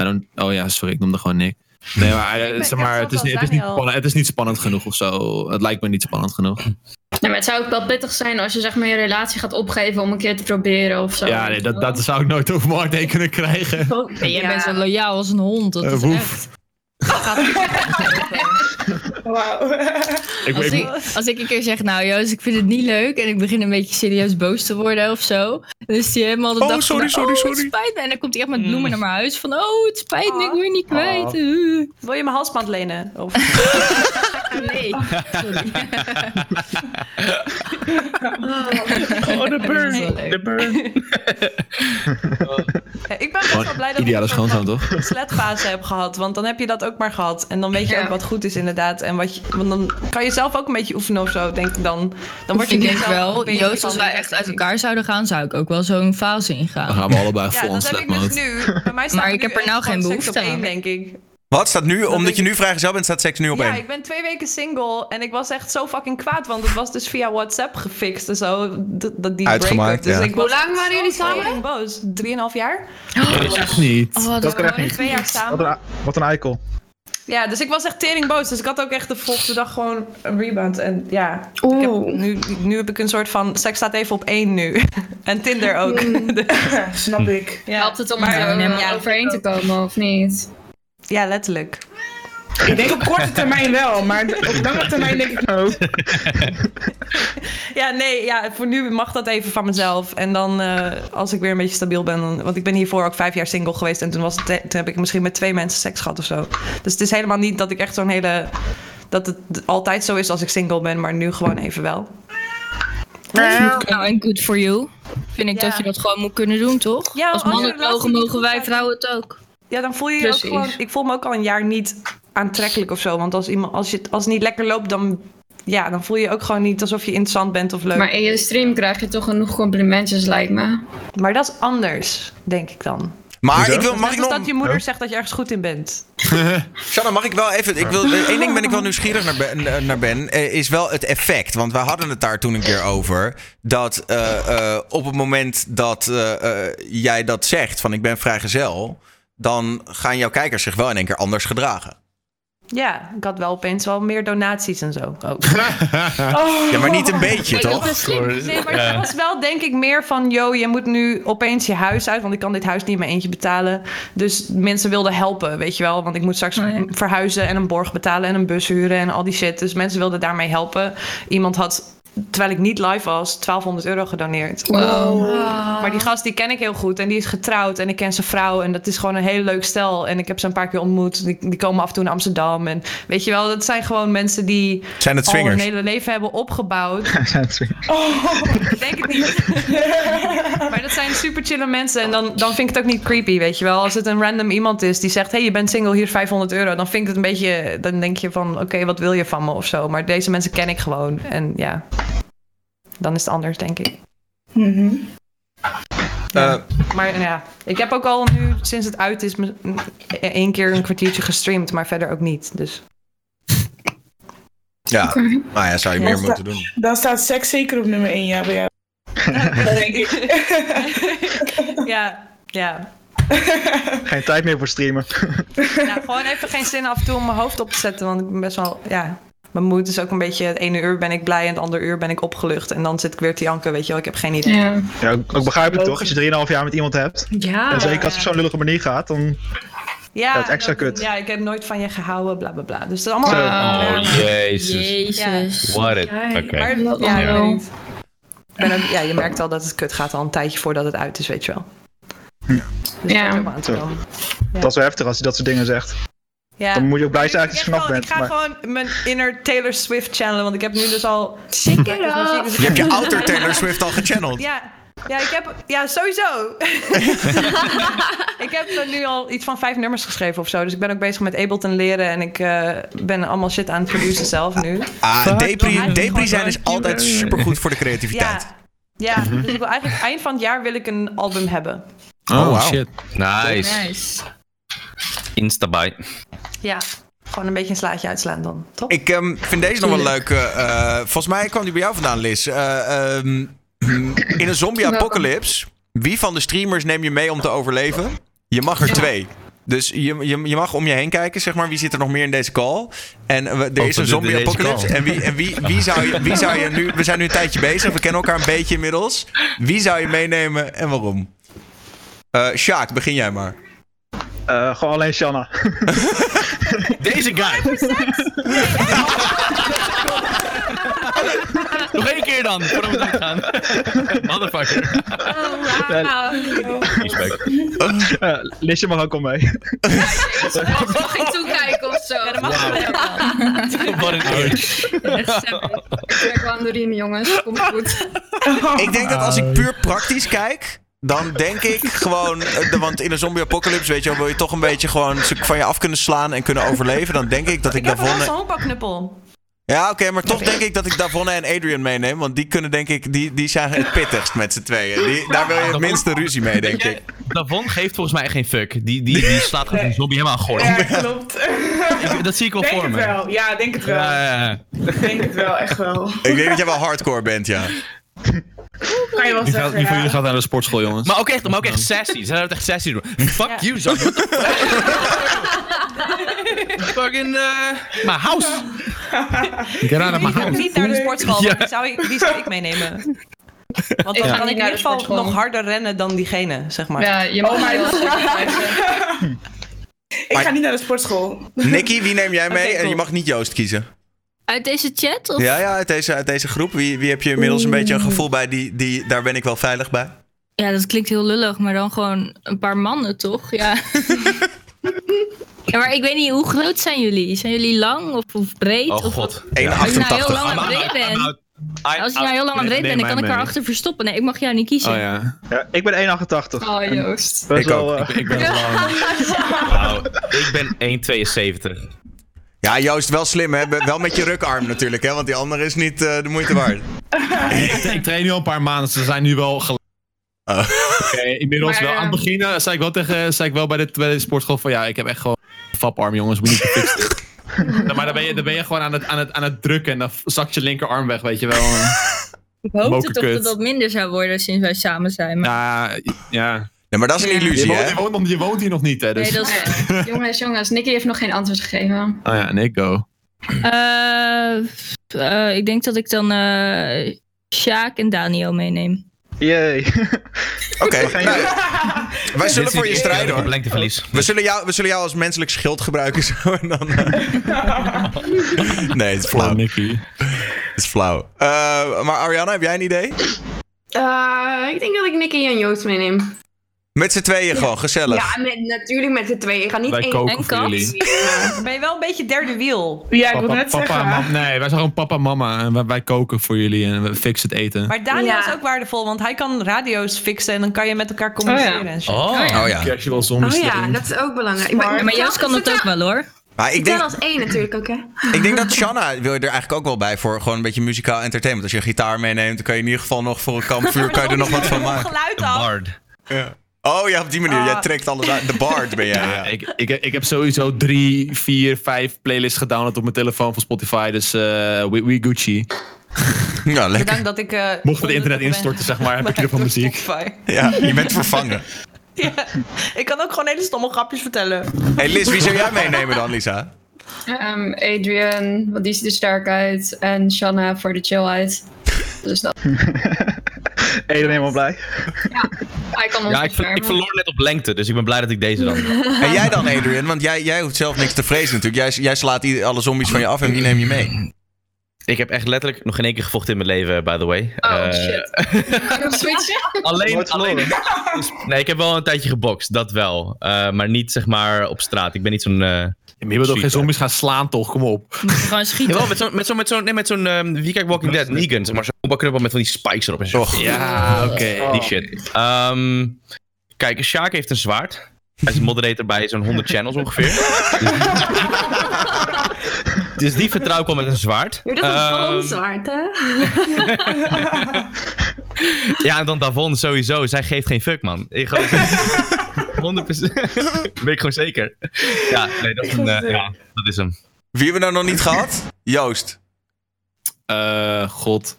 [SPEAKER 7] I don't- oh ja, sorry, ik noemde gewoon Nick. Nee, maar, eh,
[SPEAKER 11] ben-
[SPEAKER 7] zeg maar
[SPEAKER 11] ik
[SPEAKER 7] het, is,
[SPEAKER 11] snap
[SPEAKER 7] niet-
[SPEAKER 11] wel, Daniel.
[SPEAKER 7] het, is niet spannend, het is niet spannend genoeg of zo. Het lijkt me niet spannend genoeg.
[SPEAKER 3] Nee, maar het zou ook wel pittig zijn als je zeg maar je relatie gaat opgeven om een keer te proberen of zo.
[SPEAKER 7] Ja, nee, dat, dat zou ik nooit over mijn hart heen kunnen
[SPEAKER 11] [laughs]
[SPEAKER 7] krijgen.
[SPEAKER 6] Nee, jij bent zo loyaal als een hond. Dat
[SPEAKER 7] Eh,
[SPEAKER 6] is
[SPEAKER 7] woef.
[SPEAKER 6] echt.
[SPEAKER 7] Ik,
[SPEAKER 6] als,
[SPEAKER 7] ik-
[SPEAKER 6] ik, als ik een keer zeg, nou Joost, ik vind het niet leuk en ik begin een beetje serieus boos te worden of zo, dan is die helemaal de
[SPEAKER 15] Oh,
[SPEAKER 6] dag
[SPEAKER 15] sorry,
[SPEAKER 6] van,
[SPEAKER 15] sorry,
[SPEAKER 6] oh,
[SPEAKER 15] sorry."
[SPEAKER 6] het spijt me. En dan komt hij echt met bloemen naar mijn huis van, oh, het spijt me, ik wil je niet kwijt. eh.
[SPEAKER 10] Wil je mijn halsband lenen? Of...
[SPEAKER 5] [laughs]
[SPEAKER 6] [laughs] nee.
[SPEAKER 10] [laughs] oh,
[SPEAKER 15] de burn.
[SPEAKER 10] De
[SPEAKER 7] burn.
[SPEAKER 10] ik ben best wel blij dat
[SPEAKER 7] Ideale
[SPEAKER 10] ik een soort
[SPEAKER 7] schoonzoon, toch?
[SPEAKER 10] van sletfase heb gehad. Want dan heb je dat ook maar gehad. En dan weet je ook wat goed is inderdaad. En wat je, want dan kan je zelf ook een beetje oefenen of zo, denk ik dan. Dan word je
[SPEAKER 6] ik
[SPEAKER 10] niet
[SPEAKER 6] denk
[SPEAKER 10] zelf een
[SPEAKER 6] wel,
[SPEAKER 10] beetje
[SPEAKER 6] Joost,
[SPEAKER 10] van-
[SPEAKER 6] als wij echt uit elkaar zouden gaan, zou ik ook wel zo'n fase ingaan.
[SPEAKER 7] Dan gaan we allebei vol
[SPEAKER 10] dat
[SPEAKER 7] ons
[SPEAKER 10] heb ik dus nu. Bij mij staat
[SPEAKER 6] Maar ik
[SPEAKER 10] nu
[SPEAKER 6] heb er
[SPEAKER 10] echt
[SPEAKER 6] nou geen
[SPEAKER 10] gewoon seks
[SPEAKER 6] behoefte
[SPEAKER 10] op één,
[SPEAKER 6] aan.
[SPEAKER 10] denk ik.
[SPEAKER 1] Wat staat nu, omdat je nu vrijgezel bent, staat seks nu op
[SPEAKER 10] ja,
[SPEAKER 1] één?
[SPEAKER 10] ik ben twee weken single en ik was echt zo fucking kwaad, want het was dus via WhatsApp gefixt en zo. Dat, dat die
[SPEAKER 1] Uitgemaakt,
[SPEAKER 10] breakup.
[SPEAKER 1] ja.
[SPEAKER 10] Dus ik was
[SPEAKER 11] Hoe lang
[SPEAKER 10] echt
[SPEAKER 11] waren jullie
[SPEAKER 10] zo
[SPEAKER 11] samen?
[SPEAKER 10] fucking boos. Drieënhalf jaar?
[SPEAKER 7] Echt niet.
[SPEAKER 10] Oh, dat
[SPEAKER 2] dat kan
[SPEAKER 10] is
[SPEAKER 2] echt niet.
[SPEAKER 10] twee jaar samen.
[SPEAKER 2] Wat een, wat een eikel. [laughs]
[SPEAKER 10] Ja, dus ik was echt tering boos. Dus ik had ook echt de volgende dag gewoon een rebound. En ja, ik heb, nu, nu heb ik een soort van... Seks staat even op één nu. [laughs] en Tinder ook. [laughs] Dus-
[SPEAKER 5] Snap ik.
[SPEAKER 3] Helpt het om
[SPEAKER 10] Maar,
[SPEAKER 3] er
[SPEAKER 10] eh,
[SPEAKER 3] eh,
[SPEAKER 10] ja,
[SPEAKER 3] overheen te komen of niet?
[SPEAKER 10] Ja, letterlijk.
[SPEAKER 5] Ik denk op korte termijn wel, maar op lange termijn denk ik ook.
[SPEAKER 10] Ja, nee, ja, voor nu mag dat even van mezelf. En dan eh, als ik weer een beetje stabiel ben. dan- want ik ben hiervoor ook vijf jaar single geweest. En toen, was het, toen heb ik misschien met twee mensen seks gehad of zo. Dus het is helemaal niet dat ik echt zo'n hele. Dat het altijd zo is als ik single ben, maar nu gewoon even wel.
[SPEAKER 6] Nou, en good for you. Vind ik dat je dat gewoon moet kunnen doen, toch?
[SPEAKER 10] Ja,
[SPEAKER 6] als
[SPEAKER 10] als je
[SPEAKER 6] mannen het mogen,
[SPEAKER 10] relatie niet
[SPEAKER 6] mogen
[SPEAKER 10] goed
[SPEAKER 6] wij
[SPEAKER 10] gaat-
[SPEAKER 6] vrouwen het ook.
[SPEAKER 10] Ja, dan voel je je
[SPEAKER 6] Precies.
[SPEAKER 10] ook gewoon. Ik voel me ook al een jaar niet aantrekkelijk of zo. Want als, iemand, als, je, het- als het niet lekker loopt, dan, ja, dan voel je je ook gewoon niet alsof je interessant bent of leuk.
[SPEAKER 3] Maar in je stream krijg je toch genoeg complimentjes, lijkt me.
[SPEAKER 10] Maar dat is anders, denk ik dan.
[SPEAKER 1] Maar ik
[SPEAKER 10] Dat
[SPEAKER 1] wil,
[SPEAKER 10] is
[SPEAKER 1] mag
[SPEAKER 10] net
[SPEAKER 1] ik
[SPEAKER 10] als
[SPEAKER 1] nog...
[SPEAKER 10] dat je moeder zegt dat je ergens goed in bent.
[SPEAKER 7] [laughs]
[SPEAKER 1] Shanna, mag ik wel even... Ik wil, één ding ben ik wel nieuwsgierig naar ben, naar ben eh, is wel het effect. Want wij hadden het daar toen een keer over. Dat eh, eh, op het moment dat eh, eh, jij dat zegt, van ik ben vrijgezel... dan gaan jouw kijkers zich wel in één keer anders gedragen.
[SPEAKER 10] Ja, ik had wel opeens wel meer donaties en zo. Oh.
[SPEAKER 1] Ja, maar niet een beetje, toch?
[SPEAKER 10] Nee, maar het was wel denk ik meer van... yo, je moet nu opeens je huis uit... want ik kan dit huis niet in mijn eentje betalen. Dus mensen wilden helpen, weet je wel. Want ik moet straks verhuizen en een borg betalen... en een bus huren en al die shit. Dus mensen wilden daarmee helpen. Iemand had, terwijl ik niet live was... 1200 euro gedoneerd. Maar die gast die ken ik heel goed en die is getrouwd en ik ken zijn vrouw en dat is gewoon een heel leuk stel. En ik heb ze een paar keer ontmoet. Die, die komen af en toe naar Amsterdam en weet je wel, dat zijn gewoon mensen die
[SPEAKER 1] Zijn het
[SPEAKER 10] al hun
[SPEAKER 1] swingers?
[SPEAKER 10] hele leven hebben opgebouwd. Ik denk het niet. [laughs] maar dat zijn super chille mensen en dan, dan vind ik het ook niet creepy, weet je wel. Als het een random iemand is die zegt, hey, je bent single, hier is 500 euro, dan vind ik het een beetje, dan denk je van, oké, wat wil je van me of zo. Maar deze mensen ken ik gewoon en ja, dan is het anders, denk ik.
[SPEAKER 1] Eh,
[SPEAKER 10] Maar ja, ik heb ook al nu sinds het uit is me- één keer een kwartiertje gestreamd, maar verder ook niet. Dus
[SPEAKER 1] ja, nou ja, zou je meer
[SPEAKER 5] Dan sta-
[SPEAKER 1] moeten doen.
[SPEAKER 5] Dan staat seks zeker op nummer 1, ja, bij jou.
[SPEAKER 10] ja, ja.
[SPEAKER 2] Geen tijd meer voor streamen. [laughs]
[SPEAKER 10] Nou, gewoon even geen zin af en toe om mijn hoofd op te zetten, want ik ben best wel, ja. Mijn moed is ook een beetje, het ene uur ben ik blij en het andere uur ben ik opgelucht. En dan zit ik weer te janken, weet je wel, ik heb geen idee.
[SPEAKER 3] Ja.
[SPEAKER 2] Ja, ook, ook begrijpelijk toch? Als je 3,5 jaar met iemand hebt.
[SPEAKER 10] Ja.
[SPEAKER 2] En zeker als het op zo'n lullige manier gaat, dan...
[SPEAKER 10] Ja,
[SPEAKER 2] Dat is extra
[SPEAKER 10] dat-
[SPEAKER 2] kut.
[SPEAKER 10] Ja, ik heb nooit van je gehouden, bla bla bla. Dus dat is allemaal...
[SPEAKER 4] Oh, jezus.
[SPEAKER 6] Jezus.
[SPEAKER 4] What it.
[SPEAKER 10] Ja,
[SPEAKER 4] Oké.
[SPEAKER 10] maar- ja,
[SPEAKER 4] Ja.
[SPEAKER 10] ik
[SPEAKER 4] Ja.
[SPEAKER 10] weet niet. Ik ben ook- ja, je merkt al dat het kut gaat al een tijdje voordat het uit is, weet je wel. Dus dat is ook wel aan te
[SPEAKER 2] Zo.
[SPEAKER 10] komen.
[SPEAKER 2] Dat is wel heftig als hij dat soort dingen zegt.
[SPEAKER 10] Ja.
[SPEAKER 2] Dan moet je ook blij zijn
[SPEAKER 10] Ik-
[SPEAKER 2] dat je er
[SPEAKER 10] ik
[SPEAKER 2] vanaf
[SPEAKER 10] gewoon-
[SPEAKER 2] bent.
[SPEAKER 10] Ik ga
[SPEAKER 2] maar-
[SPEAKER 10] gewoon mijn inner Taylor Swift channelen, want ik heb nu dus al... [laughs]
[SPEAKER 12] Shake it
[SPEAKER 10] up.
[SPEAKER 1] Je hebt je outer Taylor Swift al gechanneld.
[SPEAKER 10] Ja, ja, ik heb, ja sowieso.
[SPEAKER 1] [laughs]
[SPEAKER 10] ik heb er nu al iets van vijf nummers geschreven of zo. Dus ik ben ook bezig met Ableton leren. En ik eh, ben allemaal shit aan het produceren zelf nu.
[SPEAKER 1] Ah, depri, depri zijn is
[SPEAKER 10] Fuck.
[SPEAKER 1] altijd supergoed voor de creativiteit.
[SPEAKER 10] Ja, ja
[SPEAKER 1] Mhm.
[SPEAKER 10] dus ik wil eigenlijk eind van het jaar wil ik een album hebben.
[SPEAKER 4] Oh,
[SPEAKER 1] wauw.
[SPEAKER 4] shit. Nice.
[SPEAKER 10] Nice.
[SPEAKER 4] Instabij.
[SPEAKER 10] Ja, gewoon een beetje een slaatje uitslaan dan, toch?
[SPEAKER 1] Ik ehm, vind deze nog wel leuk. eh, eh, volgens mij kwam die bij jou vandaan, Liz. Eh, ehm, [clears throat] in een zombie-apocalypse, wie van de streamers neem je mee om te overleven? Je mag er twee. Dus je, je, je mag om je heen kijken, zeg maar. Wie zit er nog meer in deze call? En eh, we- er is
[SPEAKER 4] Oh,
[SPEAKER 1] een
[SPEAKER 4] de- de- deze
[SPEAKER 1] zombie-apocalypse.
[SPEAKER 4] call.
[SPEAKER 1] En, wie, en wie, wie, zou je, wie zou je nu... We zijn nu een tijdje bezig. We kennen elkaar een beetje inmiddels. Wie zou je meenemen en waarom? Eh Sjaak, begin jij maar.
[SPEAKER 2] Eh, gewoon alleen
[SPEAKER 1] [laughs]
[SPEAKER 2] Shanna. [laughs]
[SPEAKER 4] Deze guy. Nog één keer dan, voordat we doodgaan. [laughs] Motherfucker.
[SPEAKER 6] Oh,
[SPEAKER 4] Respect.
[SPEAKER 2] Eh, Lisje mag ook al mee.
[SPEAKER 3] Mag ik toekijken of zo? Ja, dat
[SPEAKER 10] mag
[SPEAKER 4] Wat een eer.
[SPEAKER 3] Ik kwam doorheen, jongens. Komt goed.
[SPEAKER 1] [laughs] Ik denk dat als ik puur praktisch kijk, dan denk ik gewoon. eh, de- Want in een zombie-apocalypse, weet je wel, wil je toch een beetje gewoon ze van je af kunnen slaan en kunnen overleven. Dan denk ik dat ik,
[SPEAKER 10] Ik heb wel
[SPEAKER 1] Davonne.
[SPEAKER 10] zo'n honkbalknuppel.
[SPEAKER 1] Ja, oké, maar toch denk ik dat ik Davonne en Adrian meeneem. Want die kunnen, denk ik, die, die zijn het pittigst met z'n tweeën. Die, daar wil je het minste ruzie mee, denk ik.
[SPEAKER 4] Davon geeft volgens mij echt geen fuck. Die, die,
[SPEAKER 5] [laughs]
[SPEAKER 4] die slaat gewoon een zombie helemaal aan
[SPEAKER 5] Ja,
[SPEAKER 4] gordel.
[SPEAKER 5] klopt.
[SPEAKER 4] [laughs] Ik- Dat zie ik wel
[SPEAKER 5] Denk
[SPEAKER 4] voor
[SPEAKER 5] het
[SPEAKER 4] me. Eh,
[SPEAKER 5] wel. Ja, denk het wel.
[SPEAKER 4] Ja, ja, ja.
[SPEAKER 5] Denk het wel, echt wel.
[SPEAKER 1] Ik denk dat jij wel hardcore bent, ja.
[SPEAKER 5] Kan je wel
[SPEAKER 7] Die, gaat,
[SPEAKER 5] zeggen,
[SPEAKER 7] die
[SPEAKER 4] [laughs]
[SPEAKER 7] van jullie
[SPEAKER 5] ja.
[SPEAKER 7] gaat naar de sportschool, jongens.
[SPEAKER 4] Maar ook echt, maar ook echt sassy. Zij had echt sassy doen.
[SPEAKER 7] [laughs]
[SPEAKER 4] Fuck you, zo. What the fuck? Fucking, eh, my house.
[SPEAKER 5] [laughs]
[SPEAKER 7] Get out
[SPEAKER 10] Die gaat
[SPEAKER 7] of my house.
[SPEAKER 10] niet naar de sportschool,
[SPEAKER 4] Ja.
[SPEAKER 10] want die, zou ik, die zou ik meenemen. Want dan
[SPEAKER 3] ga niet
[SPEAKER 10] kan ik in
[SPEAKER 3] naar
[SPEAKER 10] ieder
[SPEAKER 3] de
[SPEAKER 10] geval
[SPEAKER 3] sportschool.
[SPEAKER 10] nog harder rennen dan diegene, zeg maar.
[SPEAKER 3] Ja, je mag
[SPEAKER 5] Oh, maar-
[SPEAKER 3] heel sterk blijven.
[SPEAKER 5] Ik ga niet naar de sportschool.
[SPEAKER 1] Nicky, wie neem jij mee?
[SPEAKER 10] Oké, cool.
[SPEAKER 1] En je mag niet Joost kiezen.
[SPEAKER 6] Uit deze chat? Of?
[SPEAKER 1] Ja, ja, uit deze, uit deze groep. Wie, wie heb je inmiddels een beetje een gevoel bij? Die, die, daar ben ik wel veilig bij.
[SPEAKER 6] Ja, dat klinkt heel lullig, maar dan gewoon een paar mannen, toch?
[SPEAKER 1] [laughs]
[SPEAKER 6] Ja. ja, maar ik weet niet, hoe groot zijn jullie? Zijn jullie lang of, of breed?
[SPEAKER 4] Oh
[SPEAKER 6] of
[SPEAKER 4] god.
[SPEAKER 6] Als je nou heel
[SPEAKER 1] 1,88.
[SPEAKER 6] lang aan breed bent, als je nou heel lang aan breed bent, dan kan ik erachter verstoppen. Nee, ik mag jou niet kiezen.
[SPEAKER 7] Oh ja.
[SPEAKER 2] Ja, ik ben 1,88.
[SPEAKER 3] Oh, Joost.
[SPEAKER 2] Best
[SPEAKER 1] Ik ook.
[SPEAKER 2] wel, eh,
[SPEAKER 6] [laughs]
[SPEAKER 7] Ik ben lang.
[SPEAKER 4] Nou, ik ben 1,72.
[SPEAKER 1] Ja, Joost, wel slim, hè? Be- Wel met je rukarm natuurlijk, hè? Want die andere is niet eh, de moeite waard.
[SPEAKER 7] Ik, ik train nu al een paar maanden, ze zijn nu wel gelijk.
[SPEAKER 1] Oh.
[SPEAKER 7] Oké, inmiddels
[SPEAKER 3] Maar,
[SPEAKER 7] wel. Aan het
[SPEAKER 3] eh,
[SPEAKER 7] begin eh, zei ik wel, tegen, zei ik wel bij, de, bij de sportschool van ja, ik heb echt gewoon een vaparm jongens, moet niet gefixt worden. Nou, maar dan ben, je, dan ben je gewoon aan het, aan, het, aan het drukken en dan zakt je linkerarm weg, weet je wel.
[SPEAKER 6] Ik hoopte toch
[SPEAKER 7] Mokerkut.
[SPEAKER 6] dat dat minder zou worden sinds wij samen zijn. Maar
[SPEAKER 7] Ja, ja.
[SPEAKER 1] Nee, maar dat is een
[SPEAKER 7] Je
[SPEAKER 1] illusie,
[SPEAKER 7] woont, je,
[SPEAKER 1] hè?
[SPEAKER 7] woont, nog- je woont hier nog niet, hè? Dus.
[SPEAKER 6] nee, dat is...
[SPEAKER 7] [laughs]
[SPEAKER 3] Jongens, jongens. Nicky heeft nog geen antwoord gegeven.
[SPEAKER 7] Oh ja, nee, go.
[SPEAKER 6] Eh, eh, ik denk dat ik dan eh Sjaak en Daniel meeneem.
[SPEAKER 2] [laughs] Jee.
[SPEAKER 1] Oké, nou, wij zullen
[SPEAKER 4] Dit is
[SPEAKER 1] voor
[SPEAKER 4] niet
[SPEAKER 1] je
[SPEAKER 4] eerlijk,
[SPEAKER 1] strijden,
[SPEAKER 4] ik heb
[SPEAKER 1] hoor.
[SPEAKER 4] Lengteverlies.
[SPEAKER 1] We zullen, jou, we zullen jou als menselijk schild gebruiken zo en dan... eh. Nee, het is flauw. Het
[SPEAKER 7] Nicky.
[SPEAKER 1] is flauw. Eh, maar Ariana, heb jij een idee?
[SPEAKER 11] Eh, ik denk dat ik Nicky en Joost meeneem.
[SPEAKER 1] Met z'n tweeën gewoon, gezellig.
[SPEAKER 11] Ja, met, natuurlijk met de twee. Ik ga niet
[SPEAKER 7] Wij
[SPEAKER 11] één
[SPEAKER 7] koken
[SPEAKER 6] en
[SPEAKER 7] voor
[SPEAKER 6] kat.
[SPEAKER 7] jullie.
[SPEAKER 10] Dan [laughs] ben je wel een beetje derde wiel.
[SPEAKER 5] Ja, ik wil
[SPEAKER 7] Papa,
[SPEAKER 5] net
[SPEAKER 7] papa,
[SPEAKER 5] zeggen.
[SPEAKER 7] mam- nee, wij zijn gewoon papa en mama en wij, wij koken voor jullie en we fixen het eten.
[SPEAKER 10] Maar Daniel
[SPEAKER 11] Ja.
[SPEAKER 10] is ook waardevol, want hij kan radio's fixen en dan kan je met elkaar communiceren en shit.
[SPEAKER 4] Oh.
[SPEAKER 1] Oh ja.
[SPEAKER 7] Krijg je wel zombies
[SPEAKER 11] Oh ja,
[SPEAKER 7] erin.
[SPEAKER 11] dat is ook belangrijk.
[SPEAKER 6] Ja, maar Joost kan dat ook wel hoor.
[SPEAKER 1] Maar ik
[SPEAKER 11] Ik ben
[SPEAKER 1] denk,
[SPEAKER 11] als één natuurlijk ook, hè?
[SPEAKER 1] ik denk dat Shanna wil je er eigenlijk ook wel bij voor. Gewoon een beetje muzikaal entertainment. Als je een gitaar meeneemt, dan kan je in ieder geval nog voor een kampvuur... kan je er nog wat van maken.
[SPEAKER 10] Geluid
[SPEAKER 4] De
[SPEAKER 10] af.
[SPEAKER 4] bard.
[SPEAKER 1] Oh ja, op die manier. Jij
[SPEAKER 10] Ah.
[SPEAKER 1] trekt alles uit. De bard ben jij, ja.
[SPEAKER 7] [laughs] Ja, ik, ik, ik heb sowieso drie, vier, vijf playlists gedownload op mijn telefoon van Spotify. Dus eh we, we Gucci.
[SPEAKER 1] Ja, lekker.
[SPEAKER 10] Bedankt dat ik... eh,
[SPEAKER 7] Mocht het internet
[SPEAKER 10] onderdrukt ben.
[SPEAKER 7] instorten, zeg maar, heb ik er van
[SPEAKER 10] Door
[SPEAKER 7] muziek.
[SPEAKER 10] Spotify.
[SPEAKER 1] Ja, je bent vervangen.
[SPEAKER 10] Ja. [laughs] Ik kan ook gewoon hele stomme grapjes vertellen.
[SPEAKER 1] hey Liz, wie zou jij meenemen dan, Lisa?
[SPEAKER 3] Ehm, Adrian, want die ziet er sterk uit. En Shanna voor de chillheid. Dus dat.
[SPEAKER 2] Eden helemaal blij.
[SPEAKER 3] Hij kan ons
[SPEAKER 4] Ja, ik, ver- ik
[SPEAKER 3] beschermen.
[SPEAKER 4] verloor net op lengte, dus ik ben blij dat ik deze dan.
[SPEAKER 1] En jij dan, Adrian? Want jij, jij hoeft zelf niks te vrezen natuurlijk. Jij, jij slaat ieder- alle zombies van je af en wie neem je mee?
[SPEAKER 4] Ik heb echt letterlijk nog geen één keer gevochten in mijn leven, by the way.
[SPEAKER 12] Oh,
[SPEAKER 4] Eh,
[SPEAKER 12] shit. Nog switchen?
[SPEAKER 4] [laughs] Alleen, alleen [laughs] Dus, Nee, ik heb wel een tijdje gebokst, dat wel. Eh, maar niet zeg maar op straat. Ik ben niet zo'n. eh
[SPEAKER 7] je wilt ook geen zombies gaan slaan, toch? Kom op.
[SPEAKER 6] Gewoon schieten.
[SPEAKER 4] Jawel, met zo'n. Met zo'n met zo'n- nee, met zo'n. ehm, wie kijkt Walking Dead? Negan, zeg maar. Zo'n knuppel met van die spikes erop en zo. Ja,
[SPEAKER 7] Oh.
[SPEAKER 4] oké. Die shit. Ehm, kijk, Sjaak heeft een zwaard. Hij is moderator bij zo'n 100 channels ongeveer.
[SPEAKER 7] [laughs]
[SPEAKER 4] Dus- dus die vertrouw ik al met een zwaard.
[SPEAKER 12] Dit is een
[SPEAKER 4] Ehm,
[SPEAKER 12] zwaard, hè?
[SPEAKER 7] [laughs]
[SPEAKER 4] Ja, en dan Davon sowieso. Zij geeft geen fuck, man. Ik [laughs] gewoon... 100%. Weet ik gewoon zeker. Ja, nee, dat is, een, eh, ja, dat is hem.
[SPEAKER 1] Wie hebben we nou nog niet gehad? Joost.
[SPEAKER 7] Eh, god.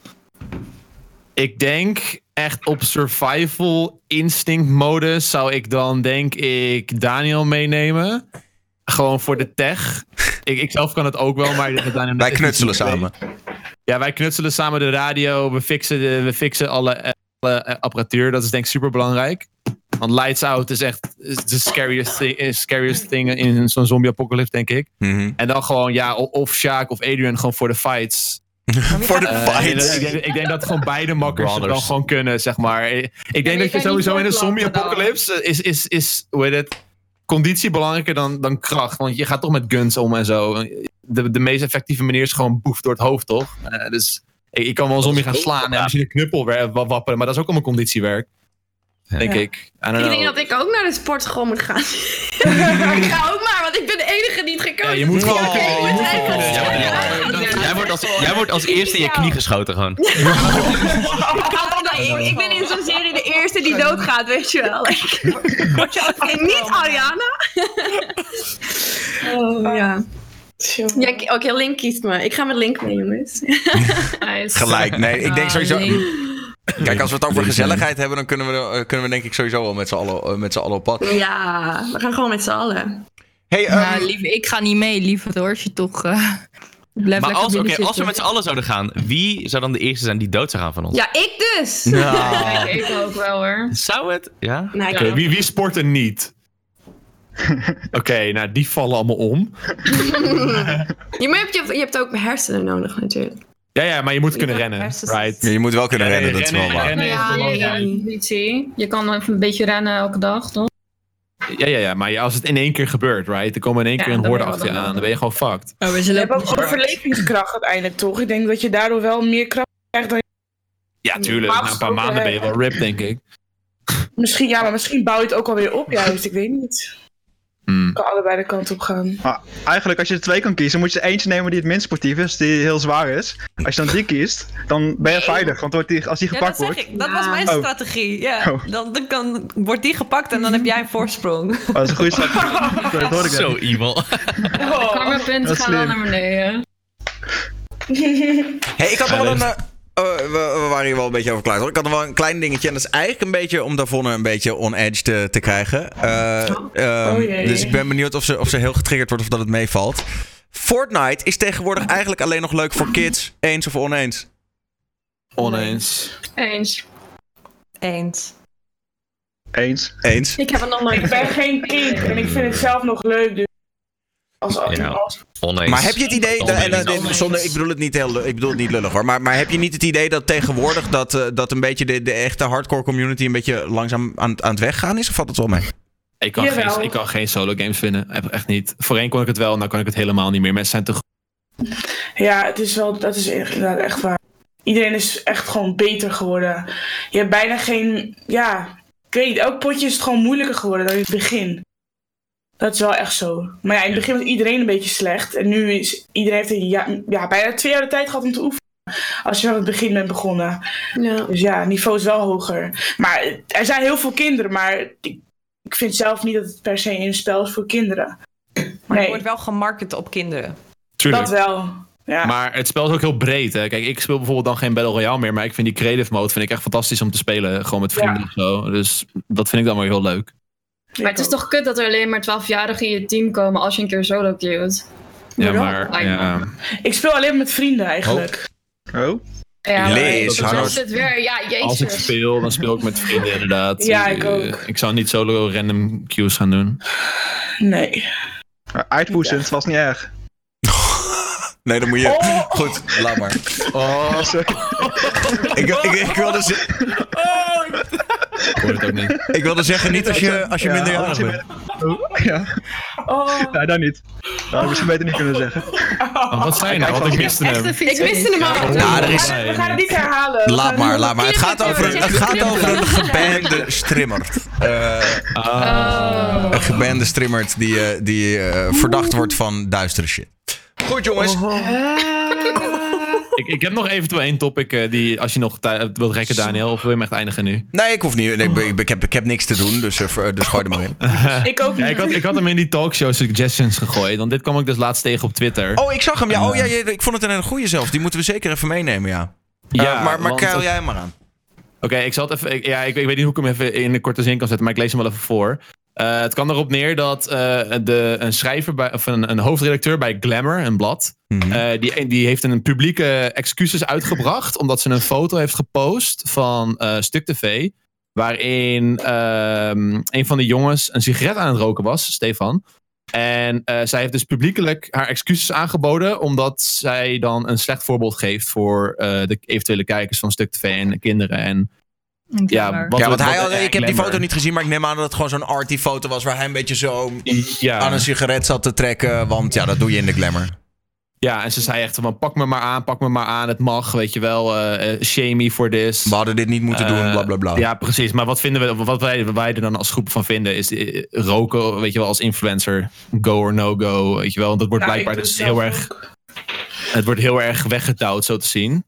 [SPEAKER 7] Ik denk echt op survival instinct modus zou ik dan denk ik Daniel meenemen. Gewoon voor de tech. Ik, ik zelf kan het ook wel, maar ik denk dat Daniel
[SPEAKER 1] Wij knutselen samen.
[SPEAKER 7] Ja, wij knutselen samen de radio. We fixen, de, we fixen alle, eh, alle, eh, apparatuur. Dat is denk ik super belangrijk. Want lights out is echt is the scariest thing, is scariest thing in zo'n zombie apocalypse, denk ik.
[SPEAKER 1] Mhm.
[SPEAKER 7] En dan gewoon, ja, o- of Sjaak of Adrian gewoon voor de
[SPEAKER 11] [laughs]
[SPEAKER 7] fights.
[SPEAKER 1] Voor de
[SPEAKER 7] Eh, ik,
[SPEAKER 1] fights.
[SPEAKER 7] denk- ik denk, ik denk dat gewoon beide makkers het wel
[SPEAKER 4] Brothers.
[SPEAKER 7] gewoon kunnen, zeg maar. Ik ik denk dat je
[SPEAKER 12] kan niet
[SPEAKER 7] sowieso in
[SPEAKER 12] voortplanten
[SPEAKER 7] een zombie-apocalypse is, is, is, hoe heet het, conditie belangrijker dan, dan kracht. Want je gaat toch met guns om en zo. De, de meest effectieve manier is gewoon boef door het hoofd, toch? Eh, dus ik, ik kan wel een zombie gaan slaan en misschien een knuppel weer- wa- wapperen, maar dat is ook allemaal conditiewerk. Denk
[SPEAKER 11] Ja.
[SPEAKER 7] ik. I don't
[SPEAKER 11] Ik
[SPEAKER 7] know.
[SPEAKER 11] denk dat ik ook naar de sportschool moet gaan. [laughs] ik ga ook maar, want ik ben de enige die het gekozen
[SPEAKER 7] Ja, je moet
[SPEAKER 11] heeft.
[SPEAKER 7] gewoon kunnen, je moet gewoon kunnen.
[SPEAKER 4] Ja, ja, Jij wordt als, jij wordt als eerste in je knie geschoten gewoon.
[SPEAKER 11] Nee, ik, ik ben in zo'n serie de eerste die doodgaat, weet je wel. [laughs] en niet Ariana. [laughs] oh ja. ja ik- Oké, Link kiest me. Ik ga met Link mee,
[SPEAKER 7] [laughs]
[SPEAKER 11] jongens.
[SPEAKER 1] Gelijk. Nee, ik
[SPEAKER 7] eh,
[SPEAKER 1] denk sowieso. Kijk, als we het over
[SPEAKER 7] Ladies
[SPEAKER 1] gezelligheid hebben, dan kunnen we, eh, kunnen we denk ik sowieso wel met z'n allen, eh, met z'n allen op pad.
[SPEAKER 11] Ja, we gaan gewoon met z'n allen.
[SPEAKER 1] Hey, ehm,
[SPEAKER 6] Nou, lief, ik ga niet mee, liever hoor. Als je toch. eh blijft
[SPEAKER 4] Maar
[SPEAKER 6] lekker
[SPEAKER 4] als,
[SPEAKER 6] binnen
[SPEAKER 4] oké, als we
[SPEAKER 6] zitten.
[SPEAKER 4] met z'n allen zouden gaan, wie zou dan de eerste zijn die dood zou gaan van ons?
[SPEAKER 11] Ja, ik dus!
[SPEAKER 4] Nou.
[SPEAKER 3] Ik ook wel hoor.
[SPEAKER 4] Zou het? Ja?
[SPEAKER 11] Nee, ik
[SPEAKER 7] Oké, wie, wie sport er niet? Oké, nou die vallen allemaal om.
[SPEAKER 11] Je, maar je, hebt, je, je hebt ook hersenen nodig, natuurlijk.
[SPEAKER 7] Ja, ja, maar je moet kunnen
[SPEAKER 10] moet
[SPEAKER 7] rennen.
[SPEAKER 10] hersens-
[SPEAKER 7] Right.
[SPEAKER 1] ja, je moet wel kunnen rennen, dat is wel waar.
[SPEAKER 7] rennen is belangrijk.
[SPEAKER 3] Conditie. Je kan even een beetje rennen elke dag, toch?
[SPEAKER 7] Ja, ja, ja, maar ja, als het in één keer gebeurt, right? Er komen in één
[SPEAKER 3] Ja,
[SPEAKER 7] keer een
[SPEAKER 3] dan
[SPEAKER 7] horde
[SPEAKER 3] ben je
[SPEAKER 7] achter
[SPEAKER 3] wel
[SPEAKER 7] je aan. Dan ben je gewoon fucked.
[SPEAKER 6] Oh, we
[SPEAKER 5] Je
[SPEAKER 6] zullen
[SPEAKER 5] hebt ook overlevingskracht uiteindelijk, toch? Ik denk dat je daardoor wel meer kracht krijgt dan
[SPEAKER 7] Ja, tuurlijk.
[SPEAKER 5] Maar
[SPEAKER 7] Na een paar maanden ben je wel ripped, denk ik.
[SPEAKER 5] Misschien, ja, maar misschien bouw je het ook alweer op juist. Ik weet niet.
[SPEAKER 7] Hmm.
[SPEAKER 5] kan allebei de kant op gaan.
[SPEAKER 2] Maar eigenlijk, als je er twee kan kiezen, moet je er eentje nemen die het minst sportief is, die heel zwaar is. Als je dan die kiest, dan ben je veilig, want wordt die, als die
[SPEAKER 10] Ja,
[SPEAKER 2] gepakt
[SPEAKER 10] dat zeg
[SPEAKER 2] wordt...
[SPEAKER 10] ik. Dat was mijn
[SPEAKER 2] Oh.
[SPEAKER 10] strategie. Ja,
[SPEAKER 2] Oh.
[SPEAKER 10] dan, dan kan, wordt die gepakt en dan heb jij een voorsprong.
[SPEAKER 2] Oh, dat is een goede
[SPEAKER 10] [laughs]
[SPEAKER 2] strategie. dat hoor ik
[SPEAKER 4] Zo
[SPEAKER 2] even.
[SPEAKER 4] evil.
[SPEAKER 3] Karma punten
[SPEAKER 2] dat is
[SPEAKER 3] gaan wel
[SPEAKER 2] slim.
[SPEAKER 3] naar beneden.
[SPEAKER 1] Hey, ik had nog wel een. eh, eh, we, we waren hier wel een beetje over klaar. hoor. Ik had nog wel een klein dingetje. En dat is eigenlijk een beetje om Davonne een beetje on-edge te, te krijgen. Eh, ehm,
[SPEAKER 5] Oh, jee.
[SPEAKER 1] dus ik ben benieuwd of ze, of ze heel getriggerd wordt of dat het meevalt. Fortnite is tegenwoordig eigenlijk alleen nog leuk voor kids. Eens of oneens.
[SPEAKER 7] Oneens.
[SPEAKER 3] Eens.
[SPEAKER 10] Eens.
[SPEAKER 2] Eens.
[SPEAKER 1] Eens.
[SPEAKER 11] Ik heb het nog nooit
[SPEAKER 5] Ik ben geen kind en ik vind het zelf nog leuk. Dus als, als,
[SPEAKER 4] Ja.
[SPEAKER 5] als-
[SPEAKER 4] Oneens.
[SPEAKER 1] Maar heb je het idee,
[SPEAKER 4] Oneens.
[SPEAKER 1] en, eh, dit- zonder, ik bedoel het niet heel, ik bedoel het niet lullig hoor, maar, maar heb je niet het idee dat tegenwoordig dat, eh, dat een beetje de, de echte hardcore community een beetje langzaam aan, het- aan het weggaan is? Of valt het wel mee?
[SPEAKER 7] Ik kan,
[SPEAKER 5] Jawel.
[SPEAKER 7] geen, ik kan geen solo games vinden. E- Echt niet. Voorheen kon ik het wel, nou kan ik het helemaal niet meer. Mensen zijn te goed.
[SPEAKER 5] ja, het is wel, dat is echt- inderdaad echt waar. Iedereen is echt gewoon beter geworden. Je hebt bijna geen, ja, ik weet niet, elk potje is het gewoon moeilijker geworden dan in het begin. Dat is wel echt zo. Maar ja, in het begin was iedereen een beetje slecht. En nu is iedereen heeft een ja, ja, bijna twee jaar de tijd gehad om te oefenen. Als je aan het begin bent begonnen.
[SPEAKER 11] Ja.
[SPEAKER 5] Dus ja, het niveau is wel hoger. Maar eh, er zijn heel veel kinderen, maar ik, ik vind zelf niet dat het per se een spel is voor kinderen.
[SPEAKER 10] Maar het
[SPEAKER 5] Nee,
[SPEAKER 10] wordt wel gemarket op kinderen.
[SPEAKER 7] Tuurlijk.
[SPEAKER 5] dat wel. Ja.
[SPEAKER 7] Maar het spel is ook heel breed. Hè. Kijk, ik speel bijvoorbeeld dan geen Battle Royale meer. Maar ik vind die creative mode vind ik echt fantastisch om te spelen. Gewoon met vrienden
[SPEAKER 5] Ja.
[SPEAKER 7] of zo. Dus dat vind ik dan wel heel leuk.
[SPEAKER 3] Maar het is toch kut dat er alleen maar 12-jarigen in je team komen als je een keer solo queuet.
[SPEAKER 7] Ja,
[SPEAKER 5] Waarom?
[SPEAKER 7] maar. Ja.
[SPEAKER 5] Ik speel alleen met vrienden eigenlijk.
[SPEAKER 2] Oh,
[SPEAKER 3] Ja,
[SPEAKER 1] Lees,
[SPEAKER 3] maar
[SPEAKER 1] hallo.
[SPEAKER 3] zo is het weer. Ja,
[SPEAKER 7] Als ik
[SPEAKER 3] jezus.
[SPEAKER 7] speel, dan speel ik met vrienden inderdaad.
[SPEAKER 5] Ja, ik
[SPEAKER 7] Eh,
[SPEAKER 5] ook.
[SPEAKER 7] Ik zou niet solo random queues gaan doen.
[SPEAKER 5] Nee.
[SPEAKER 2] maar uitpoezen, het was niet erg.
[SPEAKER 1] [laughs] Nee, dan moet je. [laughs]
[SPEAKER 5] Oh.
[SPEAKER 1] Goed, laat maar. Oh, sorry. [laughs] Ik, ik, ik wilde ze-
[SPEAKER 4] Ik hoor het ook niet.
[SPEAKER 1] ik wilde zeggen, niet als je, als je
[SPEAKER 2] Ja,
[SPEAKER 1] minderjarig
[SPEAKER 2] als je
[SPEAKER 1] bent.
[SPEAKER 2] Ja.
[SPEAKER 10] Oh.
[SPEAKER 2] Nee, dat niet. Dat had ik misschien beter niet kunnen zeggen.
[SPEAKER 7] wat zei je nou? Want ik miste hem.
[SPEAKER 5] Ik miste hem al.
[SPEAKER 1] Ja, er is-
[SPEAKER 5] We gaan het niet herhalen. We gaan
[SPEAKER 1] Laat
[SPEAKER 5] het
[SPEAKER 1] maar,
[SPEAKER 5] niet-
[SPEAKER 1] laat maar. Het gaat over een, het gaat over een gebande strimmerd. Eh, Een gebande strimmerd die, eh, die eh, verdacht wordt van duistere shit. Goed jongens.
[SPEAKER 7] Ik, ik heb nog eventueel één topic eh, die, als je nog tij- wilt rekken, Daniel, of wil je hem echt eindigen nu?
[SPEAKER 1] Nee, ik hoef niet. Ik, ik, ik heb, ik heb niks te doen, dus, eh, ver- dus gooi er maar in.
[SPEAKER 5] [laughs] Ik ook
[SPEAKER 7] Ja, ik, had, ik had hem in die talkshow suggestions gegooid, want dit kwam ik dus laatst tegen op Twitter. eh,
[SPEAKER 1] Oh, ik zag hem. Ja, oh, ja, ja, ik vond het een hele goeie zelf. Die moeten we zeker even meenemen, ja. Eh,
[SPEAKER 7] Ja,
[SPEAKER 1] maar maar
[SPEAKER 7] want
[SPEAKER 1] kuil
[SPEAKER 7] het-
[SPEAKER 1] jij hem maar aan.
[SPEAKER 7] Oké, ik zal het even. ik- ja, ik, ik weet niet hoe ik hem even in een korte zin kan zetten, maar ik lees hem wel even voor. Eh, het kan erop neer dat eh, de, een schrijver bij, of een, een hoofdredacteur bij Glamour, een blad,
[SPEAKER 1] Mhm.
[SPEAKER 7] eh, die, die heeft een publieke excuses uitgebracht omdat ze een foto heeft gepost van eh, Stuk TV, waarin ehm, een van de jongens een sigaret aan het roken was, Stefan. En eh, zij heeft dus publiekelijk haar excuses aangeboden, omdat zij dan een slecht voorbeeld geeft voor eh, de eventuele kijkers van Stuk TV en kinderen. En, ja, wat
[SPEAKER 1] ja,
[SPEAKER 7] we-
[SPEAKER 1] want hij had,
[SPEAKER 7] wat- eh,
[SPEAKER 1] ik heb die
[SPEAKER 7] Glamour.
[SPEAKER 1] foto niet gezien, maar ik neem aan dat het gewoon zo'n arty foto was waar hij een beetje zo
[SPEAKER 7] Ja.
[SPEAKER 1] aan een sigaret zat te trekken. Want ja, dat doe je in de glamour.
[SPEAKER 7] Ja, en ze zei echt van pak me maar aan, pak me maar aan, het mag, weet je wel, eh eh, shame me for this.
[SPEAKER 1] We hadden dit niet moeten doen,
[SPEAKER 7] Eh,
[SPEAKER 1] bla bla bla.
[SPEAKER 7] Ja, precies. Maar wat, vinden we, wat wij, wat wij er dan als groep van vinden is eh, roken, weet je wel, als influencer, go or no go, weet je wel. Want dat wordt
[SPEAKER 5] Nou, ik
[SPEAKER 7] blijkbaar
[SPEAKER 5] doe
[SPEAKER 7] dus
[SPEAKER 5] het
[SPEAKER 7] heel
[SPEAKER 5] zelf
[SPEAKER 7] erg, het wordt heel erg weggedouwd zo te zien.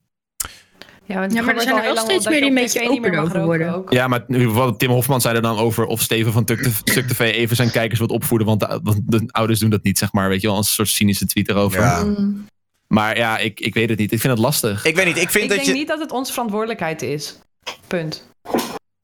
[SPEAKER 10] Ja, want
[SPEAKER 6] Ja,
[SPEAKER 10] het
[SPEAKER 6] maar er
[SPEAKER 10] gebeurt
[SPEAKER 6] zijn
[SPEAKER 10] al
[SPEAKER 6] er wel
[SPEAKER 10] heel lang
[SPEAKER 6] steeds
[SPEAKER 10] al
[SPEAKER 6] meer
[SPEAKER 10] dat
[SPEAKER 6] die
[SPEAKER 10] je
[SPEAKER 6] een
[SPEAKER 10] op
[SPEAKER 6] beetje
[SPEAKER 10] tv niet meer
[SPEAKER 6] opener
[SPEAKER 10] mag
[SPEAKER 6] over
[SPEAKER 10] roken
[SPEAKER 6] worden.
[SPEAKER 10] ook.
[SPEAKER 7] Ja, maar nu- wat Tim Hofman zei er dan over of Steven van Tuk- Stuk TV even zijn kijkers wilt opvoeden, want de, want de ouders doen dat niet, zeg maar, weet je wel, als een soort cynische tweet erover.
[SPEAKER 1] Ja.
[SPEAKER 2] Mm.
[SPEAKER 7] Maar ja, ik, ik weet het niet. Ik vind het lastig.
[SPEAKER 1] Mm. Ik weet niet, ik vind
[SPEAKER 10] Ik
[SPEAKER 1] dat
[SPEAKER 10] denk
[SPEAKER 1] je.
[SPEAKER 10] niet dat het onze verantwoordelijkheid is. Punt.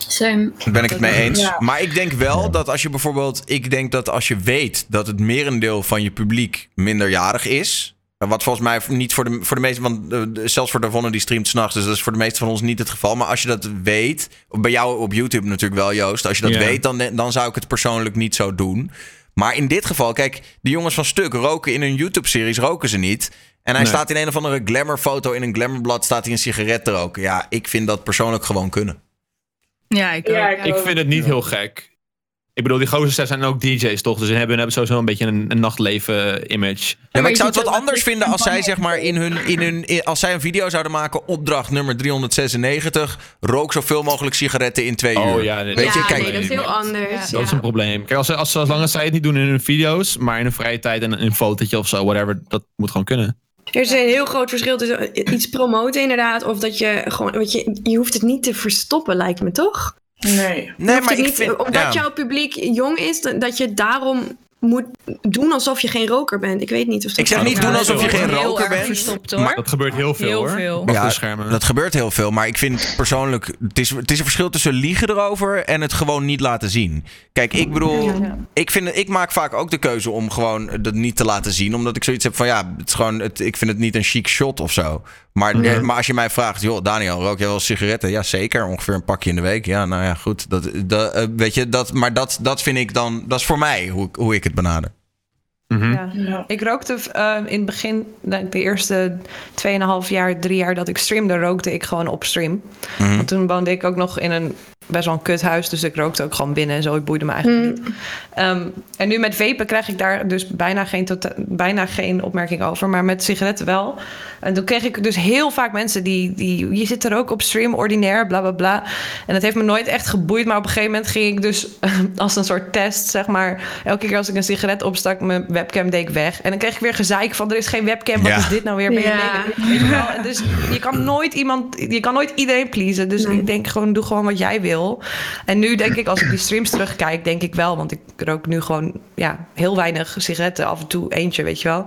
[SPEAKER 3] Same.
[SPEAKER 1] Daar ben ik het mee eens.
[SPEAKER 3] Ja.
[SPEAKER 1] Maar ik denk wel dat als je bijvoorbeeld. Ik denk dat als je weet dat het merendeel van je publiek minderjarig is. eh, Wat volgens mij niet voor de, voor de meeste. Want eh, de- zelfs voor Davonne die streamt s'nachts. Dus dat is voor de meeste van ons niet het geval. Maar als je dat weet. Bij jou op YouTube natuurlijk wel, Joost. Als je dat
[SPEAKER 7] Ja.
[SPEAKER 1] weet, dan, dan zou ik het persoonlijk niet zo doen. Maar in dit geval, kijk, die jongens van Stuk roken in hun YouTube-series, roken ze niet. En hij
[SPEAKER 7] Nee.
[SPEAKER 1] staat in een of andere glamour-foto in een glamourblad, staat hij een sigaret te roken. Ja, ik vind dat persoonlijk gewoon kunnen.
[SPEAKER 6] Ja, ik ook.
[SPEAKER 5] Ja, ik,
[SPEAKER 7] Ik
[SPEAKER 5] ook.
[SPEAKER 7] vind het niet heel gek. Ik bedoel, die gozers zijn ook DJ's, toch? Dus ze hebben, hebben sowieso een beetje een, een nachtleven-image.
[SPEAKER 1] Ja, maar ik zou het wat anders vinden als zij zeg maar in hun, in hun in- als zij een video zouden maken opdracht nummer 396 rook zoveel mogelijk sigaretten in twee uur.
[SPEAKER 7] Oh ja, nee,
[SPEAKER 1] Weet je,
[SPEAKER 11] ja,
[SPEAKER 1] kijk,
[SPEAKER 11] nee, dat is heel anders.
[SPEAKER 7] Dat is een probleem. Kijk, als, ze- als, ze- zolang als zij het niet doen in hun video's, maar in hun vrije tijd en een fotootje of zo, whatever, dat moet gewoon kunnen.
[SPEAKER 11] Er is een heel groot verschil tussen eh, iets promoten inderdaad, of dat je gewoon, want je, je hoeft het niet te verstoppen lijkt me toch?
[SPEAKER 5] Nee.
[SPEAKER 11] Je
[SPEAKER 1] nee,
[SPEAKER 11] hoeft het
[SPEAKER 1] maar ik
[SPEAKER 11] niet-
[SPEAKER 1] vind
[SPEAKER 11] Omdat
[SPEAKER 1] ja.
[SPEAKER 11] jouw publiek jong is, dat dat je daarom moet doen alsof je geen roker bent. Ik weet niet of dat
[SPEAKER 1] Ik zeg niet doen alsof je
[SPEAKER 6] dat
[SPEAKER 1] geen
[SPEAKER 6] wordt heel
[SPEAKER 1] roker
[SPEAKER 6] erg
[SPEAKER 1] bent.
[SPEAKER 6] Verstopt, hoor.
[SPEAKER 7] Dat gebeurt heel veel,
[SPEAKER 6] Heel
[SPEAKER 7] hoor.
[SPEAKER 6] veel.
[SPEAKER 7] Achter
[SPEAKER 1] Ja,
[SPEAKER 7] de schermen.
[SPEAKER 1] Dat gebeurt heel veel, maar ik vind persoonlijk het is, het is een verschil tussen liegen erover en het gewoon niet laten zien. Kijk, ik bedoel, ik vind ik maak vaak ook de keuze om gewoon dat niet te laten zien, omdat ik zoiets heb van ja, het is gewoon het, ik vind het niet een chic shot of zo. Maar, eh, maar als je mij vraagt, joh, Daniel, rook jij wel sigaretten? Ja, zeker, ongeveer een pakje in de week. Ja, nou ja, goed. Dat, dat, eh, weet je, dat, maar dat, dat vind ik dan, dat is voor mij hoe, ik- hoe ik het benader. Mm.
[SPEAKER 7] Mhm.
[SPEAKER 10] Ja.
[SPEAKER 5] Ja.
[SPEAKER 10] Ik rookte eh, in het begin, de de eerste 2,5 jaar, drie jaar dat ik streamde, rookte ik gewoon op stream.
[SPEAKER 1] Mhm.
[SPEAKER 10] Want toen woonde ik ook nog in een best wel een kuthuis, dus ik rookte ook gewoon binnen en zo. Ik boeide me
[SPEAKER 11] Hm.
[SPEAKER 10] eigenlijk niet. Ehm, en nu met vapen krijg ik daar dus bijna geen, tota- bijna geen opmerking over, maar met sigaretten wel. En toen kreeg ik dus heel vaak mensen die, die je zit er ook op stream, ordinair, bla bla bla. En dat heeft me nooit echt geboeid, maar op een gegeven moment ging ik dus [laughs] als een soort test, zeg maar, elke keer als ik een sigaret opstak, mijn webcam deed ik weg. En dan kreeg ik weer gezeik van, er is geen webcam, wat
[SPEAKER 1] Ja.
[SPEAKER 10] is dit nou weer? Ben je
[SPEAKER 11] Ja.
[SPEAKER 10] leuk? Weet je wel? En Dus je kan nooit iemand, je kan nooit iedereen pleasen. Dus ik denk gewoon, doe gewoon wat jij wil. En nu denk ik, als ik die streams terugkijk, denk ik wel. Want ik rook nu gewoon ja, heel weinig sigaretten. Af en toe eentje, weet je wel.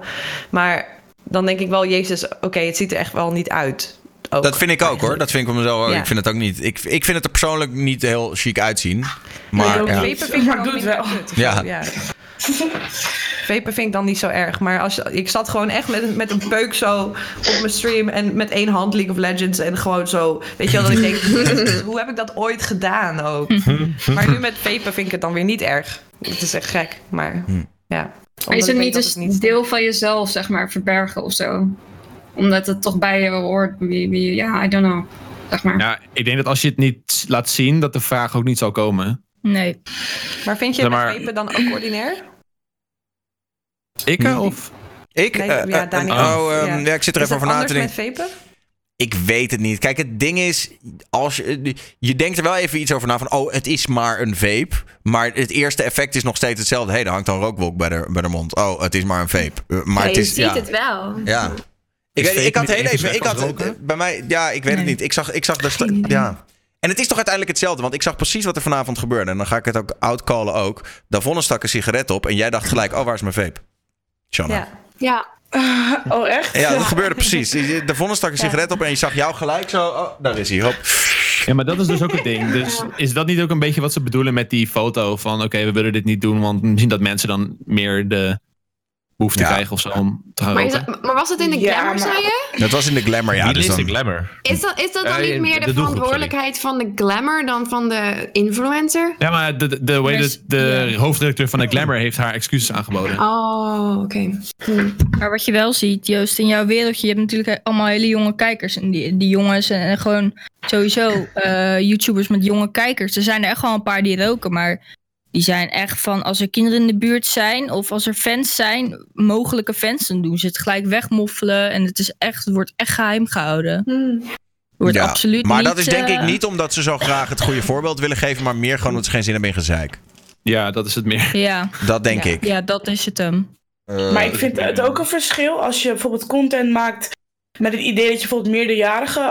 [SPEAKER 10] Maar dan denk ik wel, Jezus, oké, het ziet er echt wel niet uit. Ook.
[SPEAKER 1] Dat vind ik ook hoor. Dat vind ik om zo.
[SPEAKER 10] Ja.
[SPEAKER 1] Ik vind het ook niet. Ik, ik vind het er persoonlijk niet heel chic uitzien.
[SPEAKER 10] Ah.
[SPEAKER 5] Nee,
[SPEAKER 1] Maar
[SPEAKER 5] ook
[SPEAKER 1] ja.
[SPEAKER 5] niet.
[SPEAKER 10] Vapen vind ik
[SPEAKER 5] Maar
[SPEAKER 10] dan
[SPEAKER 5] doe het
[SPEAKER 10] minder
[SPEAKER 5] wel.
[SPEAKER 10] kut of zo,
[SPEAKER 1] Ja.
[SPEAKER 10] Oh. ja. Vapen vind ik dan niet zo erg. Maar als, ik zat gewoon echt met, een- met een peuk zo op mijn stream. En met één hand League of Legends. En gewoon zo. Weet je wel,
[SPEAKER 1] [laughs]
[SPEAKER 10] dat ik denk, hoe heb ik dat ooit gedaan
[SPEAKER 1] Hm, Hm.
[SPEAKER 10] ook? Maar nu met vapen vind ik het dan weer niet erg. Het is echt gek, maar ja.
[SPEAKER 1] Oh.
[SPEAKER 3] Maar je
[SPEAKER 10] Omdat ik
[SPEAKER 3] zult
[SPEAKER 10] weet
[SPEAKER 3] niet dus-
[SPEAKER 10] dat
[SPEAKER 3] een deel van jezelf, zeg maar, verbergen of zo. Omdat het toch bij je hoort. wie- wie- Ja, I don't know. Zeg maar.
[SPEAKER 7] Ja, Nou, ik denk dat als je het niet laat zien, dat de vraag ook niet zal komen.
[SPEAKER 6] Nee.
[SPEAKER 10] Maar vind je
[SPEAKER 7] Zeg maar-
[SPEAKER 10] begrepen dan ook ordinair?
[SPEAKER 1] Eh,
[SPEAKER 7] Ik eh, of?
[SPEAKER 1] Ik?
[SPEAKER 10] Nee,
[SPEAKER 1] Eh,
[SPEAKER 10] ja,
[SPEAKER 1] eh,
[SPEAKER 10] Daniel.
[SPEAKER 1] oh, ehm, ja, ik zit er
[SPEAKER 10] Is
[SPEAKER 1] even
[SPEAKER 10] dat
[SPEAKER 1] over na te
[SPEAKER 10] anders
[SPEAKER 1] denken.
[SPEAKER 10] met vapen?
[SPEAKER 1] Ik weet het niet. Kijk, het ding is, als je, je denkt er wel even iets over na van, oh, het is maar een vape. Maar het eerste effect is nog steeds hetzelfde. Hé, hey, er hangt een rookwolk bij de, bij de mond. Oh, het is maar een vape. Eh, maar
[SPEAKER 12] Ja,
[SPEAKER 1] het
[SPEAKER 12] je
[SPEAKER 1] is,
[SPEAKER 12] ziet
[SPEAKER 1] ja.
[SPEAKER 12] het wel.
[SPEAKER 1] Ja. Ik,
[SPEAKER 12] Is
[SPEAKER 1] weet- ik
[SPEAKER 12] vape
[SPEAKER 1] had
[SPEAKER 12] niet
[SPEAKER 1] heel even,
[SPEAKER 12] ingezet
[SPEAKER 1] ik
[SPEAKER 12] als
[SPEAKER 1] had,
[SPEAKER 12] roken?
[SPEAKER 1] bij mij, ja, ik weet het niet. Ik zag, ik zag daar sta- ja. En het is toch uiteindelijk hetzelfde, want ik zag precies wat er vanavond gebeurde. En dan ga ik het ook outcallen ook. Davonne stak een sigaret op en jij dacht gelijk, oh, waar is mijn vape? Shanna.
[SPEAKER 5] Ja. [laughs] oh, echt?
[SPEAKER 1] Ja, dat gebeurde
[SPEAKER 6] [laughs]
[SPEAKER 1] precies. Daarvoor stak een sigaret op en je zag jou gelijk zo. Oh, daar is hij. Hop.
[SPEAKER 7] Ja, maar dat is dus ook het ding. Dus is dat niet ook een beetje wat ze bedoelen met die foto van... oké, we willen dit niet doen, want misschien dat mensen dan meer de behoefte krijgen of zo om te gaan
[SPEAKER 12] Maar, is
[SPEAKER 7] roken.
[SPEAKER 12] dat- maar was het in de glamour, zei je?
[SPEAKER 1] Dat was in de glamour, ja.
[SPEAKER 7] Wie
[SPEAKER 1] dus
[SPEAKER 7] leest
[SPEAKER 1] dan...
[SPEAKER 7] de glamour?
[SPEAKER 12] Is dat, is dat dan
[SPEAKER 7] Eh,
[SPEAKER 12] niet meer de,
[SPEAKER 7] de doelgroep,
[SPEAKER 12] verantwoordelijkheid van de glamour dan van de influencer?
[SPEAKER 7] Ja, maar de, de, de, way dat de hoofdredacteur van de Glamour heeft haar excuses aangeboden.
[SPEAKER 12] Oh, oké.
[SPEAKER 6] Hmm. Maar wat je wel ziet, Joost, in jouw wereldje, je hebt natuurlijk allemaal hele jonge kijkers. En die, die jongens en, en gewoon sowieso eh, YouTubers met jonge kijkers. Er zijn er echt wel een paar die roken, maar die zijn echt van als er kinderen in de buurt zijn of als er fans zijn, mogelijke fans, dan doen ze het gelijk wegmoffelen. En het is echt, het wordt echt geheim gehouden. [laughs]
[SPEAKER 12] Hmm.
[SPEAKER 6] Wordt
[SPEAKER 1] Ja,
[SPEAKER 6] absoluut
[SPEAKER 1] maar
[SPEAKER 6] niet,
[SPEAKER 1] dat is denk ik
[SPEAKER 6] eh,
[SPEAKER 1] niet omdat ze zo graag het goede voorbeeld willen geven, maar meer gewoon omdat ze geen zin hebben in gezeik.
[SPEAKER 7] Ja, dat is het meer.
[SPEAKER 6] Ja.
[SPEAKER 1] Dat denk
[SPEAKER 6] ja.
[SPEAKER 1] ik.
[SPEAKER 6] Ja, dat is het hem.
[SPEAKER 1] Eh,
[SPEAKER 5] Maar ik vind het ook een verschil als je bijvoorbeeld content maakt met het idee dat je bijvoorbeeld meerderjarigen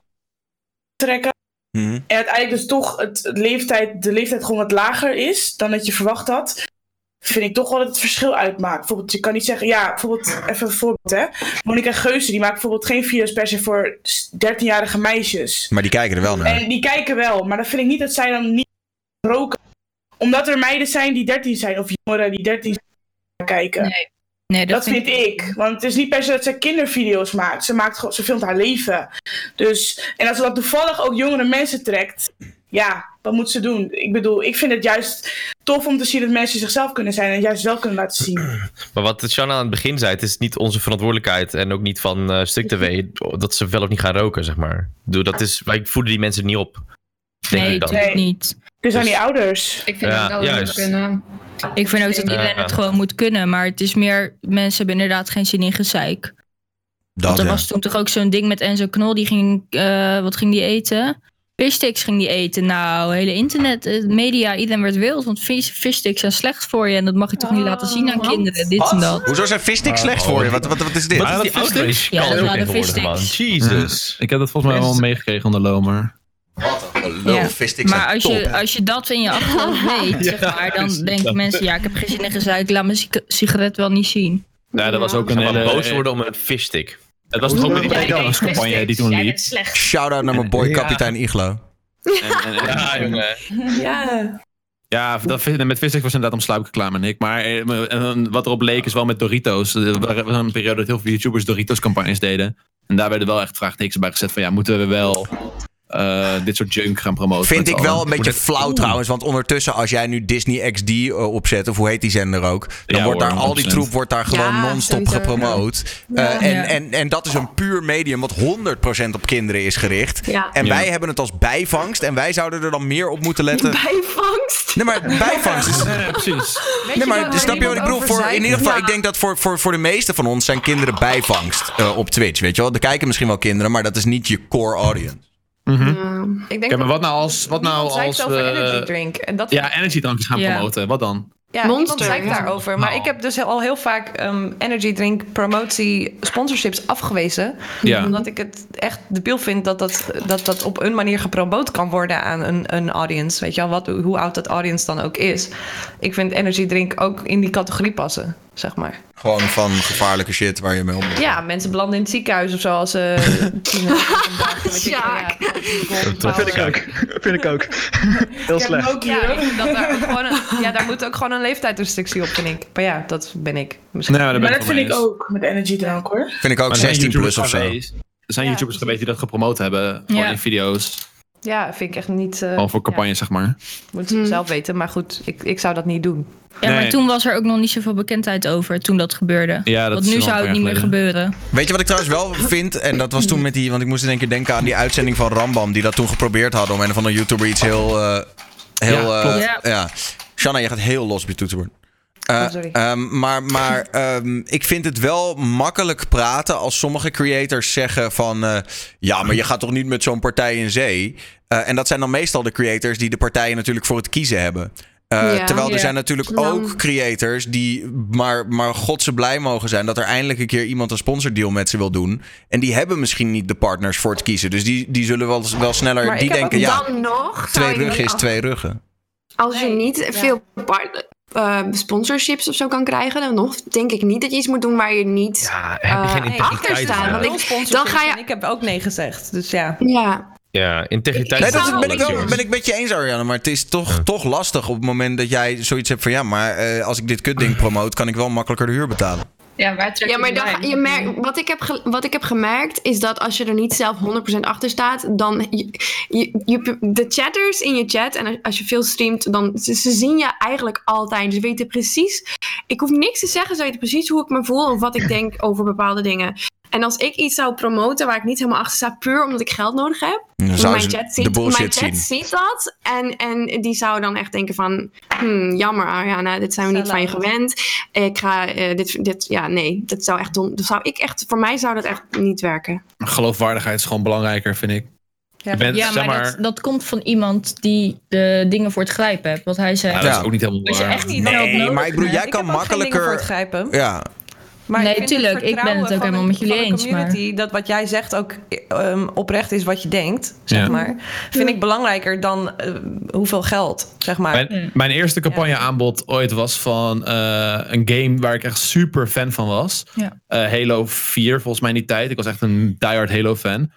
[SPEAKER 5] trekken.
[SPEAKER 1] Mhm.
[SPEAKER 5] En uiteindelijk dus toch het het leeftijd, de leeftijd gewoon wat lager is dan dat je verwacht had. Vind ik toch wel dat het verschil uitmaakt. Bijvoorbeeld, je kan niet zeggen, ja, bijvoorbeeld, even een voorbeeld hè. Monika Geuze, die maakt bijvoorbeeld geen video's per se voor s- 13-jarige meisjes.
[SPEAKER 1] Maar die kijken er wel naar.
[SPEAKER 5] En die kijken wel, maar dan vind ik niet dat zij dan niet roken. Omdat er meiden zijn die 13 zijn, of jongeren die 13 zijn, die kijken.
[SPEAKER 6] Nee. Nee,
[SPEAKER 5] dat, vind, ik. Want het is niet per se dat ze kindervideo's maakt. Ze, maakt gewoon, ze filmt haar leven. Dus, en als ze dat toevallig ook jongere mensen trekt, ja, wat moet ze doen? Ik bedoel, ik vind het juist tof om te zien dat mensen zichzelf kunnen zijn en juist wel kunnen laten zien.
[SPEAKER 15] Maar wat Shanna aan het begin zei, het is niet onze verantwoordelijkheid en ook niet van eh StukTV [laughs] dat ze wel of niet gaan roken, zeg maar. Doe, dat is, wij voeden die mensen niet op. Denk ik dan.
[SPEAKER 6] niet.
[SPEAKER 5] Dus aan die ouders.
[SPEAKER 3] Ik
[SPEAKER 15] vind Ja, ook dat we juist.
[SPEAKER 3] kunnen.
[SPEAKER 6] Ik vind ook dat iedereen
[SPEAKER 15] Ja.
[SPEAKER 6] het gewoon moet kunnen. Maar het is meer, mensen hebben inderdaad geen zin in gezeik. Want er
[SPEAKER 1] ja.
[SPEAKER 6] was toen toch ook zo'n ding met Enzo Knol. Die ging, eh, wat ging die eten? Fishsticks ging die eten. Nou, hele internet, eh, media, iedereen werd wild. Want fish- fishsticks zijn slecht voor je. En dat mag je toch niet laten zien
[SPEAKER 3] Oh,
[SPEAKER 6] aan kinderen. Dit en dat.
[SPEAKER 1] Hoezo zijn vissticks slecht voor je? Wat, wat, wat is dit?
[SPEAKER 6] Ah, oh, Wat is die outrage? Ja, dat waren vissticks.
[SPEAKER 7] Jezus. ik heb dat volgens mij wel meegekregen onder Lomer.
[SPEAKER 6] Ja. Maar als je, als je dat in je achterhoofd
[SPEAKER 15] [laughs]
[SPEAKER 6] weet,
[SPEAKER 7] Ja,
[SPEAKER 6] zeg maar, dan
[SPEAKER 7] precies
[SPEAKER 6] denken
[SPEAKER 7] dat.
[SPEAKER 6] mensen... Ja, ik heb geen zin in gezeik. Laat mijn sig- sigaret wel niet zien.
[SPEAKER 7] Ja, dat was ook een
[SPEAKER 15] Ze gaan
[SPEAKER 7] hele...
[SPEAKER 15] boos worden om een fishstick.
[SPEAKER 7] Het was toch ook een campagne die toen liep.
[SPEAKER 1] Shout-out naar mijn boy,
[SPEAKER 7] Ja.
[SPEAKER 1] kapitein Iglo.
[SPEAKER 7] [laughs] Ja, jongen.
[SPEAKER 12] Ja.
[SPEAKER 7] Ja, dat, vis- met Vissex was inderdaad om sluipreclame en ik. Maar eh, en wat erop leek is wel met Doritos. Er was een periode dat heel veel YouTubers Doritos campagnes deden. En daar werden wel echt vraagtekens bij gezet van ja, moeten we wel eh, dit soort junk gaan promoten?
[SPEAKER 1] Vind
[SPEAKER 7] met
[SPEAKER 1] ik
[SPEAKER 7] z'n
[SPEAKER 1] wel
[SPEAKER 7] allen?
[SPEAKER 1] een beetje
[SPEAKER 7] Moet het-
[SPEAKER 1] flauw trouwens. Want ondertussen, als jij nu Disney XD eh, opzet, of hoe heet die zender ook. Dan
[SPEAKER 7] Ja,
[SPEAKER 1] wordt daar
[SPEAKER 7] hoor,
[SPEAKER 1] al die
[SPEAKER 7] 100%.
[SPEAKER 1] troep wordt daar gewoon
[SPEAKER 7] Ja,
[SPEAKER 1] non-stop
[SPEAKER 7] sowieso.
[SPEAKER 1] gepromoot.
[SPEAKER 7] Ja.
[SPEAKER 1] Eh, en,
[SPEAKER 7] Ja.
[SPEAKER 1] en, en dat is een puur medium wat 100% op kinderen is gericht.
[SPEAKER 12] Ja.
[SPEAKER 1] En
[SPEAKER 12] Ja.
[SPEAKER 1] wij hebben het als bijvangst. En wij zouden er dan meer op moeten
[SPEAKER 8] eh,
[SPEAKER 1] letten.
[SPEAKER 12] Bijvangst?
[SPEAKER 1] Nee, maar bijvangst
[SPEAKER 7] [laughs]
[SPEAKER 1] is...
[SPEAKER 7] precies.
[SPEAKER 1] Nee, maar snap je wat ik bedoel? Voor, in ieder geval, ik denk dat voor, voor, voor de meesten van ons zijn kinderen bijvangst eh, op Twitch. Weet je wel? Er kijken misschien wel kinderen, maar dat is niet je core audience.
[SPEAKER 7] Mhm.
[SPEAKER 10] Ik denk
[SPEAKER 7] Ja, maar
[SPEAKER 10] dat
[SPEAKER 7] wat nou als, wat nou
[SPEAKER 10] niemand zeikt
[SPEAKER 7] als
[SPEAKER 10] over energy
[SPEAKER 7] we...
[SPEAKER 10] drink. En dat
[SPEAKER 7] Eh, Ja, energiedrankjes gaan
[SPEAKER 10] Ja.
[SPEAKER 7] promoten. Wat dan?
[SPEAKER 10] Ja, Monster.
[SPEAKER 12] Monster,
[SPEAKER 10] zei ik
[SPEAKER 12] ja.
[SPEAKER 10] daarover. Maar
[SPEAKER 7] Nou.
[SPEAKER 10] ik heb dus heel- al heel vaak ehm, energy drink promotie sponsorships afgewezen.
[SPEAKER 7] Ja.
[SPEAKER 10] Omdat ik het echt debiel vind dat dat, dat dat op een manier gepromoot kan worden aan een, een audience. Weet je wel, wat, hoe oud dat audience dan ook is. Ik vind energy drink ook in die categorie passen, zeg maar.
[SPEAKER 1] Gewoon van gevaarlijke shit waar je mee om moet.
[SPEAKER 10] Ja, mensen belanden in het ziekenhuis of zo als [laughs] ze... Sjaak.
[SPEAKER 2] Dat vind ik ook. [laughs] vind ik ook. Heel slecht.
[SPEAKER 10] Ja, ik vind dat daar ook gewoon [laughs] een- ja, daar moet ook gewoon een leeftijdsrestrictie op, vind ik. Maar ja, dat ben ik. Misschien.
[SPEAKER 7] Nou, daar ben
[SPEAKER 5] maar
[SPEAKER 7] ik
[SPEAKER 5] dat
[SPEAKER 7] het wel
[SPEAKER 5] vind ik
[SPEAKER 7] mee eens.
[SPEAKER 5] ook met energiedrank hoor.
[SPEAKER 1] Vind ik ook
[SPEAKER 7] Maar er zijn
[SPEAKER 1] 16 plus
[SPEAKER 7] YouTubers
[SPEAKER 1] of zo.
[SPEAKER 7] geweest- Er zijn YouTubers geweest die dat gepromoot hebben. Gewoon
[SPEAKER 5] Ja.
[SPEAKER 7] in video's.
[SPEAKER 10] Ja, vind ik echt niet... eh,
[SPEAKER 7] Al voor campagne,
[SPEAKER 10] ja.
[SPEAKER 7] zeg maar.
[SPEAKER 10] Moeten ze zelf weten, maar goed, ik, ik zou dat niet doen.
[SPEAKER 6] Ja, maar
[SPEAKER 7] Nee.
[SPEAKER 6] toen was er ook nog niet zoveel bekendheid over toen dat gebeurde.
[SPEAKER 1] Ja, dat
[SPEAKER 6] Want
[SPEAKER 1] is
[SPEAKER 6] nu
[SPEAKER 1] wel een
[SPEAKER 6] zou het
[SPEAKER 1] paar
[SPEAKER 6] niet
[SPEAKER 1] jaar
[SPEAKER 6] meer gebeuren.
[SPEAKER 1] Weet je wat ik trouwens wel vind? En dat was toen met die. Want ik moest in één keer denken aan die uitzending van Rambam. Die dat toen geprobeerd hadden om een of andere YouTuber iets heel. eh, heel
[SPEAKER 16] Ja,
[SPEAKER 1] ja,
[SPEAKER 16] klopt.
[SPEAKER 1] ja. Shanna, je gaat heel los bij YouTuber. Eh,
[SPEAKER 16] Oh, sorry.
[SPEAKER 1] ehm, maar
[SPEAKER 9] [laughs]
[SPEAKER 1] maar ehm, ik vind het wel makkelijk praten als sommige creators zeggen van... eh, ja, maar je gaat toch niet met zo'n partij in zee? Eh, en dat zijn dan meestal de creators die de partijen natuurlijk voor het kiezen hebben. Eh,
[SPEAKER 16] Ja.
[SPEAKER 1] terwijl er
[SPEAKER 16] Ja.
[SPEAKER 1] zijn natuurlijk
[SPEAKER 16] Dan-
[SPEAKER 1] ook creators die maar, maar godse blij mogen zijn dat er eindelijk een keer iemand een sponsordeal met ze wil doen. En die hebben misschien niet de partners voor het kiezen. Dus die, die zullen wel, wel sneller.
[SPEAKER 9] Maar
[SPEAKER 1] die
[SPEAKER 9] ik heb
[SPEAKER 1] denken,
[SPEAKER 9] ook
[SPEAKER 1] ja,
[SPEAKER 9] dan nog, zou
[SPEAKER 1] twee
[SPEAKER 9] ik
[SPEAKER 1] ruggen is
[SPEAKER 9] af-
[SPEAKER 1] twee ruggen.
[SPEAKER 9] Als je niet veel part- eh, sponsorships of zo kan krijgen, dan nog denk ik niet dat je iets moet doen waar je niet
[SPEAKER 4] heb je
[SPEAKER 9] eh,
[SPEAKER 4] geen integriteit,
[SPEAKER 9] achter staat.
[SPEAKER 4] ja.
[SPEAKER 9] Want
[SPEAKER 4] Nul
[SPEAKER 9] ik, dan ga je.
[SPEAKER 10] Ik heb ook nee gezegd, dus ja.
[SPEAKER 9] Ja.
[SPEAKER 4] Ja, integriteit.
[SPEAKER 1] Nee, dat
[SPEAKER 4] is
[SPEAKER 1] is- ben ik,
[SPEAKER 4] alles,
[SPEAKER 1] wel,
[SPEAKER 4] jongens.
[SPEAKER 1] ben ik met je eens, Ariane. Maar het is toch, toch lastig op het moment dat jij zoiets hebt van... ja, maar eh, als ik dit kutding promoot, kan ik wel makkelijker de huur betalen.
[SPEAKER 9] Ja, maar dan, ga- je merkt, wat, ik heb ge- wat ik heb gemerkt is dat als je er niet zelf 100% achter staat, dan. Je, je, je- de chatters in je chat, en als- als je veel streamt, dan. Ze, ze zien je eigenlijk altijd. Ze weten precies. Ik hoef niks te zeggen, ze weten precies hoe ik me voel of wat ik denk over bepaalde dingen. En als ik iets zou promoten waar ik niet helemaal achter sta, puur omdat ik geld nodig heb,
[SPEAKER 1] Dan
[SPEAKER 9] maar
[SPEAKER 1] zouden
[SPEAKER 9] mijn
[SPEAKER 1] ze
[SPEAKER 9] chat,
[SPEAKER 1] de
[SPEAKER 9] ziet, mijn
[SPEAKER 1] bullshit
[SPEAKER 9] chat
[SPEAKER 1] zien.
[SPEAKER 9] ziet dat. En, en die zou dan echt denken van... Hmm, jammer Ariana, dit zijn we niet van je gewend. Ik ga eh, dit, dit... Ja, nee, dat zou echt dom... Dat zou ik echt... Voor mij zou dat echt niet werken.
[SPEAKER 7] Geloofwaardigheid is gewoon belangrijker, vind ik.
[SPEAKER 6] Ja,
[SPEAKER 7] Je bent,
[SPEAKER 6] ja
[SPEAKER 7] zeg
[SPEAKER 6] maar,
[SPEAKER 7] maar-
[SPEAKER 6] Dat, dat komt van iemand die de dingen voor het grijpen heeft. Wat hij zei.
[SPEAKER 7] Ja, dat is ook niet helemaal
[SPEAKER 6] Als je
[SPEAKER 7] waar.
[SPEAKER 6] echt
[SPEAKER 1] Nee,
[SPEAKER 6] hulp nodig
[SPEAKER 1] maar ik bedoel, jij
[SPEAKER 6] hebt.
[SPEAKER 1] kan makkelijker...
[SPEAKER 10] voor het grijpen.
[SPEAKER 1] Ja,
[SPEAKER 10] Maar
[SPEAKER 6] Nee,
[SPEAKER 10] ik vind
[SPEAKER 6] tuurlijk, ik ben het ook
[SPEAKER 10] vertrouwen van
[SPEAKER 6] helemaal met jullie
[SPEAKER 10] van de
[SPEAKER 6] eens, maar-
[SPEAKER 10] community, Dat wat jij zegt ook ehm, oprecht is wat je denkt, zeg
[SPEAKER 7] Ja.
[SPEAKER 10] maar. Vind ik belangrijker dan eh, hoeveel geld, zeg maar.
[SPEAKER 6] Hmm.
[SPEAKER 7] Mijn, mijn eerste campagneaanbod ooit was van eh, een game waar ik echt super fan van was.
[SPEAKER 6] Ja.
[SPEAKER 7] Eh, Halo 4, volgens mij in die tijd. Ik was echt een diehard Halo fan.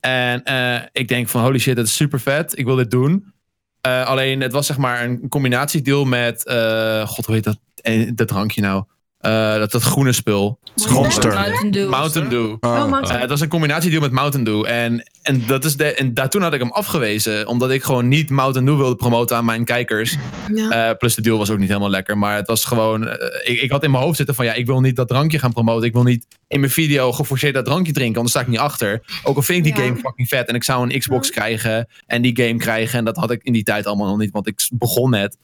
[SPEAKER 7] En eh, ik denk van holy shit, dat is super vet. Ik wil dit doen. Eh, alleen het was zeg maar een combinatiedeal met, eh, god hoe heet dat, eh, dat drankje nou? Eh, dat, dat groene spul.
[SPEAKER 1] Monster.
[SPEAKER 6] Mountain Dew.
[SPEAKER 7] Mountain Dew.
[SPEAKER 1] Oh, Mountain
[SPEAKER 7] Eh, het was een combinatiedeal met Mountain Dew. En, en, dat is de, en daar, toen had ik hem afgewezen. Omdat ik gewoon niet Mountain Dew wilde promoten aan mijn kijkers. Eh, plus de deal was ook niet helemaal lekker. Maar het was gewoon... eh, ik, ik had in mijn hoofd zitten van... Ja, ik wil niet dat drankje gaan promoten. Ik wil niet in mijn video geforceerd dat drankje drinken. Anders sta ik niet achter. Ook al vind ik die game fucking vet. En ik zou een Xbox krijgen. En die game krijgen. En dat had ik in die tijd allemaal nog niet. Want ik begon net.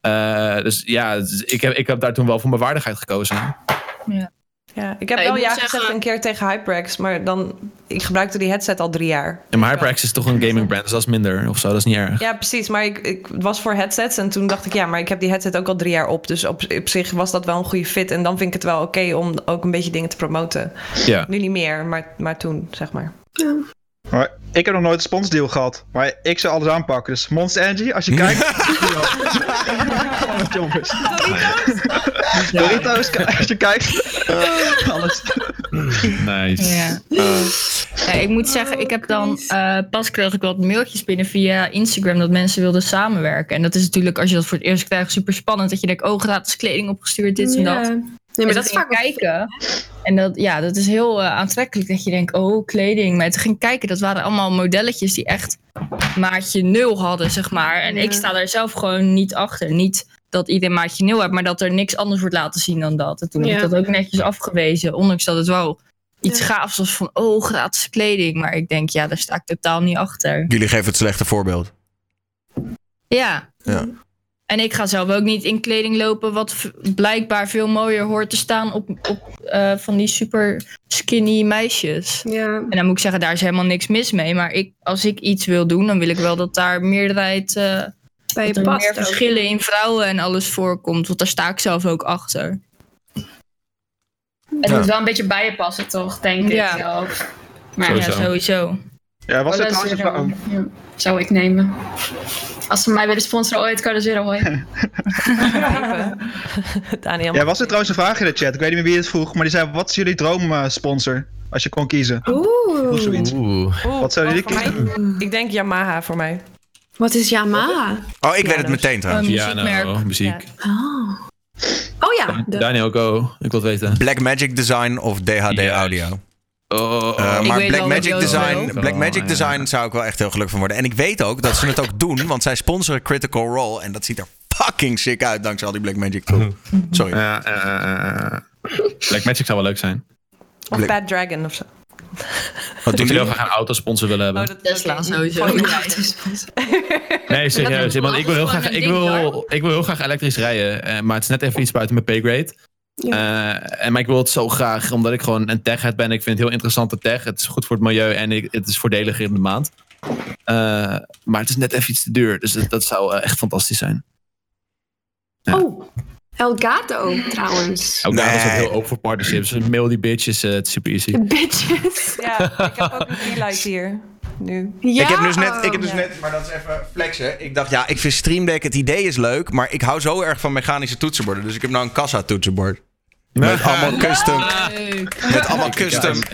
[SPEAKER 7] Eh, dus ja, dus ik heb, ik heb daar toen wel voor mijn waardigheid gekozen.
[SPEAKER 10] Ja, ik heb
[SPEAKER 9] Ja, ik
[SPEAKER 10] wel
[SPEAKER 9] moet
[SPEAKER 10] ja
[SPEAKER 9] zeggen-
[SPEAKER 10] gezegd een keer tegen Hyperax, maar dan, ik gebruikte die headset al drie jaar.
[SPEAKER 7] Ja, maar HyperX is toch een gaming brand, dus dat is minder of zo. Dat is niet
[SPEAKER 10] [laughs]
[SPEAKER 7] erg.
[SPEAKER 10] Ja, precies. Maar ik, ik was voor headsets en toen dacht ik, ja, maar ik heb die headset ook al drie jaar op. Dus op, op zich was dat wel een goede fit. En dan vind ik het wel oké om ook een beetje dingen te promoten.
[SPEAKER 7] Ja.
[SPEAKER 10] Nu niet meer, maar, maar toen, zeg maar.
[SPEAKER 2] Maar ik heb nog nooit een sponsdeal gehad. Maar ik zou alles aanpakken. Dus Monster Energy, als je [laughs] kijkt. jongens. Doritos, als je kijkt. [laughs] Alles.
[SPEAKER 7] Nice.
[SPEAKER 6] Ja. Ja, ik moet zeggen, ik heb dan eh, pas kreeg ik wat mailtjes binnen via Instagram dat mensen wilden samenwerken. En dat is natuurlijk, als je dat voor het eerst krijgt, super spannend. Dat je denkt, oh, gratis kleding opgestuurd, dit en
[SPEAKER 9] Ja.
[SPEAKER 6] dat.
[SPEAKER 9] Nee, maar
[SPEAKER 6] En
[SPEAKER 9] dat is
[SPEAKER 6] toen ging ik kijken. En dat, ja, dat is heel eh, aantrekkelijk dat je denkt, oh, kleding. Maar toen ging ik kijken, dat waren allemaal modelletjes die echt maatje nul hadden, zeg maar. En ik sta daar zelf gewoon niet achter. Niet dat iedereen maatje nul heeft, maar dat er niks anders wordt laten zien dan dat. En toen heb
[SPEAKER 9] Ja.
[SPEAKER 6] ik dat ook netjes afgewezen, ondanks dat het wel iets gaafs was van, oh, gratis kleding. Maar ik denk, ja, daar sta ik totaal niet achter.
[SPEAKER 1] Jullie geven het slechte voorbeeld.
[SPEAKER 6] Ja,
[SPEAKER 1] Ja. Oh,
[SPEAKER 6] en ik ga zelf ook niet in kleding lopen wat v- blijkbaar veel mooier hoort te staan op, op eh, van die super skinny meisjes. En dan moet ik zeggen, daar is helemaal niks mis mee. Maar ik, als ik iets wil doen, dan wil ik wel dat daar meerderheid, eh
[SPEAKER 9] Bij je
[SPEAKER 6] dat er
[SPEAKER 9] past
[SPEAKER 6] meer
[SPEAKER 9] ook.
[SPEAKER 6] verschillen in vrouwen en alles voorkomt. Want daar sta ik zelf ook achter.
[SPEAKER 3] Het
[SPEAKER 6] Ja.
[SPEAKER 3] moet wel een beetje bij je passen, toch? Denk
[SPEAKER 6] Ja.
[SPEAKER 3] ik zelf.
[SPEAKER 6] Maar
[SPEAKER 3] Sowieso. Oh,
[SPEAKER 6] ja, sowieso.
[SPEAKER 2] Ja,
[SPEAKER 6] Oh,
[SPEAKER 3] was het Alles trouwens- erom. Zou ik nemen. Als ze mij willen sponsoren ooit, kan dus ze [laughs]
[SPEAKER 6] [laughs]
[SPEAKER 3] hoor.
[SPEAKER 10] Daniel.
[SPEAKER 2] Ja, was er trouwens een vraag in de chat. Ik weet niet meer wie het vroeg. Maar die zei: Wat is jullie droomsponsor? Als je kon kiezen.
[SPEAKER 9] Oeh.
[SPEAKER 2] Of zoiets.
[SPEAKER 10] Oeh,
[SPEAKER 2] Wat zouden
[SPEAKER 10] oh,
[SPEAKER 2] jullie
[SPEAKER 10] voor mij- Ik denk Yamaha voor mij.
[SPEAKER 9] Wat is Yamaha?
[SPEAKER 1] Oh, ik weet het meteen trouwens.
[SPEAKER 9] Een muziekmerk.
[SPEAKER 7] Piano, nou, muziek.
[SPEAKER 9] Oh. Oh ja. de-
[SPEAKER 7] Daniel, go. Ik wil het weten.
[SPEAKER 1] Black Magic Design of DHD Audio. Eh,
[SPEAKER 15] Ik
[SPEAKER 1] maar
[SPEAKER 15] weet
[SPEAKER 1] Black
[SPEAKER 15] wel wat
[SPEAKER 1] Magic,
[SPEAKER 15] Joost
[SPEAKER 1] Design,
[SPEAKER 15] wil.
[SPEAKER 1] Black Magic Design zou ik wel echt heel gelukkig van worden. En ik weet ook dat ze het ook doen, want zij sponsoren Critical Role. En dat ziet er fucking sick uit dankzij al die Black Magic troep. Sorry.
[SPEAKER 7] Ja, Black Magic zou wel leuk zijn.
[SPEAKER 10] Of Bad Dragon of zo.
[SPEAKER 7] Wat
[SPEAKER 1] doen
[SPEAKER 7] ik
[SPEAKER 1] jullie?
[SPEAKER 7] wil graag een autosponsor willen
[SPEAKER 6] Oh,
[SPEAKER 7] hebben.
[SPEAKER 10] Tesla
[SPEAKER 9] Oh,
[SPEAKER 6] sowieso. [laughs]
[SPEAKER 7] Nee, serieus.
[SPEAKER 6] Dat
[SPEAKER 7] Want ik wil heel
[SPEAKER 6] is gewoon
[SPEAKER 7] graag,
[SPEAKER 6] een
[SPEAKER 7] ik
[SPEAKER 6] ding,
[SPEAKER 7] wil, ik wil heel graag elektrisch rijden. eh, maar het is net even iets buiten mijn paygrade. Eh, en maar ik wil het zo graag, omdat ik gewoon een tech head ben. Ik vind het heel interessante tech. Het is goed voor het milieu en ik- het is voordeliger in de maand. Eh, maar het is net even iets te duur. Dus dat, dat zou eh, echt fantastisch zijn.
[SPEAKER 11] Oh, Elgato trouwens.
[SPEAKER 7] Ook daar is het heel open voor partnerships. Mail die bitches, eh, het is super easy.
[SPEAKER 11] Bitches.
[SPEAKER 10] Ja, ik heb ook een relight hier. Nu.
[SPEAKER 1] Ik heb dus net, ik heb dus net, maar dat is even flexen. Ik dacht, ja, ik vind Stream Deck, het idee is leuk, maar ik hou zo erg van mechanische toetsenborden. Dus ik heb nou een kassa toetsenbord. Met allemaal custom. Met allemaal custom.
[SPEAKER 7] Ik,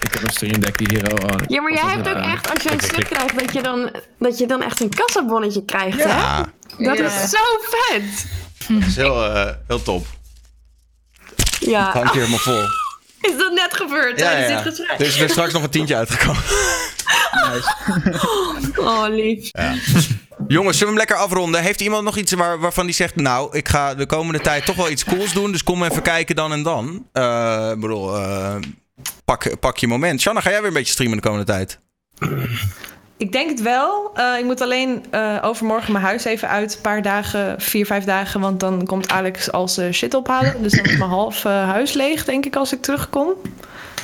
[SPEAKER 7] ik heb een stream deck die hier al.
[SPEAKER 11] Ja, maar jij hebt ook echt, als je een stuk krijgt, dat je dan, dat je dan echt een kassabonnetje krijgt, hè?
[SPEAKER 1] Ja,
[SPEAKER 11] Dat
[SPEAKER 1] Ja.
[SPEAKER 11] is zo vet!
[SPEAKER 1] dat is heel, eh, heel top.
[SPEAKER 11] Ja.
[SPEAKER 9] Ah.
[SPEAKER 1] Het hangt
[SPEAKER 9] [laughs]
[SPEAKER 1] hier helemaal vol.
[SPEAKER 11] Is dat net gebeurd
[SPEAKER 1] Ja,
[SPEAKER 11] tijdens
[SPEAKER 1] ja,
[SPEAKER 11] dit
[SPEAKER 1] Dus ja.
[SPEAKER 11] gesprek?
[SPEAKER 1] Er is er straks nog een tientje
[SPEAKER 5] [laughs]
[SPEAKER 1] uitgekomen.
[SPEAKER 9] [laughs]
[SPEAKER 11] Oh, lief.
[SPEAKER 1] Jongens, zullen we hem lekker afronden? Heeft iemand nog iets waar, waarvan die zegt... nou, ik ga de komende tijd toch wel iets cools doen... dus kom even kijken dan en dan. Eh, Ik bedoel, eh, pak, pak je moment. Shanna, ga jij weer een beetje streamen de komende tijd?
[SPEAKER 10] Ik denk het wel. Eh, ik moet alleen eh, overmorgen mijn huis even uit. Een paar dagen, vier, vijf dagen. Want dan komt Alex als eh, shit ophalen. Dus dan is mijn half eh, huis leeg, denk ik, als ik terugkom.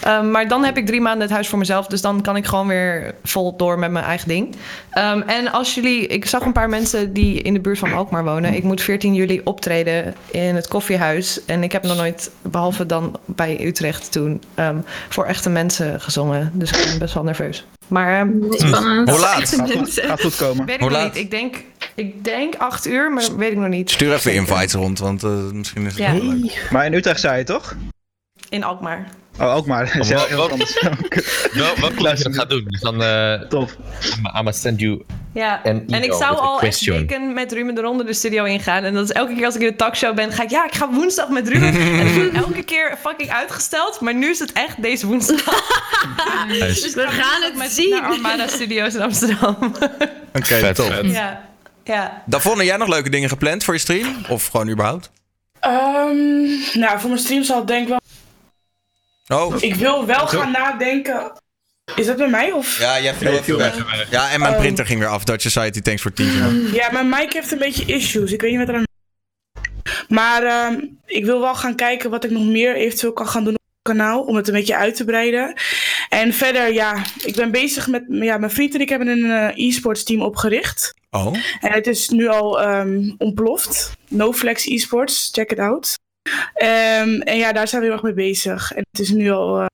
[SPEAKER 10] Ehm, maar dan heb ik drie maanden het huis voor mezelf. Dus dan kan ik gewoon weer vol door met mijn eigen ding. Ehm, en als jullie... Ik zag een paar mensen die in de buurt van Alkmaar wonen. Ik moet 14 juli optreden in het koffiehuis. En ik heb nog nooit, behalve dan bij Utrecht toen... ehm, voor echte mensen gezongen. Dus ik ben best wel nerveus. Maar... ehm,
[SPEAKER 11] Spannend.
[SPEAKER 1] Hoe laat?
[SPEAKER 11] Gaat goed- gaat goed
[SPEAKER 2] komen.
[SPEAKER 10] dus, eh, Weet ik
[SPEAKER 1] Hoe
[SPEAKER 10] nog
[SPEAKER 1] laat?
[SPEAKER 10] niet. Ik denk, ik denk acht uur, maar weet ik nog niet.
[SPEAKER 1] Stuur even invites rond, want eh, misschien is het
[SPEAKER 10] Ja.
[SPEAKER 1] wel leuk.
[SPEAKER 2] Maar in Utrecht zei je toch?
[SPEAKER 10] In Alkmaar.
[SPEAKER 2] Oh, ook maar. Dat is [laughs] heel- heel anders.
[SPEAKER 15] Wel, welke dat je dat gaat doen. Dus dan... eh
[SPEAKER 2] Top.
[SPEAKER 15] I'm send you...
[SPEAKER 10] Ja.
[SPEAKER 15] En
[SPEAKER 10] En, ik
[SPEAKER 15] Ido
[SPEAKER 10] zou
[SPEAKER 15] with a
[SPEAKER 10] al echt
[SPEAKER 15] question.
[SPEAKER 10] weken met Ruben de Ronde de studio ingaan. En dat is elke keer als ik in de talkshow ben, ga ik, ja, ik ga woensdag met Ruben. en dat wordt elke keer fucking uitgesteld. Maar nu is het echt deze woensdag. Dus
[SPEAKER 11] We gaan het
[SPEAKER 10] met
[SPEAKER 11] zien.
[SPEAKER 10] naar Armada Studios in Amsterdam.
[SPEAKER 1] Oké, top.
[SPEAKER 10] ja. Ja.
[SPEAKER 1] Davonne, jij nog leuke dingen gepland voor je stream? Of gewoon überhaupt?
[SPEAKER 5] Ehm, nou, voor mijn stream zal het denk ik wel...
[SPEAKER 1] Oh.
[SPEAKER 5] Ik wil wel
[SPEAKER 1] Zo.
[SPEAKER 5] gaan nadenken. Is dat bij mij of...
[SPEAKER 1] Ja, jij viel even weg. Ja, en
[SPEAKER 6] Ehm.
[SPEAKER 1] mijn printer ging weer af. Dutch Society, thanks voor 10.
[SPEAKER 5] Ja, mijn mic heeft een beetje issues. Ik weet niet wat er aan... Maar ehm, ik wil wel gaan kijken wat ik nog meer eventueel kan gaan doen op het kanaal. Om het een beetje uit te breiden. En verder, ja, ik ben bezig met... Ja, mijn vriend en ik hebben een eh, e-sports team opgericht.
[SPEAKER 1] Oh.
[SPEAKER 5] En het is nu al ehm, ontploft. NoFlex esports, check it out. Ehm, en ja, daar zijn we heel erg mee bezig. En het is nu al... eh,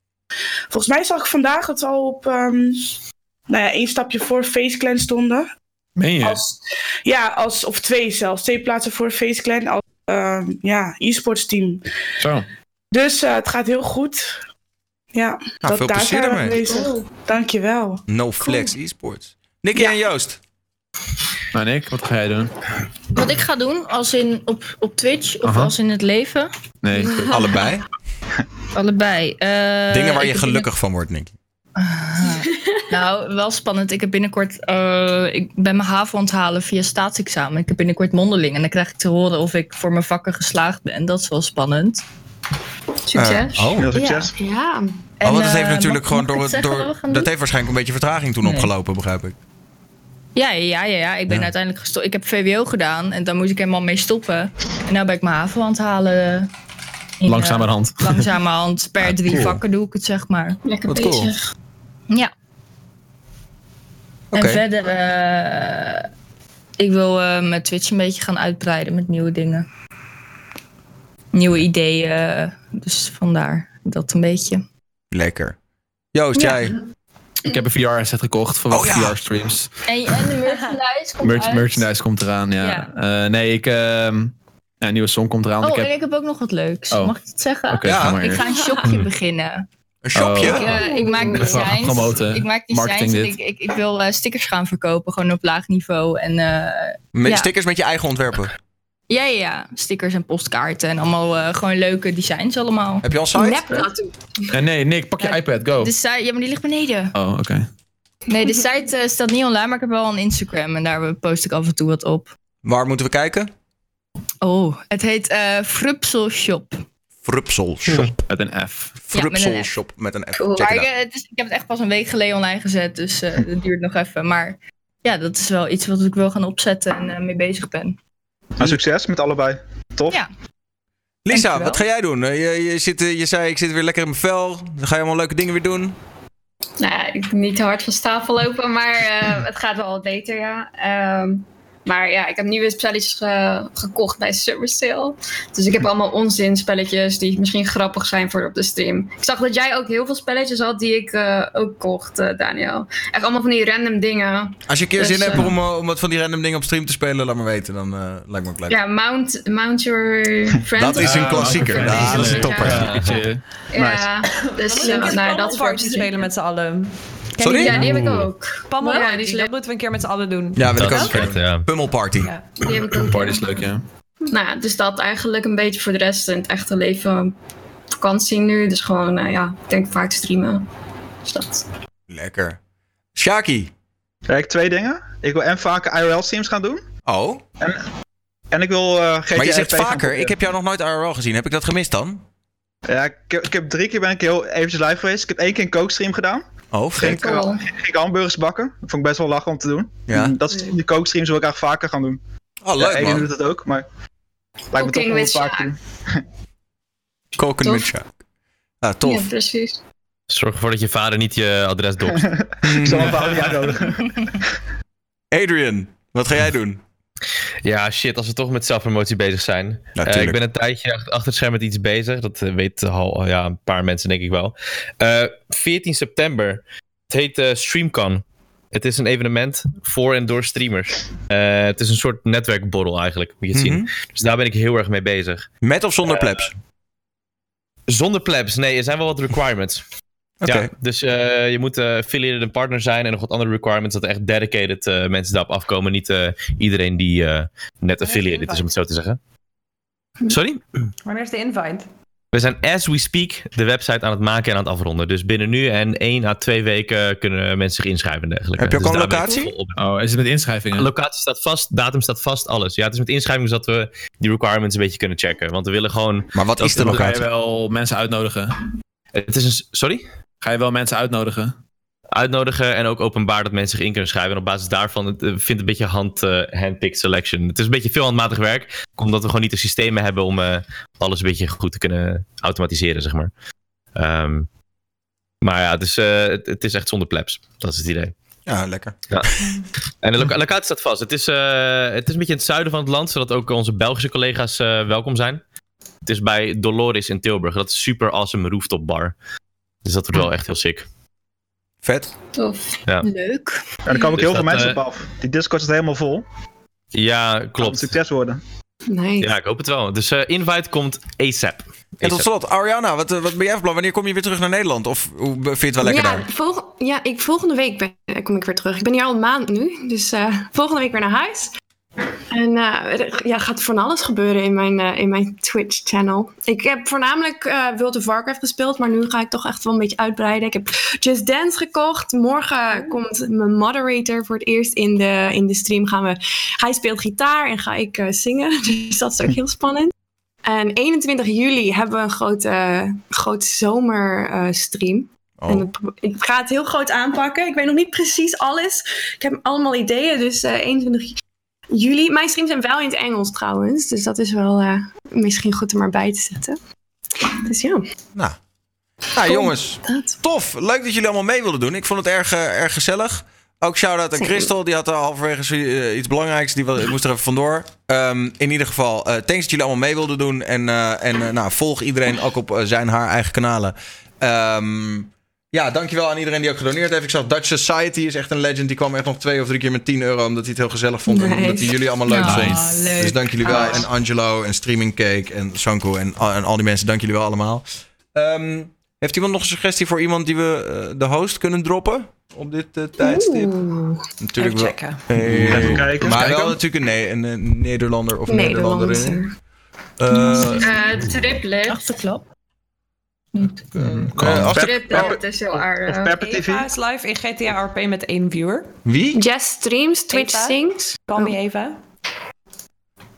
[SPEAKER 5] volgens mij zag ik vandaag dat we al op... ehm, nou ja, één stapje voor Face Clan stonden.
[SPEAKER 7] Meen je?
[SPEAKER 5] Ja, als, of twee zelfs. Twee plaatsen voor Face Clan als ehm, ja, e-sports team.
[SPEAKER 7] Zo.
[SPEAKER 5] Dus eh, het gaat heel goed. Ja, dat,
[SPEAKER 1] Nou, veel
[SPEAKER 5] daar
[SPEAKER 1] plezier
[SPEAKER 5] zijn we mee
[SPEAKER 1] ermee.
[SPEAKER 5] bezig. Dankjewel.
[SPEAKER 1] No Flex eSports. Nicky en Joost.
[SPEAKER 7] Nou, Nick, wat ga jij doen?
[SPEAKER 6] Wat ik ga doen, als in op, op Twitch of
[SPEAKER 7] Aha.
[SPEAKER 6] als in het leven, [laughs]
[SPEAKER 7] Nee.
[SPEAKER 1] Allebei.
[SPEAKER 6] allebei. Eh,
[SPEAKER 1] Dingen waar je
[SPEAKER 6] ik heb binnen-
[SPEAKER 1] gelukkig van wordt, Nicky.
[SPEAKER 6] Nou, wel spannend. Ik heb binnenkort, eh, ik ben mijn HAVO aan het halen via staatsexamen. Ik heb binnenkort mondeling en dan krijg ik te horen of ik voor mijn vakken geslaagd ben. Dat is wel spannend. Succes.
[SPEAKER 1] Eh, oh. Heel succes.
[SPEAKER 6] Ja.
[SPEAKER 1] oh, want dat
[SPEAKER 6] En,
[SPEAKER 1] heeft
[SPEAKER 6] eh,
[SPEAKER 1] natuurlijk
[SPEAKER 6] mag-
[SPEAKER 1] gewoon
[SPEAKER 6] mag ik
[SPEAKER 1] door, het-
[SPEAKER 6] zeggen
[SPEAKER 1] door
[SPEAKER 6] wat we gaan
[SPEAKER 1] dat
[SPEAKER 6] doen?
[SPEAKER 1] heeft waarschijnlijk een beetje vertraging toen opgelopen, begrijp ik.
[SPEAKER 6] Ja, ja, ja, ja. Ik ben
[SPEAKER 1] Ja.
[SPEAKER 6] uiteindelijk gestopt. Ik heb VWO gedaan en daar moest ik helemaal mee stoppen. En nu ben ik mijn HAVO aan het halen. In, eh,
[SPEAKER 7] Langzamerhand. [laughs]
[SPEAKER 6] langzamerhand. Per
[SPEAKER 7] Ah,
[SPEAKER 6] drie
[SPEAKER 7] cool.
[SPEAKER 6] vakken doe ik het, zeg maar.
[SPEAKER 3] Lekker
[SPEAKER 1] Wat cool. bezig.
[SPEAKER 6] Ja.
[SPEAKER 1] Oké.
[SPEAKER 6] En verder, eh, ik wil eh, mijn Twitch een beetje gaan uitbreiden met nieuwe dingen. Nieuwe ideeën. Dus vandaar dat een beetje.
[SPEAKER 1] Lekker. Joost,
[SPEAKER 6] Ja.
[SPEAKER 1] jij.
[SPEAKER 7] Ik heb een VR-set gekocht voor
[SPEAKER 1] Oh, ja.
[SPEAKER 7] VR-streams.
[SPEAKER 6] En, en de merchandise komt
[SPEAKER 7] Merch-
[SPEAKER 6] uit.
[SPEAKER 7] merchandise komt eraan, ja. Eh, nee, ik... ehm, ja, een nieuwe song komt eraan.
[SPEAKER 6] Oh,
[SPEAKER 7] ik heb...
[SPEAKER 6] en ik heb ook nog wat leuks.
[SPEAKER 7] Oh.
[SPEAKER 6] Mag ik het zeggen?
[SPEAKER 7] Oké, Ja. ga maar
[SPEAKER 6] Ik
[SPEAKER 7] eerst. Hm.
[SPEAKER 6] ga een shopje beginnen.
[SPEAKER 1] Een shopje?
[SPEAKER 7] Oh.
[SPEAKER 6] Ik, eh, ik maak
[SPEAKER 7] Dat is wel
[SPEAKER 6] designs.
[SPEAKER 7] promoten.
[SPEAKER 6] Ik maak
[SPEAKER 7] Marketing
[SPEAKER 6] designs. en
[SPEAKER 7] dit.
[SPEAKER 6] Ik, ik, ik wil eh, stickers gaan verkopen, gewoon op laag niveau. En, eh,
[SPEAKER 1] Met
[SPEAKER 6] ja.
[SPEAKER 1] Stickers met je eigen ontwerpen.
[SPEAKER 6] Ja, ja, ja. Stickers en postkaarten en allemaal eh, gewoon leuke designs allemaal.
[SPEAKER 1] Heb je al
[SPEAKER 7] site?
[SPEAKER 6] Nep tattoo.
[SPEAKER 7] Ja, Eh, nee, Nick, pak je iPad, go.
[SPEAKER 6] De site, ja, maar die ligt beneden.
[SPEAKER 7] Oh, oké.
[SPEAKER 6] Nee, de site eh, staat niet online, maar ik heb wel een Instagram en daar post ik af en toe wat op.
[SPEAKER 1] Waar moeten we kijken?
[SPEAKER 6] Oh, het heet eh Frupsel Shop.
[SPEAKER 1] Frupsel Shop.
[SPEAKER 7] Hm. Met een F.
[SPEAKER 1] Frupsel
[SPEAKER 6] met een F.
[SPEAKER 1] Shop met een F. Check it
[SPEAKER 6] Maar ik,
[SPEAKER 1] out.
[SPEAKER 6] eh, het is- ik heb het echt pas een week geleden online gezet, dus eh dat duurt nog even. Maar ja, dat is wel iets wat ik wil gaan opzetten en eh, mee bezig ben.
[SPEAKER 2] Maar succes met allebei. Tof.
[SPEAKER 6] Ja.
[SPEAKER 1] Lisa, wat ga jij doen? Eh, Je, je, zit, eh, je zei, ik zit weer lekker in mijn vel. Dan ga je allemaal leuke dingen weer doen.
[SPEAKER 3] Nou ja, ik niet te hard van stapel lopen, maar eh, het gaat wel wat beter, ja. Ehm, maar ja, ik heb nieuwe spelletjes ge- gekocht bij Summer Sale. Dus ik heb allemaal onzin spelletjes die misschien grappig zijn voor op de stream. Ik zag dat jij ook heel veel spelletjes had die ik eh, ook kocht, eh, Daniel. Echt allemaal van die random dingen.
[SPEAKER 1] Als je een keer
[SPEAKER 3] Dus,
[SPEAKER 1] zin hebt
[SPEAKER 3] eh,
[SPEAKER 1] om, eh, om wat van die random dingen op stream te spelen, laat me weten. Dan eh, lijkt me ook leuk.
[SPEAKER 3] Ja, Mount, Mount
[SPEAKER 10] [laughs]
[SPEAKER 3] Your Friend.
[SPEAKER 1] Dat
[SPEAKER 3] of
[SPEAKER 1] is
[SPEAKER 3] zo.
[SPEAKER 1] een klassieker.
[SPEAKER 7] Friend
[SPEAKER 1] Ja,
[SPEAKER 7] is
[SPEAKER 1] dat is een
[SPEAKER 7] leuk.
[SPEAKER 1] topper.
[SPEAKER 7] Ja.
[SPEAKER 3] Ja, dus eh, nou, dat
[SPEAKER 10] Party
[SPEAKER 3] wordt
[SPEAKER 10] spelen met z'n allen. Ken
[SPEAKER 1] Sorry?
[SPEAKER 10] je
[SPEAKER 3] Ja, die heb ik ook.
[SPEAKER 10] Pammel
[SPEAKER 3] Ja,
[SPEAKER 10] Party,
[SPEAKER 3] die is
[SPEAKER 10] dat moeten we een keer met z'n allen doen.
[SPEAKER 1] Ja, wil ik
[SPEAKER 4] Dat
[SPEAKER 1] ook.
[SPEAKER 4] is vet, ja.
[SPEAKER 1] Pummelparty.
[SPEAKER 3] Die heb ik ook.
[SPEAKER 7] Party is leuk, ja.
[SPEAKER 3] Nou ja, dus dat eigenlijk een beetje voor de rest in het echte leven. Vakantie nu, dus gewoon, nou ja, ik denk vaak streamen. Dus dat.
[SPEAKER 1] Lekker. Shaki.
[SPEAKER 2] Kijk, twee dingen. Ik wil en vaker IRL-streams gaan doen.
[SPEAKER 1] Oh,
[SPEAKER 2] En ik wil eh GTA
[SPEAKER 1] maar je zegt
[SPEAKER 2] 2 gaan
[SPEAKER 1] vaker.
[SPEAKER 2] proberen.
[SPEAKER 1] Ik heb jou nog nooit IRL gezien. Heb ik dat gemist dan?
[SPEAKER 2] Ja, ik heb, ik heb drie keer ben ik heel eventjes live geweest. Ik heb één keer een kookstream gedaan.
[SPEAKER 1] Oh,
[SPEAKER 2] Ging
[SPEAKER 1] vet.
[SPEAKER 2] ik, eh, ging ik hamburgers bakken. Dat vond ik best wel lachen om te doen. Mm.
[SPEAKER 1] Ja.
[SPEAKER 2] Dat is, die kookstreams wil ik eigenlijk vaker gaan doen.
[SPEAKER 1] Oh,
[SPEAKER 2] ja,
[SPEAKER 1] leuk
[SPEAKER 2] Aiden
[SPEAKER 1] man.
[SPEAKER 2] doet dat ook, maar... Lijkt me
[SPEAKER 3] Cooking
[SPEAKER 2] toch om het
[SPEAKER 3] with
[SPEAKER 2] vaker te doen.
[SPEAKER 1] Koken met
[SPEAKER 3] Tof.
[SPEAKER 1] Shaki. Ah, tof.
[SPEAKER 3] Ja, precies.
[SPEAKER 4] Zorg ervoor dat je vader niet je adres
[SPEAKER 3] [laughs]
[SPEAKER 4] [laughs] dopt.
[SPEAKER 2] [laughs] Ik zal hem wel niet uitnodigen.
[SPEAKER 1] Adrian, wat ga jij doen?
[SPEAKER 4] Ja, shit, als we toch met zelfpromotie bezig zijn. Eh,
[SPEAKER 1] tuurlijk.
[SPEAKER 4] ik ben een tijdje ach- achter het scherm met iets bezig. Dat eh, weten al ja, een paar mensen, denk ik wel. Eh, 14 september. Het heet eh, StreamCon. Het is een evenement voor en door streamers. Eh, het is een soort netwerkborrel eigenlijk, moet je het
[SPEAKER 1] Mhm.
[SPEAKER 4] zien. Dus daar ben ik heel erg mee bezig. Eh,
[SPEAKER 1] Met of zonder plebs?
[SPEAKER 4] Zonder plebs, nee, er zijn wel wat requirements.
[SPEAKER 1] Oké.
[SPEAKER 4] Ja, dus eh, je moet eh affiliated en partner zijn en nog wat andere requirements dat er echt dedicated eh, mensen daarop afkomen. Niet eh, iedereen die eh, net affiliated is, om het zo te zeggen. Sorry?
[SPEAKER 10] Wanneer is de invite?
[SPEAKER 4] We zijn as we speak de website aan het maken en aan het afronden. Dus binnen nu en 1 à 2 weken kunnen mensen zich inschrijven en
[SPEAKER 6] eh,
[SPEAKER 4] dergelijke.
[SPEAKER 1] Heb je ook
[SPEAKER 4] Dus
[SPEAKER 1] al een
[SPEAKER 4] daar ben ik
[SPEAKER 1] locatie?
[SPEAKER 4] vol op.
[SPEAKER 7] Oh, is het met inschrijvingen?
[SPEAKER 4] Locatie staat vast, datum staat vast, alles. Ja, het is met inschrijving zodat we die requirements een beetje kunnen checken. Want we willen gewoon...
[SPEAKER 1] Maar wat is de
[SPEAKER 7] Dan Ga je
[SPEAKER 1] locatie?
[SPEAKER 7] wel mensen uitnodigen?
[SPEAKER 4] Het is een... Sorry?
[SPEAKER 7] Ga je wel mensen uitnodigen?
[SPEAKER 4] Uitnodigen en ook openbaar dat mensen zich in kunnen schrijven. En op basis daarvan eh, vindt een beetje hand, eh, handpicked selection. Het is een beetje veel handmatig werk. Omdat we gewoon niet de systemen hebben om eh, alles een beetje goed te kunnen automatiseren, zeg maar. Ehm, maar ja, dus, eh, het, het is echt zonder plebs. Dat is het idee.
[SPEAKER 1] Ja, lekker.
[SPEAKER 4] En de loca- locatie staat vast. Het is, eh, het is een beetje in het zuiden van het land, zodat ook onze Belgische collega's eh, welkom zijn. Het is bij Dolores in Tilburg. Dat is een super awesome rooftop bar. Dus dat
[SPEAKER 2] Hm.
[SPEAKER 4] wordt wel echt heel sick.
[SPEAKER 1] Vet.
[SPEAKER 3] Tof.
[SPEAKER 6] Leuk.
[SPEAKER 2] En er komen ook
[SPEAKER 4] Dus
[SPEAKER 2] heel veel
[SPEAKER 4] dat,
[SPEAKER 2] mensen
[SPEAKER 4] eh,
[SPEAKER 2] op af. Die Discord is helemaal vol.
[SPEAKER 4] Ja,
[SPEAKER 2] Het moet
[SPEAKER 4] klopt.
[SPEAKER 2] succes worden.
[SPEAKER 9] Nice.
[SPEAKER 4] Ja, ik hoop het wel. Dus eh, invite komt ASAP.
[SPEAKER 1] En tot
[SPEAKER 4] ASAP.
[SPEAKER 1] slot, Ariana, wat, eh, wat ben jij van plan? Wanneer kom je weer terug naar Nederland? Of hoe vind je het wel lekker
[SPEAKER 9] ja,
[SPEAKER 1] daar?
[SPEAKER 9] volg- ja, ik, volgende week ben, kom ik weer terug. Ik ben hier al een maand nu, dus eh, volgende week weer naar huis. En eh, er ja, gaat van alles gebeuren in mijn, eh, in mijn Twitch-channel. Ik heb voornamelijk eh, World of Warcraft gespeeld, maar nu ga ik toch echt wel een beetje uitbreiden. Ik heb Just Dance gekocht. Morgen komt mijn moderator voor het eerst in de, in de stream. Gaan we, hij speelt gitaar en ga ik eh, zingen, [laughs] dus dat is ook heel spannend. En 21 juli hebben we een grote, grote zomerstream. En
[SPEAKER 1] Oh,
[SPEAKER 9] dat pro- ik ga het heel groot aanpakken. Ik weet nog niet precies alles. Ik heb allemaal ideeën, dus eh 21 juli. Mijn streams zijn wel in het Engels trouwens, dus dat is wel eh, misschien goed om maar bij te zetten. Dus ja,
[SPEAKER 1] nou. Nou, jongens.
[SPEAKER 9] dat.
[SPEAKER 1] Tof. Leuk dat jullie allemaal mee wilden doen. Ik vond het erg, eh, erg gezellig. Ook shout-out aan Christel. Die had er halverwege zo- eh, iets belangrijks. Die wa- moest er even vandoor. Ehm, in ieder geval, eh, thanks dat jullie allemaal mee wilden doen. En, eh, en eh, nou, volg iedereen ook op eh, zijn haar eigen kanalen. Ehm, ja, dankjewel aan iedereen die ook gedoneerd heeft. Ik zag Dutch Society is echt een legend. Die kwam echt nog twee of drie keer met 10 euro. Omdat hij het heel gezellig vond. En
[SPEAKER 9] Nice.
[SPEAKER 1] omdat hij jullie allemaal leuk
[SPEAKER 6] Ah,
[SPEAKER 1] vond.
[SPEAKER 6] leuk.
[SPEAKER 1] Dus dank jullie wel. En Angelo en Streaming Cake en Sanko en, al- en al die mensen. Dank jullie wel allemaal. Ehm, heeft iemand nog een suggestie voor iemand die we eh, de host kunnen droppen? op dit eh, tijdstip. Natuurlijk
[SPEAKER 10] Even
[SPEAKER 1] wel.
[SPEAKER 10] checken.
[SPEAKER 1] Hey,
[SPEAKER 2] Even kijken.
[SPEAKER 1] Maar
[SPEAKER 2] Kijken.
[SPEAKER 1] wel natuurlijk een, ne- een, een Nederlander of
[SPEAKER 12] Nederlander.
[SPEAKER 1] Nederlanderin. Eh,
[SPEAKER 3] triplet.
[SPEAKER 6] Achterklap.
[SPEAKER 1] eh, als er-
[SPEAKER 3] Triplet is heel aardig.
[SPEAKER 10] Eva is live in GTA RP met één viewer.
[SPEAKER 1] Wie?
[SPEAKER 10] Jess streams, Twitch sings. Call me Eva.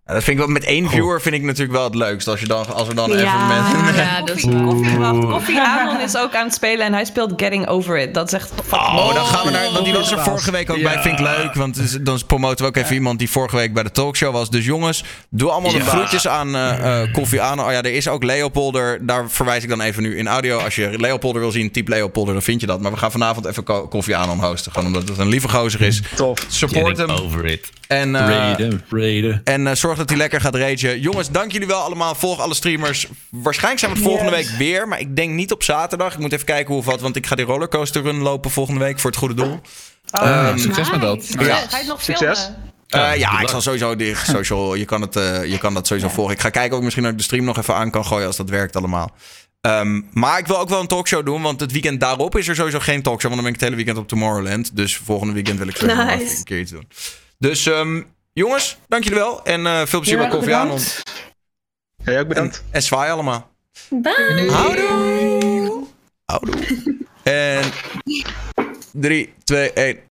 [SPEAKER 1] Ja, dat vind ik wel, met
[SPEAKER 2] Oh.
[SPEAKER 1] één viewer vind ik natuurlijk wel het leukst. Als, je dan, als we dan
[SPEAKER 10] Ja,
[SPEAKER 1] even met...
[SPEAKER 10] ja, dat is- Koffie, wacht, Koffie Amon is ook aan het spelen en hij speelt Getting Over It. Dat is echt...
[SPEAKER 1] Oh, dan gaan we naar, want die was er vorige week ook bij. Vind ik leuk, want is- dan promoten we ook even iemand die vorige week bij de talkshow was. Dus jongens, doe allemaal de
[SPEAKER 15] Ja.
[SPEAKER 1] groetjes aan eh eh Koffie aan. Oh ja, er is ook Leopolder. Daar verwijs ik dan even nu in audio. Als je Leopolder wil zien, typ Leopolder, dan vind je dat. Maar we gaan vanavond even ko- Koffie aan hosten. Gewoon omdat het een lieve gozer is.
[SPEAKER 2] Tof.
[SPEAKER 1] Support hem.
[SPEAKER 15] Over it.
[SPEAKER 1] En, eh,
[SPEAKER 7] Raiden, raiden.
[SPEAKER 1] en eh, zorg dat hij lekker gaat ragen. Jongens, dank jullie wel allemaal. Volg alle streamers. Waarschijnlijk zijn we het volgende
[SPEAKER 5] Yes.
[SPEAKER 1] week weer. Maar ik denk niet op zaterdag. Ik moet even kijken hoe of wat. Want ik ga die rollercoaster run lopen volgende week voor het goede doel.
[SPEAKER 7] Eh,
[SPEAKER 1] Ehm,
[SPEAKER 7] succes met dat.
[SPEAKER 1] Ja.
[SPEAKER 10] Ga je het nog
[SPEAKER 2] Succes.
[SPEAKER 10] filmen?
[SPEAKER 1] Eh, ja, ik zal sowieso die social. Je kan, het, eh, je kan dat sowieso volgen. Ik ga kijken of ik misschien ook de stream nog even aan kan gooien als dat werkt allemaal. Ehm, maar ik wil ook wel een talkshow doen, want het weekend daarop is er sowieso geen talkshow. Want dan ben ik het hele weekend op Tomorrowland. Dus volgende weekend wil ik sowieso nog
[SPEAKER 12] Nice.
[SPEAKER 1] even een keer iets doen. Dus ehm, jongens, dank jullie wel. En eh, veel plezier bij Koffie aan.
[SPEAKER 2] Jij ook bedankt.
[SPEAKER 1] En zwaai allemaal.
[SPEAKER 6] Bye.
[SPEAKER 1] Houdoe! Houdoe. En 3, 2, 1.